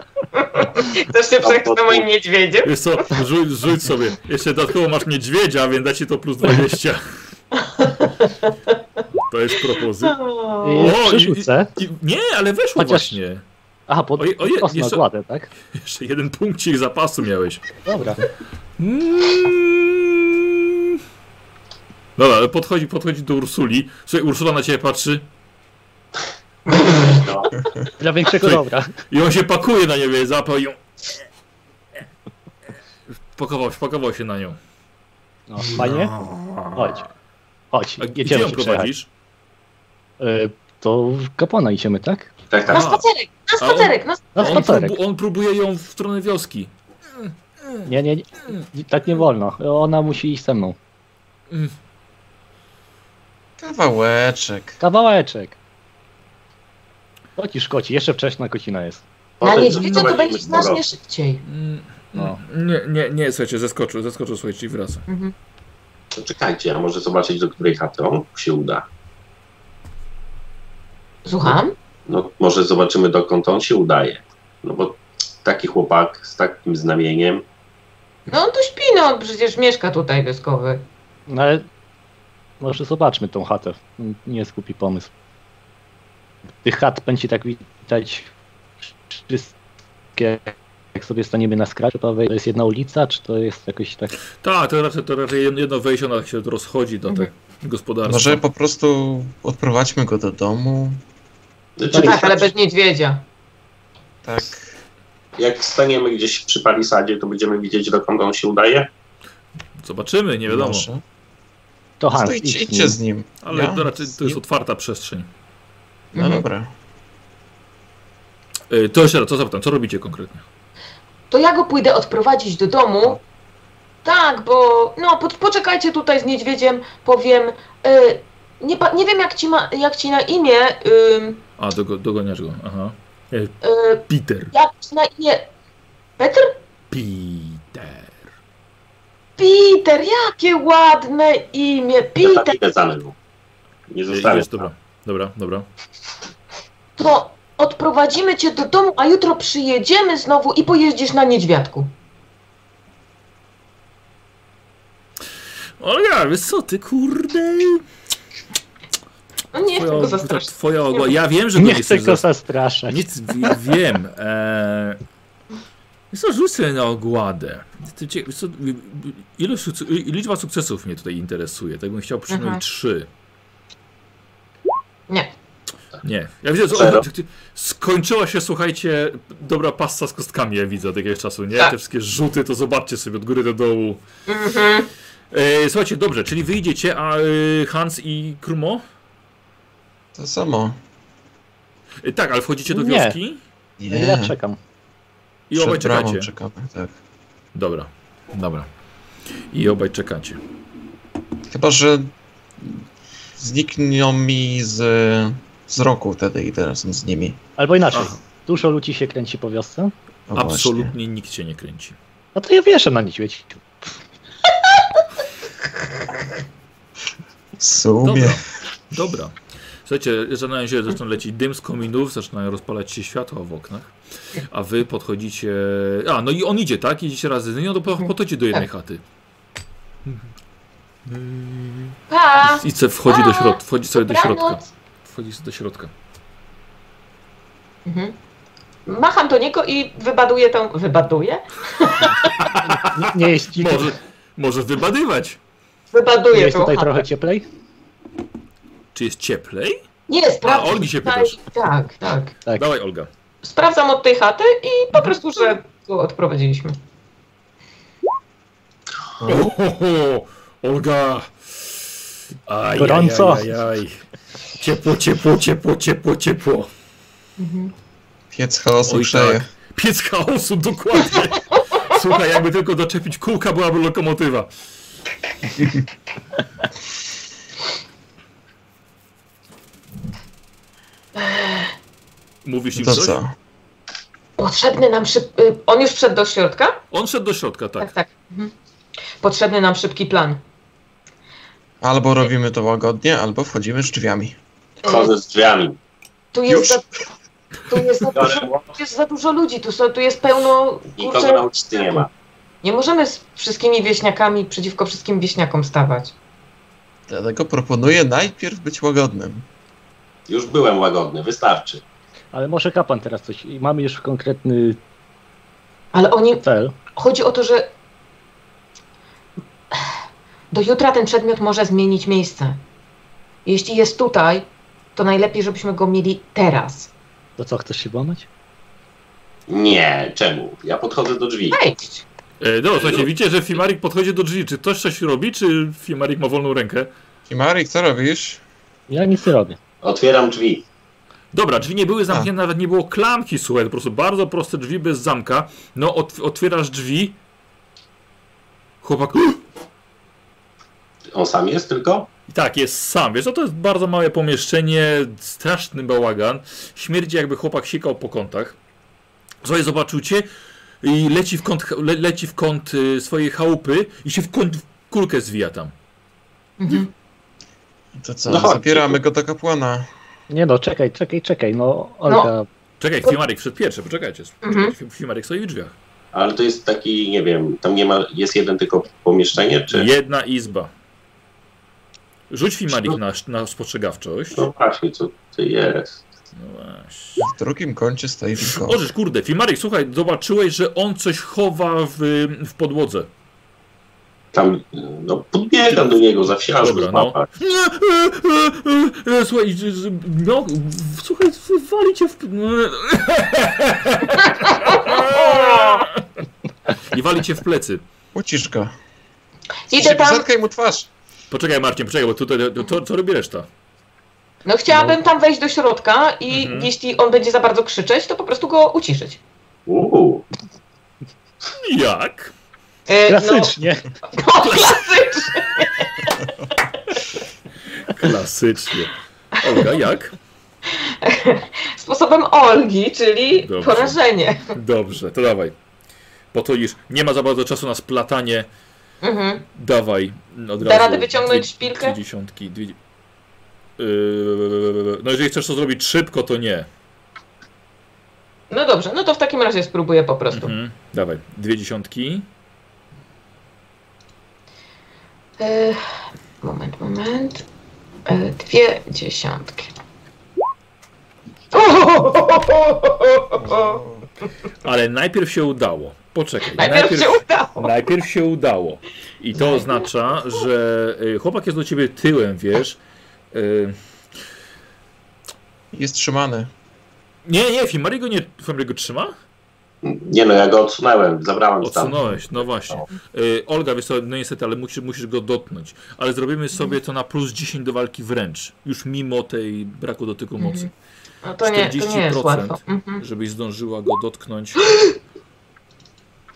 S3: Chcesz się przejść na moim niedźwiedziem?
S1: Wiesz co, rzuć, rzuć sobie. Jeszcze dodatkowo masz niedźwiedzia, więc da ci to plus 20. To jest propozycja.
S3: O,
S1: i-
S6: Yy, Przerzucę.
S1: I- Nie, ale weszło
S6: Chociaż-
S1: właśnie.
S6: Aha, pod
S1: Oj, oj,
S6: osną
S1: jeszcze-
S6: gładę, tak?
S1: Jeszcze jeden punkcik zapasu miałeś.
S6: Dobra.
S1: Mm. Dobra, ale podchodzi, podchodzi do Ursuli. Słuchaj, Ursula na ciebie patrzy
S5: No,
S6: Dla
S1: [LAUGHS]
S6: większego
S1: Słuchaj.
S6: dobra.
S1: i on się pakuje na niebie, zapał i ją. Pakował, pakował się na nią.
S6: No, fajnie? Chodź. Chodź,
S1: A gdzie
S6: jedziemy
S1: ją
S6: się przejechać.
S1: prowadzisz?
S6: Yy, to w kapłana idziemy, tak?
S5: tak,
S3: Na
S5: tak.
S3: spacerek, na
S1: A on-
S3: spacerek, na
S6: Na
S1: On,
S6: spacerek.
S1: próbu, on próbuje ją w stronę wioski.
S6: Nie, nie, nie, tak nie wolno. Ona musi iść ze mną.
S2: Kawałeczek.
S6: Kawałeczek. Chodź, szkoci, jeszcze wcześna kocina jest.
S3: Na
S5: Potem
S3: niedźwiedziu to
S5: przeprowadzimy
S3: będzie znacznie
S5: powrot.
S3: szybciej.
S1: Mm,
S6: No.
S1: Nie, nie, nie, słuchajcie, zaskoczył, zaskoczył, słuchajcie, i wraca.
S3: Mhm.
S5: To No Czekajcie, a może zobaczyć, do której chaty on się uda.
S3: Słucham?
S5: No, może zobaczymy, dokąd on się udaje. No bo taki chłopak z takim znamieniem,
S3: No on tu śpi, no on przecież mieszka tutaj wioskowy.
S6: No ale może zobaczmy tą chatę. Nie jest głupi pomysł. Tych chat będzie tak widać wszystkie. Jak sobie staniemy na skraju, prawej, to jest jedna ulica, czy to jest jakoś tak...
S1: Tak, to raczej, to raczej jedno wejście, ona się rozchodzi do
S3: Mhm.
S1: tego gospodarstwa.
S2: Może po prostu odprowadźmy go do domu.
S5: Czyli
S3: Tak, ale bez niedźwiedzia.
S2: Tak.
S5: jak staniemy gdzieś przy palisadzie, to będziemy widzieć, dokąd on się udaje.
S1: Zobaczymy, nie wiadomo.
S2: Może.
S6: To
S2: To
S6: Hans,
S2: idźcie,
S6: idź z
S2: idźcie
S6: nim.
S2: z nim.
S1: Ale
S2: Ja?
S1: to raczej to jest otwarta przestrzeń.
S6: Mhm.
S3: Mhm.
S2: No dobra.
S1: E, To jeszcze raz, co zapytam, co robicie konkretnie?
S3: To ja go pójdę odprowadzić do domu. Tak, bo no po, poczekajcie tutaj z niedźwiedziem, powiem. y, nie, pa- nie wiem jak ci, ma, jak ci na imię. y,
S1: A, dogo, dogoniasz go, aha.
S3: y,
S1: Peter.
S3: jak ci na imię. Petr?
S1: Peter. E,
S3: Peter, jakie ładne imię.
S5: Ja tam
S3: Peter,
S5: idę za mną. Nie
S1: E,
S5: zostawię.
S1: Jest, dobra, dobra, dobra.
S3: to odprowadzimy cię do domu, a jutro przyjedziemy znowu i pojeździsz na niedźwiadku.
S1: Olga, wiesz co, ty kurde...
S3: No nie chcę
S1: Twoja,
S3: go
S1: ta,
S3: zastraszyć.
S1: twoja ogła... Ja wiem, że go nie
S6: Nie chcę
S1: chcesz
S6: go
S1: zas...
S6: zastraszać.
S1: Nic, wi- wiem. E... Wiesz co, rzuć sobie na ogładę. Ty, cie- wiesz co, y- y- ilość sukce- y- liczba sukcesów mnie tutaj interesuje. Tak bym chciał przynajmniej
S3: Aha.
S1: trzy.
S3: Nie.
S1: Nie. Ja widzę, że
S5: Zero.
S1: o, skończyła się, słuchajcie, dobra pasta z kostkami, ja widzę od jakiegoś czasu, nie?
S3: Tak.
S1: Te wszystkie rzuty, to zobaczcie sobie od góry do dołu.
S3: Mhm.
S1: E, słuchajcie, dobrze, czyli wyjdziecie, a e, Hans i Krumo?
S2: To samo.
S1: E, tak, ale wchodzicie do
S6: Nie.
S1: wioski
S6: Ja czekam.
S1: i obaj
S2: Przed bramą
S1: czekacie.
S2: czekamy, tak.
S1: Dobra, dobra. I obaj czekacie.
S2: No Chyba, że znikną mi z wzroku wtedy i razem z nimi.
S6: Albo inaczej. Dużo ludzi się kręci po wiosce.
S2: No
S1: Absolutnie
S2: Właśnie.
S1: nikt cię nie kręci.
S6: No to ja wieszę na niedźwiedź.
S2: W sumie.
S1: Dobra, dobra. Słuchajcie, zaczynają się, zaczyna lecieć dym z kominów, zaczynają rozpalać się światła w oknach, a wy podchodzicie... A, no i on idzie, tak? Idziecie razem z nim, no to po- podchodzicie do jednej chaty.
S3: Pa!
S1: I co wchodzi do środka, wchodzi sobie do środka.
S3: Dobranoc.
S1: Wchodzi sobie do środka.
S3: Mhm. Macham do niego i wybaduję tą... Wybaduję?
S6: Nie
S2: [LAUGHS]
S6: jest ci.
S1: Może, może wybadywać.
S6: Nie
S3: Wybaduję
S6: jest
S3: tą
S6: tutaj
S3: chatę.
S6: trochę cieplej?
S1: Czy jest cieplej?
S3: Nie, sprawdzam.
S1: A, Olgi się
S3: tutaj-
S1: pytasz.
S3: Tak, tak.
S6: Tak.
S1: Dawaj, Olga.
S3: Sprawdzam od tej chaty i
S6: Mhm.
S3: po prostu, że go odprowadziliśmy.
S1: Ohoho, Olga! Aj,
S6: Gorąco.
S1: Aj, aj, aj. Ciepło, ciepło, ciepło, ciepło, ciepło.
S3: Mhm.
S2: Piec chaosu
S1: Oj,
S2: grzeje.
S1: tak. Piec chaosu, dokładnie. Słuchaj, jakby tylko doczepić kółka, byłaby lokomotywa. [LAUGHS] Mówisz im
S2: To
S1: coś?
S2: co?
S3: Potrzebny nam szyb... y, On już wszedł do środka?
S1: On szedł do środka, tak.
S3: tak. Mhm. Potrzebny nam szybki plan.
S2: Albo robimy to łagodnie, albo wchodzimy z drzwiami.
S5: Chodzę z drzwiami.
S3: Tu
S2: Już.
S3: jest, za, tu jest, za, dużo, tu jest za dużo ludzi, tu, są, tu jest pełno...
S5: Nikogo na uczty nie ma.
S3: Nie możemy z wszystkimi wieśniakami przeciwko wszystkim wieśniakom stawać.
S2: Dlatego proponuję najpierw być łagodnym.
S5: Już byłem łagodny, wystarczy.
S6: Ale może kapan teraz coś. I mamy już konkretny
S3: Ale oni...
S6: cel.
S3: Chodzi o to, że... Do jutra ten przedmiot może zmienić miejsce. Jeśli jest tutaj, to najlepiej, żebyśmy go mieli teraz.
S6: To co, chcesz się włamać?
S5: Nie, czemu? Ja podchodzę do drzwi.
S3: Wejść.
S1: E, dobra, słuchajcie, widzicie, że Fimarik podchodzi do drzwi. Czy ktoś coś robi, czy Fimarik ma wolną rękę?
S2: Kimarik, co robisz?
S6: Ja nic nie robię.
S5: Otwieram drzwi.
S1: Dobra, drzwi nie były zamknięte, nawet nie było klamki, słuchaj, po prostu bardzo proste drzwi bez zamka. No, otw- otwierasz drzwi. Chłopak...
S5: On sam jest tylko?
S1: I Tak, jest sam. Wiesz, no to jest bardzo małe pomieszczenie, straszny bałagan. Śmierdzi jakby chłopak sikał po kątach. Słuchaj, zobaczył cię i leci w kąt, le, leci w kąt y, swojej chałupy i się w kąt w kulkę zwija tam.
S3: Mhm.
S2: To co?
S5: No chodź.
S2: Zabieramy go do kapłana.
S6: Nie no, czekaj, czekaj, czekaj. No,
S3: e,
S6: Olga,
S1: Czekaj, Fimarek wszedł pierwszy, poczekajcie.
S3: Mhm.
S1: Fi- Fimarek stoi w drzwiach.
S5: Ale to jest taki, nie wiem, tam nie ma, jest jeden tylko pomieszczenie, czy?
S1: Jedna izba. Rzuć Fimarek na, na spostrzegawczość.
S5: No właśnie, co to jest?
S1: No właśnie.
S2: W drugim kącie stoi wilko.
S1: Orzesz, kurde, Fimarek, słuchaj, zobaczyłeś, że on coś chowa w, w podłodze.
S5: Tam, no podbiegam do niego, zawsiadam
S1: Dobra, no. E, e, e, e, Słuchaj, z- z- no, w- słuchaj, w- wali cię w... I wali cię w plecy.
S2: Ucisz go.
S3: Idę tam...
S2: Zatkaj mu twarz.
S1: Poczekaj Marcin, poczekaj, bo tutaj, to, to, co robi reszta?
S3: No chciałabym tam wejść do środka i
S1: Mhm.
S3: jeśli on będzie za bardzo krzyczeć, to po prostu go uciszyć.
S5: Uuu,
S1: Jak?
S3: E,
S6: klasycznie.
S3: No, [LAUGHS] no, klasycznie.
S1: Klasycznie. Olga, jak?
S3: Sposobem Olgi, czyli
S1: Dobrze.
S3: porażenie.
S1: Dobrze, to dawaj. Bo to już nie ma za bardzo czasu na splatanie.
S3: Mhm.
S1: Dawaj. Od
S3: Da
S1: razu
S3: radę wyciągnąć
S1: dwie-
S3: szpilkę?
S1: Trzy dziesiątki. Dwie... Yy, no jeżeli chcesz to zrobić szybko, to nie.
S3: No dobrze, no to w takim razie spróbuję po prostu.
S1: Mhm. Dawaj, dwie dziesiątki.
S3: E, moment, moment. E, dwie dziesiątki. O,
S1: Ale najpierw się udało. Poczekaj.
S3: najpierw się udało.
S1: najpierw się udało. I to oznacza, że y, chłopak jest do ciebie tyłem, wiesz. Y,
S2: Jest trzymany.
S1: Nie, nie, Fimari go nie. Fimari go trzyma?
S5: Nie no, ja go odsunąłem, zabrałem stamtąd.
S1: Odsunąłeś, no właśnie. Y, Olga, wiesz co, no niestety, ale musisz, musisz go dotknąć. Ale zrobimy sobie to na plus 10 do walki wręcz. Już mimo tej braku dotyku mocy.
S3: No to nie, to nie jest
S1: 40%.
S3: łatwo. Mhm.
S1: Żebyś zdążyła go dotknąć.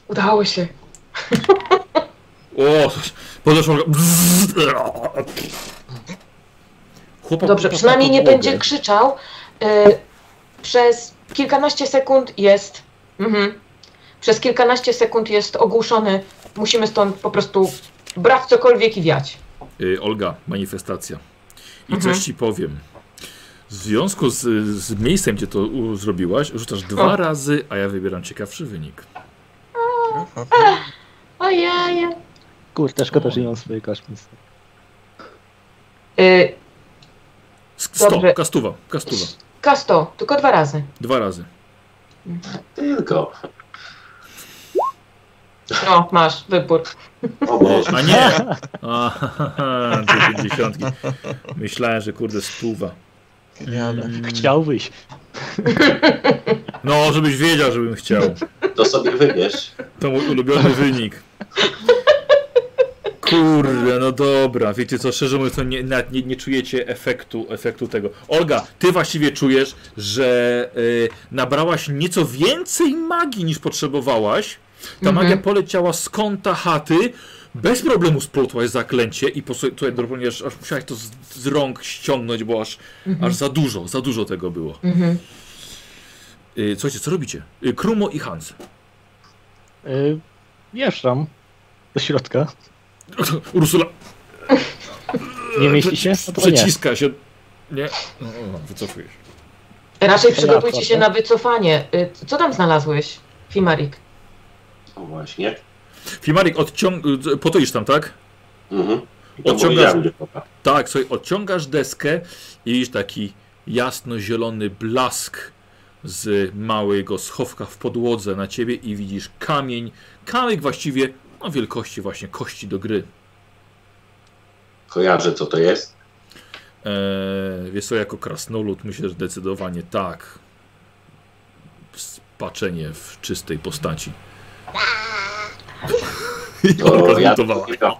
S3: Udało się.
S1: O! Podeszła Olga. Chłopak,
S3: Dobrze,
S1: chłopak
S3: przynajmniej
S1: na
S3: nie
S1: podłogę.
S3: będzie krzyczał. Y, przez kilkanaście sekund jest. Mhm. Przez kilkanaście sekund jest ogłuszony. Musimy stąd po prostu brać cokolwiek i wiać.
S1: Y, Olga, manifestacja. I
S3: Mhm.
S1: coś ci powiem. W związku z, z miejscem, gdzie to u, zrobiłaś, rzucasz dwa
S3: O.
S1: razy, a ja wybieram ciekawszy wynik.
S3: Ojeje.
S6: Kurde, szkoda, że nie mam swojej kaszmy.
S3: Y,
S1: S- Sto,
S3: Dobrze.
S1: kastuwa, kastuwa.
S3: kasto, tylko dwa razy.
S1: Dwa razy.
S5: Tylko.
S3: No, masz wybór.
S5: O Boże.
S1: A nie! A, [LAUGHS] dwie pięćdziesiątki. Myślałem, że kurde, stuwa.
S2: Genialne.
S6: Chciałbyś.
S1: No, żebyś wiedział, żebym chciał.
S5: To sobie wybierz.
S1: To mój ulubiony wynik. Kurde, no dobra, wiecie co, szczerze mówiąc, to nie, nawet nie, nie czujecie efektu, efektu tego. Olga, ty właściwie czujesz, że y, nabrałaś nieco więcej magii niż potrzebowałaś. Ta
S3: Mhm.
S1: magia poleciała z kąta chaty, bez problemu splotłaś zaklęcie i po sobie tutaj również aż musiałaś to z, z rąk ściągnąć, bo aż, aż za dużo, za dużo tego było.
S3: Mhm.
S1: Y, słuchajcie, co robicie? Y, Krumo i Hans.
S6: Y, Wjeżdżam do środka.
S1: Ursula,
S6: Nie mieści się? No to nie.
S1: Przeciska się. Nie. No, o, wycofuje się.
S3: Raczej przygotujcie
S6: Dobra,
S3: się
S6: tak.
S3: na wycofanie. Y, Co tam znalazłeś, Fimarik?
S5: O właśnie.
S1: Fimarik odciąg... y, Potoisz tam, tak?
S5: Mhm. I To
S1: Odciągasz-
S5: powiedziałem, gdzie popa.
S1: Tak, sobie odciągasz deskę i widzisz taki jasno-zielony blask z małego schowka w podłodze na ciebie i widzisz kamień. Kamyk właściwie no, wielkości właśnie kości do gry.
S5: Kojarzę, co to jest.
S1: Eee, wiesz co, jako krasnolud myślę, że zdecydowanie tak. Spaczenie w czystej postaci. [LAUGHS] I
S5: To
S1: Olga
S5: ja
S1: zmutowała.
S5: tylko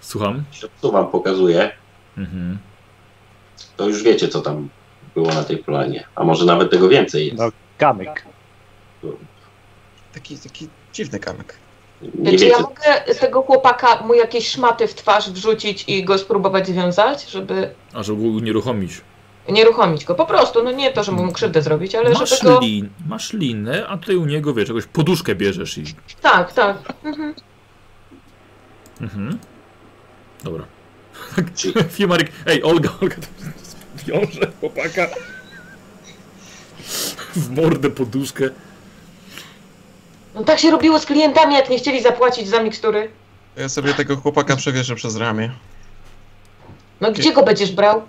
S1: Słucham?
S5: tu wam pokazuję.
S1: Mhm.
S5: To już wiecie, co tam było na tej planie. A może nawet tego więcej jest.
S6: No. Kamyk.
S2: Taki, taki dziwny kamyk.
S3: Czy
S5: Nie wiecie.
S3: Znaczy, ja mogę tego chłopaka mu jakieś szmaty w twarz wrzucić i go spróbować związać, żeby
S1: A żeby go unieruchomić.
S3: nieruchomić go? Po prostu, no nie to, żeby mu krzywdę zrobić, ale żeby
S1: Masz,
S3: go...
S1: lin, masz linę, a ty u niego wiesz, jakąś poduszkę bierzesz i.
S3: Tak, tak. Mhm.
S1: Mhm. Dobra. [LAUGHS]
S5: Czyli
S1: Fimarik, ej, Olga, [LAUGHS] Olga to wiąże chłopaka. W mordę poduszkę.
S3: No tak się robiło z klientami, jak nie chcieli zapłacić za mikstury.
S2: Ja sobie tego chłopaka przewieszę przez ramię.
S3: No gdzie go będziesz brał?
S2: Do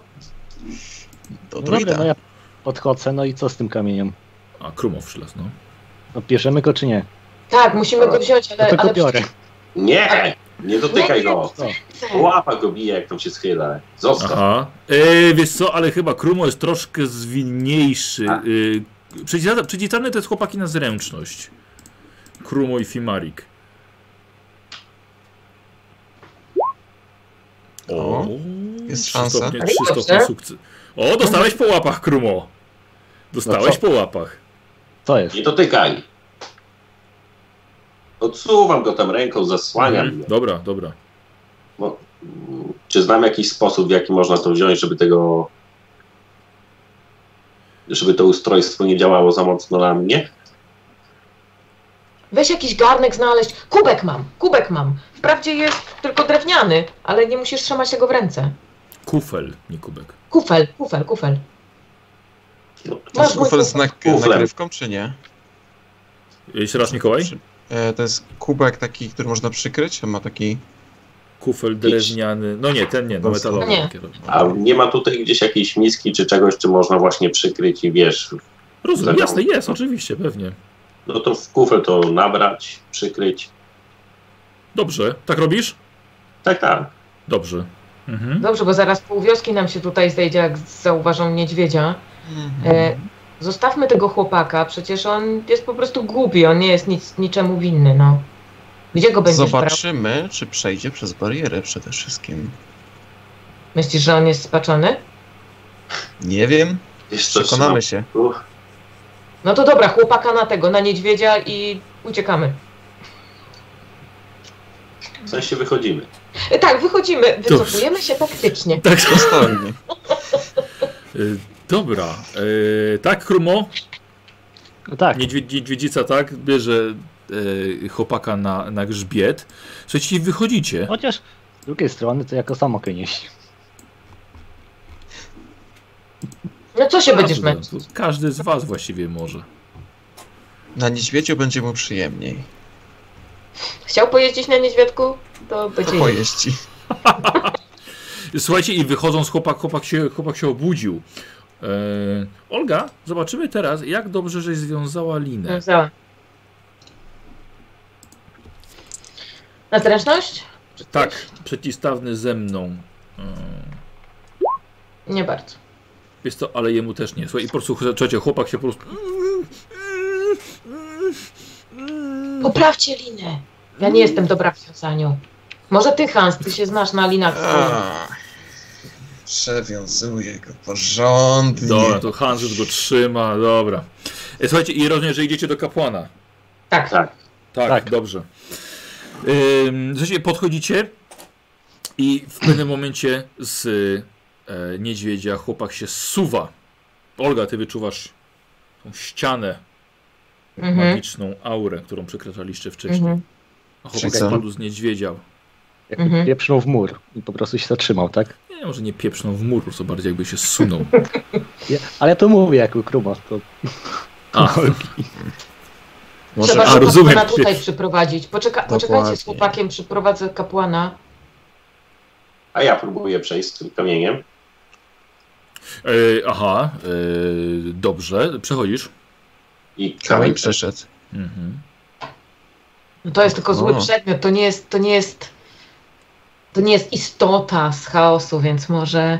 S6: No dobra,
S2: druida.
S6: no ja podchodzę, no i co z tym kamieniem?
S1: A, Krumow szlas, no.
S6: No bierzemy go czy nie?
S3: Tak, musimy go wziąć,
S6: No
S3: ale...
S6: to go
S3: ale
S6: biorę.
S5: Nie! Nie dotykaj go!
S3: przecież-
S5: Łapa go bije, jak tam się schyla. Zostaw.
S1: Aha. E, wiesz co, ale chyba Krumo jest troszkę zwinniejszy.
S5: A.
S1: E, przeciwstawne- Przeciwstawne to jest chłopaki na zręczność. Krumo i Fimarik.
S2: O,
S1: trzy
S2: szansa.
S1: Stopnie,
S3: Ale
S1: trzy
S3: dobrze.
S1: stopnie sukces. O, dostałeś po łapach, Krumo. Dostałeś
S6: No
S1: po łapach.
S6: To jest.
S5: Nie dotykaj! Odsuwam go tam ręką, zasłaniam go.
S1: Mhm. Dobra, dobra.
S5: Bo, mm, czy znam jakiś sposób, w jaki można to wziąć, żeby tego. żeby to ustrojstwo nie działało za mocno na mnie?
S3: Weź jakiś garnek znaleźć. Kubek mam, kubek mam. Wprawdzie jest tylko drewniany, ale nie musisz trzymać tego w ręce.
S1: Kufel, nie kubek.
S3: Kufel, kufel, kufel.
S5: No,
S2: To jest
S3: Masz mój
S2: kufel z nak-
S5: Kuflem.
S2: nagrywką, czy nie?
S1: Jeszcze raz, Mikołaj.
S2: Czy- E, to jest kubek taki, który można przykryć. On ma taki...
S1: Kufel drewniany. No nie, ten nie, no metalowy.
S3: Nie.
S1: Takie robię.
S5: A nie ma tutaj gdzieś jakiejś miski czy czegoś, czy można właśnie przykryć i wiesz,
S1: Rozumiem,
S5: Zadziało.
S1: jasne, jest, oczywiście, pewnie.
S5: No to w kufel to nabrać, przykryć.
S1: Dobrze, tak robisz?
S5: Tak, tak.
S1: Dobrze. Mhm.
S3: Dobrze, bo zaraz pół wioski nam się tutaj zejdzie, jak zauważą niedźwiedzia. E, zostawmy tego chłopaka, przecież on jest po prostu głupi, on nie jest nic, niczemu winny, no. Gdzie go będziesz brał?
S2: Zobaczymy, czy przejdzie przez barierę przede wszystkim.
S3: Myślisz, że on jest spaczony?
S2: Nie wiem,
S5: Wiesz co,
S2: przekonamy się.
S5: trzymam kciuków.
S3: No to dobra, chłopaka na tego, na niedźwiedzia i uciekamy.
S5: W sensie wychodzimy.
S3: E, tak, wychodzimy, wycofujemy się taktycznie.
S1: Tak,
S2: Dostojnie.
S1: y, dobra. Y, tak, Krumo,
S6: No tak,
S1: Niedźwiedź, niedźwiedzica, tak, bierze y, chłopaka na, na grzbiet. Słuchajcie, i wychodzicie.
S6: chociaż z drugiej strony to jako samo nieść.
S3: No co się będziesz
S1: Każdy,
S3: męczyć?
S1: każdy z was właściwie może.
S2: Na niedźwiedziu będzie mu przyjemniej.
S3: Chciał pojeździć na niedźwiadku? To
S2: To
S3: będzie...
S2: pojeździ.
S1: Słuchajcie, i wychodząc, chłopak, chłopak, się, chłopak się obudził. E, Olga, zobaczymy teraz, jak dobrze, żeś związała linę.
S3: Związałam. Na zręczność?
S1: Tak, przeciwstawny ze mną. E,
S3: Nie bardzo.
S1: Jest to, ale jemu też nie. Słuchaj, i po prostu słuchajcie, chłopak się po prostu.
S3: Poprawcie linę. Ja nie jestem dobra w wiązaniu. Może ty, Hans, ty się znasz na linach.
S2: Ach, Przewiązuję go porządnie.
S1: Dobra, to Hans już go trzyma, dobra. E, Słuchajcie, i rozumiem, że idziecie do kapłana.
S3: Tak.
S5: Tak.
S1: Tak,
S6: Tak.
S1: dobrze. Ym, Słuchajcie, podchodzicie i w pewnym momencie z e, niedźwiedzia chłopak się suwa. Olga, ty wyczuwasz tą ścianę,
S3: Mhm.
S1: magiczną aurę, którą przekraczaliście wcześniej.
S3: Mhm.
S1: A
S2: Czyli
S1: chłopak
S2: co?
S1: padł z niedźwiedzia.
S6: Jakby
S3: Mhm.
S6: pieprznął w mur i po prostu się zatrzymał, tak?
S1: Nie, może nie pieprzną w mur, po prostu bardziej jakby się [LAUGHS] sunął.
S6: Ja, ale ja to mówię jako krumos, to
S1: A,
S2: Może
S3: Trzeba
S1: A,
S3: a,
S1: rozumiem.
S3: kapłana tutaj przyprowadzić. Poczeka, poczekajcie z
S2: Dokładnie.
S3: chłopakiem, przyprowadzę kapłana.
S5: A ja próbuję przejść z tym kamieniem.
S1: E, aha, e, dobrze, przechodzisz.
S5: I
S2: Kamień
S5: kamień przeszedł.
S2: przeszedł.
S1: Mhm.
S3: No to jest tylko zły
S2: O.
S3: przedmiot, to nie jest, to nie jest, to nie jest istota z chaosu, więc może,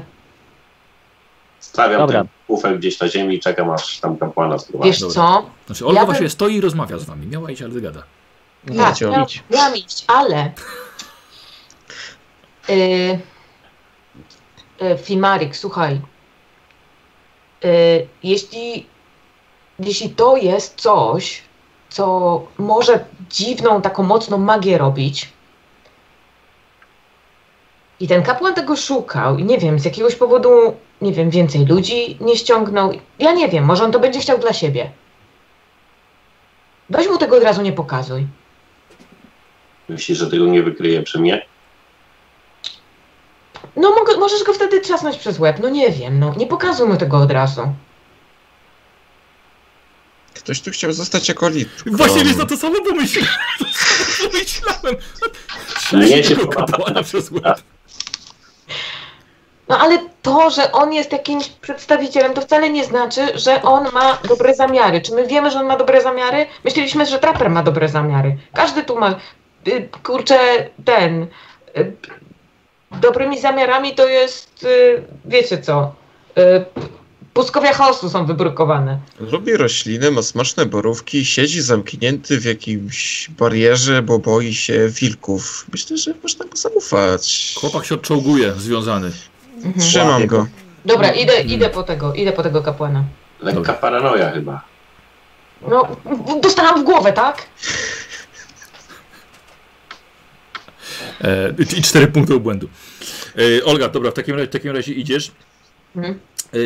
S5: Stawiam
S6: Dobra.
S5: ten kufel gdzieś na ziemi i czekam aż tam kapłana spływa.
S3: wiesz
S1: dobra.
S3: co?
S1: Znaczy, Olga
S3: Ja bym-
S1: właśnie stoi i rozmawia z wami. Miała iść, ale gada.
S6: no,
S3: Tak,
S2: Macio.
S3: miał,
S6: idź.
S3: miałam iść, ale y, y, Fimarik, słuchaj, y, jeśli, jeśli to jest coś, co może dziwną, taką mocną magię robić i ten kapłan tego szukał i nie wiem, z jakiegoś powodu, nie wiem, więcej ludzi nie ściągnął, ja nie wiem, może on to będzie chciał dla siebie. Weź mu tego od razu nie pokazuj.
S5: Myślisz, że tego nie wykryje przy mnie?
S3: No mogę, możesz go wtedy trzasnąć przez łeb, no nie wiem, no nie pokazuj mu tego od razu.
S2: Ktoś tu chciał zostać jako lit.
S1: Właśnie wiesz, na to samo pomyślałem. [LAUGHS] To samo pomyślałem.
S5: Mnie się
S1: Trzeba
S5: podoba.
S1: kapłana przez łeb.
S3: No ale to, że on jest jakimś przedstawicielem, to wcale nie znaczy, że on ma dobre zamiary. Czy my wiemy, że on ma dobre zamiary? Myśleliśmy, że Trapper ma dobre zamiary. Każdy tu ma, y, kurczę, ten. y, Dobrymi zamiarami to jest, y, wiecie co, y, pustkowia chaosu są wybrukowane.
S2: Lubi rośliny, ma smaczne borówki, siedzi zamknięty w jakimś barierze, bo boi się wilków. Myślę, że można go zaufać.
S1: Chłopak się odczołguje, związany.
S3: Mhm.
S2: Trzymam go.
S3: Dobra, idę, idę po tego, idę po tego kapłana.
S5: Lekka
S1: Dobra.
S5: paranoja chyba.
S3: No, dostałam w głowę, tak?
S1: E, I cztery punkty obłędu. E, Olga, dobra, w takim razie, w takim razie idziesz.
S3: Mhm.
S1: E,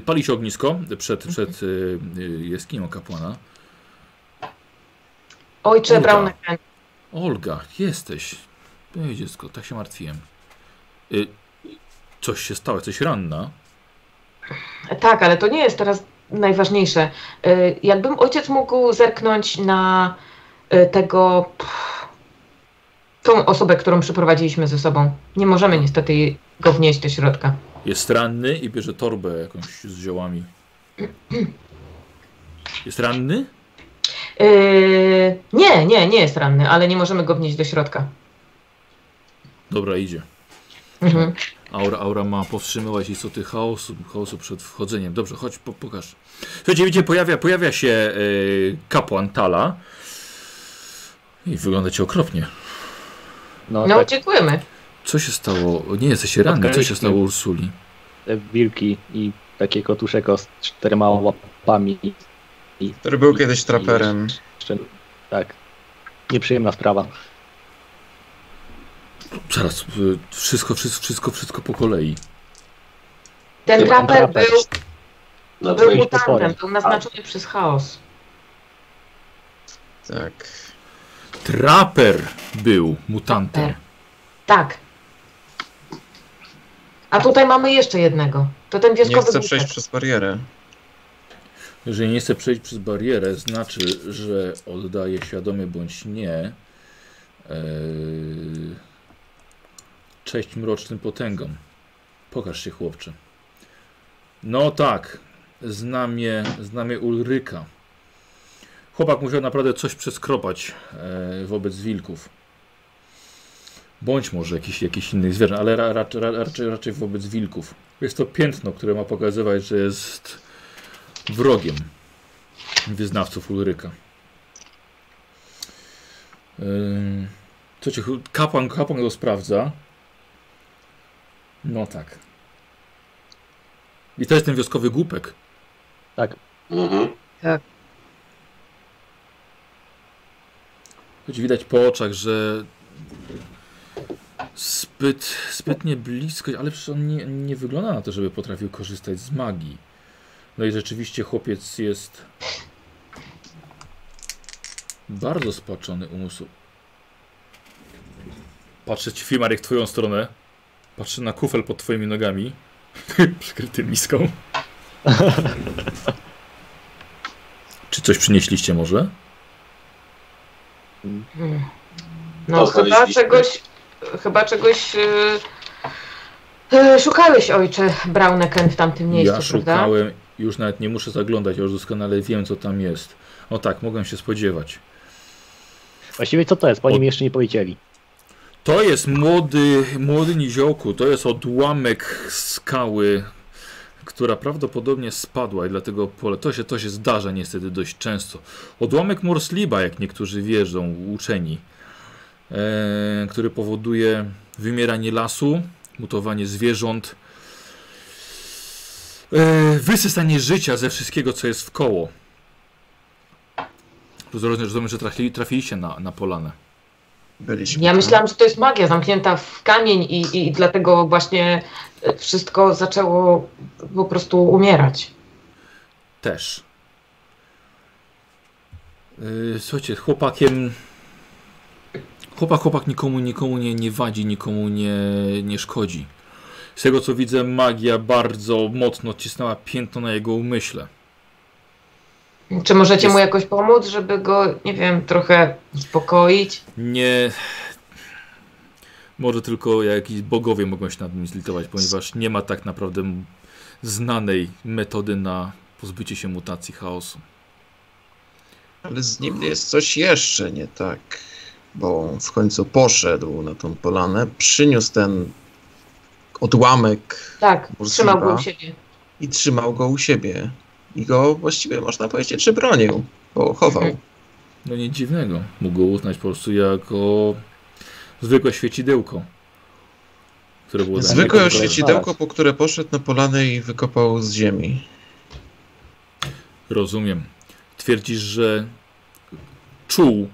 S1: pali się ognisko przed, przed e, jaskinią kapłana.
S3: Ojcze,
S1: Uda.
S3: brał na ten.
S1: Olga, jesteś. Moje dziecko, tak się martwiłem. Y, coś się stało, jesteś ranna.
S3: Tak, ale to nie jest teraz najważniejsze. Y, Jakbym ojciec mógł zerknąć na y, tego. pff, tą osobę, którą przyprowadziliśmy ze sobą. Nie możemy niestety go wnieść do środka.
S1: Jest ranny i bierze torbę jakąś z ziołami. Jest ranny?
S3: Yy, nie, nie, nie jest ranny, ale nie możemy go wnieść do środka.
S1: Dobra, idzie.
S3: Mhm.
S1: Aura, aura ma powstrzymywać istoty chaosu, chaosu przed wchodzeniem. Dobrze, chodź, po, pokaż. Słuchajcie, widzicie, pojawia, pojawia się yy, kapłan Tala. I wyglądacie okropnie.
S6: No,
S3: No,
S6: tak,
S3: dziękujemy.
S1: Co się stało? Nie jesteś ranny. Co się stało Ursuli?
S6: te wilki i takie kotuszeko z czterema łapami. I,
S2: Który był
S6: i-
S2: kiedyś traperem.
S6: Jeszcze, tak. Nieprzyjemna sprawa.
S1: Zaraz, y, wszystko, wszystko, wszystko, wszystko po kolei.
S3: Ten
S6: Ten
S3: traper
S6: traper.
S3: był,
S5: Na
S3: był
S5: twoich
S3: mutantem,
S6: potworem.
S3: był naznaczony przez chaos.
S2: Tak.
S1: Traper był mutantem.
S3: Tak. A tutaj mamy jeszcze jednego. To ten
S2: Nie
S3: wioskowy
S2: chce
S3: głupek.
S2: przejść przez barierę.
S1: Jeżeli nie chce przejść przez barierę, znaczy, że oddaje świadomie bądź nie e, yy, cześć mrocznym potęgom. Pokaż się, chłopcze. No tak, znamie, znamie Ulryka. Chłopak musiał naprawdę coś przeskropać e, wobec wilków. Bądź może jakiś, jakiś innych zwierzę, ale ra, raczej- ra, raczej, raczej wobec wilków. Jest to piętno, które ma pokazywać, że jest wrogiem wyznawców Ulryka. Ym, Co cię, chu- Yy, kapłan, kapłan go sprawdza. No tak. I to jest ten wioskowy głupek.
S5: Mhm.
S1: Choć widać po oczach, że zbyt, zbytnie blisko, ale przecież on nie, nie wygląda na to, żeby potrafił korzystać z magii. No i rzeczywiście chłopiec jest bardzo spaczony umysł. Patrzę ci, Fimarek, w twoją stronę. Patrzę na kufel pod twoimi nogami. [LAUGHS] Przykryty miską. Czy coś przynieśliście może?
S3: Hmm. No
S5: To
S3: chyba
S5: znaleźliśmy.
S3: czegoś, chyba czegoś yy, yy, szukałeś ojcze Brauneken w tamtym miejscu,
S1: Ja
S3: prawda?
S1: szukałem, już nawet nie muszę zaglądać, ja już doskonale wiem, co tam jest. O tak, mogłem się spodziewać.
S6: Właściwie co to jest? Po nim jeszcze nie powiedzieli.
S1: To jest młody, młody niziołku, to jest odłamek skały, która prawdopodobnie spadła i dlatego pole, to się, to się zdarza niestety dość często. Odłamek morsliba, jak niektórzy wierzą, uczeni, e, który powoduje wymieranie lasu, mutowanie zwierząt, e, wysysanie życia ze wszystkiego, co jest w koło. Rozumiem, rozumiem, że trafili, trafiliście na, na polanę.
S2: Byliśmy.
S3: Ja
S2: tam.
S3: myślałam, że to jest magia zamknięta w kamień i, i dlatego właśnie y, wszystko zaczęło po prostu umierać.
S1: też. Yy, słuchajcie, chłopakiem. Chłopak, chłopak nikomu, nikomu nie, nie wadzi, nikomu nie, nie szkodzi. Z tego co widzę, magia bardzo mocno odcisnęła piętno na jego umyśle.
S3: Czy możecie
S1: Jest-
S3: mu jakoś pomóc, żeby go, nie wiem, trochę uspokoić?
S1: Nie. Może tylko jakiś bogowie mogą się nad nim zlitować, ponieważ nie ma tak naprawdę znanej metody na pozbycie się mutacji chaosu.
S2: Ale z nim jest coś jeszcze nie tak. Bo on w końcu poszedł na tą polanę, przyniósł ten odłamek
S3: Tak,
S2: Może
S3: trzymał go u
S2: chyba.
S3: siebie.
S2: i trzymał go u siebie. I go właściwie można powiedzieć, że bronił, bo chował.
S1: No nic dziwnego. Mógł go uznać po prostu jako zwykłe świecidełko, które było dla
S6: Zwykłe
S1: niego
S2: Zwykłe
S6: Znalazł.
S2: świecidełko, po które poszedł na polanę i wykopał z ziemi.
S1: Rozumiem. Twierdzisz, że czuł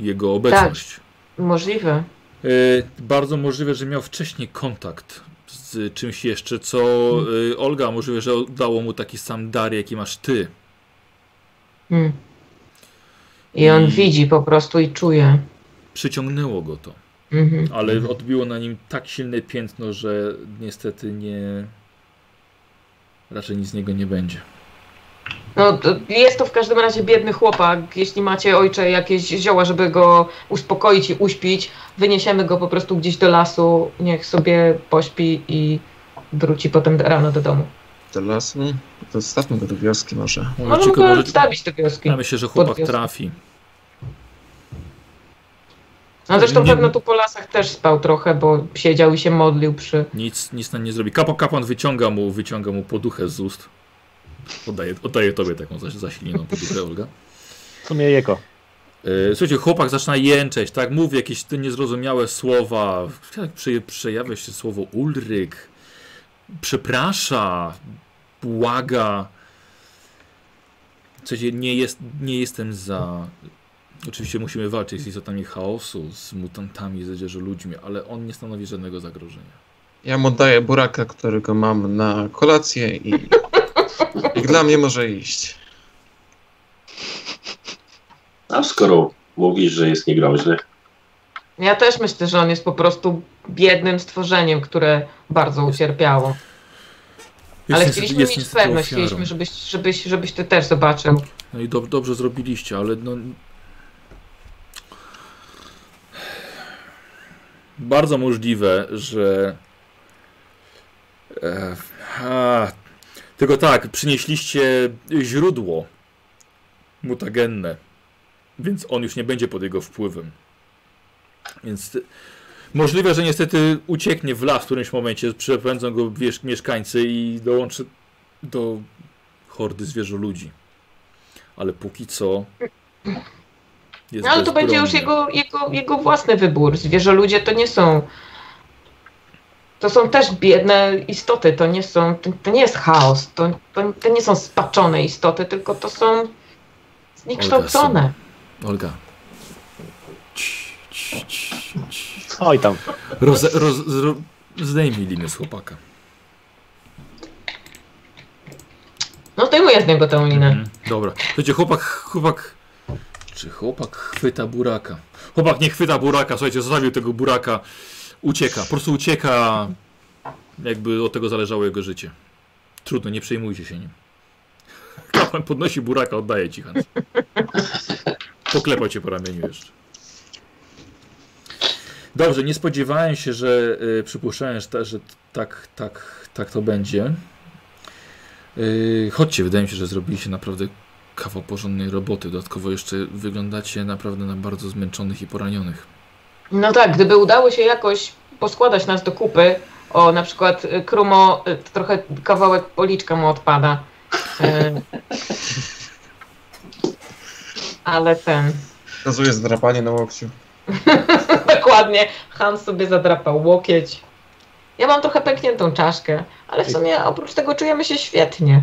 S1: jego obecność.
S3: Możliwe.
S1: Y, bardzo możliwe, że miał wcześniej kontakt z czymś jeszcze, co y, Olga możliwe, że dało mu taki sam dar, jaki masz ty.
S3: Hmm. I on
S1: I-
S3: widzi po prostu i czuje.
S1: Przyciągnęło go to.
S3: Mhm.
S1: Ale odbiło na nim tak silne piętno, że niestety nie. Raczej nic z niego nie będzie.
S3: No, to jest to w każdym razie biedny chłopak. Jeśli macie ojcze jakieś zioła, żeby go uspokoić i uśpić, wyniesiemy go po prostu gdzieś do lasu, niech sobie pośpi i wróci potem rano do domu.
S2: ten las. Hmm, to zostawmy go do wioski może.
S1: Może
S3: Może
S1: No, ciekawe tak
S3: mogę
S1: rzeczy.
S3: stawić no, do wioski.
S1: Ja myślę, że chłopak
S3: Pod wiosną.
S1: trafi.
S3: No zresztą
S1: Nie-
S3: pewno tu po lasach też spał trochę, bo siedział i się modlił przy...
S1: Nic, nic nam nie zrobi. Kapo kapłan wyciąga mu, wyciąga mu poduchę z ust. Oddaję, oddaję tobie taką zaś- zasilnioną poduchę, Olga.
S6: W sumie jego.
S1: E, Słuchajcie, chłopak zaczyna jęczeć, tak? Mówi jakieś te niezrozumiałe słowa. Tak prze- przejawia się słowo Ulryk. Przeprasza. Błaga. Słuchajcie, nie, jest, nie jestem za... Oczywiście musimy walczyć z istotami chaosu, z mutantami, z dzieżo ludźmi, ale on nie stanowi żadnego zagrożenia.
S2: Ja mu oddaję buraka, którego mam na kolację i, i dla mnie może iść.
S5: A skoro mówisz, że jest niegroźny,
S3: Ja też myślę, że on jest po prostu biednym stworzeniem, które bardzo ucierpiało. Ale
S1: Jest niestety-
S3: chcieliśmy mieć
S1: jest niestety
S3: pewność,
S1: ofiarą.
S3: chcieliśmy, żebyś, żebyś, żebyś ty też zobaczył.
S1: No i dob- dobrze zrobiliście, ale no... Bardzo możliwe, że... E, a, tylko tak, przynieśliście źródło mutagenne, więc on już nie będzie pod jego wpływem. Więc ty- możliwe, że niestety ucieknie w las w którymś momencie, przepędzą go wiesz, mieszkańcy i dołączy do hordy zwierzę ludzi ale póki co. Jest
S3: No, ale to będzie już jego, jego, jego własny wybór. Zwierzoludzie to nie są. To są też biedne istoty, to nie są. To, to nie jest chaos, to, to, to nie są spaczone istoty, tylko to są zniekształcone.
S1: Olga.
S6: Oj tam.
S1: Roz, roz, zro, zdejmij liny z chłopaka.
S3: No zdejmuję z niego tę linę.
S1: Mhm. Dobra. Słuchajcie, chłopak, chłopak. Czy chłopak chwyta buraka? Chłopak nie chwyta buraka, słuchajcie, zostawił tego buraka. Ucieka, po prostu ucieka. Jakby od tego zależało jego życie. Trudno, nie przejmujcie się nim. [LAUGHS] Kapłan podnosi buraka, oddaje ci Hans. Poklepał cię po ramieniu jeszcze. Dobrze, nie spodziewałem się, że y, przypuszczałem, że, ta, że t- tak, tak, tak to będzie. Yy, chodźcie, wydaje mi się, że zrobiliście naprawdę kawał porządnej roboty. Dodatkowo jeszcze wyglądacie naprawdę na bardzo zmęczonych i poranionych.
S3: No tak, gdyby udało się jakoś poskładać nas do kupy, o na przykład y, Krumo, y, trochę kawałek policzka mu odpada.
S1: [LAUGHS]
S3: Y, Ale ten.
S2: Kazuję zdrapanie na łokciu.
S3: Dokładnie. Hans sobie zadrapał łokieć. Ja mam trochę pękniętą czaszkę, ale w sumie oprócz tego czujemy się świetnie.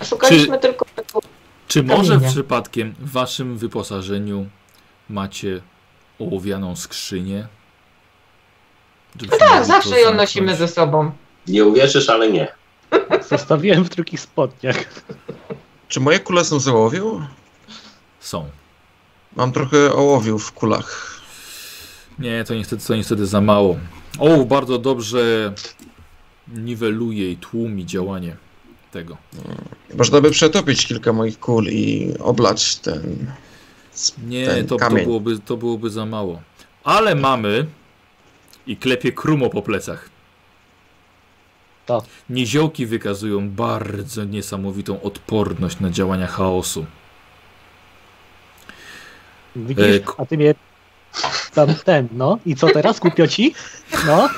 S3: A Szukaliśmy tylko tego.
S1: Czy może
S3: Kamienia.
S1: przypadkiem w waszym wyposażeniu macie ołowianą skrzynię? Żebyśmy
S3: Tak,
S1: mogli No, to
S3: zawsze ją
S1: zamknąć?
S3: nosimy ze sobą. [LAUGHS]
S5: nie uwierzysz, ale nie.
S6: Zostawiłem w drugich spodniach.
S2: Czy moje kule są z ołowiu?
S1: Są.
S2: Mam trochę ołowiu w kulach.
S1: Nie, to niestety, to niestety za mało. Ołów bardzo dobrze niweluje i tłumi działanie tego.
S2: Można by przetopić kilka moich kul i oblać ten...
S1: Nie,
S2: ten
S1: to, to,
S2: kamień.
S1: byłoby, to byłoby za mało. Ale mamy i klepie krumo po plecach.
S6: Tak.
S1: Niziołki wykazują bardzo niesamowitą odporność na działania chaosu.
S6: Widzisz?
S1: Ej,
S6: A ty mnie tam ten, no. I co teraz? Głupio ci? No.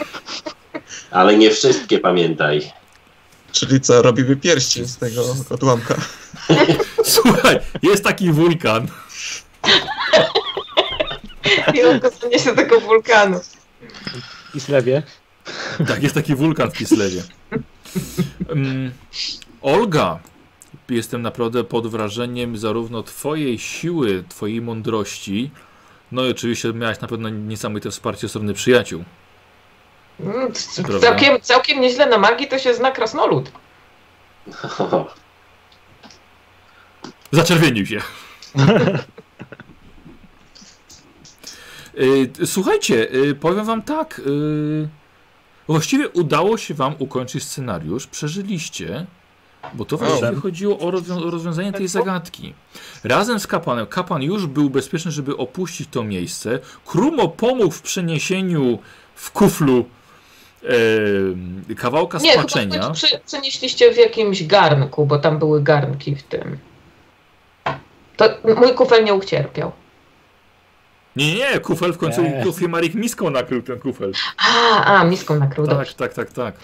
S5: Ale nie wszystkie pamiętaj. [LAUGHS]
S2: Czyli co, robimy pierścień z tego odłamka.
S1: Słuchaj, jest taki wulkan.
S3: I on go zaniesie do tego wulkanu.
S6: I slewie.
S1: Tak, jest taki wulkan w Kislewie. Mm, Olga, jestem naprawdę pod wrażeniem zarówno twojej siły, twojej mądrości, no i oczywiście miałaś na pewno niesamowite wsparcie ze strony przyjaciół.
S3: Mm, c-
S1: Prawda.
S3: Całkiem, całkiem nieźle na magii to się zna krasnolud.
S1: Zaczerwienił się. Y, t- Słuchajcie, y, powiem wam tak. y, Właściwie udało się wam ukończyć scenariusz, przeżyliście, bo to właściwie chodziło o, rozwią- o rozwiązanie
S3: Tak,
S1: tej zagadki. Razem z kapanem, kapan już był bezpieczny, żeby opuścić to miejsce. Krumo pomógł w przeniesieniu w kuflu e, kawałka
S3: Nie, chyba
S1: spaczenia.
S3: przy, przenieśliście w jakimś garnku, bo tam były garnki w tym. To mój kufel nie ucierpiał.
S1: Nie, nie, kufel w końcu
S6: Nie.
S1: Kufie Marik miską nakrył ten kufel.
S3: A, a miską nakrył,
S1: Tak,
S3: dobrze.
S1: tak, tak, tak.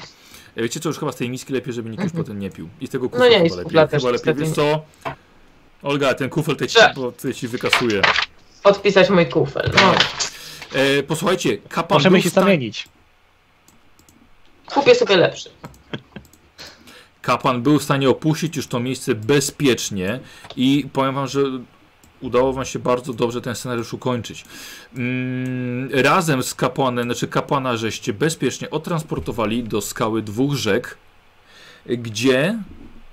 S1: E, Wiecie co, już chyba z tej miski lepiej, żeby nikt już
S3: Mhm.
S1: potem nie pił. I z tego
S3: No
S1: kufla
S3: nie, i z
S1: chyba
S3: kufla
S1: lepiej.
S3: też
S1: Chyba lepiej.
S3: niestety
S1: Wiesz co? Olga, ten kufel te ci,
S3: Tak.
S1: bo te ci wykasuje.
S3: Odpisać mój kufel. No.
S1: E, posłuchajcie, kapan
S6: Możemy
S1: był
S6: się
S1: w stanie-
S6: zamienić.
S3: Kupię sobie lepszy.
S1: Kapłan był w stanie opuścić już to miejsce bezpiecznie i powiem wam, że udało wam się bardzo dobrze ten scenariusz ukończyć. Mm, razem z kapłanem, znaczy kapłana żeście bezpiecznie odtransportowali do skały dwóch rzek, gdzie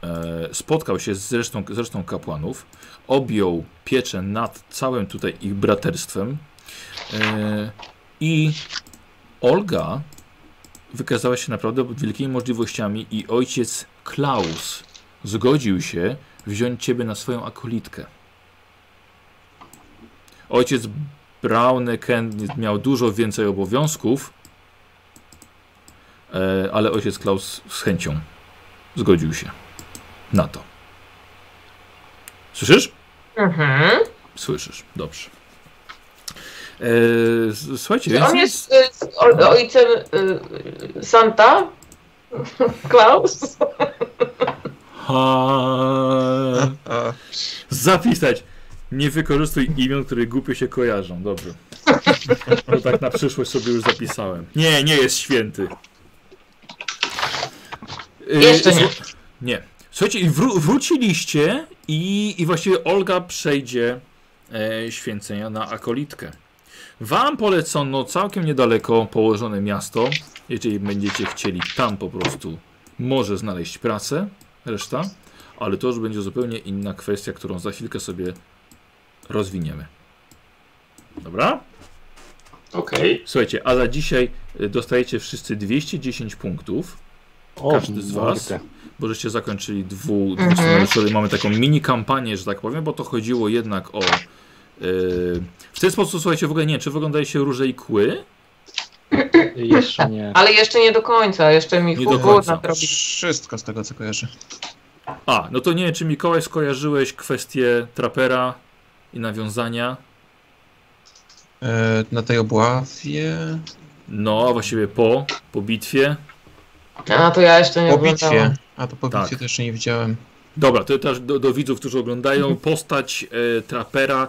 S1: e, spotkał się z resztą, z resztą kapłanów, objął pieczę nad całym tutaj ich braterstwem e, i Olga wykazała się naprawdę wielkimi możliwościami i ojciec Klaus zgodził się wziąć ciebie na swoją akolitkę. Ojciec Brauneken miał dużo więcej obowiązków, e, ale ojciec Klaus z chęcią zgodził się na to. Słyszysz?
S3: Mhm.
S1: Słyszysz, dobrze. E, s- słuchajcie,
S3: Czy
S1: więc-
S3: on jest y, z- o- ojcem y, Santa? [LAUGHS] Klaus?
S1: Ha...
S2: A,
S1: Zapisać. Nie wykorzystuj imion, które głupio się kojarzą. Dobrze. [LAUGHS] To tak na przyszłość sobie już zapisałem. Nie, nie jest święty. Yy,
S3: Jeszcze nie.
S1: słu- Nie. Słuchajcie, i wró- wróciliście i, i właściwie Olga przejdzie e, święcenia na akolitkę. Wam polecono całkiem niedaleko położone miasto. Jeżeli będziecie chcieli tam po prostu może znaleźć pracę, reszta. Ale to już będzie zupełnie inna kwestia, którą za chwilkę sobie rozwiniemy. Dobra?
S5: Okej.
S1: Słuchajcie, a za dzisiaj y, dostajecie wszyscy 210 punktów,
S6: O,
S1: Każdy z was.
S6: mordę.
S1: bo żeście zakończyli dwu,
S3: Mhm.
S1: dwuscenariuszy. Mamy taką mini kampanię, że tak powiem, bo to chodziło jednak o... y, w ten sposób, słuchajcie, w ogóle nie wiem, czy wyglądają się róże i kły?
S6: Jeszcze nie.
S3: Ale jeszcze nie do końca, jeszcze mi
S1: Nie do
S3: chuchu
S1: końca.
S3: nadrobi.
S2: wszystko z tego, co kojarzę.
S1: A, no to nie wiem, czy Mikołaj skojarzyłeś kwestię trapera i nawiązania.
S2: E, na tej obławie...
S1: No, a właściwie po, po bitwie.
S3: A to ja jeszcze nie
S2: Po
S3: oglądałam.
S2: bitwie. A to po
S1: Tak.
S2: bitwie to jeszcze nie widziałem.
S1: Dobra, to też do, do widzów, którzy oglądają, postać e, trapera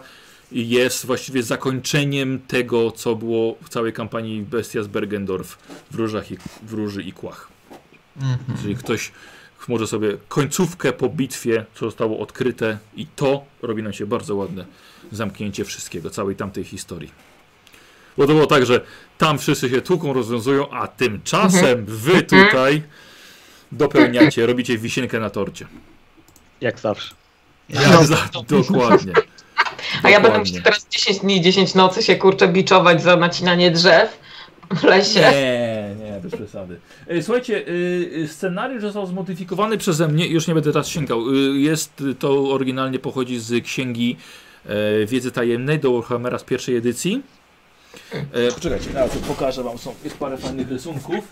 S1: jest właściwie zakończeniem tego, co było w całej kampanii Bestia z Bergendorf w Różach i, w Róży i Kłach.
S2: Mhm.
S1: Czyli ktoś może sobie końcówkę po bitwie, co zostało odkryte i to robi nam się bardzo ładne zamknięcie wszystkiego, całej tamtej historii. Bo to było tak, że tam wszyscy się tłuką, rozwiązują, a tymczasem wy tutaj dopełniacie, robicie wisienkę na torcie.
S6: Jak zawsze.
S1: Ja za, dokładnie.
S3: A ja będę
S1: Dokładnie.
S3: musiał teraz 10 dni, 10 nocy się kurczę biczować za nacinanie drzew w lesie.
S1: Nie, nie, bez przesady. E, Słuchajcie, y, scenariusz został zmodyfikowany przeze mnie, już nie będę teraz sięgał. Y, Jest y, to oryginalnie pochodzi z księgi e, Wiedzy Tajemnej do Warhammera z pierwszej edycji. E, Poczekajcie, teraz pokażę wam, są, jest parę fajnych rysunków.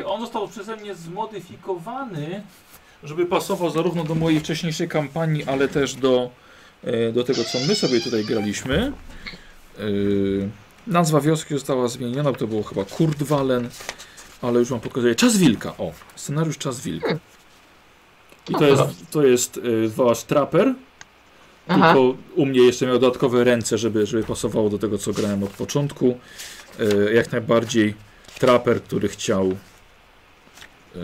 S1: I On został przeze mnie zmodyfikowany, żeby pasował zarówno do mojej wcześniejszej kampanii, ale też do, e, do tego, co my sobie tutaj graliśmy. Yy, Nazwa wioski została zmieniona, bo to było chyba Kurdwalen, ale już wam pokazuję. Czas Wilka, o, scenariusz Czas Wilka. I to jest, to jest y, wasz traper,
S3: Aha.
S1: tylko u mnie jeszcze miał dodatkowe ręce, żeby, żeby pasowało do tego, co grałem od początku. E, Jak najbardziej traper, który chciał. e,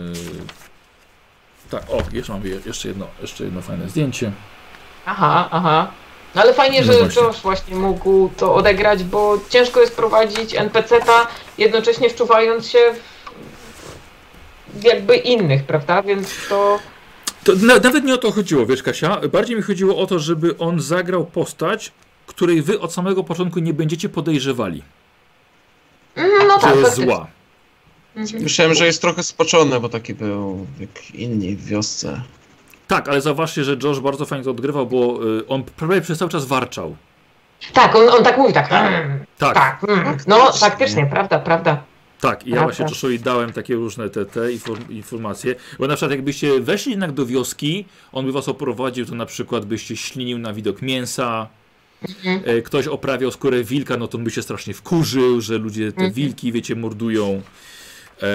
S1: Tak, o, jeszcze mam je- jeszcze jedno, jeszcze jedno fajne zdjęcie.
S3: Aha, aha. No ale fajnie,
S1: No
S3: że
S1: właśnie.
S3: Josh właśnie mógł to odegrać, bo ciężko jest prowadzić NPC-ta, jednocześnie wczuwając się w jakby innych, prawda? Więc to...
S1: To na, nawet nie o to chodziło, wiesz, Kasia. Bardziej mi chodziło o to, żeby on zagrał postać, której wy od samego początku nie będziecie podejrzewali,
S3: Mm, No
S1: że
S3: tak,
S1: jest
S3: faktycznie.
S1: zła.
S3: Mhm.
S2: Myślałem, że jest trochę spoczony, bo taki był jak inni w wiosce.
S1: Tak, ale zauważcie, że Josh bardzo fajnie to odgrywał, bo y, on prawie przez cały czas warczał.
S3: Tak, on, on tak mówi, tak. Mm,
S1: Tak,
S3: tak, mm. No faktycznie, prawda, prawda.
S1: Tak, i ja właśnie Czoszowi dałem takie różne te, te inform- informacje. Bo na przykład jakbyście weszli jednak do wioski, on by was oprowadził, to na przykład byście ślinił na widok mięsa, e, ktoś oprawiał skórę wilka, no to on by się strasznie wkurzył, że ludzie te wilki, wiecie, mordują. E,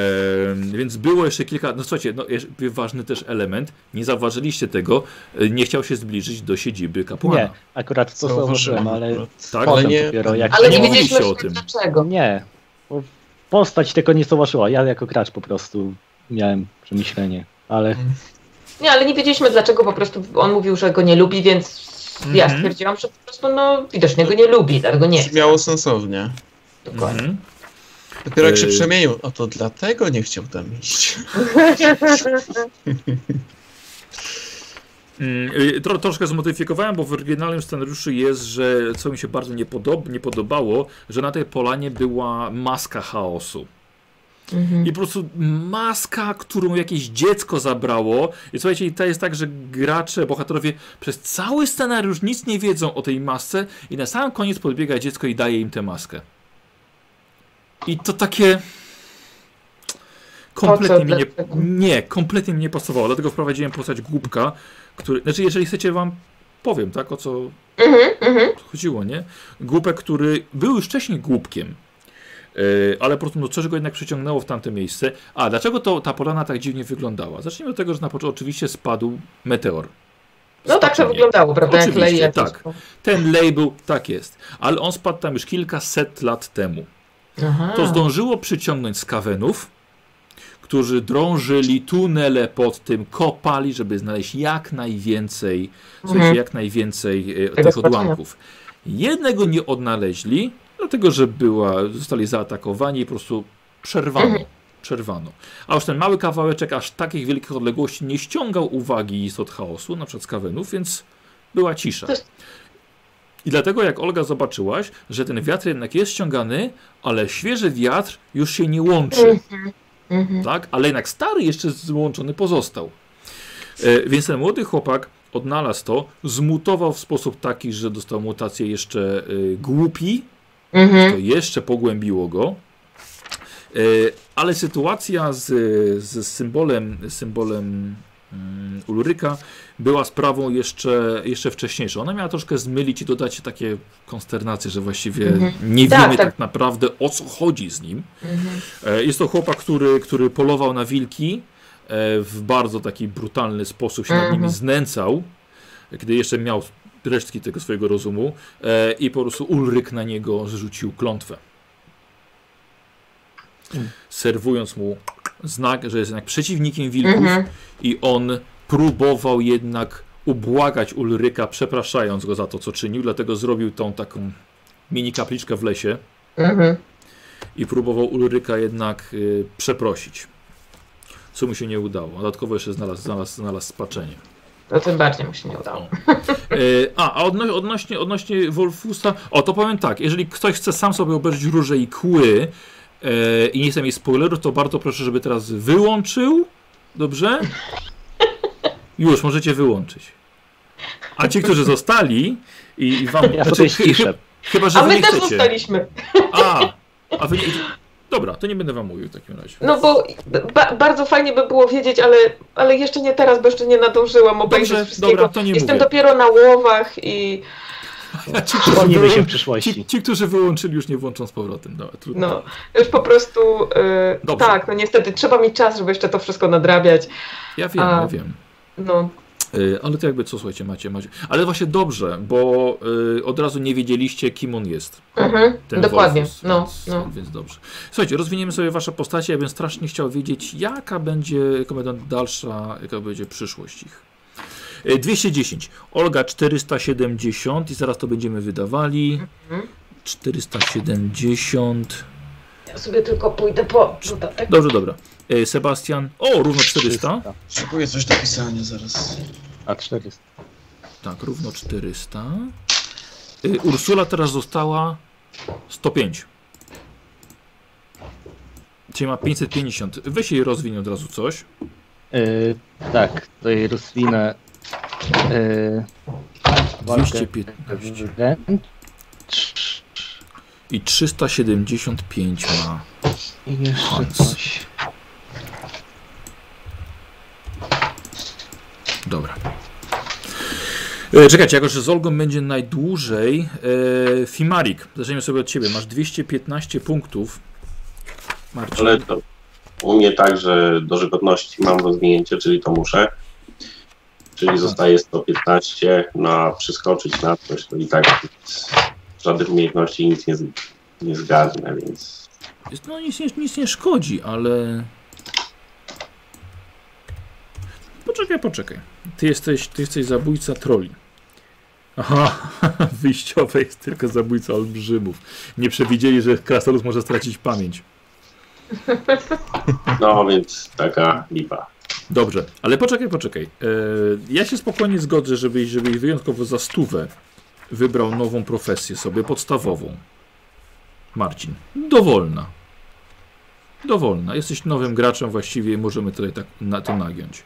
S1: więc było jeszcze kilka, no słuchajcie, no, jeszcze ważny też element, nie zauważyliście tego, e, nie chciał się zbliżyć do siedziby kapłana.
S6: Nie, akurat to
S2: Zauważyłem
S6: zauważyłem, ale
S1: Tak?
S6: potem
S2: nie-
S6: dopiero jak
S3: Ale
S1: nie
S3: nie
S6: to-
S1: mówiliście
S3: wiedzieliśmy
S1: o
S3: jeszcze
S1: tym.
S3: dlaczego.
S6: Nie. bo Postać tego nie zauważyła. Ja jako gracz po prostu miałem przemyślenie. Ale
S3: Nie, ale nie wiedzieliśmy dlaczego, po prostu on mówił, że go nie lubi, więc ja
S1: Mhm.
S3: stwierdziłam, że po prostu no widocznie go nie lubi, dlatego nie.
S2: Brzmiało sensownie.
S3: Dokładnie.
S1: Mhm.
S2: Dopiero jak się
S1: Yy.
S2: przemienił, a to dlatego nie chciał tam iść.
S1: Mhm.
S3: No, tak
S1: Mm, y, Tro, troszkę zmodyfikowałem, bo w oryginalnym scenariuszu jest, że co mi się bardzo nie, podob, nie podobało, że na tej polanie była maska chaosu.
S3: Mhm.
S1: I po prostu maska, którą jakieś dziecko zabrało. I słuchajcie, i to jest tak, że gracze, bohaterowie przez cały scenariusz nic nie wiedzą o tej masce i na sam koniec podbiega dziecko i daje im tę maskę. I to takie... Kompletnie mi nie,
S3: Dlaczego?
S1: nie, kompletnie mi nie pasowało, dlatego wprowadziłem postać głupka, który... Znaczy, jeżeli chcecie, wam powiem, tak, o co,
S3: Mhm, mhm.
S1: chodziło, nie? Głupek, który był już wcześniej głupkiem, yy, ale po prostu no, coś go jednak przyciągnęło w tamte miejsce. A dlaczego to, ta polana tak dziwnie wyglądała? Zacznijmy od tego, że na początku oczywiście spadł meteor.
S3: No tak to
S1: Spaczenie.
S3: wyglądało, prawda? Jak
S1: Oczywiście,
S3: lej jakieś.
S1: tak. Ten label tak jest, ale on spadł tam już kilkaset lat temu.
S3: Aha.
S1: To zdążyło przyciągnąć skawenów, którzy drążyli tunele pod tym, kopali, żeby znaleźć jak najwięcej,
S3: Mhm.
S1: słuchajcie, jak najwięcej e,
S3: Tego
S1: tych
S3: spaczenia.
S1: odłamków. Jednego nie odnaleźli, dlatego że była, zostali zaatakowani i po prostu przerwano.
S3: Mhm.
S1: Przerwano. A już ten mały kawałeczek aż takich wielkich odległości nie ściągał uwagi istot chaosu, na przykład skawenów, więc była cisza.
S3: To jest-
S1: I dlatego jak Olga zobaczyłaś, że ten wiatr jednak jest ściągany, ale świeży wiatr już się nie łączy,
S3: Mhm.
S1: tak? Ale jednak stary jeszcze złączony pozostał. E, więc ten młody chłopak odnalazł to, zmutował w sposób taki, że dostał mutację jeszcze y, głupi,
S3: Mhm.
S1: to jeszcze pogłębiło go. E, Ale sytuacja z, z symbolem, symbolem mm, Ulryka była sprawą jeszcze, jeszcze wcześniejszą. Ona miała troszkę zmylić i dodać takie konsternacje, że właściwie
S3: Mhm.
S1: nie
S3: Tak,
S1: wiemy tak.
S3: tak.
S1: naprawdę o co chodzi z nim.
S3: Mhm.
S1: E, Jest to chłopak, który, który polował na wilki e, w bardzo taki brutalny sposób się nad nimi
S3: Mhm.
S1: znęcał, gdy jeszcze miał resztki tego swojego rozumu e, i po prostu Ulryk na niego zrzucił klątwę. Serwując mu znak, że jest jednak przeciwnikiem wilków
S3: Mhm.
S1: i on próbował jednak ubłagać Ulryka, przepraszając go za to, co czynił, dlatego zrobił tą taką mini kapliczkę w lesie
S3: Mhm.
S1: i próbował Ulryka jednak y, przeprosić. Co mu się nie udało. Dodatkowo jeszcze znalazł, znalazł, znalazł spaczenie.
S3: To tym bardziej mu się nie udało.
S1: Y, a, a odno, odnośnie, odnośnie Wolfusa, o to powiem tak, jeżeli ktoś chce sam sobie obejrzeć Róże i Kły y, i nie chce mieć spoilerów, to bardzo proszę, żeby teraz wyłączył, dobrze? Już, możecie wyłączyć. A ci, którzy zostali i, i wam...
S6: ja sobie
S1: Znaczy, chy- chy-
S6: ściszę.
S1: chyba, że
S3: A
S1: wy
S3: my
S1: nie
S3: też
S1: chcecie.
S3: zostaliśmy.
S1: A, a wy nie... Dobra, to nie będę wam mówił w takim razie.
S3: No bo ba bardzo fajnie by było wiedzieć, ale, ale jeszcze nie teraz, bo jeszcze nie nadążyłam obejrzeć
S1: No Dobrze,
S3: wszystkiego.
S1: dobra, to nie
S3: Jestem
S1: mówię.
S3: dopiero na łowach i
S1: Ci,
S6: Przypomnimy się w
S1: ci,
S6: przyszłości.
S1: ci, którzy wyłączyli, już nie włączą z powrotem. Dobra, trudno.
S3: no już po prostu e,
S1: Dobrze.
S3: tak, no niestety trzeba mi czas, żeby jeszcze to wszystko nadrabiać.
S1: Ja wiem,
S3: A.
S1: ja wiem.
S3: No.
S1: Y, ale to jakby co, słuchajcie, macie, macie. Ale właśnie dobrze, bo y, od razu nie wiedzieliście, kim on jest.
S3: Mhm.
S1: Ten
S3: Dokładnie.
S1: Wolfus,
S3: no,
S1: więc,
S3: no.
S1: więc dobrze. Słuchajcie, rozwiniemy sobie wasze postacie. Ja bym strasznie chciał wiedzieć, jaka będzie jaka będą dalsza, jaka będzie przyszłość ich. Y, 210. Olga 470 i zaraz to będziemy wydawali.
S3: Mhm.
S1: 470.
S3: Ja sobie tylko pójdę po notatek.
S1: Dobrze, dobra. Y, Sebastian. O, równo 400.
S2: Szykuję coś do pisania zaraz.
S6: A 400.
S1: Tak, równo 400. Y, Ursula teraz została 105. Czyli ma 550. Weź jej rozwiń od razu coś.
S6: Yy, tak, to jej rozwinę. Yy,
S1: 215.
S6: walkę wręcz.
S1: I 375 ma
S6: I jeszcze coś.
S1: Dobra. E, Czekajcie, jako że z Olgą będzie najdłużej, e, Fimarik, zaczniemy sobie od ciebie. Masz 215 punktów. Marcin.
S5: Ale to u mnie tak, że dożywotności mam rozwinięcie, czyli to muszę. Czyli zostaje 115 na przeskoczyć na coś, to i tak żadnych umiejętności nic nie, z- nie zgarnę, więc
S1: Jest- No nic, nie- nic nie szkodzi, ale. Poczekaj, poczekaj. Ty jesteś, ty jesteś zabójca troli. Aha, [LAUGHS] wyjściowe jest tylko zabójca olbrzymów. Nie przewidzieli, że krasnolud może stracić pamięć.
S5: no więc taka lipa.
S1: Dobrze, ale poczekaj, poczekaj. E, ja się spokojnie zgodzę, żebyś, żebyś wyjątkowo za stówę wybrał nową profesję sobie, podstawową. Marcin, dowolna. Dowolna. Jesteś nowym graczem właściwie i możemy tutaj tak na to nagiąć.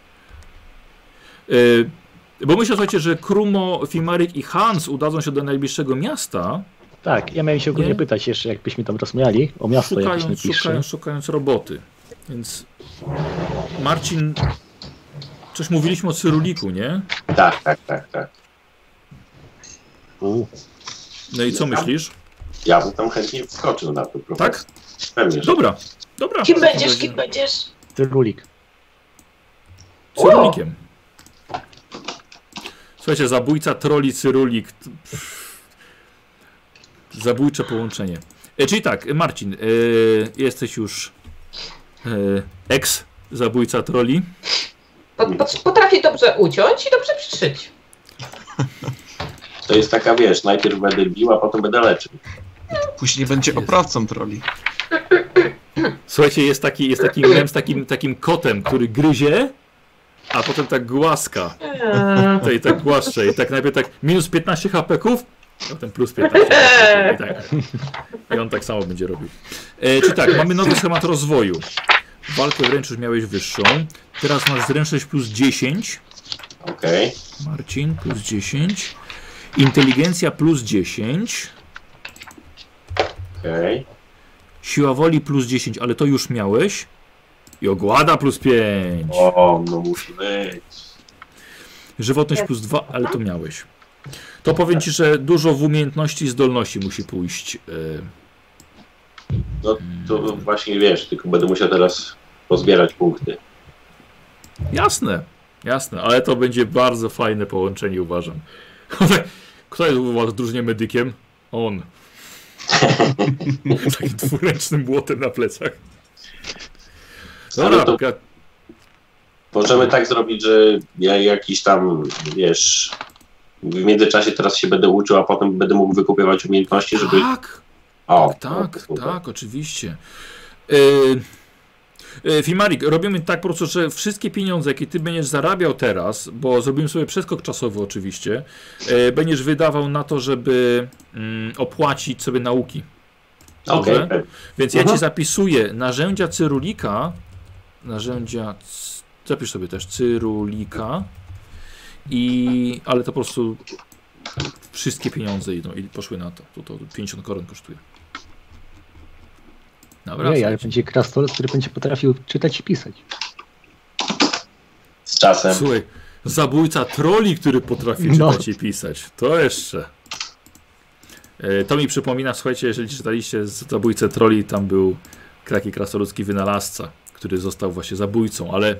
S1: E, bo myślę, słuchajcie, że Krumo, Fimarik i Hans udadzą się do najbliższego miasta,
S6: Tak, ja miałem się go
S1: Nie?
S6: nie pytać jeszcze, jakbyśmy tam rozmawiali o miasto jakieś
S1: szukając,
S6: najbliższe.
S1: szukając, szukając roboty. Więc Marcin, coś mówiliśmy o Cyruliku, nie?
S5: Tak, tak, tak, tak. U,
S1: No i co myślisz? Tak?
S5: Ja bym tam chętnie wskoczył na to profesję. Pewnie, że
S1: Dobra, dobra.
S3: Kim będziesz, kim będziesz?
S6: Cyrulik.
S1: Cyrulikiem. Słuchajcie, zabójca troli Cyrulik. T- pff. Zabójcze połączenie. E, czyli tak, Marcin, e, jesteś już e, ex zabójca troli.
S3: Po, po, potrafi dobrze uciąć i dobrze przyszyć.
S5: to jest taka, wiesz, najpierw będę bił, a potem będę leczył.
S2: Później będzie oprawcą troli.
S1: Słuchajcie, jest taki, jest taki mem z takim, takim kotem, który gryzie, a potem tak głaska.
S3: Eee,
S1: Tutaj tak głaszcze i tak najpierw tak minus 15 HP-ków, a potem plus 15 HP-ków. I, tak. I on tak samo będzie robił. E, czy tak, mamy nowy schemat rozwoju. Walkę wręcz już miałeś wyższą. Teraz masz zręczność plus 10.
S5: Okej.
S1: Marcin plus 10. Inteligencja plus 10.
S5: Okej.
S1: Siła woli plus 10, ale to już miałeś. I ogłada plus 5.
S5: O, no musi być.
S1: Żywotność plus 2, ale to miałeś. To powiem ci, że dużo w umiejętności i zdolności musi pójść. e,
S5: No to właśnie wiesz, tylko będę musiał teraz pozbierać punkty.
S1: Jasne, jasne, ale to będzie bardzo fajne połączenie, uważam. [LAUGHS] Kto jest u was w drużynie medykiem? On. Takim dwuręcznym młotem na plecach. Tak. Dobra,
S5: No, Ale to
S1: ga-
S5: możemy tak zrobić, że ja jakiś tam, wiesz, w międzyczasie teraz się będę uczył, a potem będę mógł wykupywać umiejętności, żeby...
S1: tak,
S5: O, no to
S1: tak,
S5: super.
S1: tak, oczywiście. E, e, Fimarik, robimy tak po prostu, że wszystkie pieniądze, jakie ty będziesz zarabiał teraz, bo zrobimy sobie przeskok czasowy oczywiście, e, będziesz wydawał na to, żeby mm, opłacić sobie nauki.
S5: Okej,
S1: Dobrze?
S5: pewnie.
S1: Więc ja
S5: Mhm.
S1: ci zapisuję narzędzia Cyrulika. Narzędzia. c- Zapisz sobie też Cyrulika. I. Ale to po prostu. Wszystkie pieniądze idą i poszły na to. To, to 50 koron kosztuje. Dobra.
S6: Ojej, ale będzie krasnolud, który będzie potrafił czytać i pisać.
S5: z czasem.
S1: Słuchaj, zabójca troli, który potrafi
S6: No.
S1: czytać i pisać. To jeszcze. E, To mi przypomina, słuchajcie, jeżeli czytaliście z- zabójcę troli, tam był taki krasnoludzki wynalazca, który został właśnie zabójcą, ale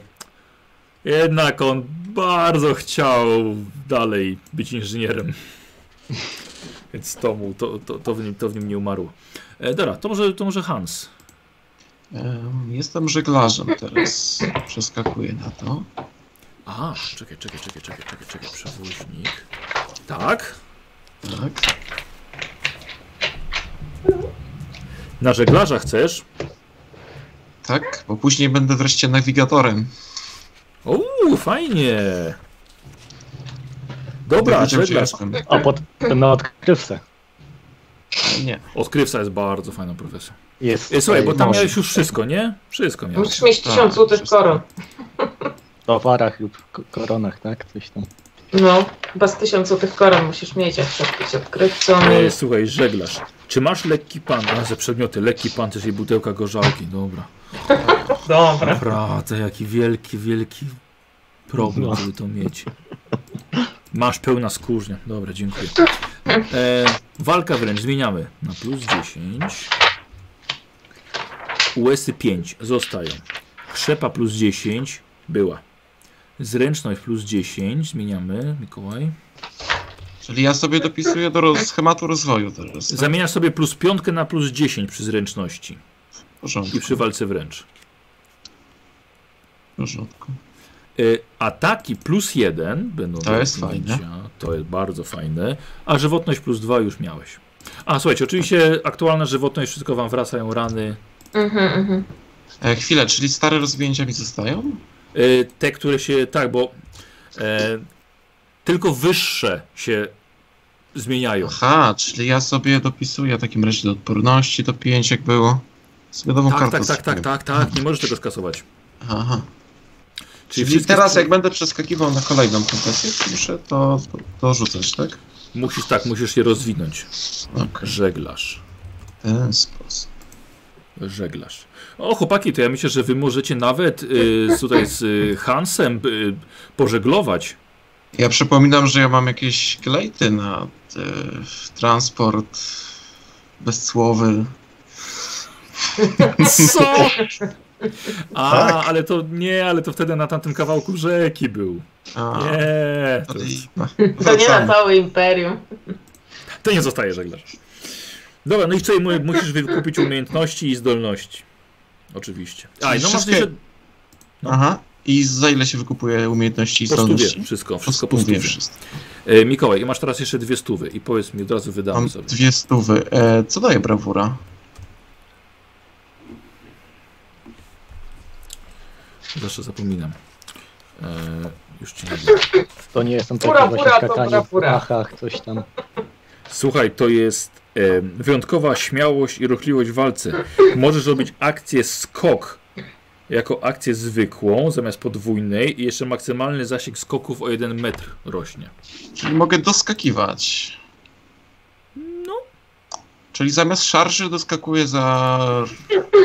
S1: jednak on bardzo chciał dalej być inżynierem. [LAUGHS] Więc to, mu, to, to, to, w, nim, to w nim nie umarło. E, dobra, to może, to może Hans.
S2: Em, Jestem żeglarzem teraz. Przeskakuję na to.
S1: Aha, czekaj, czekaj, czekaj, czekaj, czekaj, czekaj, przewoźnik. Tak?
S2: Tak.
S1: Na żeglarza chcesz?
S2: Tak, bo później będę wreszcie nawigatorem.
S1: Uuu, fajnie. Dobra,
S2: Będę wiedział, gdzie
S1: żeglarz.
S2: jestem.
S6: A potem na odkrywce.
S2: Nie.
S1: Odkrywca jest bardzo fajną profesją.
S6: Jest.
S1: E, Słuchaj, bo
S6: no.
S1: tam
S2: Może.
S1: miałeś już wszystko, nie? Wszystko miałeś.
S3: musisz mieć
S2: Tak,
S3: 1000 złotych
S2: wszystko.
S3: koron.
S6: W towarach lub k- koronach, tak? Coś tam.
S3: No, chyba z tysiącu tych koron musisz mieć, jak chcesz być odkrywcony.
S1: E, słuchaj, żeglarz. Czy masz lekki pan? A, ze przedmioty, lekki pan, też i butelka gorzałki, dobra.
S8: Dobra.
S1: Naprawdę, jaki wielki, wielki problem
S6: No.
S1: żeby to mieć. Masz pełna skórznia. Dobra, dziękuję. E, walka wręcz, zmieniamy. Na plus 10. USy 5 y zostają. Krzepa plus 10 była. Zręczność plus 10 zmieniamy, Mikołaj.
S2: Czyli ja sobie dopisuję do roz- schematu rozwoju teraz. tak?
S1: Zamieniasz sobie plus 5 na plus 10 przy zręczności
S2: W porządku,
S1: i przy walce wręcz.
S2: w porządku.
S1: Y, Ataki plus 1 będą
S2: To
S1: do
S2: jest
S1: odcięcia. To jest bardzo fajne. A żywotność plus 2 już miałeś. A słuchajcie, oczywiście aktualna żywotność, wszystko wam wracają rany.
S3: Mhm, mhm.
S2: E, chwilę, czyli stare rozwinięcia mi zostają?
S1: Y, Te, które się. Tak, bo e, tylko wyższe się zmieniają.
S2: Aha, czyli ja sobie dopisuję w takim razie do odporności do 5 jak było. no Sobie nową
S1: Tak,
S2: kartę
S1: tak, tak, tak,
S2: zrobię.
S1: tak, tak. Nie możesz tego skasować.
S2: Aha. Czyli,
S1: wszystkie
S2: teraz
S1: spół-
S2: jak będę przeskakiwał na kolejną kontestację, muszę to to- to rzucać, tak?
S1: Musisz tak, musisz się rozwinąć.
S2: Okej,
S1: Żeglarz.
S2: w ten sposób.
S1: Żeglarz. O, chłopaki, to ja myślę, że wy możecie nawet y, tutaj z y, Hansem y, pożeglować.
S2: Ja przypominam, że ja mam jakieś glejty na e, transport bezsłowy.
S1: Co? A,
S2: Tak.
S1: ale to nie, ale to wtedy na tamtym kawałku rzeki był.
S2: A, No
S1: Nie, to,
S2: to lipa.
S3: To nie na
S2: Wracamy.
S3: całe imperium.
S1: to nie zostaje żeglarz. Dobra, no i co, mu- musisz wykupić umiejętności i zdolności. Oczywiście. A, i no masz
S2: Wszystkie-
S1: jeszcze
S2: Aha. I za ile się wykupuje umiejętności i
S1: po
S2: zdolności?
S1: stówie wszystko,
S2: Po
S1: wszystko po
S2: stówie
S1: stówie.
S2: wszystko.
S1: E, Mikołaj, i masz teraz jeszcze dwie stówy i powiedz mi, od razu wydam
S2: Mam
S1: sobie.
S2: dwie stówy. E, co daje brawura?
S1: Zawsze zapominam. E, już ci nie wiem.
S6: To nie jestem
S3: Fura,
S6: takie właśnie
S3: fura, to
S6: skakanie
S3: fura,
S6: w
S3: fura.
S6: dachach, coś tam.
S1: Słuchaj, to jest e, wyjątkowa śmiałość i ruchliwość w walce. Możesz robić akcję skok jako akcję zwykłą zamiast podwójnej i jeszcze maksymalny zasięg skoków o 1 metr rośnie.
S2: Czyli mogę doskakiwać.
S1: No,
S2: Czyli zamiast szarży doskakuje za...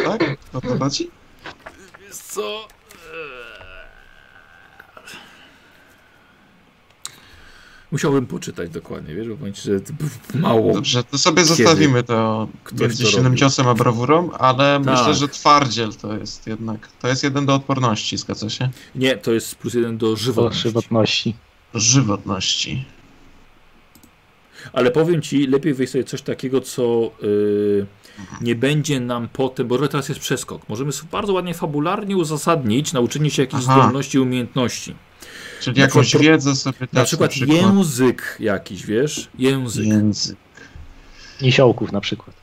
S2: Tak? O to chodzi?
S1: wiesz co? Musiałbym poczytać dokładnie, wiesz, bo powiem ci, że to p- mało.
S2: Dobrze, to sobie
S1: Kiedy?
S2: zostawimy to
S1: Ktoś
S2: między
S1: to
S2: silnym
S1: robił.
S2: ciosem a brawurą, ale
S1: Tak.
S2: myślę, że twardziel to jest jednak. To jest jeden do odporności, zgadza się?
S1: Nie, to jest plus jeden do
S6: Po
S1: żywotności.
S6: żywotności.
S2: Żywotności.
S1: Ale powiem ci, lepiej wyjść sobie coś takiego, co y, nie będzie nam potem, bo teraz jest przeskok. Możemy sobie bardzo ładnie fabularnie uzasadnić nauczenie się jakichś
S2: Aha.
S1: zdolności i umiejętności.
S2: Czyli
S1: Na
S2: jakąś
S1: przykład-
S2: wiedzę sobie dać
S1: Na przykład, język jakiś, wiesz? Język.
S2: Język.
S6: Nisiołków na przykład.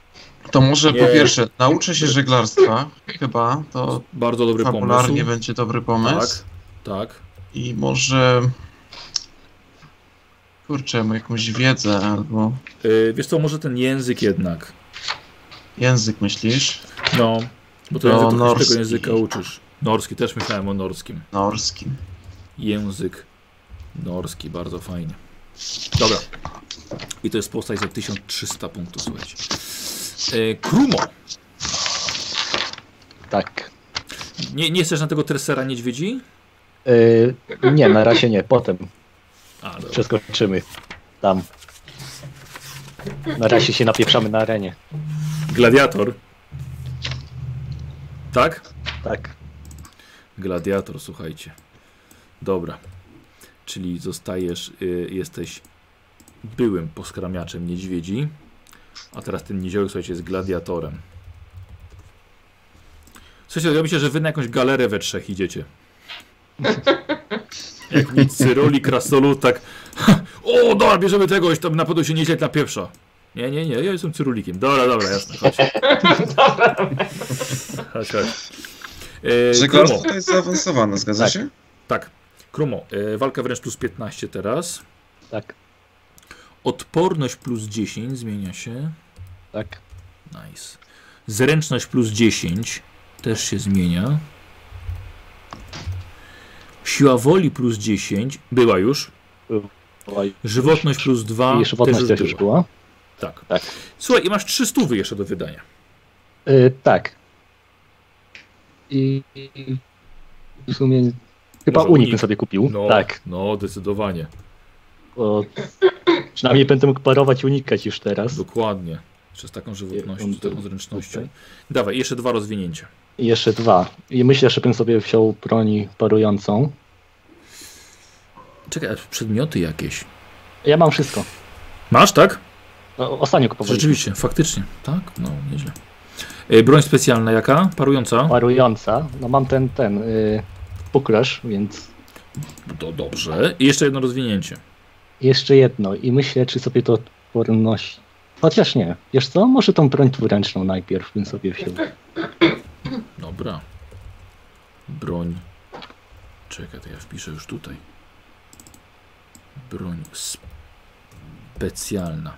S2: To może
S1: Nie.
S2: po pierwsze nauczę się żeglarstwa, chyba, to
S1: Bardzo dobry pomysł.
S2: No, fabularnie będzie dobry pomysł.
S1: Tak, tak.
S2: I może... Kurczę, mam jakąś wiedzę albo...
S1: Y, wiesz co, może ten język jednak.
S2: Język myślisz?
S1: No, bo to
S2: No,
S1: język, to też
S2: norski.
S1: tego języka uczysz. Norski, też myślałem o norskim.
S2: Norski.
S1: Język norski, bardzo fajnie. Dobra. I to jest postać za 1300 punktów, słuchajcie. E, Krumo.
S6: Tak.
S1: Nie, nie chcesz na tego tresera niedźwiedzi?
S6: Y, nie, na razie nie. Potem
S1: A, dobra.
S6: przeskoczymy tam. Na razie się napieprzamy na arenie.
S1: Gladiator. Tak?
S6: Tak.
S1: Gladiator, słuchajcie. Dobra. Czyli zostajesz, y, jesteś byłym poskramiaczem niedźwiedzi, a teraz ten niedziołek, słuchajcie, jest gladiatorem. Słuchajcie, ja myślę, że wy na jakąś galerę we trzech idziecie. Jak nic, Cyroli, Krasolut, tak o, dobra, bierzemy tego, już tam na pewno się nieźle na pieprza. Nie, nie, nie, ja jestem Cyrulikiem. Dobra, dobra, jasne, chodź. chodź, chodź. E, Krumo.
S2: Żeglarstwo to jest zaawansowane, zgadza
S6: Tak.
S2: się?
S1: Tak. Krumo, e, walka wręcz plus 15 teraz.
S6: Tak,
S1: Odporność plus 10 zmienia się.
S6: tak.
S1: Nice. Zręczność plus 10 też się zmienia. Siła woli plus 10 była już.
S6: Oj,
S1: Żywotność plus dwa.
S6: I żywotność
S1: też
S6: też
S1: była.
S6: już była.
S1: Tak.
S6: Tak.
S1: Słuchaj, i masz 300 jeszcze do wydania.
S6: Y, tak. I i w sumie chyba
S1: Może
S6: unik
S1: unik.
S6: bym sobie kupił.
S1: No,
S6: Tak.
S1: No, zdecydowanie.
S6: Bo przynajmniej będę mógł parować i unikać już teraz.
S1: Dokładnie. Przez taką żywotnością,
S6: Nie,
S1: z taką
S6: on-
S1: zręcznością.
S6: tutaj.
S1: Dawaj, jeszcze dwa rozwinięcia.
S6: I jeszcze dwa. I myślę, że bym sobie wziął broni parującą.
S1: Czekaj, a przedmioty jakieś.
S6: Ja mam wszystko.
S1: Masz, tak?
S6: No, ostatnio kupowałem.
S1: Rzeczywiście, faktycznie. Tak? No, nieźle. E, Broń specjalna jaka? Parująca?
S6: Parująca. No mam ten, ten, y, puklerz, więc
S1: To dobrze. I jeszcze jedno rozwinięcie.
S6: jeszcze jedno. I myślę, czy sobie to odporność... Chociaż nie. Wiesz co? Może tą broń dwuręczną najpierw bym sobie wziął.
S1: Dobra. Broń. Czekaj, to ja wpiszę już tutaj. Broń specjalna.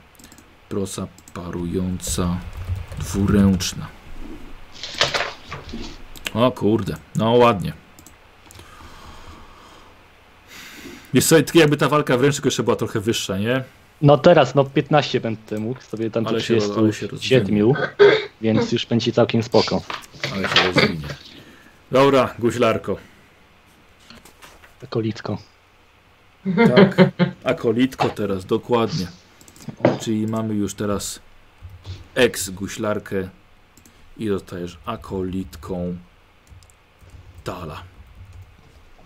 S1: Prosa parująca dwuręczna. O kurde, no ładnie. Jest sobie, tak jakby ta walka wręcz tylko jeszcze była trochę wyższa, nie?
S6: No teraz, no 15 będę mógł sobie tam do
S1: Ale się roz- ale się
S6: 37, więc już będzie całkiem spoko.
S1: Ale się rozwinie. Dobra, guźlarko.
S6: Kolicko.
S1: Tak, akolitko teraz, dokładnie. Czyli mamy już teraz ex-guślarkę i dostajesz akolitką Dala.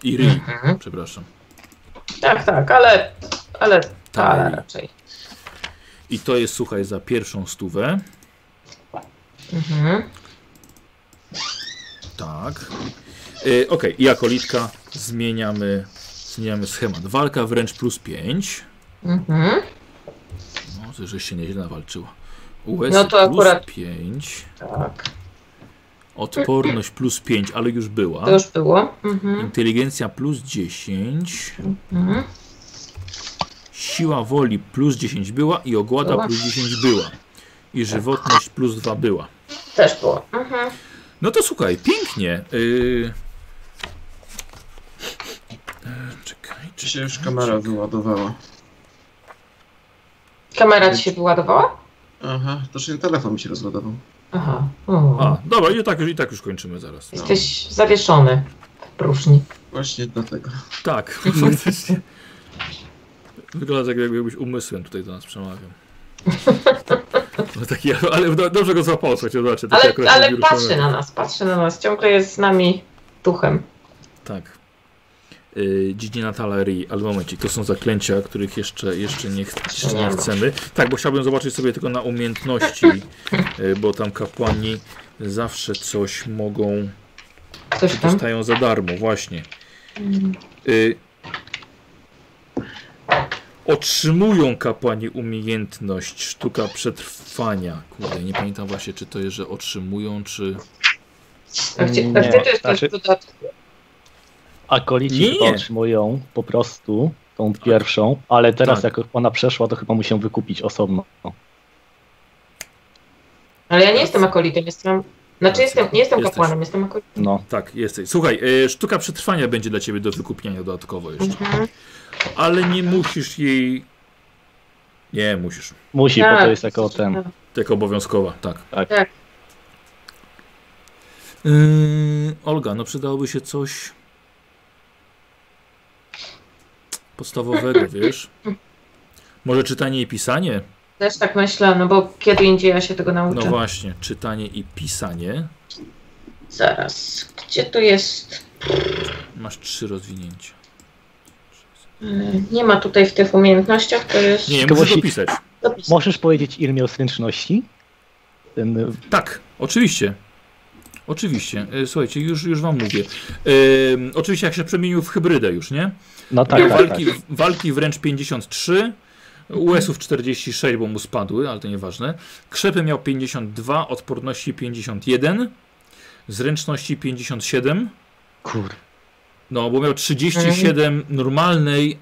S1: I Ri, przepraszam.
S3: Tak, tak, ale, ale ta
S1: Tali.
S3: raczej.
S1: I to jest, słuchaj, za pierwszą stówę.
S3: Mhm.
S1: Tak. Yy, Okej, i akolitka zmieniamy, zmieniamy schemat. Walka wręcz plus 5.
S3: Mhm.
S1: No, żeś się nieźle nawalczyła. US
S3: No to
S1: plus
S3: akurat-
S1: 5.
S3: Tak.
S1: Odporność plus 5, ale już była.
S3: To już było. Mhm.
S1: Inteligencja plus 10.
S3: Mhm.
S1: Siła woli plus 10 była i ogłada
S3: Była.
S1: plus 10 była. I żywotność plus 2 była.
S3: Też było. Mhm.
S1: No to słuchaj, pięknie. Yy... E, Czekaj,
S2: Czy
S1: czy
S2: się już kamera wyładowała?
S3: Kamera ci się wyładowała?
S2: Aha, to czy telefon mi się rozładował.
S3: Aha. O,
S1: A, dobra, i tak, już- i tak już kończymy zaraz.
S3: Jesteś zawieszony. Próżni.
S2: Właśnie dlatego.
S1: Tak,
S3: [LAUGHS]
S1: faktycznie. Wygląda tak, jakbyś umysłem tutaj do nas
S3: [LAUGHS]
S1: przemawiał. No taki, ale do- dobrze go złapał, słuchajcie, zobaczcie. taki
S3: Ale,
S1: akurat
S3: ale
S1: wirus
S3: patrzy
S1: mamy.
S3: na nas, patrzy na nas. Ciągle jest z nami duchem.
S1: Tak. Yy, Dziedzina Talerii, ale momencik, to są zaklęcia, których jeszcze, jeszcze, nie, ch- jeszcze nie chcemy. Tak, bo chciałbym zobaczyć sobie tylko na
S3: [LAUGHS]
S1: umiejętności, yy, bo tam kapłani zawsze coś mogą,
S3: Coś tam.
S1: dostają za darmo, właśnie. Yy, otrzymują kapłani umiejętność sztuka przetrwania. Kurde, nie pamiętam właśnie, czy to jest, że otrzymują, czy...
S3: A gdzie, a
S6: Nie,
S3: gdzie to jest
S6: znaczy-
S3: znaczy... dodatkowe?
S6: A kolici
S1: Nie,
S6: chyba
S1: nie.
S6: otrzymują po prostu tą pierwszą, ale teraz
S1: Tak.
S6: jak ona przeszła, to chyba musi ją wykupić osobno.
S3: Ale ja nie jestem akolitem, jestem...
S1: Racja.
S3: Znaczy jestem, nie jestem
S1: Jesteś.
S3: kapłanem, jestem akolitem.
S6: No.
S1: Tak, jesteś. Słuchaj, yy, sztuka przetrwania będzie dla ciebie do wykupienia dodatkowo jeszcze.
S3: Mhm.
S1: Ale nie musisz jej. Nie musisz.
S6: Musi, bo
S3: Tak.
S6: to jest jako ten.
S1: Tylko obowiązkowa, tak.
S6: Tak.
S3: Tak.
S1: Yy, Olga, no przydałoby się coś podstawowego, wiesz? Może czytanie i pisanie?
S3: Też tak myślę, no bo kiedy indziej ja się tego
S1: No
S3: nauczę.
S1: właśnie, czytanie i pisanie.
S3: Zaraz, gdzie tu jest?
S1: Masz trzy rozwinięcia.
S3: Yy, Nie ma tutaj w tych umiejętnościach, to jest...
S1: Nie, nie
S6: Tylko
S1: musisz
S6: musi-
S1: dopisać.
S3: Dopis.
S6: Możesz powiedzieć, ile miał zręczności? Ten y,
S1: Tak, oczywiście. Oczywiście. Yy, Słuchajcie, już, już wam mówię. Yy, oczywiście jak się przemienił w hybrydę już, nie?
S6: No tak, tak, tak.
S1: walki, walki wręcz 53, US-ów 46, bo mu spadły, ale to nieważne. Krzepy miał 52, odporności 51, zręczności 57.
S6: Kur.
S1: No, bo miał 37 normalnej,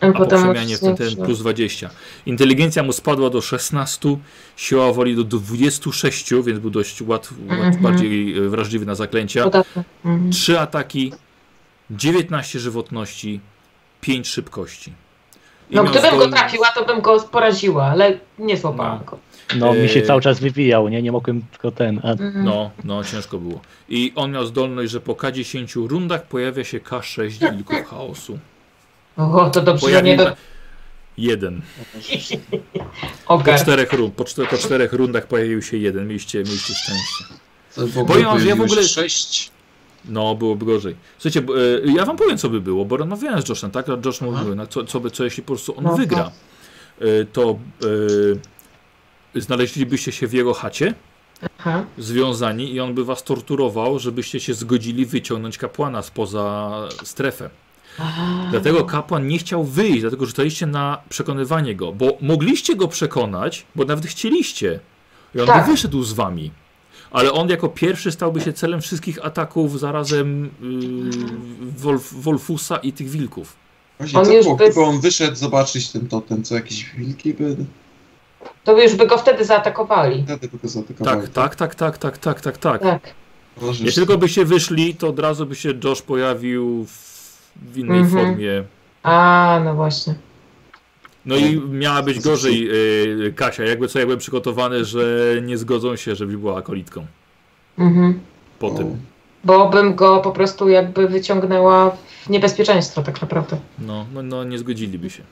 S3: A
S1: a po
S3: potem
S1: przemianie w ten, ten plus 20. Inteligencja mu spadła do 16, siła woli do 26, więc był dość łat, łat,
S3: Mhm.
S1: bardziej e, wrażliwy na zaklęcia.
S3: Podatne. Mhm.
S1: 3 ataki, 19 żywotności, 5 szybkości.
S3: No,
S1: miał
S3: gdybym go
S1: zdolny-
S3: trafiła, to bym go poraziła, ale nie złapałam go.
S6: No, mi się
S1: Yy.
S6: cały czas wywijał, nie? Nie mogłem tylko ten. A
S3: Mhm.
S1: No, no, ciężko było. I on miał zdolność, że po K10 rundach pojawia się K6 wilków chaosu.
S3: O, to dobrze, Znaczy, że nie
S1: Pojawił
S3: do...
S1: jeden. Po
S3: Ogar.
S1: czterech, rund, po, czter, po czterech rundach pojawił się jeden. Mieliście, mieliście szczęście.
S10: To w ogóle
S1: Powiem wam, że ja w
S10: pojawiło się
S1: ogóle-
S10: Sześć.
S1: No, byłoby gorzej. Słuchajcie, bo, e, ja wam powiem, co by było, bo rozmawiałem z Joshem, tak? A Josh mówił, no, co, co, by, co jeśli po prostu on
S3: No,
S1: wygra, E, to e, znaleźlibyście się w jego chacie,
S3: Aha.
S1: związani i on by was torturował, żebyście się zgodzili wyciągnąć kapłana spoza strefę.
S3: Aha.
S1: Dlatego kapłan nie chciał wyjść, dlatego rzucaliście na przekonywanie go, bo mogliście go przekonać, bo nawet chcieliście. I on
S3: Tak.
S1: by wyszedł z wami. Ale on jako pierwszy stałby się celem wszystkich ataków zarazem yy, Wolf, Wolfusa i tych wilków.
S2: Właśnie,
S3: On
S2: co
S3: już
S2: było,
S3: bez-
S2: gdyby on wyszedł zobaczyć ten totem, co jakieś wilki by...
S3: To już by go wtedy zaatakowali.
S2: Wtedy by go zaatakowali.
S1: Tak, tak, tak, tak, tak, tak, tak, tak.
S3: Tak.
S2: Możesz-
S1: Jeśli tylko by się wyszli, to od razu by się Josh pojawił w, w innej
S3: Mhm.
S1: formie.
S3: A, no właśnie.
S1: No i miała być gorzej yy, Kasia, jakby co, ja byłem przygotowany, że nie zgodzą się, żeby była akolitką
S3: Mhm.
S1: po
S2: O.
S1: tym.
S3: Bo bym go po prostu jakby wyciągnęła w niebezpieczeństwo tak naprawdę.
S1: No, no, no nie zgodziliby się.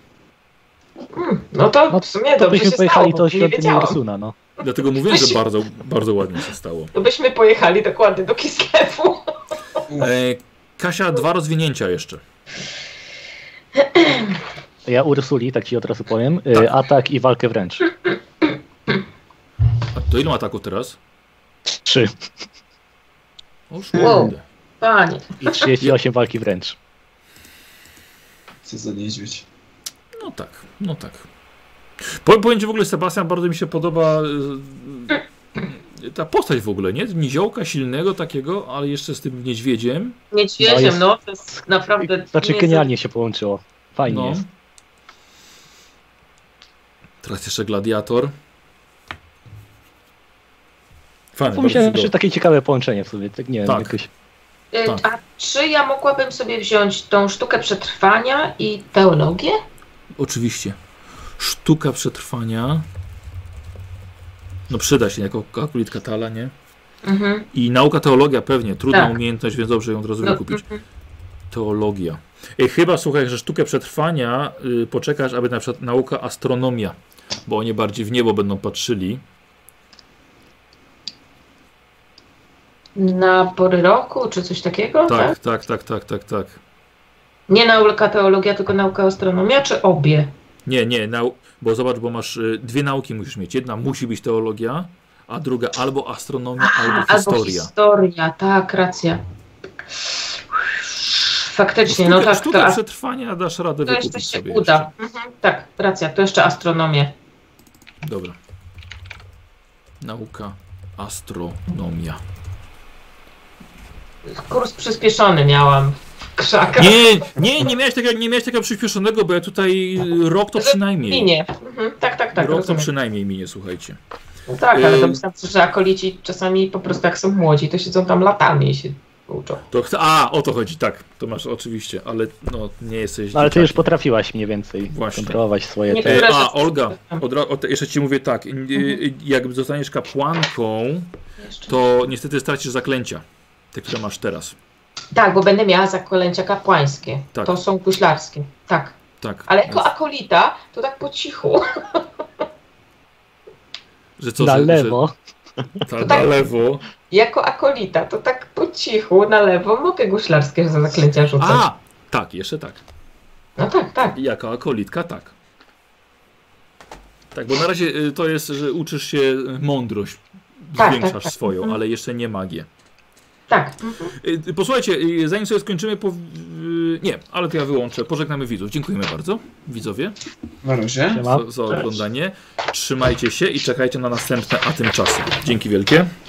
S3: Hmm, no to w sumie
S6: to
S3: dobrze się
S6: byśmy
S3: stało,
S6: pojechali
S3: bo
S6: to
S3: nie
S6: świątynię
S3: wiedziałam.
S6: Ursuna, no.
S1: Dlatego mówię, że
S3: Właśnie-
S1: bardzo, bardzo ładnie się stało.
S3: To byśmy pojechali dokładnie do [LAUGHS] Kislewu.
S1: E, Kasia, dwa rozwinięcia jeszcze.
S6: Ja Ursuli, tak ci od razu powiem, y, atak i walkę wręcz.
S1: A to ile ma ataku teraz?
S6: Trzy.
S1: O,
S3: Wow.
S1: kurde.
S3: Panie.
S6: I 38 walki wręcz.
S2: Co za niedźwiedź.
S1: No tak, no tak. Powiem, powiem ci w ogóle, Sebastian, bardzo mi się podoba y, y, ta postać w ogóle, nie? Niziołka silnego takiego, ale jeszcze z tym niedźwiedziem.
S6: No
S3: Niedźwiedziem,
S6: jest-
S3: no, to jest naprawdę...
S6: Znaczy
S3: nie-
S6: genialnie się połączyło. Fajnie
S1: No.
S6: jest.
S1: Teraz jeszcze gladiator. Fajny, bardzo
S6: To myślałem,
S1: się
S6: że
S1: podoba.
S6: takie ciekawe połączenie w sobie. Tak, nie wiem,
S1: Tak.
S6: jakoś...
S3: E,
S1: tak.
S3: A czy ja mogłabym sobie wziąć tą sztukę przetrwania i teologię? tak-
S1: Oczywiście. Sztuka przetrwania. No przyda się, jako akulit katala, nie?
S3: Mhm.
S1: I nauka teologia pewnie, trudna
S3: Tak.
S1: umiejętność, więc dobrze ją od razu
S3: No,
S1: wykupić. Teologia. Ej, chyba słuchaj, że sztukę przetrwania y, poczekasz, aby na przykład nauka astronomia, bo oni bardziej w niebo będą patrzyli.
S3: Na pory roku, czy coś takiego?
S1: Tak,
S3: Tak.
S1: tak, tak, tak, tak, tak.
S3: Nie nauka teologia, tylko nauka astronomia, czy obie?
S1: Nie, nie, nau- bo zobacz, bo masz y, dwie nauki musisz mieć. Jedna musi być teologia, a druga albo astronomia, albo
S3: Albo
S1: historia.
S3: historia, tak, racja. Faktycznie,
S1: Sztukę,
S3: no tak,
S1: sztukę
S3: to,
S1: przetrwania dasz radę
S3: to jeszcze
S1: wykupić
S3: się
S1: sobie.
S3: uda. Mhm, tak, racja, to jeszcze astronomię.
S1: Jeszcze. Dobra. Nauka, astronomia.
S3: Kurs przyspieszony miałam w krzakach.
S1: Nie, nie, nie miałeś takiego, nie miałeś takiego przyspieszonego, bo ja tutaj y, rok to
S3: Że
S1: przynajmniej.
S3: Minie. Mhm, tak, tak, tak,
S1: rok y- to
S3: rozumiem.
S1: przynajmniej minie, słuchajcie.
S3: No tak, ale to
S1: Ym.
S3: myślałam, że akolici czasami po prostu jak są młodzi, to siedzą tam latami i się uczą.
S1: To, chce- a, o to chodzi, tak. To masz oczywiście, ale no, nie jesteś.
S6: No, ale ty
S1: dzieciakiem.
S6: już potrafiłaś mniej więcej
S1: Właśnie.
S6: kontrolować swoje
S3: Nie-
S6: te...
S1: E,
S3: Które
S1: a,
S3: rzeczy-
S1: Olga, od, ra- od, jeszcze ci mówię tak. y, y, Jak zostaniesz kapłanką,
S3: Jeszcze.
S1: to niestety stracisz zaklęcia. Te, które masz teraz.
S3: Tak, bo będę miała zakolęcia kapłańskie.
S1: Tak.
S3: To są guślarskie. Tak.
S1: Tak.
S3: Ale jako akolita, to tak po cichu.
S1: że co,
S6: Na
S1: że- że-
S6: lewo.
S1: Ta,
S3: tak-
S1: na lewo.
S3: Jako akolita, to tak po cichu na lewo mogę guślarskie za zaklęcia rzucać.
S1: A! Tak, jeszcze tak.
S3: No tak, tak.
S1: Jako akolitka, tak. Tak, bo na razie y, to jest, że uczysz się y, mądrość.
S3: tak,
S1: Zwiększasz
S3: tak.
S1: swoją, ale jeszcze nie magię.
S3: Tak.
S1: Y, y, Posłuchajcie, y, zanim sobie skończymy, po... y, nie, ale to ja wyłączę. Pożegnamy widzów. Dziękujemy bardzo, widzowie,
S2: Na razie.
S6: Siema.
S1: za, za oglądanie. Trzymajcie się i czekajcie na następne, a tymczasem. Dzięki wielkie.